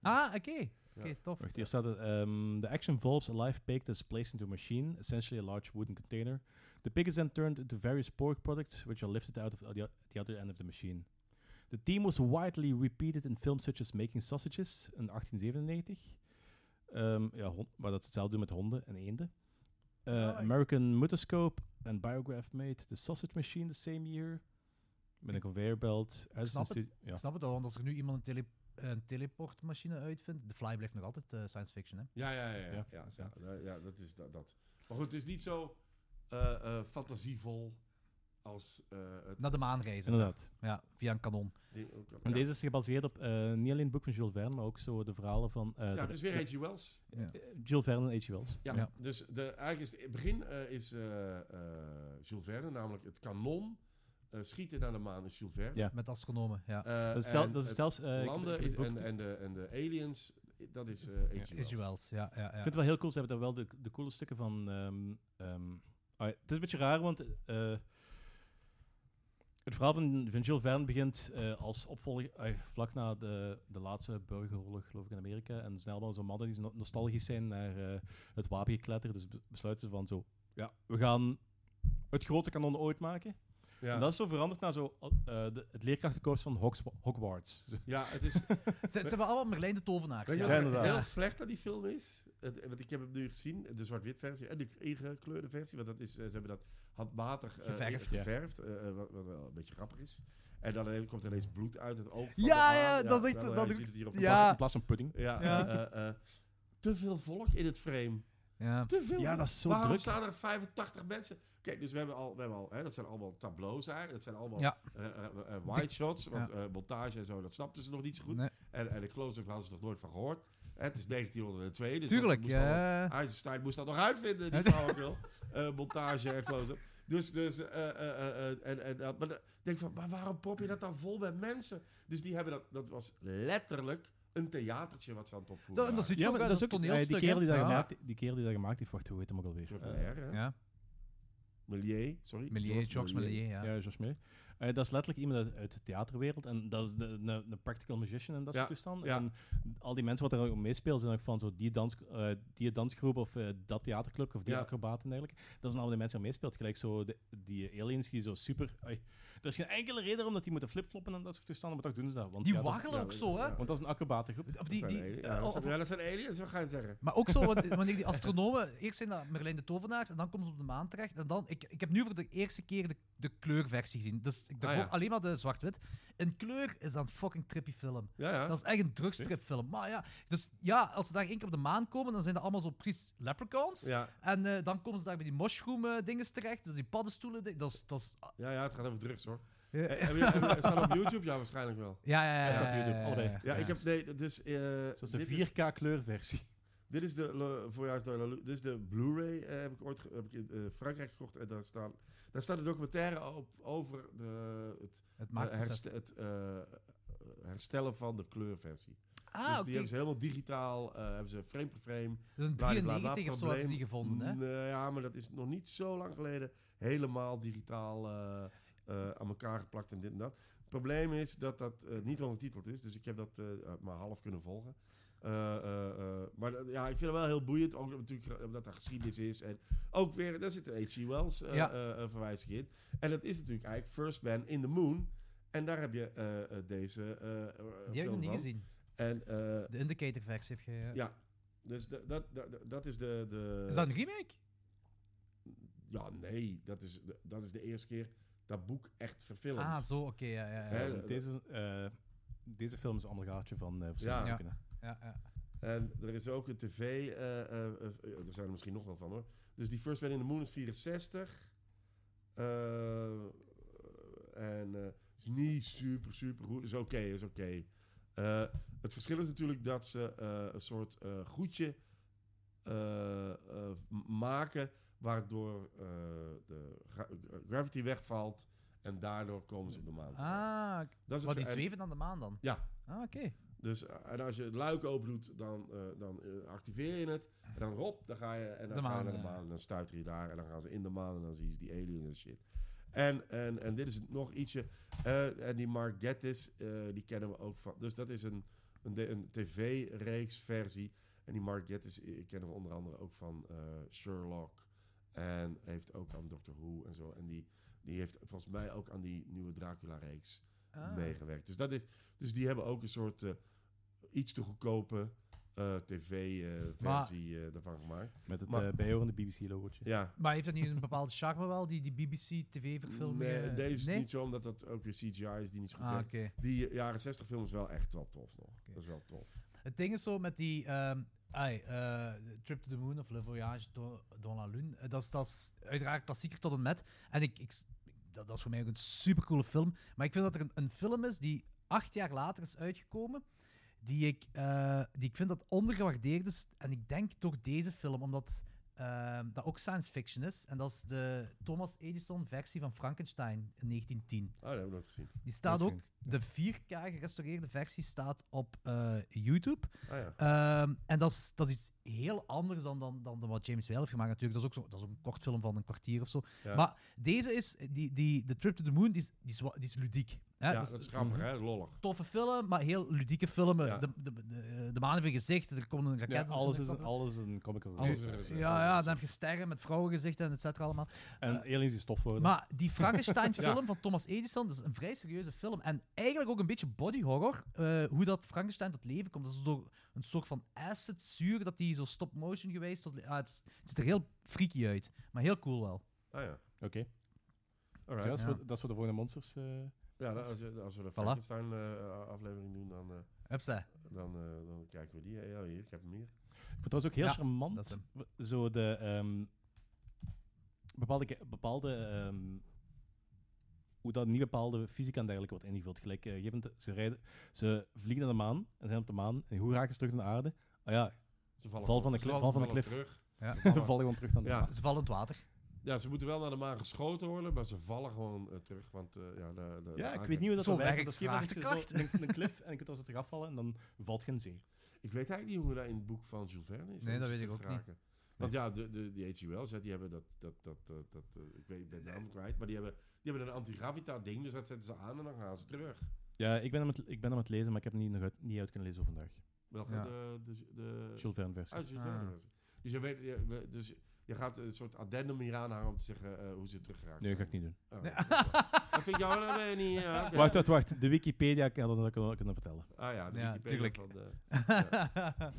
[SPEAKER 4] Ah, oké. Oké,
[SPEAKER 2] Ja.
[SPEAKER 4] tof.
[SPEAKER 3] Wacht, hier staat het. ehm, the action involves a live pig that is placed into a machine, essentially a large wooden container. The pig is then turned into various pork products, which are lifted out of the, the other end of the machine. The theme was widely repeated in films such as Making Sausages in 1897. Ehm, ja, hond, waar dat ze hetzelfde doen met honden en eenden. Uh,
[SPEAKER 4] Oh,
[SPEAKER 2] Ah, ik-
[SPEAKER 3] American Motoscope en Biograph made The Sausage Machine the same year. Met een conveyor belt. Edison
[SPEAKER 4] snap het.
[SPEAKER 3] Studio- ja.
[SPEAKER 4] Ik snap het al, want als er nu iemand een, tele een teleportmachine uitvindt... De Fly blijft nog altijd eh, science fiction, hè.
[SPEAKER 2] Ja, ja, ja. Ja, ja,
[SPEAKER 3] Ja.
[SPEAKER 2] ja, ja, ja, dat is da- dat. Maar goed, het is niet zo eh, eh, fantasievol als eh, het...
[SPEAKER 4] Naar de maan reizen.
[SPEAKER 3] Inderdaad.
[SPEAKER 4] Ja, via een kanon.
[SPEAKER 2] die- ook al-
[SPEAKER 3] En
[SPEAKER 2] ja.
[SPEAKER 3] deze is gebaseerd op eh, niet alleen het boek van Jules Verne, maar ook zo de verhalen van eh,
[SPEAKER 2] Ja,
[SPEAKER 3] de-
[SPEAKER 2] het is weer
[SPEAKER 3] de-
[SPEAKER 2] H.G. Wells.
[SPEAKER 4] Ja.
[SPEAKER 3] eh, Jules Verne en H.G. Wells.
[SPEAKER 2] Ja,
[SPEAKER 4] Ja.
[SPEAKER 2] dus de, eigenlijk is het het begin eh, is eh, eh, Jules Verne, namelijk het kanon eh, schieten naar de maan is Jules Verne.
[SPEAKER 3] Ja.
[SPEAKER 4] Met astronomen, ja.
[SPEAKER 2] Eh,
[SPEAKER 3] Dat is,
[SPEAKER 2] en
[SPEAKER 3] zel- dat is
[SPEAKER 2] het
[SPEAKER 3] zelfs... eh, ik-
[SPEAKER 2] landen
[SPEAKER 3] ik, ik-
[SPEAKER 2] is-
[SPEAKER 3] ik- ik-
[SPEAKER 2] en,
[SPEAKER 3] ik
[SPEAKER 2] en, de, en de aliens, dat is eh,
[SPEAKER 3] Ja.
[SPEAKER 2] H.G.
[SPEAKER 4] H.G.
[SPEAKER 2] Wells.
[SPEAKER 4] Wells, ja, ja, ja.
[SPEAKER 3] vind het wel heel cool, ze hebben daar wel de, de coole stukken van... ehm, ehm, ah, het is een beetje raar, want eh, het verhaal van, van Jules Verne begint eh, als opvolger eh, vlak na de, de laatste burgeroorlog, geloof ik, in Amerika. En snel dan zo'n mannen die zo no- nostalgisch zijn naar eh, het wapengekletter. Dus be- besluiten ze van zo, ja, we gaan het grote kanon ooit maken.
[SPEAKER 2] Ja,
[SPEAKER 3] En dat is zo veranderd naar zo, eh, de, het leerkrachtenkorps van Hogs- Hogwarts.
[SPEAKER 2] ja het is... Weet
[SPEAKER 4] Het zijn het zijn wel allemaal Merlijn de Tovenaars.
[SPEAKER 2] je
[SPEAKER 4] ja.
[SPEAKER 2] wat er
[SPEAKER 3] inderdaad.
[SPEAKER 2] heel
[SPEAKER 4] Ja.
[SPEAKER 2] slecht aan die film is? Het- want ik heb hem nu gezien, de zwart-wit versie en de ingekleurde versie. Want dat is, eh, ze hebben dat handmatig eh,
[SPEAKER 4] Geverfd,
[SPEAKER 3] ja.
[SPEAKER 2] geverfd, eh, eh, wat, wat wel een beetje grappig is. En dan ineens komt er ineens bloed uit het oog. van
[SPEAKER 4] Ja,
[SPEAKER 2] haar.
[SPEAKER 4] ja, dat is echt-
[SPEAKER 2] nou,
[SPEAKER 4] dat
[SPEAKER 2] je
[SPEAKER 4] is-
[SPEAKER 2] ziet het hier op de
[SPEAKER 3] In plaats-
[SPEAKER 4] Ja.
[SPEAKER 3] In plaats van pudding.
[SPEAKER 2] Ja,
[SPEAKER 4] Ja.
[SPEAKER 2] eh, eh, eh, te veel volk in het frame.
[SPEAKER 4] Ja.
[SPEAKER 2] Te veel.
[SPEAKER 3] Ja, dat is zo
[SPEAKER 2] Waarom
[SPEAKER 3] druk.
[SPEAKER 2] staan er 85 mensen? Oké, dus we hebben al, we hebben al hè, dat zijn allemaal tableaus eigenlijk. Dat zijn allemaal
[SPEAKER 4] Ja.
[SPEAKER 2] eh, eh, eh, wide shots, want
[SPEAKER 4] Ja.
[SPEAKER 2] eh, montage en zo, dat snapten ze nog niet zo goed.
[SPEAKER 4] Nee,
[SPEAKER 2] En, en de close-up hadden ze nog nooit van gehoord. Eh, het is 1902, dus dat
[SPEAKER 4] tuurlijk.
[SPEAKER 2] moest allemaal-
[SPEAKER 4] Ja.
[SPEAKER 2] Einstein moest dat nog uitvinden, die
[SPEAKER 4] Ja.
[SPEAKER 2] flauwekul. Eh montage en close-up. Dus, dus eh, eh, eh, eh, en, en dat. Maar dan denk ik van, maar waarom prop je dat dan vol met mensen? Dus die hebben dat, dat was letterlijk een theatertje wat ze aan het opvoeren
[SPEAKER 4] Dat, en dat
[SPEAKER 2] waren.
[SPEAKER 4] zit je ook,
[SPEAKER 3] maar
[SPEAKER 4] bij
[SPEAKER 3] dat is ook eh,
[SPEAKER 4] toneelstuk.
[SPEAKER 3] die kerel die dat
[SPEAKER 4] hè?
[SPEAKER 3] gemaakt, die kerel die dat gemaakt heeft, wacht, hoe heet hem ook alweer?
[SPEAKER 2] Georges
[SPEAKER 3] Eh,
[SPEAKER 2] Méliès, hè?
[SPEAKER 4] Ja. Ja.
[SPEAKER 2] Millier, sorry.
[SPEAKER 4] Méliès, Georges Méliès, ja.
[SPEAKER 3] Ja, Jos Meer. Eh, dat is letterlijk iemand uit, uit de theaterwereld. En dat is de, de, de practical magician en dat
[SPEAKER 2] Ja,
[SPEAKER 3] soort toestanden.
[SPEAKER 2] ja.
[SPEAKER 3] En al die mensen wat daar ook meespelen, zijn ook van zo die, dans, eh, die dansgroep of eh, dat theaterclub of die
[SPEAKER 2] Ja.
[SPEAKER 3] acrobaten en dergelijke. Dat zijn allemaal de mensen die meespeelt. Gelijk zo de, die aliens die zo super... ai, er is geen enkele reden omdat die moeten flipfloppen en dat soort toestanden, maar toch doen ze dat. Want,
[SPEAKER 4] Die
[SPEAKER 3] ja, dat is-
[SPEAKER 4] waggelen
[SPEAKER 2] ja,
[SPEAKER 4] ook zo, hè?
[SPEAKER 2] ja.
[SPEAKER 3] want dat is een acrobatengroep.
[SPEAKER 4] Of
[SPEAKER 2] Die,
[SPEAKER 4] die, die,
[SPEAKER 2] ja, dat
[SPEAKER 4] of-
[SPEAKER 2] zijn- ja, dat zijn aliens, wat ga je zeggen?
[SPEAKER 4] Maar ook zo, wan- wanneer die astronomen... Eerst zijn dat Merlijn de Tovenaars en dan komen ze op de maan terecht. En dan, ik, ik heb nu voor de eerste keer de, de kleurversie gezien. Dus ik daarvoor
[SPEAKER 2] Ah, ja.
[SPEAKER 4] alleen maar de zwart-wit. In kleur is dat een fucking trippy film.
[SPEAKER 2] Ja, ja.
[SPEAKER 4] Dat is echt een drugstripfilm. Maar ja, dus ja, als ze daar één keer op de maan komen, dan zijn dat allemaal zo precies leprechauns.
[SPEAKER 2] ja,
[SPEAKER 4] En eh, dan komen ze daar bij die mushroom-dinges terecht. Dus die paddenstoelen. ding- Dat is... Dat is
[SPEAKER 2] ja, ja, het gaat over drugs hoor.
[SPEAKER 4] ja,
[SPEAKER 2] Eh, Heb je, heb je- staat op YouTube? Ja, waarschijnlijk wel.
[SPEAKER 4] ja, ja.
[SPEAKER 3] Hij staat op YouTube. Oh, nee.
[SPEAKER 2] Ja, ik heb, nee, dus... eh
[SPEAKER 3] Dus dat is
[SPEAKER 2] dit
[SPEAKER 3] de
[SPEAKER 2] is-
[SPEAKER 3] 4K-kleurversie. Dit
[SPEAKER 2] Dit is de, le- voor jou is dat- dit is de Blu-ray, eh, heb ik ooit ge- heb ik in eh, Frankrijk gekocht. En daar, staan, daar staat een documentaire op over de, het,
[SPEAKER 4] Het maakt
[SPEAKER 2] eh, herst- het eh, herstellen van de kleurversie. dus
[SPEAKER 4] Ah,
[SPEAKER 2] die
[SPEAKER 4] oké.
[SPEAKER 2] hebben ze helemaal digitaal, eh, hebben ze frame per frame.
[SPEAKER 4] Dat is een
[SPEAKER 2] bla, bla, bla,
[SPEAKER 4] 93 of zo hebben ze die
[SPEAKER 2] Mm,
[SPEAKER 4] gevonden, hè?
[SPEAKER 2] eh, ja, maar dat is nog niet zo lang geleden helemaal digitaal eh, eh, aan elkaar geplakt en dit en dat. Het probleem is dat dat eh, niet ondertiteld is, dus ik heb dat eh, maar half kunnen volgen. Eh, eh, eh, maar dat- ja, ik vind het wel heel boeiend, ook natuurlijk eh, omdat daar geschiedenis is. En ook weer, daar zit de H.G. Wells eh
[SPEAKER 4] Ja.
[SPEAKER 2] eh, eh, verwijzing in. En dat is natuurlijk eigenlijk First Man in the Moon. En daar heb je eh, eh, deze eh eh,
[SPEAKER 4] Die heb ik
[SPEAKER 2] film
[SPEAKER 4] nog niet
[SPEAKER 2] van.
[SPEAKER 4] gezien.
[SPEAKER 2] En eh,
[SPEAKER 4] De Indicator-versie heb je...
[SPEAKER 2] Ja. eh, dus dat, dat, dat, dat is de... de
[SPEAKER 4] Is dat een remake?
[SPEAKER 2] Ja, nee, dat is, dat is de eerste keer dat boek echt verfilmd.
[SPEAKER 4] Ah, zo, oké, ja, ja, ja.
[SPEAKER 2] Hè?
[SPEAKER 3] Eh, deze, eh, deze film is een ander gaatje van... eh
[SPEAKER 2] Ja.
[SPEAKER 3] verschillende ja.
[SPEAKER 4] ja, ja.
[SPEAKER 2] En er is ook een tv, eh, eh, eh, eh, er zijn er misschien nog wel van hoor. Dus die First Man in the Moon is 64. Eh, en eh, is niet super, super goed. Is oké, is oké. Eh, het verschil is natuurlijk dat ze eh, een soort eh goedje eh, eh, m- maken, waardoor eh, de gra- gravity wegvalt en daardoor komen ze op de maan. terecht.
[SPEAKER 4] Ah,
[SPEAKER 2] dat is Dus het
[SPEAKER 4] wat die
[SPEAKER 2] ver- en-
[SPEAKER 4] zweven aan de maan dan?
[SPEAKER 2] Ja.
[SPEAKER 4] Ah, oké.
[SPEAKER 2] Dus eh, en als je het luik open doet, dan, eh, dan eh, activeer je het. En dan rop, dan ga je, en dan
[SPEAKER 4] De
[SPEAKER 2] ga je
[SPEAKER 4] maan,
[SPEAKER 2] naar de
[SPEAKER 4] ja.
[SPEAKER 2] maan. En dan stuiter je daar. En dan gaan ze in de maan. En dan zie je die aliens en shit. En, en, en dit is nog ietsje. eh, en die Mark Gettis, eh, die kennen we ook van. Dus dat is een, een, de- een tv-reeksversie. En die Mark Gettis eh, kennen we onder andere ook van eh, Sherlock. En heeft ook aan Doctor Who en zo. En die, die heeft volgens mij ook aan die nieuwe Dracula-reeks
[SPEAKER 4] Ah.
[SPEAKER 2] meegewerkt. Dus, dat is, dus die hebben ook een soort eh, iets te goedkope eh,
[SPEAKER 4] Maar-
[SPEAKER 2] tv-versie daarvan gemaakt.
[SPEAKER 3] Met het
[SPEAKER 2] Maar-
[SPEAKER 3] eh, bijhorende BBC-logootje.
[SPEAKER 2] Ja.
[SPEAKER 4] Maar heeft dat niet een bepaalde charme wel, die, die BBC-tv-verfilming?
[SPEAKER 2] Nee, deze is niet zo, omdat dat ook weer CGI is die niet zo goed
[SPEAKER 4] eh, Ah, oké.
[SPEAKER 2] werkt. Die eh, jaren 60 film is wel echt wel tof nog. Dat is wel tof. Ah,
[SPEAKER 4] Het ding is zo met die ehm, ai, eh, Trip to the Moon of Le Voyage do- dans la Lune. Eh, dat, is, dat is uiteraard klassieker tot en met. En ik, ik, dat, dat is voor mij ook een supercoole film. Maar ik vind dat er een, een film is die acht jaar later is uitgekomen. Die ik, eh, die ik vind dat ondergewaardeerd is. En ik denk door deze film, omdat ehm, dat ook science fiction is. En dat is de Thomas Edison-versie van Frankenstein in 1910.
[SPEAKER 2] Oh, dat hebben we nooit gezien.
[SPEAKER 4] Die staat
[SPEAKER 3] Oké.
[SPEAKER 4] ook, de 4K gerestaureerde versie staat op eh, YouTube.
[SPEAKER 2] Ah ja.
[SPEAKER 4] Ehm, en dat is, dat is iets heel anders dan, dan, dan wat James Whale heeft gemaakt natuurlijk. Dat is ook, zo, dat is ook een kort film van een kwartier of zo.
[SPEAKER 2] Ja.
[SPEAKER 4] Maar deze is, die, die, de Trip to the Moon, die is, die is, wa- die is ludiek. Hè,
[SPEAKER 2] ja,
[SPEAKER 4] dus
[SPEAKER 2] dat is grappig, hè? Lollig.
[SPEAKER 4] toffe film, maar heel ludieke filmen.
[SPEAKER 2] Ja.
[SPEAKER 4] De, de, de, de manen van gezicht, er komt een raket.
[SPEAKER 3] Ja, alles, is,
[SPEAKER 4] ja,
[SPEAKER 3] alles is een comic
[SPEAKER 2] Alles is
[SPEAKER 3] relief.
[SPEAKER 2] een reserve.
[SPEAKER 4] ja, ja, dan heb je sterren met vrouwengezichten en et cetera allemaal.
[SPEAKER 3] En aliens die stof worden.
[SPEAKER 4] Maar die Frankenstein-film van Thomas Edison, dat is een vrij serieuze film. En eigenlijk ook een beetje body horror. eh, hoe dat Frankenstein tot leven komt. Dat is door een soort van acid-zuur dat die zo stop-motion geweest. Tot, ah, het, is- het ziet er heel freaky uit. Maar heel cool wel.
[SPEAKER 2] Ah ja,
[SPEAKER 3] Oké, Ja, dat,
[SPEAKER 2] alright.
[SPEAKER 3] is
[SPEAKER 4] Ja.
[SPEAKER 3] voor- dat is voor de volgende monsters. eh.
[SPEAKER 2] Ja, dan- als, je- als we de Frankenstein-aflevering doen, dan, eh,
[SPEAKER 4] Hupsa.
[SPEAKER 2] dan, eh, dan kijken we die. Ja, hier, ik heb hem hier.
[SPEAKER 3] Ik vond het ook heel
[SPEAKER 4] Ja,
[SPEAKER 3] charmant.
[SPEAKER 4] dat is hem.
[SPEAKER 3] w- Zo de ehm, bepaalde, ke- bepaalde ehm, hoe dat niet bepaalde fysica en dergelijke wordt ingevuld. Gelijk, eh, op een gegeven moment, ze, rijden, ze vliegen naar de maan en zijn op de maan. En hoe raken ze terug naar de aarde? Ah ja,
[SPEAKER 2] Ze vallen
[SPEAKER 3] Val
[SPEAKER 2] gewoon-
[SPEAKER 3] van de
[SPEAKER 2] ze
[SPEAKER 3] klif-
[SPEAKER 2] vallen-
[SPEAKER 3] val van de
[SPEAKER 2] vallen
[SPEAKER 3] klif.
[SPEAKER 2] terug.
[SPEAKER 4] Ja.
[SPEAKER 3] we vallen gewoon terug naar de
[SPEAKER 2] Ja.
[SPEAKER 3] maan.
[SPEAKER 4] Ze vallen in het water.
[SPEAKER 2] Ja, ze moeten wel naar de maan geschoten worden, maar ze vallen gewoon eh, terug. Want eh, ja, de, de, de
[SPEAKER 3] Ja, ik
[SPEAKER 2] aankijk-
[SPEAKER 3] weet niet hoe dat
[SPEAKER 4] Zo
[SPEAKER 3] dan werkt.
[SPEAKER 4] werkt
[SPEAKER 3] want Dat is gewoon
[SPEAKER 4] zwaartekracht.
[SPEAKER 3] zo een, een cliff en je kunt als het eraf vallen en dan valt geen zee.
[SPEAKER 2] Ik weet eigenlijk niet hoe dat in het boek van Jules Verne is.
[SPEAKER 4] Nee,
[SPEAKER 2] om
[SPEAKER 4] dat
[SPEAKER 2] ze
[SPEAKER 4] weet ik
[SPEAKER 2] terug te
[SPEAKER 4] ook niet.
[SPEAKER 2] raken. Want ja, de, de, die H.G. Wells, hè, die hebben dat, dat, dat, dat, dat eh, ik weet ik ben het naam kwijt, maar die hebben, die hebben een antigravita-ding, dus dat zetten ze aan en dan gaan ze terug.
[SPEAKER 3] Ja, ik ben, aan het, ik ben aan het lezen, maar ik heb het niet, nog uit, niet uit kunnen lezen voor vandaag.
[SPEAKER 2] Welke
[SPEAKER 4] Ja.
[SPEAKER 2] de, de, de,
[SPEAKER 3] Jules Verne versie.
[SPEAKER 2] Ah, Jules
[SPEAKER 4] Ah.
[SPEAKER 2] Verne versie. Dus je, weet, je, we- dus je gaat een soort addendum hier aanhangen om te zeggen eh, hoe ze teruggeraakt
[SPEAKER 3] Nee, dat ga
[SPEAKER 2] zijn.
[SPEAKER 3] ik niet doen.
[SPEAKER 2] Oh, dat- Dat vind ik jou dat ben je niet. ja, oké.
[SPEAKER 3] Wacht, wacht, wacht. De Wikipedia kan dat ook wel kunnen vertellen.
[SPEAKER 2] Ah ja, de
[SPEAKER 4] Ja,
[SPEAKER 2] Wikipedia
[SPEAKER 4] tuurlijk.
[SPEAKER 2] van de...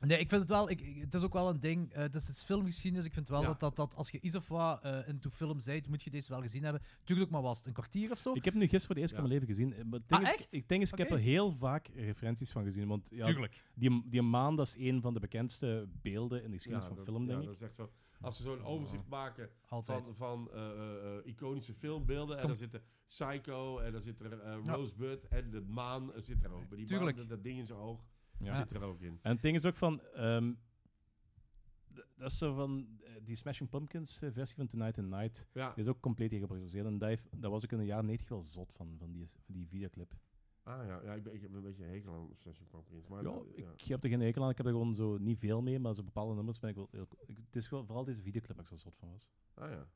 [SPEAKER 4] Nee, ik vind het wel. Ik, ik- het is ook wel een ding. eh, het, is, het is filmgeschiedenis. Ik vind wel
[SPEAKER 2] Ja.
[SPEAKER 4] dat, dat, dat als je iets of wat eh, into film zijt, moet je deze wel gezien hebben. Tuurlijk, maar was het een kwartier of zo?
[SPEAKER 3] Ik heb hem nu gisteren voor de eerste
[SPEAKER 2] Ja.
[SPEAKER 3] keer in mijn leven gezien. eh, Maar het ding
[SPEAKER 4] Ah,
[SPEAKER 3] is-
[SPEAKER 4] echt?
[SPEAKER 3] Ik denk eens, ik
[SPEAKER 4] Oké.
[SPEAKER 3] heb er heel vaak referenties van gezien. Want ja,
[SPEAKER 4] Tuurlijk.
[SPEAKER 3] die, die maan, dat is een van de bekendste beelden in de geschiedenis van
[SPEAKER 2] dat-
[SPEAKER 3] film,
[SPEAKER 2] ja, dat
[SPEAKER 3] denk ik. Oh,
[SPEAKER 2] is echt zo. Als ze zo'n overzicht maken
[SPEAKER 4] Altijd.
[SPEAKER 2] van, van eh, eh, eh, iconische filmbeelden. En
[SPEAKER 4] Kom.
[SPEAKER 2] daar zitten Psycho en daar zit er eh,
[SPEAKER 4] Ja.
[SPEAKER 2] Rosebud en de maan eh, zit er ook. Bij die
[SPEAKER 4] Tuurlijk.
[SPEAKER 2] maan, dat- dat ding in zijn oog,
[SPEAKER 3] Ja.
[SPEAKER 2] zit er ook in.
[SPEAKER 3] En het ding is ook van... ehm, d- dat is zo van... eh, Die Smashing Pumpkins eh, versie van Tonight and Night
[SPEAKER 2] Ja,
[SPEAKER 3] die is ook compleet hier geproduceerd. En dat, heeft- daar was ik in de jaren 90 wel zot van, van die, van die videoclip.
[SPEAKER 2] ah, ja, ja ik, ben, ik heb een beetje een hekel aan Session Pumpkins. Maar
[SPEAKER 3] Ja,
[SPEAKER 2] eh,
[SPEAKER 3] ik
[SPEAKER 2] ja.
[SPEAKER 3] heb er geen hekel aan. Ik heb er gewoon zo niet veel mee, maar zo bepaalde nummers ben ik wel... Heel, ik- het is wel vooral deze videoclip waar ik zo zot van was.
[SPEAKER 2] Ah, ja.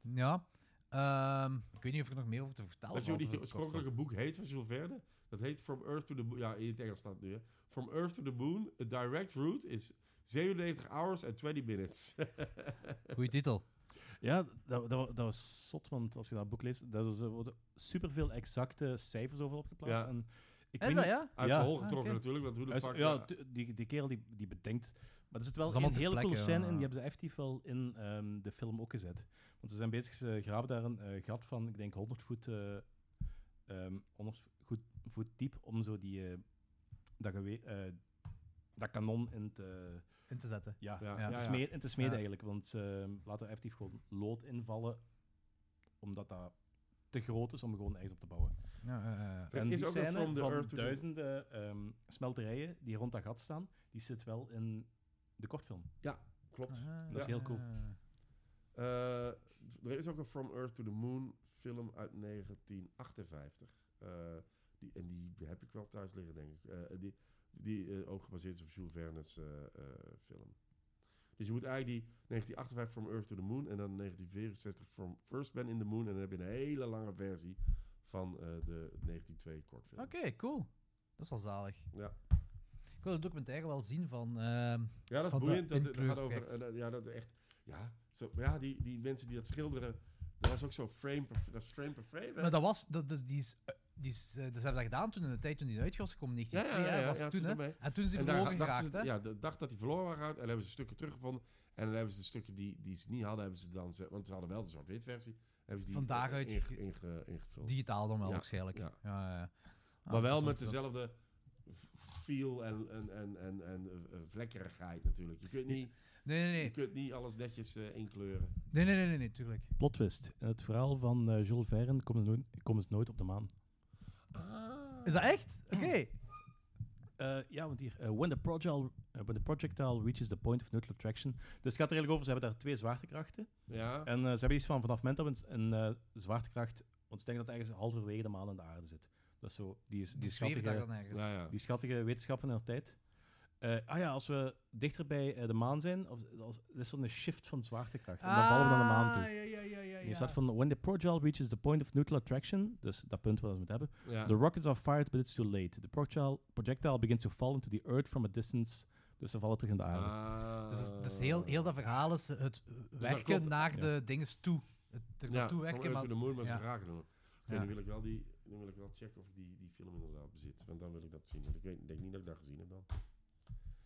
[SPEAKER 4] Ja. Ehm, ik weet niet of ik er nog meer over te vertellen
[SPEAKER 2] Dat jullie
[SPEAKER 4] valt.
[SPEAKER 2] die oorspronkelijke boek heet van Jules Verne. Dat heet From Earth to the Moon. Ja, in het Engels staat het nu. Hè. From Earth to the Moon, a direct route is 97 hours and 20 minutes.
[SPEAKER 4] Goeie titel.
[SPEAKER 3] Ja, dat, dat, wa- dat was zot, want als je dat boek leest, daar zo- er worden superveel exacte cijfers over opgeplaatst.
[SPEAKER 2] Ja.
[SPEAKER 3] En ik
[SPEAKER 4] Is
[SPEAKER 3] weet
[SPEAKER 4] dat,
[SPEAKER 3] niet-
[SPEAKER 4] ja?
[SPEAKER 2] Uit
[SPEAKER 3] Ja.
[SPEAKER 2] de hol
[SPEAKER 4] Ah,
[SPEAKER 2] getrokken
[SPEAKER 4] oké.
[SPEAKER 2] natuurlijk, want hoe de
[SPEAKER 3] Hij is-
[SPEAKER 2] fuck...
[SPEAKER 3] ja,
[SPEAKER 2] ja,
[SPEAKER 3] tu- die, die kerel die, die bedenkt. Maar er zit
[SPEAKER 4] Dat is
[SPEAKER 3] wel
[SPEAKER 4] allemaal
[SPEAKER 3] een
[SPEAKER 4] ter
[SPEAKER 3] hele coole
[SPEAKER 4] plekke,
[SPEAKER 3] scène in,
[SPEAKER 4] ja.
[SPEAKER 3] die hebben ze effectief wel in ehm, de film ook gezet. Want ze zijn bezig, ze graven daar een eh, gat van, ik denk 100 voet, eh, ehm, 100 voet, voet diep om zo die, eh, dat, gewe- eh, dat kanon in te,
[SPEAKER 4] In te zetten.
[SPEAKER 3] ja,
[SPEAKER 2] Ja,
[SPEAKER 4] ja,
[SPEAKER 3] in te
[SPEAKER 2] ja.
[SPEAKER 3] smeden, in te smeden
[SPEAKER 4] Ja.
[SPEAKER 3] eigenlijk. Want ze ehm, laten effectief gewoon lood invallen, omdat dat te groot is om gewoon echt op te bouwen.
[SPEAKER 4] Ja, ja, ja, ja.
[SPEAKER 2] Er
[SPEAKER 3] En
[SPEAKER 2] is
[SPEAKER 3] die
[SPEAKER 2] ook een
[SPEAKER 3] scène
[SPEAKER 2] From the
[SPEAKER 3] van
[SPEAKER 2] Earth to the-
[SPEAKER 3] duizenden ehm, smelterijen die rond dat gat staan, die zit wel in de kortfilm.
[SPEAKER 2] klopt.
[SPEAKER 4] Ah,
[SPEAKER 3] Dat is heel cool.
[SPEAKER 2] Eh, er is ook een From Earth to the Moon film uit 1958. Eh, die, en die heb ik wel thuis liggen, denk ik. Eh, die die eh, ook gebaseerd is op Jules Verne's eh, eh, film. Dus je moet eigenlijk die 1958 From Earth to the Moon en dan 1964 From First Man in the Moon. En dan heb je een hele lange versie van eh, de 1902 kortfilm.
[SPEAKER 4] Oké, cool. Dat is wel zalig.
[SPEAKER 2] Ja.
[SPEAKER 4] Ik wil de documentaire wel zien van... ehm,
[SPEAKER 2] Ja, dat is
[SPEAKER 4] Van de
[SPEAKER 2] boeiend. Dat, dat gaat over.
[SPEAKER 4] inkleurenproject.
[SPEAKER 2] eh, ja, dat echt. Ja, zo, maar ja die, die mensen die dat schilderen. Dat was ook zo frame per, dat is frame per frame. hè?
[SPEAKER 4] Maar dat was, dat, dus die is, eh, die is, eh, dat ze hebben dat gedaan toen in de tijd toen die uit was gekomen,
[SPEAKER 2] ja, ja,
[SPEAKER 4] 1902.
[SPEAKER 2] ja,
[SPEAKER 4] hè,
[SPEAKER 2] ja,
[SPEAKER 4] was
[SPEAKER 2] ja,
[SPEAKER 4] het toen,
[SPEAKER 2] het is
[SPEAKER 4] hè.
[SPEAKER 2] ermee.
[SPEAKER 4] En toen is die
[SPEAKER 2] En daar
[SPEAKER 4] verloren
[SPEAKER 2] dachten
[SPEAKER 4] geraakt,
[SPEAKER 2] ze-
[SPEAKER 4] hè?
[SPEAKER 2] Ja, de dag dat hij verloren waren geraakt. En hebben ze stukken teruggevonden. En dan hebben ze de stukken die, die ze niet hadden, hebben ze dan... ze- Want ze hadden wel de zwart-wit versie. Hebben ze die
[SPEAKER 4] Van
[SPEAKER 2] eh,
[SPEAKER 4] daaruit
[SPEAKER 2] inge-
[SPEAKER 4] ge-
[SPEAKER 2] inge- ingevuld.
[SPEAKER 4] Digitaal dan wel,
[SPEAKER 2] Ja,
[SPEAKER 4] waarschijnlijk.
[SPEAKER 2] ja.
[SPEAKER 4] Ja. Ja, ja. Ah,
[SPEAKER 2] maar wel
[SPEAKER 4] dat
[SPEAKER 2] met
[SPEAKER 4] is wel-
[SPEAKER 2] dezelfde f- feel en, en, en, en, en eh, eh, vlekkerigheid natuurlijk. Je kunt niet,
[SPEAKER 4] Nee, nee,
[SPEAKER 2] je
[SPEAKER 4] nee.
[SPEAKER 2] kunt niet alles netjes eh, inkleuren.
[SPEAKER 4] Nee, nee, nee, nee, nee, tuurlijk.
[SPEAKER 3] Plot twist. In het verhaal van eh, Jules Verne komen ze, nooit, komen ze nooit op de maan.
[SPEAKER 4] Is dat echt? Oké.
[SPEAKER 3] Eh, ja, want hier, eh, when, the projectile, eh, when the projectile reaches the point of neutral attraction. Dus het gaat er eigenlijk over, ze hebben daar twee zwaartekrachten.
[SPEAKER 2] Ja,
[SPEAKER 3] En eh, ze hebben iets van, vanaf het moment dat we een eh, zwaartekracht ontdekken, dat ergens halverwege de maan aan de aarde zit. Dat is zo, die is, die
[SPEAKER 4] Die zweeft daar
[SPEAKER 3] schattige,
[SPEAKER 4] dan ergens.
[SPEAKER 2] ja, ja.
[SPEAKER 3] die schattige wetenschappen in de tijd. eh, ah ja, als we dichter bij eh, de maan zijn, of, als, er is zo'n shift van zwaartekracht. En
[SPEAKER 4] Ah,
[SPEAKER 3] dan vallen we naar de maan toe.
[SPEAKER 4] Ja, ja, ja, ja,
[SPEAKER 3] En je
[SPEAKER 4] ja.
[SPEAKER 3] staat van, when the projectile reaches the point of neutral attraction, dus dat punt waar we het hebben,
[SPEAKER 5] Ja.
[SPEAKER 3] the rockets are fired, but it's too late. The projectile, projectile begins to fall into the earth from a distance, dus ze vallen terug in de aarde.
[SPEAKER 2] Ah.
[SPEAKER 4] Dus, dat is- dus heel, heel dat verhaal is het werken
[SPEAKER 5] klopt,
[SPEAKER 4] naar
[SPEAKER 3] ja.
[SPEAKER 4] de dinges toe. Het er
[SPEAKER 5] Ja,
[SPEAKER 4] naartoe
[SPEAKER 5] From
[SPEAKER 4] werken,
[SPEAKER 5] Earth
[SPEAKER 4] maar...
[SPEAKER 5] to the Moon, maar ze
[SPEAKER 4] ja.
[SPEAKER 5] raken hem. Oké,
[SPEAKER 4] Ja.
[SPEAKER 5] nu wil ik-
[SPEAKER 2] wil ik wel die, dan wil ik wel checken of ik die, die film inderdaad bezit. Want dan wil ik dat zien. Want ik weet, denk niet dat ik dat gezien heb dan.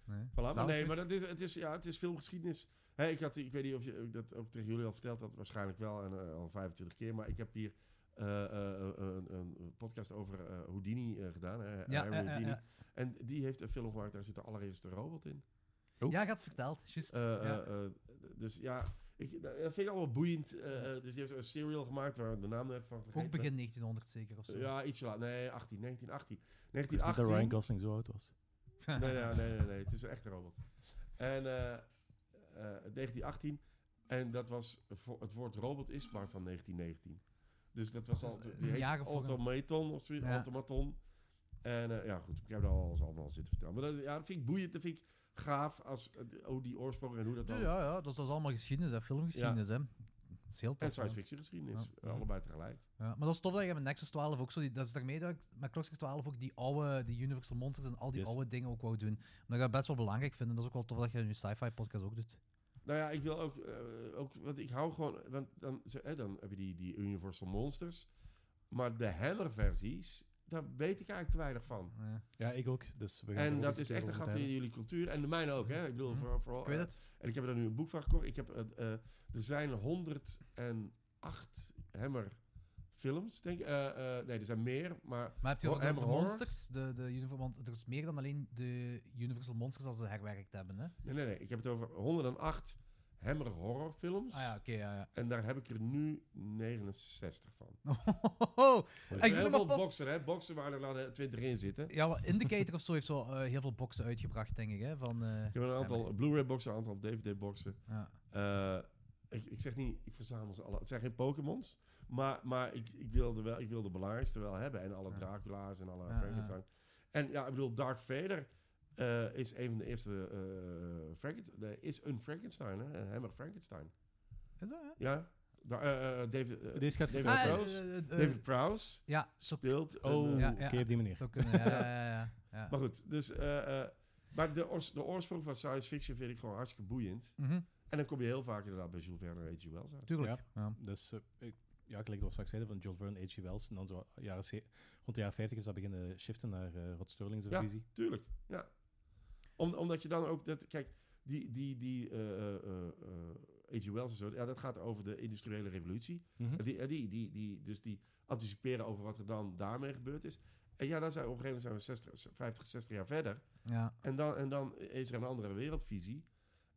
[SPEAKER 4] Nee.
[SPEAKER 2] Voilà, maar
[SPEAKER 4] Zou
[SPEAKER 2] nee,
[SPEAKER 4] het-
[SPEAKER 2] maar dat is, het, is, ja, het is filmgeschiedenis. Hè, ik, had, die- ik weet niet of je dat ook tegen jullie al verteld had, waarschijnlijk wel, en, eh, al 25 keer. Maar ik heb hier eh, eh, eh, een, een podcast over eh, Houdini eh, gedaan, hè,
[SPEAKER 4] Ja, eh,
[SPEAKER 2] Harry
[SPEAKER 4] ja, ja,
[SPEAKER 2] Houdini.
[SPEAKER 4] ja.
[SPEAKER 2] En die heeft een film gemaakt, daar zit de allereerste robot in.
[SPEAKER 4] ja, gaat het verteld. Juist.
[SPEAKER 2] Eh,
[SPEAKER 4] ja.
[SPEAKER 2] eh, eh, dus ja, ik, dat vind ik allemaal boeiend. eh, eh, dus die heeft een serial gemaakt waar ik de naam net van vergeten
[SPEAKER 4] Ook begin 1900 zeker of zo.
[SPEAKER 2] ben. eh, Ja, iets later. Nee, 18, 1918.
[SPEAKER 3] Ik wist Dus niet dat
[SPEAKER 2] 1918.
[SPEAKER 3] Ryan Gosling zo oud was.
[SPEAKER 2] Nee, nee, nee, nee, nee, Het is een echte robot. En eh, eh, 1918. En dat was vo- het woord robot is maar van 1919. Dus dat was
[SPEAKER 4] Dat
[SPEAKER 2] al.
[SPEAKER 4] is, eh,
[SPEAKER 2] Die heet
[SPEAKER 4] jaren voor hem.
[SPEAKER 2] automaton of zoiets.
[SPEAKER 4] Ja.
[SPEAKER 2] Automaton. En eh, ja, goed. Ik heb daar al alles allemaal zitten vertellen. Maar dat, ja, dat vind ik boeiend. Dat vind ik gaaf. Als, eh, oh, die oorsprong en hoe dat
[SPEAKER 4] Ja,
[SPEAKER 2] dan.
[SPEAKER 4] ja, ja, dat is, dat is allemaal geschiedenis, hè. filmgeschiedenis. Hè. Dat is heel tof.
[SPEAKER 2] En science
[SPEAKER 4] ja.
[SPEAKER 2] fiction geschiedenis.
[SPEAKER 4] Ja.
[SPEAKER 2] Allebei tegelijk.
[SPEAKER 4] Ja, maar dat is tof dat je met Nexus 12 ook zo... Die, dat is daarmee dat ik met Crossfire 12 ook die oude die Universal Monsters en al die
[SPEAKER 3] Yes.
[SPEAKER 4] oude dingen ook wou doen. Omdat ik dat best wel belangrijk vind. En dat is ook wel tof dat je in je sci-fi podcast ook doet.
[SPEAKER 2] Nou ja, ik wil ook, eh, ook want ik hou gewoon, want dan, ze- eh, dan heb je die, die Universal Monsters, maar de Hammer-versies, daar weet ik eigenlijk te weinig van.
[SPEAKER 4] Ja.
[SPEAKER 3] Ja, ik ook. Dus we gaan er
[SPEAKER 2] En
[SPEAKER 3] ook eens
[SPEAKER 2] dat is
[SPEAKER 3] keer
[SPEAKER 2] echt een
[SPEAKER 3] over
[SPEAKER 2] gat in
[SPEAKER 3] vertellen.
[SPEAKER 2] jullie cultuur en de mijne ook, hè? Ik bedoel,
[SPEAKER 4] Mhm.
[SPEAKER 2] voor, voor, eh,
[SPEAKER 4] Ik weet het.
[SPEAKER 2] En ik heb er nu een boek van gekocht. Ik heb, eh, eh, er zijn 108 Hammer-films, denk ik. Eh, eh, nee, er zijn meer, maar
[SPEAKER 4] Maar heb je
[SPEAKER 2] Hoor-
[SPEAKER 4] ook de,
[SPEAKER 2] Hammer
[SPEAKER 4] de
[SPEAKER 2] Horror?
[SPEAKER 4] monsters? De, de Universal, want er is meer dan alleen de Universal Monsters als ze herwerkt hebben, hè? Ah
[SPEAKER 2] nee, nee, nee. Ik heb het over 108 Hammer-horrorfilms.
[SPEAKER 4] Ah ja, oké, ja, ja.
[SPEAKER 2] En daar heb ik er nu 69 van. Ik
[SPEAKER 4] Ik zit
[SPEAKER 2] heel veel
[SPEAKER 4] nog maar pas-
[SPEAKER 2] boksen, hè? Boksen waar er dan eh, 20 in zitten.
[SPEAKER 4] Ja, maar Indicator of zo heeft zo eh, heel veel boxen uitgebracht, denk ik, hè? Van, eh,
[SPEAKER 2] Ik heb een aantal
[SPEAKER 4] Hammer.
[SPEAKER 2] Blu-ray-boxen, een aantal DVD-boxen.
[SPEAKER 4] ja.
[SPEAKER 2] Eh, ik, ik zeg niet, ik verzamel ze alle. Het zijn geen Pokémons, maar, maar ik, ik, wilde wel, ik wil de belangrijkste wel hebben. En alle
[SPEAKER 4] Ja.
[SPEAKER 2] Dracula's en alle
[SPEAKER 4] Ja,
[SPEAKER 2] Frankenstein. En ja, ik bedoel, Darth Vader eh, is een van de eerste. eh Franken- nee, is een Frankenstein, hè? Een Hammer Frankenstein.
[SPEAKER 4] Is dat, hè?
[SPEAKER 2] Ja? Da- eh, eh, David, eh,
[SPEAKER 3] Deze gaat
[SPEAKER 2] David
[SPEAKER 3] goed.
[SPEAKER 4] Ah, eh,
[SPEAKER 2] Prowse?
[SPEAKER 4] eh, eh,
[SPEAKER 2] David Prowse
[SPEAKER 4] ja, zo
[SPEAKER 2] speelt. een,
[SPEAKER 3] Oh,
[SPEAKER 2] eh,
[SPEAKER 4] Ja,
[SPEAKER 3] oké,
[SPEAKER 4] ja.
[SPEAKER 3] op die manier.
[SPEAKER 4] zou kunnen. Ja, ja, ja, ja, ja.
[SPEAKER 2] Maar goed, dus. eh, eh, maar de, oors- de oorsprong van science fiction vind ik gewoon hartstikke boeiend.
[SPEAKER 4] Mhm,
[SPEAKER 2] En dan kom je heel vaak inderdaad bij Jules Verne en H.G. Wells uit.
[SPEAKER 4] tuurlijk. Ja.
[SPEAKER 3] Dus eh, ik, ja, gelijk wat we straks zeiden van Jules Verne, H.G. Wells. En dan zo jaren, ze- rond de jaren 50 is dat beginnen shiften naar eh Rod Sterling's
[SPEAKER 2] Ja.
[SPEAKER 3] visie.
[SPEAKER 2] Tuurlijk, ja. Om, omdat je dan ook... Dat, kijk, die... die, die eh, eh, eh, eh, H.G. Wells en zo, ja, dat gaat over de industriële revolutie.
[SPEAKER 3] Mhm.
[SPEAKER 2] En Die, en die, die, die, dus die anticiperen over wat er dan daarmee gebeurd is. En ja, dan zijn we op een gegeven moment zijn we 60, 50, 60 jaar verder.
[SPEAKER 4] Ja.
[SPEAKER 2] En dan, en dan is er een andere wereldvisie.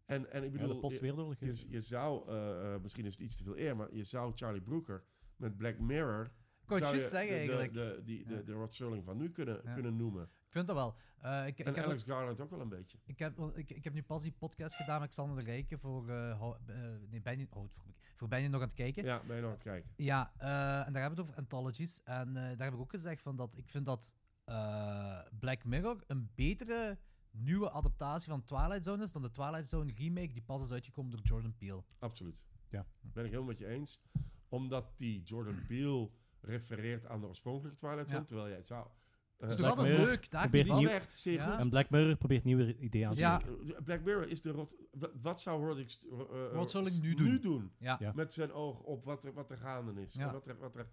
[SPEAKER 2] En, en ik
[SPEAKER 3] Ja, dus-
[SPEAKER 2] bedoel... eh,
[SPEAKER 3] de postwereldoorlog.
[SPEAKER 2] Je, je zou, eh, eh, misschien is het iets te veel eer, maar je zou Charlie Brooker met Black Mirror.
[SPEAKER 4] wou het
[SPEAKER 2] zou
[SPEAKER 4] juist
[SPEAKER 2] je
[SPEAKER 4] zeggen,
[SPEAKER 2] de,
[SPEAKER 4] eigenlijk.
[SPEAKER 2] De, de, die- de,
[SPEAKER 4] Ja.
[SPEAKER 2] de Rod Serling van nu kunnen,
[SPEAKER 4] Ja.
[SPEAKER 2] kunnen noemen.
[SPEAKER 4] Ik vind dat wel. Eh, ik, ik,
[SPEAKER 2] en
[SPEAKER 4] heb,
[SPEAKER 2] Alex Garland ook wel een beetje.
[SPEAKER 4] ik, heb, ik, ik heb nu pas die podcast gedaan met Xander de Rijken voor, eh hou- eh, nee, ben je, oh, voor, voor Ben je nog aan het kijken.
[SPEAKER 2] Ja, ben je nog aan het kijken.
[SPEAKER 4] Ja, eh, en daar hebben we het over anthologies. En eh, daar heb ik ook gezegd van dat ik vind dat eh, Black Mirror een betere nieuwe adaptatie van Twilight Zone is dan de Twilight Zone remake die pas is uitgekomen door Jordan
[SPEAKER 2] Eh,
[SPEAKER 4] Peele.
[SPEAKER 2] Absoluut.
[SPEAKER 3] Ja.
[SPEAKER 2] Ben ik helemaal met je eens. Omdat die Jordan Peele refereert aan de oorspronkelijke Twilight Zone.
[SPEAKER 4] Ja.
[SPEAKER 2] Terwijl jij zou...
[SPEAKER 4] Het is
[SPEAKER 2] eh
[SPEAKER 4] Dus toch
[SPEAKER 3] Black
[SPEAKER 4] altijd
[SPEAKER 3] Mirror
[SPEAKER 4] leuk, daar
[SPEAKER 3] probeert
[SPEAKER 4] niet
[SPEAKER 2] was
[SPEAKER 4] van.
[SPEAKER 3] nieuw-
[SPEAKER 2] echt zeer
[SPEAKER 4] Ja.
[SPEAKER 2] goed.
[SPEAKER 3] En Black Mirror probeert nieuwe ideeën aan te
[SPEAKER 4] Ja.
[SPEAKER 3] zetten.
[SPEAKER 2] Dus Black Mirror is de rot... wa- Wat zou Rod, Ex- eh, eh,
[SPEAKER 4] Rod Serling nu doen? Ja.
[SPEAKER 3] Ja.
[SPEAKER 2] met zijn oog op wat er, wat er gaande is.
[SPEAKER 4] Ja.
[SPEAKER 2] En, wat er, wat er,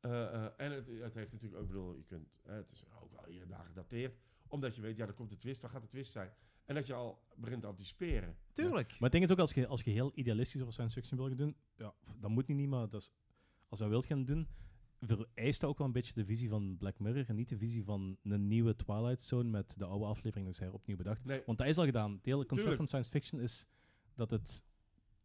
[SPEAKER 2] eh, eh, en het, het heeft natuurlijk ook, ik bedoel, je kunt, eh, het is ook wel iedere dag gedateerd, omdat je weet, ja, er komt de twist, wat gaat de twist zijn? En dat je al begint te anticiperen.
[SPEAKER 4] tuurlijk.
[SPEAKER 3] Maar het ding is ook, als je, als je heel idealistisch over science fiction wil gaan doen, ja, pff, dat moet niet, niet, maar dat is, als je dat wilt gaan doen, vereist dat ook wel een beetje de visie van Black Mirror en niet de visie van een nieuwe Twilight Zone met de oude aflevering nog eens opnieuw bedacht.
[SPEAKER 2] Nee,
[SPEAKER 3] Want dat is al gedaan. Het hele concept
[SPEAKER 2] Tuurlijk.
[SPEAKER 3] van science fiction is dat het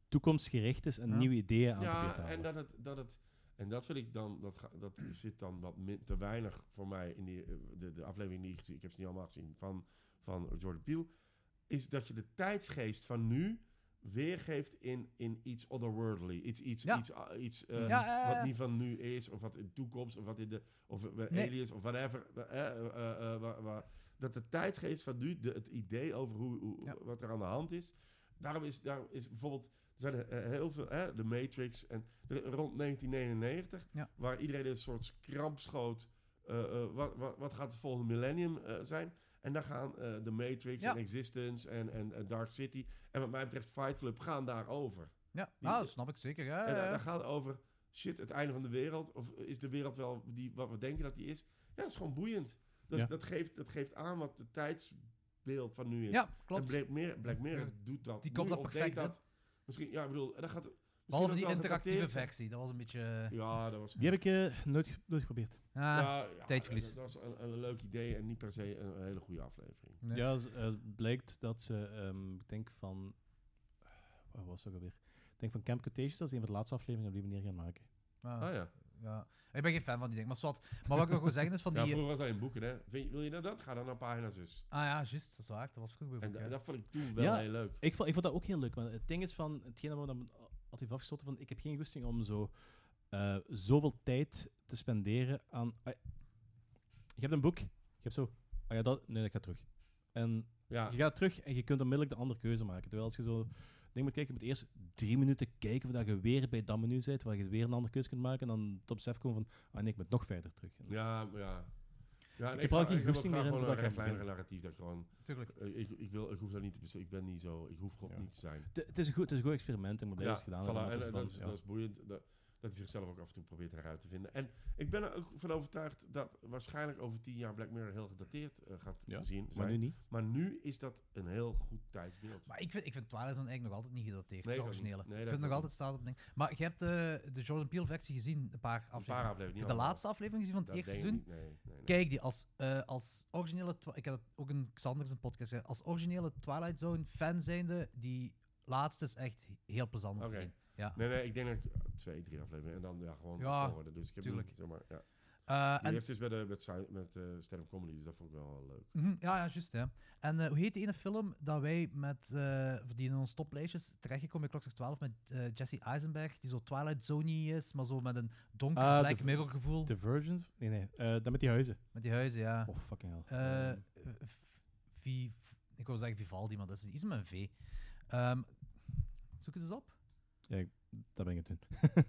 [SPEAKER 3] toekomstgericht is en
[SPEAKER 4] Ja.
[SPEAKER 3] nieuwe ideeën aan probeert te
[SPEAKER 2] ja, en
[SPEAKER 3] halen.
[SPEAKER 2] dat het, dat het, en dat vind ik dan, dat, ga- dat zit dan wat min, te weinig voor mij in die, eh, de, de aflevering die ik gezien, ik heb ze niet allemaal gezien, van, van Jordan Peele, is dat je de tijdsgeest van nu weergeeft in, in iets otherworldly, iets, iets,
[SPEAKER 4] Ja.
[SPEAKER 2] iets, ah, iets eh,
[SPEAKER 4] Ja, ja, ja, ja.
[SPEAKER 2] wat niet van nu is, of wat in de toekomst, of wat in de of eh,
[SPEAKER 4] Nee.
[SPEAKER 2] aliens, of whatever. eh, eh, eh, eh, wa- wa- dat de tijdsgeest van nu, de, het idee over hoe, hoe-
[SPEAKER 4] Ja.
[SPEAKER 2] wat er aan de hand is. Daarom is, daarom is bijvoorbeeld, er zijn er, eh, heel veel, hè, de Matrix en de- rond 1999,
[SPEAKER 4] Ja.
[SPEAKER 2] waar iedereen in een soort kramp schoot. eh, eh, wat, wat, wat gaat het volgende millennium eh, zijn? En dan gaan eh, de Matrix
[SPEAKER 4] Ja.
[SPEAKER 2] en Existence en, en, en Dark City en wat mij betreft Fight Club gaan daarover.
[SPEAKER 4] Ja, nou, dat snap ik zeker. Ja,
[SPEAKER 2] En
[SPEAKER 4] ja,
[SPEAKER 2] dan
[SPEAKER 4] ja.
[SPEAKER 2] dan gaat het over shit, het einde van de wereld. Of is de wereld wel die, wat we denken dat die is? Ja, dat is gewoon boeiend. Dus
[SPEAKER 3] Ja.
[SPEAKER 2] dat, geeft, dat geeft aan wat de tijdsbeeld van nu is.
[SPEAKER 4] Ja,
[SPEAKER 2] En
[SPEAKER 4] klopt.
[SPEAKER 2] Black Mirror, Black Mirror
[SPEAKER 4] Ja,
[SPEAKER 2] doet dat.
[SPEAKER 4] die komt
[SPEAKER 2] Nu
[SPEAKER 4] dat
[SPEAKER 2] of
[SPEAKER 4] perfect
[SPEAKER 2] deed dat. Misschien, ja, ik bedoel, en dan gaat. misschien
[SPEAKER 4] Behalve
[SPEAKER 2] ook
[SPEAKER 4] die
[SPEAKER 2] wel
[SPEAKER 4] interactieve
[SPEAKER 2] getacteerd zijn.
[SPEAKER 4] versie, dat was een beetje...
[SPEAKER 2] Ja, dat was.
[SPEAKER 3] Die heb ik eh, nooit, ge- nooit geprobeerd.
[SPEAKER 4] Ja,
[SPEAKER 2] ja, ja,
[SPEAKER 4] Ah, tijdverlies.
[SPEAKER 2] Dat, dat was een, een leuk idee en niet per se een, een hele goede aflevering.
[SPEAKER 4] Ja.
[SPEAKER 3] Ja, ze- eh, het blijkt dat ze, ehm, ik denk van, waar was het ook alweer? Ik denk van Camp Cretaceous, dat is een van de laatste afleveringen op die manier gaan maken.
[SPEAKER 4] ah,
[SPEAKER 2] Ah ja.
[SPEAKER 4] ja. Ik ben geen fan van die ding, maar zwart. Maar wat ik nog wil zeggen is van
[SPEAKER 2] ja,
[SPEAKER 4] die... eh,
[SPEAKER 2] vroeger was dat in boeken, hè? Vind, je- wil je nou dat? Ga dan naar pagina zus.
[SPEAKER 4] Ah ja, juist, dat is waar. Dat was vroeger.
[SPEAKER 2] En,
[SPEAKER 4] weer.
[SPEAKER 2] en dat vond ik toen wel
[SPEAKER 3] Ja.
[SPEAKER 2] heel leuk.
[SPEAKER 3] Ik vond, ik vond dat ook heel leuk, want het ding is van, hetgeen dat we dan altijd afgesloten van, ik heb geen goesting om zo eh, zoveel tijd te spenderen aan... ah, je hebt een boek, je hebt zo, ah ja, dat, nee, dat gaat terug. En
[SPEAKER 2] Ja,
[SPEAKER 3] je gaat terug en je kunt onmiddellijk de andere keuze maken. Terwijl als je zo ding moet kijken, je moet eerst drie minuten kijken voordat je weer bij dat menu zit, waar je weer een andere keuze kunt maken. En dan tot besef komen van, ah nee, ik moet nog verder terug. En-
[SPEAKER 2] ja, ja. ja en
[SPEAKER 3] heb
[SPEAKER 2] ik
[SPEAKER 3] al
[SPEAKER 2] ga-
[SPEAKER 3] geen
[SPEAKER 2] ik heb ook
[SPEAKER 3] goesting
[SPEAKER 2] graag
[SPEAKER 3] meer in
[SPEAKER 2] gewoon
[SPEAKER 3] dat ik
[SPEAKER 2] een
[SPEAKER 3] aan
[SPEAKER 2] rechtlijnige
[SPEAKER 3] begin.
[SPEAKER 2] narratief dat ik gewoon
[SPEAKER 4] Tuurlijk.
[SPEAKER 2] Eh, Ik, ik, wil, ik hoef dat niet te beslissen. Ik ben niet zo. Ik hoef God
[SPEAKER 3] Ja.
[SPEAKER 2] niet te zijn.
[SPEAKER 3] Het- Het is een goed, het is een goed experiment, ik ben blij
[SPEAKER 2] ja,
[SPEAKER 3] dat ze het
[SPEAKER 2] voilà,
[SPEAKER 3] gedaan
[SPEAKER 2] en,
[SPEAKER 3] hebben.
[SPEAKER 2] eh, dat,
[SPEAKER 3] maar het
[SPEAKER 2] is,
[SPEAKER 3] is van,
[SPEAKER 2] dat is boeiend. Dat, dat hij zichzelf ook af en toe probeert eruit te vinden. En ik ben er ook van overtuigd dat waarschijnlijk over tien jaar Black Mirror heel gedateerd eh, gaat
[SPEAKER 3] Ja,
[SPEAKER 2] zien.
[SPEAKER 3] ja. Maar nu niet.
[SPEAKER 2] maar nu is dat een heel goed tijdsbeeld.
[SPEAKER 4] Maar ik vind, ik vind Twilight Zone eigenlijk nog altijd niet gedateerd,
[SPEAKER 2] Nee,
[SPEAKER 4] het
[SPEAKER 2] ik ook niet.
[SPEAKER 4] originele.
[SPEAKER 2] Nee,
[SPEAKER 4] ik
[SPEAKER 2] dat
[SPEAKER 4] vind het nog
[SPEAKER 2] ook
[SPEAKER 4] altijd staat op ding. Maar je hebt eh, de Jordan Peele versie gezien, een
[SPEAKER 2] een
[SPEAKER 4] paar afleveringen.
[SPEAKER 2] paar afleveringen.
[SPEAKER 4] Heb
[SPEAKER 2] niet
[SPEAKER 4] je de
[SPEAKER 2] allemaal.
[SPEAKER 4] laatste aflevering gezien van het
[SPEAKER 2] Dat
[SPEAKER 4] eerste
[SPEAKER 2] denk
[SPEAKER 4] seizoen?
[SPEAKER 2] ik niet, Nee, nee, nee.
[SPEAKER 4] Kijk die, als, eh, als originele... Twi- Ik had het ook in Xander zijn podcast gezegd. Als originele Twilight Zone fan zijnde, die laatste is echt heel plezant om te
[SPEAKER 2] Oké.
[SPEAKER 4] zien. Ja.
[SPEAKER 2] Nee, nee, ik denk dat ik eh, twee, drie afleveringen. En dan ja, gewoon
[SPEAKER 4] Ja,
[SPEAKER 2] volgorde. Dus ik heb
[SPEAKER 4] tuurlijk.
[SPEAKER 2] nu, zeg maar, ja.
[SPEAKER 4] Eh,
[SPEAKER 2] Die
[SPEAKER 4] en,
[SPEAKER 2] heeft dus met, eh, met, sci- met eh, stand-up comedy, dus dat vond ik wel leuk.
[SPEAKER 4] Mhm, ja, ja, juist. Ja. En eh, hoe heet die ene film dat wij met, eh, die in onze toplijstjes terechtgekomen bij Klokslag 12 met eh, Jesse Eisenberg, die zo Twilight Zone is, maar zo met een donker
[SPEAKER 3] Ah,
[SPEAKER 4] Black
[SPEAKER 3] de-
[SPEAKER 4] Mirror gevoel.
[SPEAKER 3] The Virgins? Nee, nee, eh dat met die huizen.
[SPEAKER 4] Met die huizen, ja.
[SPEAKER 3] Oh, fucking hell.
[SPEAKER 4] Eh,
[SPEAKER 3] Ehm,
[SPEAKER 4] v- vi, ik wil zeggen Vivaldi, maar dat is iets met een V. Ehm, zoek het eens op.
[SPEAKER 3] dat ben ik het doen.
[SPEAKER 4] Ehm,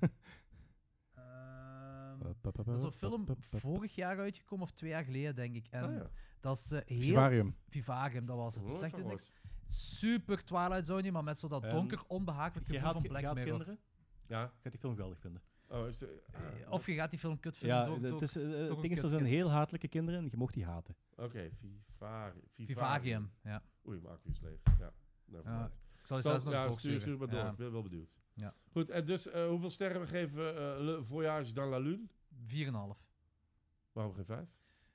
[SPEAKER 3] eh, Pa, pa, pa,
[SPEAKER 4] dat is een
[SPEAKER 3] pa,
[SPEAKER 4] film
[SPEAKER 3] pa, pa, pa.
[SPEAKER 4] vorig jaar uitgekomen, of twee jaar geleden, denk ik. En
[SPEAKER 2] Ah, ja. Hm, Oh,
[SPEAKER 4] dat is eh, heel...
[SPEAKER 3] Vivarium.
[SPEAKER 4] Vivarium, dat was het.
[SPEAKER 2] Nooit
[SPEAKER 4] Zegt
[SPEAKER 2] van
[SPEAKER 4] het niks?
[SPEAKER 2] gehoord.
[SPEAKER 4] Super Twilight Zone, maar met zo dat
[SPEAKER 3] Ehm,
[SPEAKER 4] donker, onbehagelijk
[SPEAKER 3] Je
[SPEAKER 4] gevoel
[SPEAKER 3] gaat,
[SPEAKER 4] van
[SPEAKER 3] ki-
[SPEAKER 4] Black
[SPEAKER 3] je gaat
[SPEAKER 4] Mirror.
[SPEAKER 3] kinderen,
[SPEAKER 2] Ja.
[SPEAKER 3] je gaat die film geweldig vinden.
[SPEAKER 2] Oh, is de,
[SPEAKER 4] Eh,
[SPEAKER 2] ah,
[SPEAKER 4] Of je gaat die film kut vinden.
[SPEAKER 3] Ja,
[SPEAKER 4] door-
[SPEAKER 3] het
[SPEAKER 4] door-
[SPEAKER 3] is, eh, het
[SPEAKER 4] een
[SPEAKER 3] ding is, dat zijn
[SPEAKER 4] kutkind.
[SPEAKER 3] heel hatelijke kinderen en je mocht die haten.
[SPEAKER 2] Oké, Vivari-
[SPEAKER 4] Vivarium, ja.
[SPEAKER 2] Oei, mijn accu is leeg. Ja, nou,
[SPEAKER 4] Ja,
[SPEAKER 2] vooruit.
[SPEAKER 4] Ik zal
[SPEAKER 2] Zal-
[SPEAKER 4] die zelfs nog
[SPEAKER 2] ja,
[SPEAKER 4] doorsturen.
[SPEAKER 2] stuur, stuur maar door.
[SPEAKER 4] Ja,
[SPEAKER 2] Ik ben wel benieuwd.
[SPEAKER 4] Ja.
[SPEAKER 2] Goed, en dus eh, hoeveel sterren we geven we Le Voyage dans la Lune?
[SPEAKER 4] 4,5.
[SPEAKER 2] Waarom geen vijf?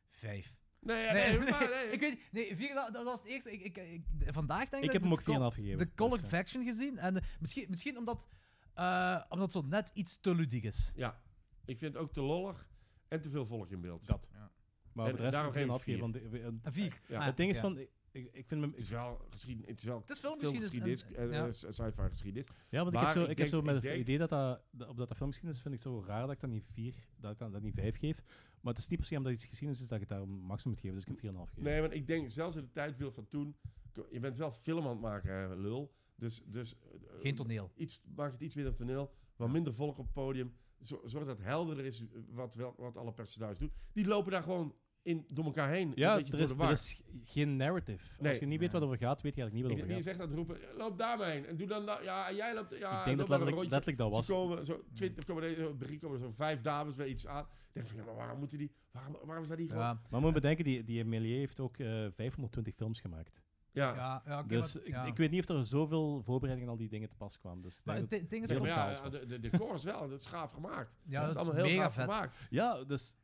[SPEAKER 4] 5.
[SPEAKER 2] Nee, ja, nee, maar nee.
[SPEAKER 4] ik weet niet. Nee, 4,5, dat was het eerste. Ik, ik, ik, vandaag denk
[SPEAKER 3] Ik
[SPEAKER 4] dat
[SPEAKER 3] heb hem
[SPEAKER 4] de
[SPEAKER 3] ook 4,5
[SPEAKER 4] col-
[SPEAKER 3] gegeven.
[SPEAKER 4] De Color
[SPEAKER 3] dus, eh.
[SPEAKER 4] Faction gezien. En eh, misschien, misschien omdat, eh, omdat het zo net iets te ludiek is.
[SPEAKER 2] Ja, ik vind het ook te lollig en te veel volk in beeld.
[SPEAKER 3] Dat.
[SPEAKER 4] Ja.
[SPEAKER 3] Maar voor de
[SPEAKER 2] En
[SPEAKER 3] rest
[SPEAKER 2] Eh, daarom
[SPEAKER 3] heb ik geen
[SPEAKER 2] geef ik
[SPEAKER 3] afgeven. Want de- we- een-
[SPEAKER 4] Een 4.
[SPEAKER 2] Ja.
[SPEAKER 3] het ding is van, ik, ik ik vind hem...
[SPEAKER 2] Het is wel geschiedenis. Het is wel
[SPEAKER 4] Het is
[SPEAKER 2] filmgeschiedenis,
[SPEAKER 4] filmgeschiedenis. en- en-
[SPEAKER 2] eh,
[SPEAKER 4] ja.
[SPEAKER 2] eh, sci-fi geschiedenis.
[SPEAKER 3] Ja, want ik
[SPEAKER 2] Maar
[SPEAKER 3] heb zo,
[SPEAKER 2] ik
[SPEAKER 3] ik heb
[SPEAKER 2] denk-
[SPEAKER 3] zo met
[SPEAKER 2] ik
[SPEAKER 3] het
[SPEAKER 2] denk-
[SPEAKER 3] idee dat, dat, dat op dat filmgeschiedenis vind ik zo raar dat ik dat niet vier, dat ik dat, dat niet vijf geef. Maar het is niet per se omdat iets geschiedenis is dat ik daar een maximum moet geven, dus ik heb 4,5 gegeven.
[SPEAKER 2] Nee, want ik denk zelfs in het tijdbeeld van toen. k- Je bent wel film aan het maken, hè, lul. Dus, dus, eh,
[SPEAKER 4] Geen toneel.
[SPEAKER 2] iets, maak het iets meer dat toneel. Wat minder volk op het podium. Zo- Zorg dat het helderder is wat, wel, wat alle personages doen. Die lopen daar gewoon in, door elkaar heen.
[SPEAKER 3] Ja,
[SPEAKER 2] een beetje
[SPEAKER 3] er
[SPEAKER 2] door
[SPEAKER 3] is,
[SPEAKER 2] de war.
[SPEAKER 3] er is g- geen narrative.
[SPEAKER 2] Nee.
[SPEAKER 3] Als je niet weet
[SPEAKER 4] Nee.
[SPEAKER 3] wat over gaat, weet je eigenlijk
[SPEAKER 2] Ik
[SPEAKER 3] niet
[SPEAKER 2] denk
[SPEAKER 3] wat
[SPEAKER 2] niet
[SPEAKER 3] over
[SPEAKER 2] eens
[SPEAKER 3] gaat.
[SPEAKER 2] echt aan het roepen. "Eh, Loop daar maar heen. En doe dan dat. Ja, en jij loopt. Ja,
[SPEAKER 3] ik denk
[SPEAKER 2] loop
[SPEAKER 3] dat
[SPEAKER 2] maar ah, een rondje.
[SPEAKER 3] letterlijk, letterlijk dat was.
[SPEAKER 2] Ze komen zo, twintig, komen er, zo- drie komen er zo vijf dames bij iets aan. Ik denk van, ja, maar waarom moeten die, waarom, waarom zijn die gewoon... Ja,
[SPEAKER 4] Ja,
[SPEAKER 3] Maar moet bedenken, die, die Emilier heeft ook eh, 520 films gemaakt.
[SPEAKER 2] ja.
[SPEAKER 4] ja, ja oké,
[SPEAKER 3] dus
[SPEAKER 4] maar-
[SPEAKER 3] ik,
[SPEAKER 4] ja.
[SPEAKER 3] ik weet niet of er zoveel voorbereidingen en al die dingen te pas kwamen. Dus ik
[SPEAKER 4] Maar
[SPEAKER 3] denk
[SPEAKER 4] het
[SPEAKER 3] dat-
[SPEAKER 4] di- ding is
[SPEAKER 2] maar
[SPEAKER 4] ook...
[SPEAKER 2] ja,
[SPEAKER 3] chaos was.
[SPEAKER 2] de, de decor is wel, dat is gaaf gemaakt.
[SPEAKER 4] Ja,
[SPEAKER 2] dat is
[SPEAKER 4] dat
[SPEAKER 2] allemaal heel
[SPEAKER 4] mega
[SPEAKER 2] gaaf
[SPEAKER 4] vet.
[SPEAKER 2] gemaakt.
[SPEAKER 3] ja, dus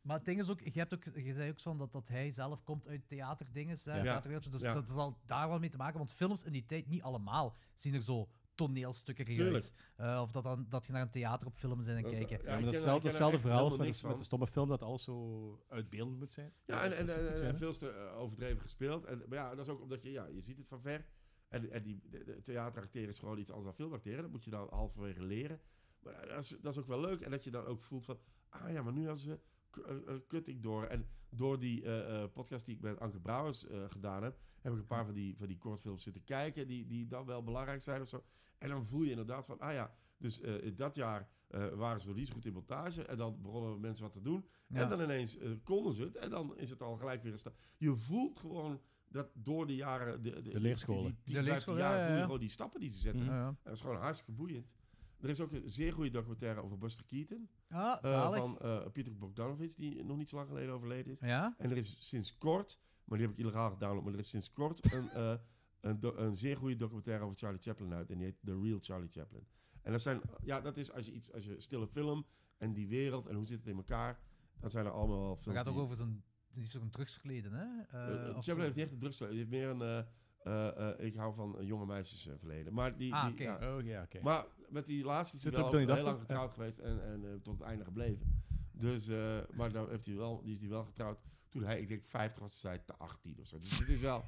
[SPEAKER 4] Maar het ding is ook, je, hebt ook, je zei ook zo van dat, dat hij zelf komt uit theaterdinges, hè,
[SPEAKER 3] Ja.
[SPEAKER 4] theaterwereldje, dus
[SPEAKER 2] Ja.
[SPEAKER 4] dat zal daar wel mee te maken. Want films in die tijd, niet allemaal, zien er zo toneelstukken
[SPEAKER 2] Tuurlijk. Eh,
[SPEAKER 4] uit. Eh, of dat, dan, dat je naar een theater op film zijn en
[SPEAKER 2] Ja,
[SPEAKER 4] kijken.
[SPEAKER 2] ik
[SPEAKER 3] ja, maar
[SPEAKER 2] ken
[SPEAKER 3] dat
[SPEAKER 2] er-
[SPEAKER 3] is
[SPEAKER 2] ik
[SPEAKER 3] hetzelfde,
[SPEAKER 2] ken er
[SPEAKER 3] hetzelfde
[SPEAKER 2] echt
[SPEAKER 3] verhaal als
[SPEAKER 2] helemaal
[SPEAKER 3] met,
[SPEAKER 2] niks
[SPEAKER 3] een- met een stomme film dat alles zo uitbeeldend moet zijn.
[SPEAKER 2] Ja, en,
[SPEAKER 3] dat
[SPEAKER 2] en,
[SPEAKER 3] is
[SPEAKER 2] en-
[SPEAKER 3] iets,
[SPEAKER 2] en
[SPEAKER 3] hè.
[SPEAKER 2] veel te eh, overdreven gespeeld. En, maar ja, dat is ook omdat je, ja, je ziet het van ver. En, en die de- de theateracteren is gewoon iets anders dan filmacteren. Dat moet je dan halverwege leren. Maar dat is, dat is ook wel leuk. En dat je dan ook voelt van, Ah ja, maar nu hadden ze. k- eh, eh, kut ik door. En door die eh, eh, podcast die ik met Anke Brouwers eh, gedaan heb, heb ik een paar van die, van die kortfilms zitten kijken, die, die dan wel belangrijk zijn of zo. En dan voel je inderdaad van, ah ja, dus eh, in dat jaar eh, waren ze nog niet zo goed in montage. En dan begonnen mensen wat te doen.
[SPEAKER 4] Ja.
[SPEAKER 2] En dan ineens eh, konden ze het. En dan is het al gelijk weer een stap. Je voelt gewoon dat door de jaren... De, de,
[SPEAKER 3] leerscholen.
[SPEAKER 2] Die, die 10,
[SPEAKER 4] De
[SPEAKER 2] 15
[SPEAKER 4] leerscholen,
[SPEAKER 2] jaar
[SPEAKER 4] ja, ja,
[SPEAKER 2] voel je
[SPEAKER 4] ja.
[SPEAKER 2] gewoon die stappen die ze zetten.
[SPEAKER 3] Mhm.
[SPEAKER 4] Ja, ja.
[SPEAKER 2] En dat is gewoon hartstikke boeiend. Er is ook een zeer goede documentaire over Buster Keaton.
[SPEAKER 4] Ah,
[SPEAKER 2] eh,
[SPEAKER 4] zalig.
[SPEAKER 2] van eh, Pieter Bogdanovich, die nog niet zo lang geleden overleden is.
[SPEAKER 4] Ja?
[SPEAKER 2] En er is sinds kort, maar die heb ik illegaal gedownload, maar er is sinds kort een, eh, een, do- een zeer goede documentaire over Charlie Chaplin uit. En die heet The Real Charlie Chaplin. En dat zijn, ja, dat is als je iets, als je stille film en die wereld en hoe zit het in elkaar, dat zijn er allemaal wel
[SPEAKER 4] Het
[SPEAKER 2] films.
[SPEAKER 4] gaat ook
[SPEAKER 2] die-
[SPEAKER 4] over zo'n... Die heeft ook een drugsverleden, hè? Eh,
[SPEAKER 2] Eh, eh,
[SPEAKER 4] of zo.
[SPEAKER 2] Chaplin heeft niet echt een drugs, die heeft meer een, eh, eh, eh, ik hou van eh, jonge meisjes eh, verleden. Maar die,
[SPEAKER 4] Ah,
[SPEAKER 2] die-
[SPEAKER 4] oké.
[SPEAKER 2] ja.
[SPEAKER 3] Oh ja, oké.
[SPEAKER 2] Maar met die laatste is hij
[SPEAKER 3] Zit er
[SPEAKER 2] wel
[SPEAKER 3] op Tony
[SPEAKER 2] heel
[SPEAKER 3] Darko?
[SPEAKER 2] lang getrouwd geweest en, en eh, tot het einde gebleven. Dus, eh, maar dan heeft hij wel, die is hij wel getrouwd toen hij, ik denk, 50 was, zij te 18 of zo. Dus het is wel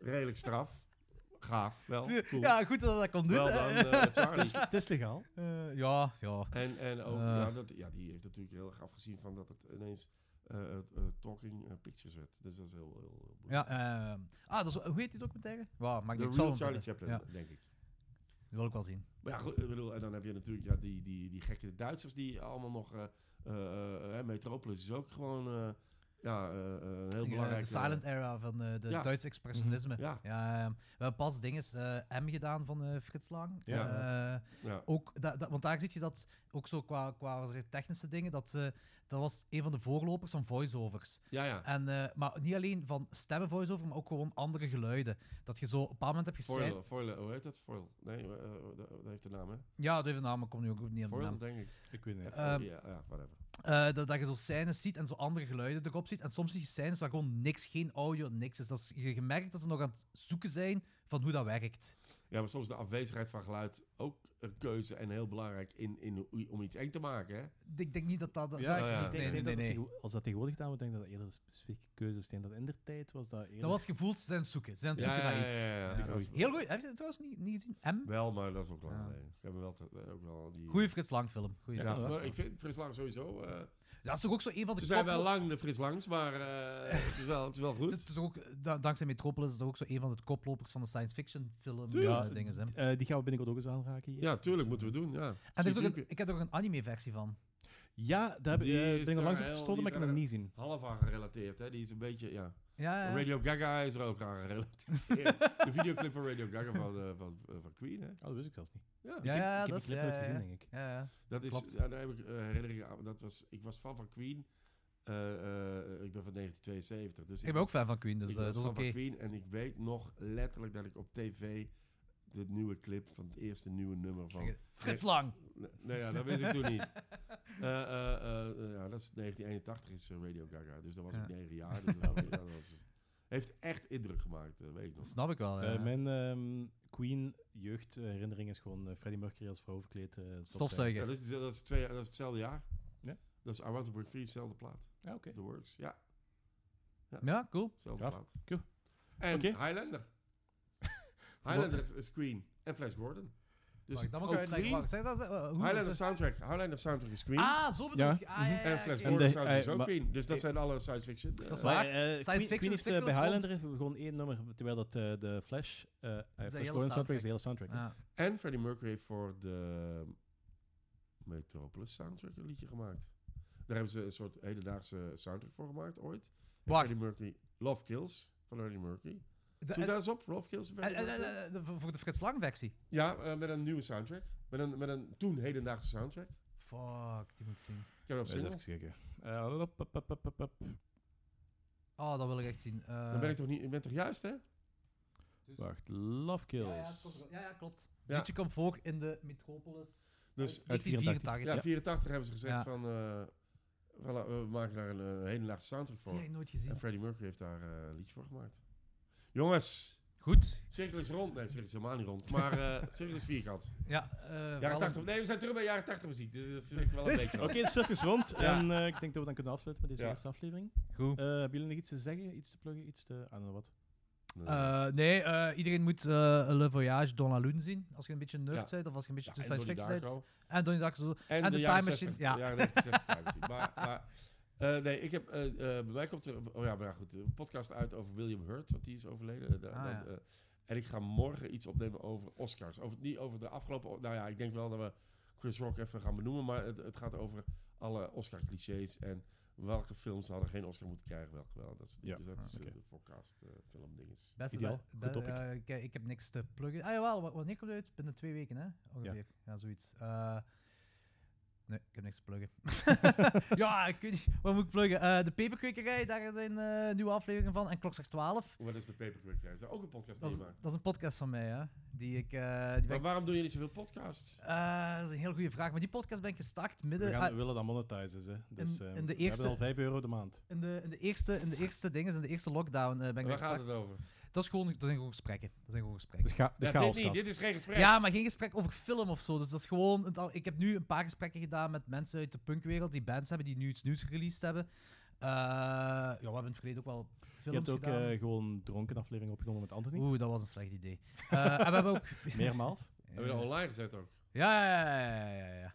[SPEAKER 2] redelijk straf. Gaaf, wel. Cool.
[SPEAKER 4] Ja, goed dat hij dat kon doen.
[SPEAKER 2] wel
[SPEAKER 4] hè.
[SPEAKER 2] dan, eh, Charlie.
[SPEAKER 3] Het is legaal.
[SPEAKER 4] Eh, ja, ja.
[SPEAKER 2] En, en ook,
[SPEAKER 4] Eh.
[SPEAKER 2] ja, dat, ja, die heeft natuurlijk heel erg afgezien van dat het ineens eh, eh, eh, talking eh, pictures werd. Dus dat is heel, heel, heel boeiend.
[SPEAKER 4] ja eh, ah, dat is, hoe heet die documentaire? Wow, maakt
[SPEAKER 2] The
[SPEAKER 4] niet uit, ik zal
[SPEAKER 2] real
[SPEAKER 4] hem
[SPEAKER 2] Charlie
[SPEAKER 4] vinden.
[SPEAKER 2] Chaplin,
[SPEAKER 4] Ja,
[SPEAKER 2] denk ik.
[SPEAKER 4] die wil ik wel zien.
[SPEAKER 2] Maar ja, goed, ik bedoel, en dan heb je natuurlijk ja, die, die, die gekke Duitsers die allemaal nog... eh eh, eh, hè, Metropolis is ook gewoon eh, ja, eh, eh, een heel
[SPEAKER 4] Eh,
[SPEAKER 2] belangrijk...
[SPEAKER 4] de silent era van eh, de
[SPEAKER 2] Ja. Mhm.
[SPEAKER 4] Duits expressionisme.
[SPEAKER 2] Ja,
[SPEAKER 4] Ja, eh, we hebben pas dinges eh, M gedaan van eh, Frits Lang.
[SPEAKER 2] Ja.
[SPEAKER 4] Eh,
[SPEAKER 2] ja.
[SPEAKER 4] ook da- da- want daar zie je dat ook zo qua, qua wat zeg je, technische dingen, dat, ze- dat was een van de voorlopers van voiceovers.
[SPEAKER 2] ja, ja.
[SPEAKER 4] En, eh, maar niet alleen van stemmen voiceover, maar ook gewoon andere geluiden. Dat je zo op een bepaald moment hebt gezegd.
[SPEAKER 2] Foil, foil, hoe heet dat? Foil. Nee, eh, eh, dat dat heeft de naam, hè?
[SPEAKER 4] Ja, de naam, ik kom nu ook niet aan de
[SPEAKER 2] Foil,
[SPEAKER 4] naam.
[SPEAKER 2] denk ik.
[SPEAKER 3] Ik weet niet.
[SPEAKER 2] F O I L,
[SPEAKER 4] Ehm,
[SPEAKER 2] ja, ja, whatever.
[SPEAKER 4] Eh, dat, dat je zo scènes ziet en zo andere geluiden erop ziet. En soms zie je scènes waar gewoon niks, geen audio, niks is. Dat is je gemerkt dat ze nog aan het zoeken zijn van hoe dat werkt.
[SPEAKER 2] Ja, maar soms is de afwezigheid van geluid ook een keuze en heel belangrijk in, in, hoe- om iets eng te maken, hè?
[SPEAKER 4] Ik denk niet dat dat... dat
[SPEAKER 3] Ja,
[SPEAKER 4] dat is
[SPEAKER 2] ja.
[SPEAKER 4] niet-
[SPEAKER 3] ik
[SPEAKER 4] Nee,
[SPEAKER 3] denk-
[SPEAKER 4] nee,
[SPEAKER 3] ik
[SPEAKER 4] nee.
[SPEAKER 3] denk dat
[SPEAKER 4] nee.
[SPEAKER 3] het tegel- als dat tegenwoordig gedaan wordt, denk ik dat dat eerder specifieke keuzes zijn. Dat in der tijd was dat eerder...
[SPEAKER 4] Dat was gevoeld, ze zijn aan het zoeken. Ze zijn aan het
[SPEAKER 2] Ja,
[SPEAKER 4] zoeken
[SPEAKER 2] ja,
[SPEAKER 4] naar iets.
[SPEAKER 2] ja, ja, ja.
[SPEAKER 4] Ja.
[SPEAKER 2] Ik was-
[SPEAKER 4] Heel goed. Heb je het trouwens niet, niet gezien? M?
[SPEAKER 2] Wel, maar dat is ook lang
[SPEAKER 4] Ja.
[SPEAKER 2] geleden. Ze hebben wel, te- eh, ook wel die...
[SPEAKER 4] Goeie Frits Lang film. Goeie
[SPEAKER 2] ja,
[SPEAKER 4] Frits
[SPEAKER 2] maar
[SPEAKER 4] Lang.
[SPEAKER 2] ik vind Frits Lang sowieso... eh,
[SPEAKER 4] Dat is toch ook zo een van de
[SPEAKER 2] ze zijn
[SPEAKER 4] top-
[SPEAKER 2] wel lang, de Frits Langs, maar eh, het, is wel, het is wel
[SPEAKER 4] Het is
[SPEAKER 2] goed.
[SPEAKER 4] toch ook, da- dankzij Metropolis is het ook zo een van de koplopers van de science fiction film
[SPEAKER 2] Tuurlijk.
[SPEAKER 4] eh, dingen. hè. En
[SPEAKER 3] Eh, die gaan we binnenkort ook eens aanraken hier.
[SPEAKER 2] Ja, tuurlijk, moeten we doen, ja.
[SPEAKER 4] er is ook
[SPEAKER 2] Zie je
[SPEAKER 4] een, ik heb er ook een anime-versie van.
[SPEAKER 3] Ja, daar heb ik,
[SPEAKER 2] Die
[SPEAKER 3] eh,
[SPEAKER 2] is
[SPEAKER 3] ben ik
[SPEAKER 2] daar
[SPEAKER 3] nog langs op
[SPEAKER 2] heel-
[SPEAKER 3] gestoten,
[SPEAKER 2] die
[SPEAKER 3] maar ik
[SPEAKER 2] is
[SPEAKER 3] heb hem
[SPEAKER 2] daar-
[SPEAKER 3] niet zien.
[SPEAKER 2] Half aan gerelateerd, hè? Die is een beetje, ja...
[SPEAKER 4] Ja, ja.
[SPEAKER 2] Radio Gaga is er ook aan gerelateerd. de videoclip van Radio Gaga van, eh, van, eh, van Queen, hè?
[SPEAKER 3] Oh, dat wist ik zelfs niet.
[SPEAKER 2] Ja.
[SPEAKER 4] Ja,
[SPEAKER 3] ik heb,
[SPEAKER 4] ja,
[SPEAKER 3] ik heb die
[SPEAKER 4] dat is-
[SPEAKER 3] clip
[SPEAKER 4] eh, ja,
[SPEAKER 3] nooit
[SPEAKER 4] ja,
[SPEAKER 3] gezien,
[SPEAKER 4] ja.
[SPEAKER 3] denk ik.
[SPEAKER 4] ja, ja.
[SPEAKER 2] Dat is,
[SPEAKER 4] Klopt.
[SPEAKER 2] ja, daar heb ik eh, herinneringen aan. Dat was, ik was fan van Queen. Eh, eh, ik ben van 1972. Dus
[SPEAKER 4] Ik ben ook fan van Queen, dus
[SPEAKER 2] ik
[SPEAKER 4] eh,
[SPEAKER 2] was
[SPEAKER 4] dat is
[SPEAKER 2] fan
[SPEAKER 4] oké.
[SPEAKER 2] van Queen. En ik weet nog letterlijk dat ik op tv de nieuwe clip van het eerste nieuwe nummer van...
[SPEAKER 4] Frits Lang!
[SPEAKER 2] Nee, nou ja, dat wist ik toen niet. Eh, eh, eh, eh, ja, dat is 1981 is eh, Radio Gaga. Dus dat was
[SPEAKER 4] Ja.
[SPEAKER 2] ik negen jaar. Dus dat, was- ja, dat was- heeft echt indruk gemaakt, eh, weet ik
[SPEAKER 4] Dat
[SPEAKER 2] nog.
[SPEAKER 4] snap ik wel, ja.
[SPEAKER 3] Eh, mijn ehm, Queen jeugdherinnering is gewoon eh, Freddie Mercury als vrouw verkleed. eh, stofzuiger.
[SPEAKER 2] Ja,
[SPEAKER 4] Stofzuiger.
[SPEAKER 2] dat, is, dat, is twee, dat is hetzelfde jaar.
[SPEAKER 3] Ja?
[SPEAKER 2] Dat is I Want to Break Free, hetzelfde plaat.
[SPEAKER 3] Ja, Ah, oké.
[SPEAKER 2] The Works, ja,
[SPEAKER 4] Ja, cool.
[SPEAKER 2] hetzelfde
[SPEAKER 3] Gaaf.
[SPEAKER 2] plaat.
[SPEAKER 3] Cool.
[SPEAKER 2] En
[SPEAKER 3] Oké.
[SPEAKER 2] Highlander. Highlander is, is Queen en Flash Gordon. Dus
[SPEAKER 4] Wacht, dat mag
[SPEAKER 2] ook
[SPEAKER 4] ik uitleggen.
[SPEAKER 2] Queen,
[SPEAKER 4] Wacht, zeg dat, eh, hoe-
[SPEAKER 2] Highlander soundtrack. Highlander soundtrack is Queen.
[SPEAKER 4] Ah, zo bedoel
[SPEAKER 3] Ja.
[SPEAKER 4] je. Ah, ja, ja,
[SPEAKER 2] en
[SPEAKER 4] ja,
[SPEAKER 2] Flash
[SPEAKER 4] oké.
[SPEAKER 2] Gordon
[SPEAKER 3] de-
[SPEAKER 2] soundtrack is
[SPEAKER 3] eh,
[SPEAKER 2] ook
[SPEAKER 3] maar-
[SPEAKER 2] Queen. Dus dat zijn alle science fiction. eh,
[SPEAKER 4] Dat is
[SPEAKER 3] Maar,
[SPEAKER 4] waar.
[SPEAKER 3] eh,
[SPEAKER 4] Science
[SPEAKER 3] Queen,
[SPEAKER 4] fiction
[SPEAKER 3] Queen
[SPEAKER 4] is
[SPEAKER 3] is eh,
[SPEAKER 4] dikwijls
[SPEAKER 3] bij
[SPEAKER 4] rond.
[SPEAKER 3] Highlander heeft gewoon één nummer, terwijl dat eh, de Flash, eh eh, Flash Gordon soundtrack is de hele soundtrack.
[SPEAKER 4] Ja.
[SPEAKER 2] En Freddie Mercury heeft voor de Metropolis soundtrack een liedje gemaakt. Daar hebben ze een soort hedendaagse soundtrack voor gemaakt ooit. En
[SPEAKER 4] Wacht. Eh,
[SPEAKER 2] Freddie Mercury, Love Kills van Freddie Mercury.
[SPEAKER 4] De-
[SPEAKER 2] Zoek
[SPEAKER 4] en-
[SPEAKER 2] daar eens op, Love Kills. van Freddie
[SPEAKER 4] en-
[SPEAKER 2] Mercury.
[SPEAKER 4] en- en- de- voor de Frits Lang-versie.
[SPEAKER 2] Ja, eh, met een nieuwe soundtrack. Met een, met een toen hedendaagse soundtrack.
[SPEAKER 4] Fuck, die moet ik zien.
[SPEAKER 2] Ik heb dat op
[SPEAKER 3] Eh,
[SPEAKER 2] single.
[SPEAKER 3] Even kijken. Eh, op, op, op, op, op, op.
[SPEAKER 4] Oh, dat wil ik echt zien. Eh,
[SPEAKER 2] Dan ben ik toch niet... Ik ben toch juist, hè?
[SPEAKER 3] Wacht, Love Kills.
[SPEAKER 4] Dus- Ja, ja, het komt wel. ja, ja, klopt.
[SPEAKER 2] Ja.
[SPEAKER 4] Liedje komt voor in de Metropolis.
[SPEAKER 2] Dus
[SPEAKER 4] uit
[SPEAKER 3] uit
[SPEAKER 4] 1984.
[SPEAKER 2] ja, 84 hebben ze gezegd
[SPEAKER 4] Ja.
[SPEAKER 2] van... eh, voilà, we maken daar een eh, hedendaagse soundtrack
[SPEAKER 4] Die
[SPEAKER 2] voor.
[SPEAKER 4] heb ik nooit
[SPEAKER 2] En
[SPEAKER 4] gezien.
[SPEAKER 2] Freddie Mercury heeft daar eh, een liedje voor gemaakt. Jongens,
[SPEAKER 4] Goed.
[SPEAKER 2] cirkel is rond. Nee, de cirkel is helemaal niet rond. Maar eh cirkel is vierkant.
[SPEAKER 4] Ja, eh
[SPEAKER 2] Jaren
[SPEAKER 4] wel-
[SPEAKER 2] 80. Nee, we zijn terug bij jaren 80 muziek. Dus dat vind ik wel een beetje...
[SPEAKER 3] Oké, de cirkel is rond.
[SPEAKER 2] Ja.
[SPEAKER 3] En eh, ik denk dat we dan kunnen afsluiten met deze
[SPEAKER 2] Ja.
[SPEAKER 3] eerste aflevering.
[SPEAKER 4] Goed.
[SPEAKER 3] Eh, hebben jullie nog iets te zeggen? Iets te pluggen? Iets te... I don't know what.
[SPEAKER 4] Eh, nee, eh, iedereen moet eh, Le Voyage Donna Loon zien. Als je een beetje nerd
[SPEAKER 2] Ja.
[SPEAKER 4] bent of als je een beetje
[SPEAKER 2] Ja,
[SPEAKER 4] te
[SPEAKER 2] en
[SPEAKER 4] science
[SPEAKER 2] Donnie
[SPEAKER 4] fiction bent.
[SPEAKER 2] Darko.
[SPEAKER 4] En Donnie Darko. zo.
[SPEAKER 2] En,
[SPEAKER 4] En
[SPEAKER 2] de
[SPEAKER 4] de
[SPEAKER 2] jaren
[SPEAKER 4] Time Machine,
[SPEAKER 2] 60,
[SPEAKER 4] ja.
[SPEAKER 2] de jaren 90, 60 Time Machine. Maar, maar eh, nee, ik heb, eh, eh, bij mij komt er oh ja, maar ja, goed, een podcast uit over William Hurt, want die is overleden. Eh, de-
[SPEAKER 4] Ah,
[SPEAKER 2] dan,
[SPEAKER 4] ja.
[SPEAKER 2] eh, en ik ga morgen iets opnemen over Oscars. Over, niet over de afgelopen, nou ja, ik denk wel dat we Chris Rock even gaan benoemen, maar het, het gaat over alle Oscar-clichés en welke films hadden geen Oscar moeten krijgen, welke wel. Dat soort dingen.
[SPEAKER 5] Ja.
[SPEAKER 2] Dus dat
[SPEAKER 5] Ah,
[SPEAKER 2] is eh,
[SPEAKER 5] oké.
[SPEAKER 2] de podcast eh, filmdinges.
[SPEAKER 4] Beste
[SPEAKER 5] Ideaal,
[SPEAKER 4] be-
[SPEAKER 5] goed
[SPEAKER 4] be-
[SPEAKER 5] topic.
[SPEAKER 4] eh, ik, ik heb niks te pluggen. Ah jawel, wa- wanneer komt het uit? Binnen twee weken, hè? Ongeveer. Ja, zoiets. Eh, nee, ik heb niks te pluggen. ja, ik weet niet. Wat moet ik pluggen? Eh, de Peperkwekerij, daar zijn eh, nieuwe afleveringen van. En Klokslag 12.
[SPEAKER 2] Wat is de Paperquick Race? Daar ook een podcast
[SPEAKER 4] Dat is,
[SPEAKER 2] over.
[SPEAKER 4] dat is een podcast van mij, hè? Die ik... eh, die ben
[SPEAKER 2] Maar
[SPEAKER 4] ik-
[SPEAKER 2] waarom doe je niet zoveel podcasts?
[SPEAKER 4] Eh, dat is een heel goede vraag. Maar die podcast ben ik gestart midden...
[SPEAKER 3] We, gaan,
[SPEAKER 4] ah,
[SPEAKER 3] we willen dat monetizen. Hè. Dus,
[SPEAKER 4] in
[SPEAKER 3] ehm,
[SPEAKER 4] de
[SPEAKER 3] we
[SPEAKER 4] eerste-
[SPEAKER 3] hebben al 5 euro de maand.
[SPEAKER 4] in, de, in, de eerste, in de eerste dingen, in de eerste lockdown eh, ben ik
[SPEAKER 2] Waar
[SPEAKER 4] gestart.
[SPEAKER 2] gaat het over? Dus
[SPEAKER 4] Dat, is gewoon, dat zijn gewoon gesprekken. Dat zijn gewoon gesprekken.
[SPEAKER 3] De, scha de
[SPEAKER 2] Ja, dit
[SPEAKER 3] chaoskast.
[SPEAKER 2] niet, dit is geen gesprek.
[SPEAKER 4] Ja, maar geen gesprek over film of zo. Dus dat is gewoon. het al- Ik heb nu een paar gesprekken gedaan met mensen uit de punkwereld die bands hebben die nu iets nieuws gereleased hebben. Eh, ja, we hebben in het verleden ook wel
[SPEAKER 3] Je
[SPEAKER 4] films
[SPEAKER 3] hebt ook
[SPEAKER 4] gedaan.
[SPEAKER 3] eh, gewoon een dronken aflevering opgenomen met Anthony.
[SPEAKER 4] Oeh, dat was een slecht idee. Eh, en we hebben ook.
[SPEAKER 3] Meermaals.
[SPEAKER 2] Hebben we dat online gezet ook?
[SPEAKER 4] Ja, ja, ja, ja, ja. ja.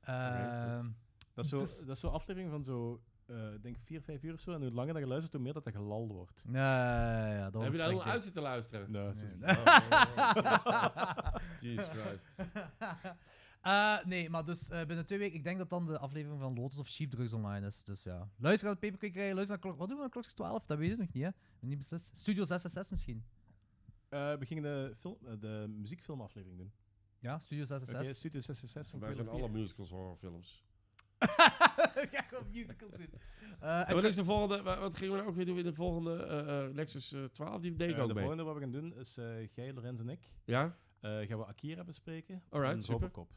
[SPEAKER 2] Oké,
[SPEAKER 4] Eh,
[SPEAKER 2] goed.
[SPEAKER 3] Dat is zo-
[SPEAKER 4] Dus-
[SPEAKER 3] dat is zo'n aflevering van zo, eh, ik denk 4, 5 uur of zo. En hoe langer dat je luistert, hoe meer dat dat gelal wordt.
[SPEAKER 4] ja, ja, ja, ja, dat was
[SPEAKER 2] Heb je
[SPEAKER 4] een
[SPEAKER 2] daar
[SPEAKER 4] slecht
[SPEAKER 2] al
[SPEAKER 4] idee.
[SPEAKER 2] uit zitten luisteren? Oh,
[SPEAKER 3] Nee,
[SPEAKER 4] Nee.
[SPEAKER 3] zo-
[SPEAKER 2] Jesus Christ.
[SPEAKER 4] Eh, nee, maar dus eh, binnen twee weken, ik denk dat dan de aflevering van Lotus of Sheepdrugs online is. Dus ja, luister naar de Paperquick krijgen, luister naar Klok... Wat doen we aan Klokjes 12? Dat weet je nog niet, hè? Niet beslist. Studio 666 misschien.
[SPEAKER 3] Eh, we gingen de, film, eh, de muziekfilmaflevering doen.
[SPEAKER 4] Ja, Studio 666.
[SPEAKER 3] Oké, Studio 66.
[SPEAKER 2] Wij zijn alle musicals horrorfilms.
[SPEAKER 4] We gaan gewoon musicals doen. Eh, en
[SPEAKER 2] En wat is de volgende? wa- Wat gingen we nou ook weer doen in de volgende eh, eh, Lexus eh, 12? Die deed ik
[SPEAKER 3] Eh,
[SPEAKER 2] ook
[SPEAKER 3] de
[SPEAKER 2] mee.
[SPEAKER 3] volgende wat we gaan doen is eh jij, Lorenz en ik.
[SPEAKER 2] Ja?
[SPEAKER 3] eh, gaan we Akira bespreken.
[SPEAKER 2] Alright,
[SPEAKER 3] en
[SPEAKER 2] super.
[SPEAKER 3] Robocop.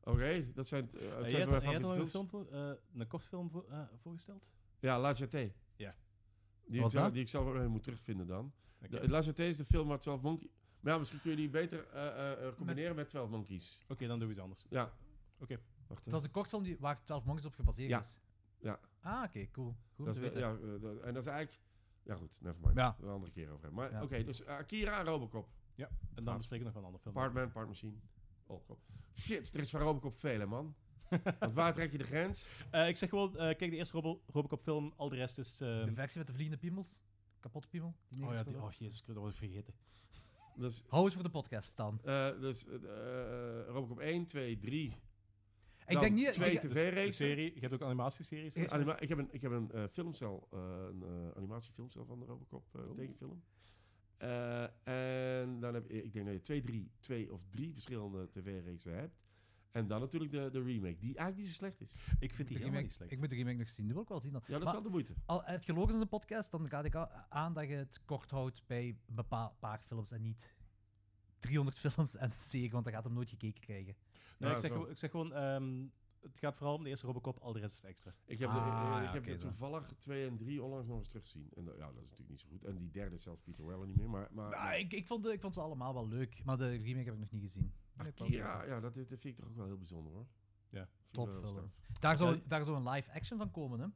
[SPEAKER 2] Oké, dat zijn eh,
[SPEAKER 3] Eh,
[SPEAKER 2] twee
[SPEAKER 3] jij
[SPEAKER 2] van mijn
[SPEAKER 3] had, jij had al
[SPEAKER 2] favoriete
[SPEAKER 3] een,
[SPEAKER 2] films.
[SPEAKER 3] film voor, eh, een kort film voor, eh, voorgesteld.
[SPEAKER 2] Ja, La Jetée.
[SPEAKER 3] Ja.
[SPEAKER 2] Die, ik
[SPEAKER 4] Wat
[SPEAKER 2] zelf,
[SPEAKER 4] dat?
[SPEAKER 2] die ik zelf ook nog even moet terugvinden dan.
[SPEAKER 3] Oké.
[SPEAKER 2] De, La Jetée is de film waar 12 Monkeys... Maar ja, misschien kun je die beter eh, eh, eh, combineren met 12 Monkeys.
[SPEAKER 3] Oké, dan doen we iets anders.
[SPEAKER 2] Ja.
[SPEAKER 3] Oké.
[SPEAKER 2] Wacht, hè.
[SPEAKER 4] Dat is een kortfilm die, waar 12 Monkeys op gebaseerd
[SPEAKER 2] Ja.
[SPEAKER 4] is.
[SPEAKER 2] Ja.
[SPEAKER 4] Ah, oké, cool. Goed.
[SPEAKER 2] Dat
[SPEAKER 4] te
[SPEAKER 2] is de-
[SPEAKER 4] weten.
[SPEAKER 2] ja, eh, dat- en dat is eigenlijk... Ja goed, nevermind.
[SPEAKER 4] Ja.
[SPEAKER 2] Een andere keer over hebben. Maar
[SPEAKER 4] Ja.
[SPEAKER 2] oké, dus Akira en Robocop.
[SPEAKER 3] En dan
[SPEAKER 2] Ah.
[SPEAKER 3] bespreken we nog wel een andere film.
[SPEAKER 2] Partman, Partmachine. Robocop. Shit, er is van Robocop veel hè, man. Want waar trek je de grens?
[SPEAKER 3] Eh, ik zeg gewoon, eh, kijk de eerste Robo Robocop film, al de rest is... ehm,
[SPEAKER 4] De versie met de vliegende piemels. Kapotte piemel. Die
[SPEAKER 3] oh ja,
[SPEAKER 4] neergeschoten
[SPEAKER 3] die, oh
[SPEAKER 4] wordt.
[SPEAKER 3] jezus, Christus, dat was ik vergeten.
[SPEAKER 2] Dus,
[SPEAKER 4] Hou het voor de podcast dan.
[SPEAKER 2] eh dus eh, eh, Robocop 1, 2, 3.
[SPEAKER 4] Ik denk niet...
[SPEAKER 2] Twee
[SPEAKER 4] ik-
[SPEAKER 3] dus De
[SPEAKER 2] tv-reeks.
[SPEAKER 3] serie, je hebt ook animatieseries.
[SPEAKER 4] Ja.
[SPEAKER 3] volgens mij.
[SPEAKER 2] ik heb een, ik heb een eh, filmcel, eh, een eh, animatiefilmcel van de Robocop eh,
[SPEAKER 3] Oeh.
[SPEAKER 2] tekenfilm. Eh, en dan heb je, ik denk dat je twee, drie, twee of drie verschillende tv-reeksen hebt. En dan natuurlijk de, de remake, die eigenlijk niet zo slecht is.
[SPEAKER 3] Ik vind die
[SPEAKER 4] de
[SPEAKER 3] helemaal
[SPEAKER 4] remake-
[SPEAKER 3] niet slecht.
[SPEAKER 4] Ik moet de remake nog zien. Die wil ik wel zien. Dan.
[SPEAKER 2] Ja, dat is
[SPEAKER 4] Maar-
[SPEAKER 2] wel de moeite.
[SPEAKER 4] Al heb je logisch in de podcast, dan raad ik a- aan dat je het kort houdt bij een bepaald paar films en niet 300 films en een serie, want dan gaat hem nooit gekeken krijgen.
[SPEAKER 3] Nee,
[SPEAKER 2] Ja,
[SPEAKER 3] ik, zeg,
[SPEAKER 2] zo.
[SPEAKER 3] gewoon- ik zeg gewoon, ehm, het gaat vooral om de eerste Robocop, al de rest is extra.
[SPEAKER 2] Ik heb,
[SPEAKER 4] Ah,
[SPEAKER 2] de, eh,
[SPEAKER 4] ja,
[SPEAKER 2] ik heb
[SPEAKER 4] oké,
[SPEAKER 2] de
[SPEAKER 4] zo.
[SPEAKER 2] toevallig twee en drie onlangs nog eens teruggezien. En dat- ja, dat is natuurlijk niet zo goed. En die derde is zelfs Peter Weller niet meer. Maar, maar,
[SPEAKER 4] Maar
[SPEAKER 2] maar
[SPEAKER 4] Nou, ik, ik, vond, de- ik vond ze allemaal wel leuk, maar de remake heb ik nog niet gezien. Die vind ik wel
[SPEAKER 2] Akira,
[SPEAKER 4] leuk.
[SPEAKER 2] Oh, ja, dat, is, dat vind ik toch ook wel heel bijzonder hoor.
[SPEAKER 3] Ja.
[SPEAKER 2] Vind ik wel heel
[SPEAKER 4] Topfilm.
[SPEAKER 2] sterk.
[SPEAKER 4] Daar
[SPEAKER 2] Eh,
[SPEAKER 4] zou,
[SPEAKER 3] Oké.
[SPEAKER 4] daar zou een live action van komen, hè?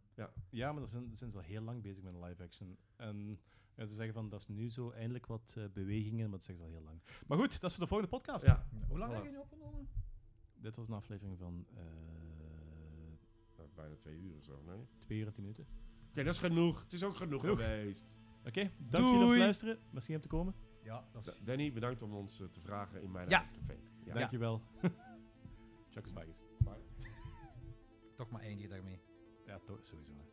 [SPEAKER 3] Ja, maar daar zijn, zijn ze al heel lang bezig met een live action. En ja, ze zeggen van, dat is nu zo eindelijk wat eh, bewegingen, maar dat zeggen ze al heel lang. Maar goed, dat is voor de volgende podcast.
[SPEAKER 2] Ja,
[SPEAKER 4] Hoe lang
[SPEAKER 2] Voilà.
[SPEAKER 4] heb je nu opgenomen?
[SPEAKER 3] Dit was een aflevering van eh
[SPEAKER 2] nou, bijna twee uur of zo, nee. Oké,
[SPEAKER 3] 2 uur en 10 minuten.
[SPEAKER 2] dat is genoeg. Het is ook genoeg,
[SPEAKER 3] Genoeg.
[SPEAKER 2] geweest.
[SPEAKER 3] Oké, dank jullie voor
[SPEAKER 4] Doei.
[SPEAKER 3] het luisteren. Merci om te komen.
[SPEAKER 4] Ja, dat is...
[SPEAKER 2] Da- Danny, bedankt om ons eh, te vragen in mijn
[SPEAKER 4] Ja.
[SPEAKER 2] eigen café. Ja.
[SPEAKER 3] Dankjewel. Chuck is back.
[SPEAKER 4] Toch maar eindigen daarmee.
[SPEAKER 3] Ja, toch, sowieso. hè. oh.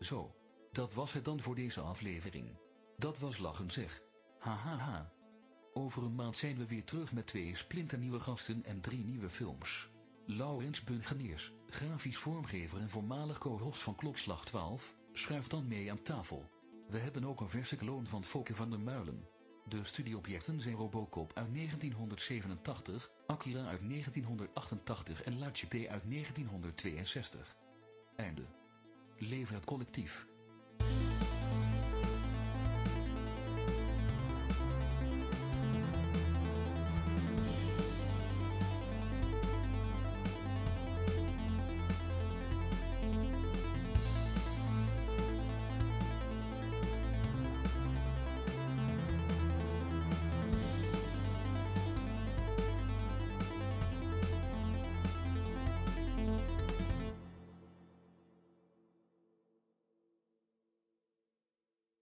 [SPEAKER 1] Zo, dat was het dan voor deze aflevering. Dat was lachen zeg. Hahaha. Over een maand zijn we weer terug met twee splinternieuwe gasten en drie nieuwe films. Laurens Bungeneers, grafisch vormgever en voormalig co-host van Klokslag 12, schuift dan mee aan tafel. We hebben ook een verse kloon van Fokke van der Muilen. De studieobjecten zijn Robocop uit 1987, Akira uit 1988 en La Cité uit 1962. Einde. Leven het collectief.